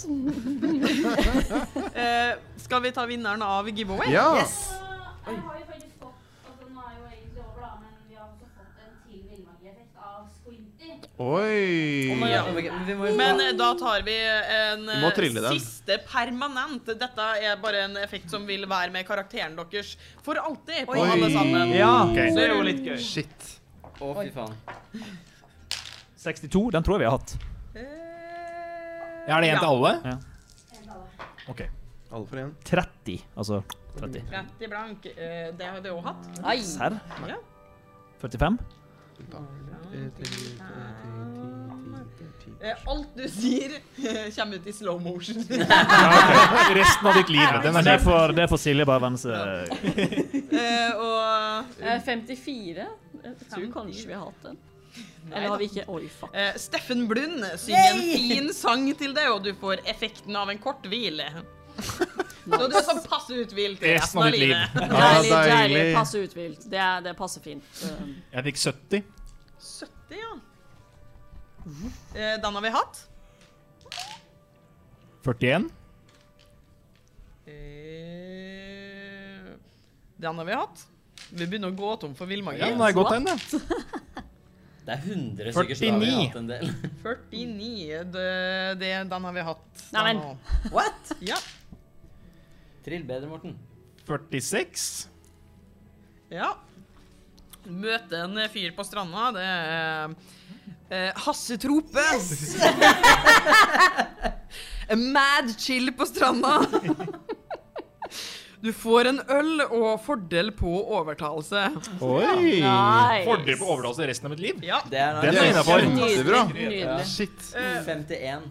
Speaker 1: Eh, skal vi ta vinneren av giveaway?
Speaker 4: Ja.
Speaker 12: Og jeg har jo faktisk fått, altså nå er jo egentlig over da, men vi har også fått en til villmarkeffekt av Squinty.
Speaker 4: Oi.
Speaker 1: Ja. Men eh, da tar vi en
Speaker 4: Vi må
Speaker 1: eh,
Speaker 4: trille den.
Speaker 1: siste permanent. Dette er bare en effekt som vil være med karakteren deres for alltid. På
Speaker 4: Oi.
Speaker 1: alle sammen.
Speaker 6: Ja,
Speaker 4: Ok.
Speaker 6: det er jo litt gøy.
Speaker 4: Shit.
Speaker 2: Å, fy faen.
Speaker 6: 62, den tror jeg vi har hatt.
Speaker 3: Er det en til alle?
Speaker 6: Ja.
Speaker 3: OK.
Speaker 4: Alle for én.
Speaker 6: 30, altså 30.
Speaker 1: 30 blank. eh, Det har vi òg hatt.
Speaker 7: Ai.
Speaker 6: Serr?
Speaker 1: Ja.
Speaker 6: 45?
Speaker 1: Eh, Alt du sier, kommer ut i slow motion.
Speaker 6: Resten av ditt liv.
Speaker 1: den er
Speaker 6: det,
Speaker 1: kjip.
Speaker 6: får, det får Silje bare venne seg
Speaker 1: Eh, og
Speaker 5: Eh, 54? Jeg tror kanskje vi har hatt den. Eller har vi ikke? Oi, fuck.
Speaker 1: eh, Steffen Blund synger en fin sang til deg, og du får effekten av en kort hvil. Så du er sånn passe uthvilt i resten
Speaker 3: Resten av
Speaker 1: av
Speaker 3: ditt liv.
Speaker 1: livet.
Speaker 7: Deilig,
Speaker 3: Ja,
Speaker 7: deilig.
Speaker 3: deilig.
Speaker 7: Passe utvilt. Det, er- det passer fint. Um,
Speaker 3: Jeg fikk 70.
Speaker 1: 70, ja. Eh, Den har vi hatt.
Speaker 3: 41.
Speaker 1: Eh, Den har vi hatt. Vi begynner å gå tom for villmark.
Speaker 3: Ja, nå har jeg gått en, da.
Speaker 2: Det er 100 stykker som har
Speaker 3: 49.
Speaker 2: hatt en del.
Speaker 1: 49. Det, det, den har vi hatt.
Speaker 7: Nei, men-
Speaker 1: Den har-
Speaker 2: What?
Speaker 1: Ja.
Speaker 2: Trill bedre, Morten.
Speaker 3: 46.
Speaker 1: ja. Møte en fyr på stranda, det er eh, Hasse Trope. Mad chill på stranda. Du får en øl og fordel på overtalelse.
Speaker 3: Oi! Fordel på overtalelse resten av mitt liv?
Speaker 1: Ja.
Speaker 3: Det er Den er innafor.
Speaker 1: Shit. Eh,
Speaker 9: 51.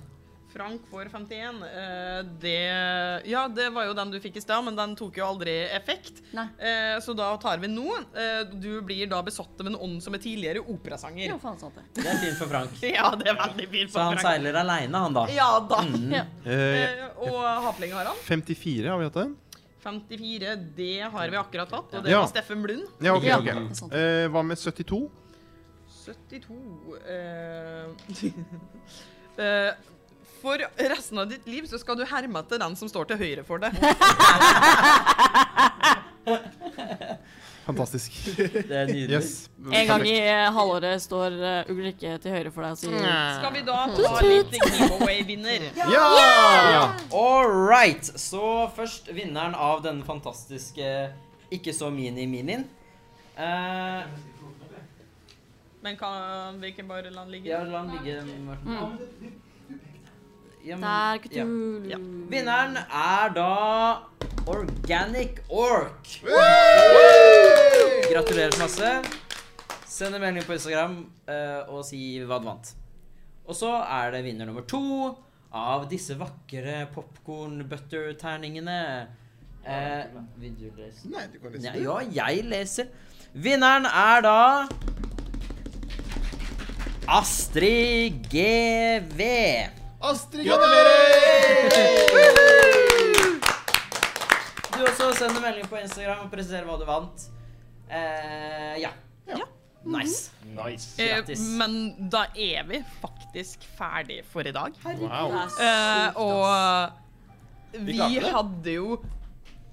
Speaker 1: Frank får 51. eh, Det Ja, det var jo den du fikk i stad, men den tok jo aldri effekt. Eh, Så da tar vi nå. Eh, Du blir da besatt av en ånd som er tidligere operasanger.
Speaker 7: Jo, faen sant det.
Speaker 9: Det er fint for Frank.
Speaker 1: Ja, det er veldig fint for
Speaker 9: Så han
Speaker 1: Frank.
Speaker 9: seiler aleine, han da.
Speaker 1: Ja da.
Speaker 9: Mm.
Speaker 1: Ja.
Speaker 9: Eh,
Speaker 1: Eh, Og Hapling har han.
Speaker 20: 54 har vi hatt den.
Speaker 1: 54, det har vi akkurat hatt, og det
Speaker 20: Ja.
Speaker 1: var Steffen Blund.
Speaker 20: Ja, ok, ok.
Speaker 1: det er sant.
Speaker 20: Eh, hva med 72?
Speaker 1: 72 eh, eh, For resten av ditt liv så skal du herme etter den som står til høyre for deg.
Speaker 20: Fantastisk.
Speaker 9: Det er nydelig.
Speaker 20: Yes.
Speaker 7: En gang i eh, halvåret står eh, Ulrikke til høyre for deg og sier
Speaker 1: Skal vi da ta litt giveaway-vinner?
Speaker 9: All right. Så først vinneren av denne fantastiske ikke så mini-minien. Eh,
Speaker 1: Men kan vi ikke bare la den ligge?
Speaker 9: Ja, la den ligge, Morten. ja,
Speaker 7: Der,
Speaker 9: men- ja.
Speaker 7: Cthulhu.
Speaker 9: Ja. Vinneren er da Organic Ork. Gratulerer så masse. Send en melding på Instagram eh, og si hva du vant. Og så er det vinner nummer to av disse vakre popkorn-butter-terningene. Eh, vil du lese?
Speaker 4: Nei, du kan lese
Speaker 9: Nei,
Speaker 4: det.
Speaker 9: ja, jeg leser. Vinneren er da Astrid GV.
Speaker 4: Astrid,
Speaker 9: Du også send en melding på Instagram og presenterer hva du vant. Eh, ja. Nice.
Speaker 3: Nice.
Speaker 1: Eh,
Speaker 9: Grattis.
Speaker 1: men da er vi faktisk ferdig for i dag.
Speaker 9: Herregud, Wow. det er sykt,
Speaker 1: Eh, og
Speaker 9: Vi
Speaker 1: vi
Speaker 9: klarte det.
Speaker 1: hadde jo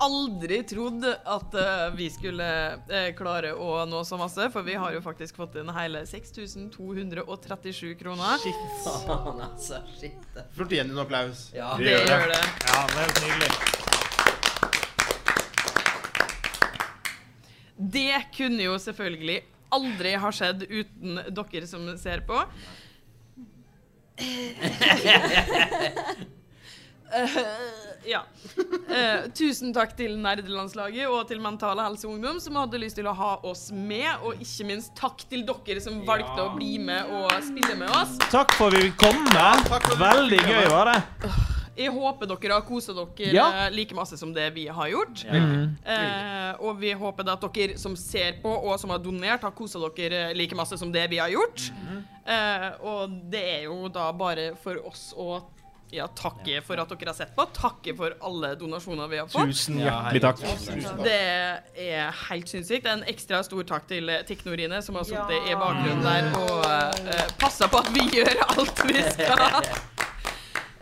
Speaker 1: aldri trodd at eh, vi skulle eh, klare å nå så masse, for vi har jo faktisk fått inn hele 6237 kroner.
Speaker 9: Faen, altså. Shit.
Speaker 4: Fortjener en applaus.
Speaker 9: Ja.
Speaker 1: Det gjør det.
Speaker 3: Ja, det er helt nydelig.
Speaker 1: Det kunne jo selvfølgelig aldri ha skjedd uten dere som ser på. Eh, ja. Eh, tusen takk til Nerdelandslaget og til Mental Helse Ungdom som hadde lyst til å ha oss med, og ikke minst takk til dere som valgte å bli med og spille med oss.
Speaker 6: Takk for at vi kom. Veldig gøy var det.
Speaker 1: Jeg håper dere har kosa dere
Speaker 6: Ja.
Speaker 1: eh, like masse som det vi har gjort.
Speaker 6: Ja. Mhm.
Speaker 1: Eh, og vi håper da at dere som ser på og som har donert, har kosa dere eh, like masse som det vi har gjort. Eh, og det er jo da bare for oss å ja, takke for at dere har sett på. Takke for alle donasjoner vi har fått.
Speaker 3: Tusen hjertelig takk. Tusen takk.
Speaker 1: Det er helt sinnssykt. En ekstra stor takk til eh, Teknorine, som har
Speaker 9: Ja.
Speaker 1: sittet i bakgrunnen der og uh, passa på at vi gjør alt vi skal.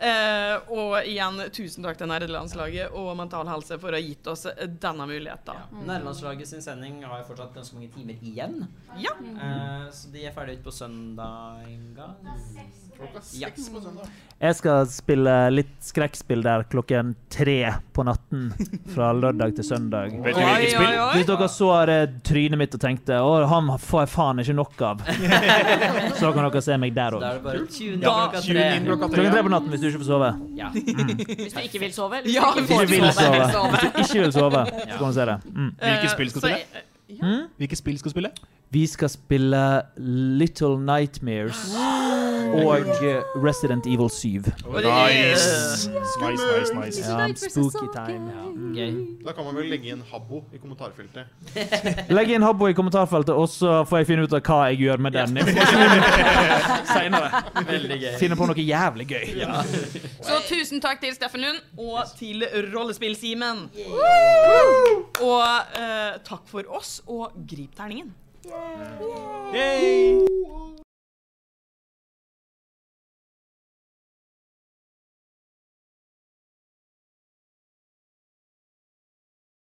Speaker 1: Eh, og igjen, tusen takk til Nerdelandslaget og Mental Helse for å ha gitt oss denne muligheten.
Speaker 9: Nærlandslaget sin sending har jo fortsatt ganske mange timer igjen.
Speaker 1: Ja.
Speaker 9: Eh, så de er ferdige ut på søndag en gang. Klokka
Speaker 4: seks på søndag.
Speaker 6: Jeg skal spille litt skrekkspill der klokken tre på natten. Fra lørdag til søndag.
Speaker 3: Vet du hvilket Oi, spill? oi, oi.
Speaker 6: Hvis dere så det trynet mitt og tenkte å, han får jeg faen ikke nok av, så kan dere se meg der
Speaker 9: Da er det
Speaker 6: òg.
Speaker 9: bare tune inn
Speaker 6: Ja,
Speaker 9: klokka
Speaker 6: tune inn
Speaker 9: tre.
Speaker 6: klokka tre. Klokken tre på natten hvis du ikke får sove.
Speaker 9: Ja.
Speaker 7: Hvis du ikke vil sove, eller
Speaker 1: Ja,
Speaker 7: hvis
Speaker 6: Hvis du
Speaker 7: du
Speaker 6: vil
Speaker 7: ikke
Speaker 6: sove.
Speaker 7: får
Speaker 6: Hvis du ikke vil sove, så kan du se det. Mm.
Speaker 3: Hvilket spill skal du
Speaker 1: Eh, så
Speaker 3: spille?
Speaker 6: Mm?
Speaker 3: Hvilket spill skal du spille?
Speaker 6: Vi skal spille Little Nightmares og eh, Resident Evil 7.
Speaker 1: Og det er-
Speaker 3: Nice. Nice, nice, nice.
Speaker 6: Ja, Um, spooky time. Ja.
Speaker 4: Da kan man vel legge inn Habbo i kommentarfeltet.
Speaker 6: Legg inn Habbo i kommentarfeltet, og så får jeg finne ut av hva jeg gjør med den. informasjonen Senere.
Speaker 9: Veldig gøy.
Speaker 6: Finne på noe jævlig gøy.
Speaker 9: Ja.
Speaker 1: Så tusen takk til Steffen Lund og til Rollespill-Simen. Og eh, takk for oss, og grip terningen.
Speaker 3: Yay!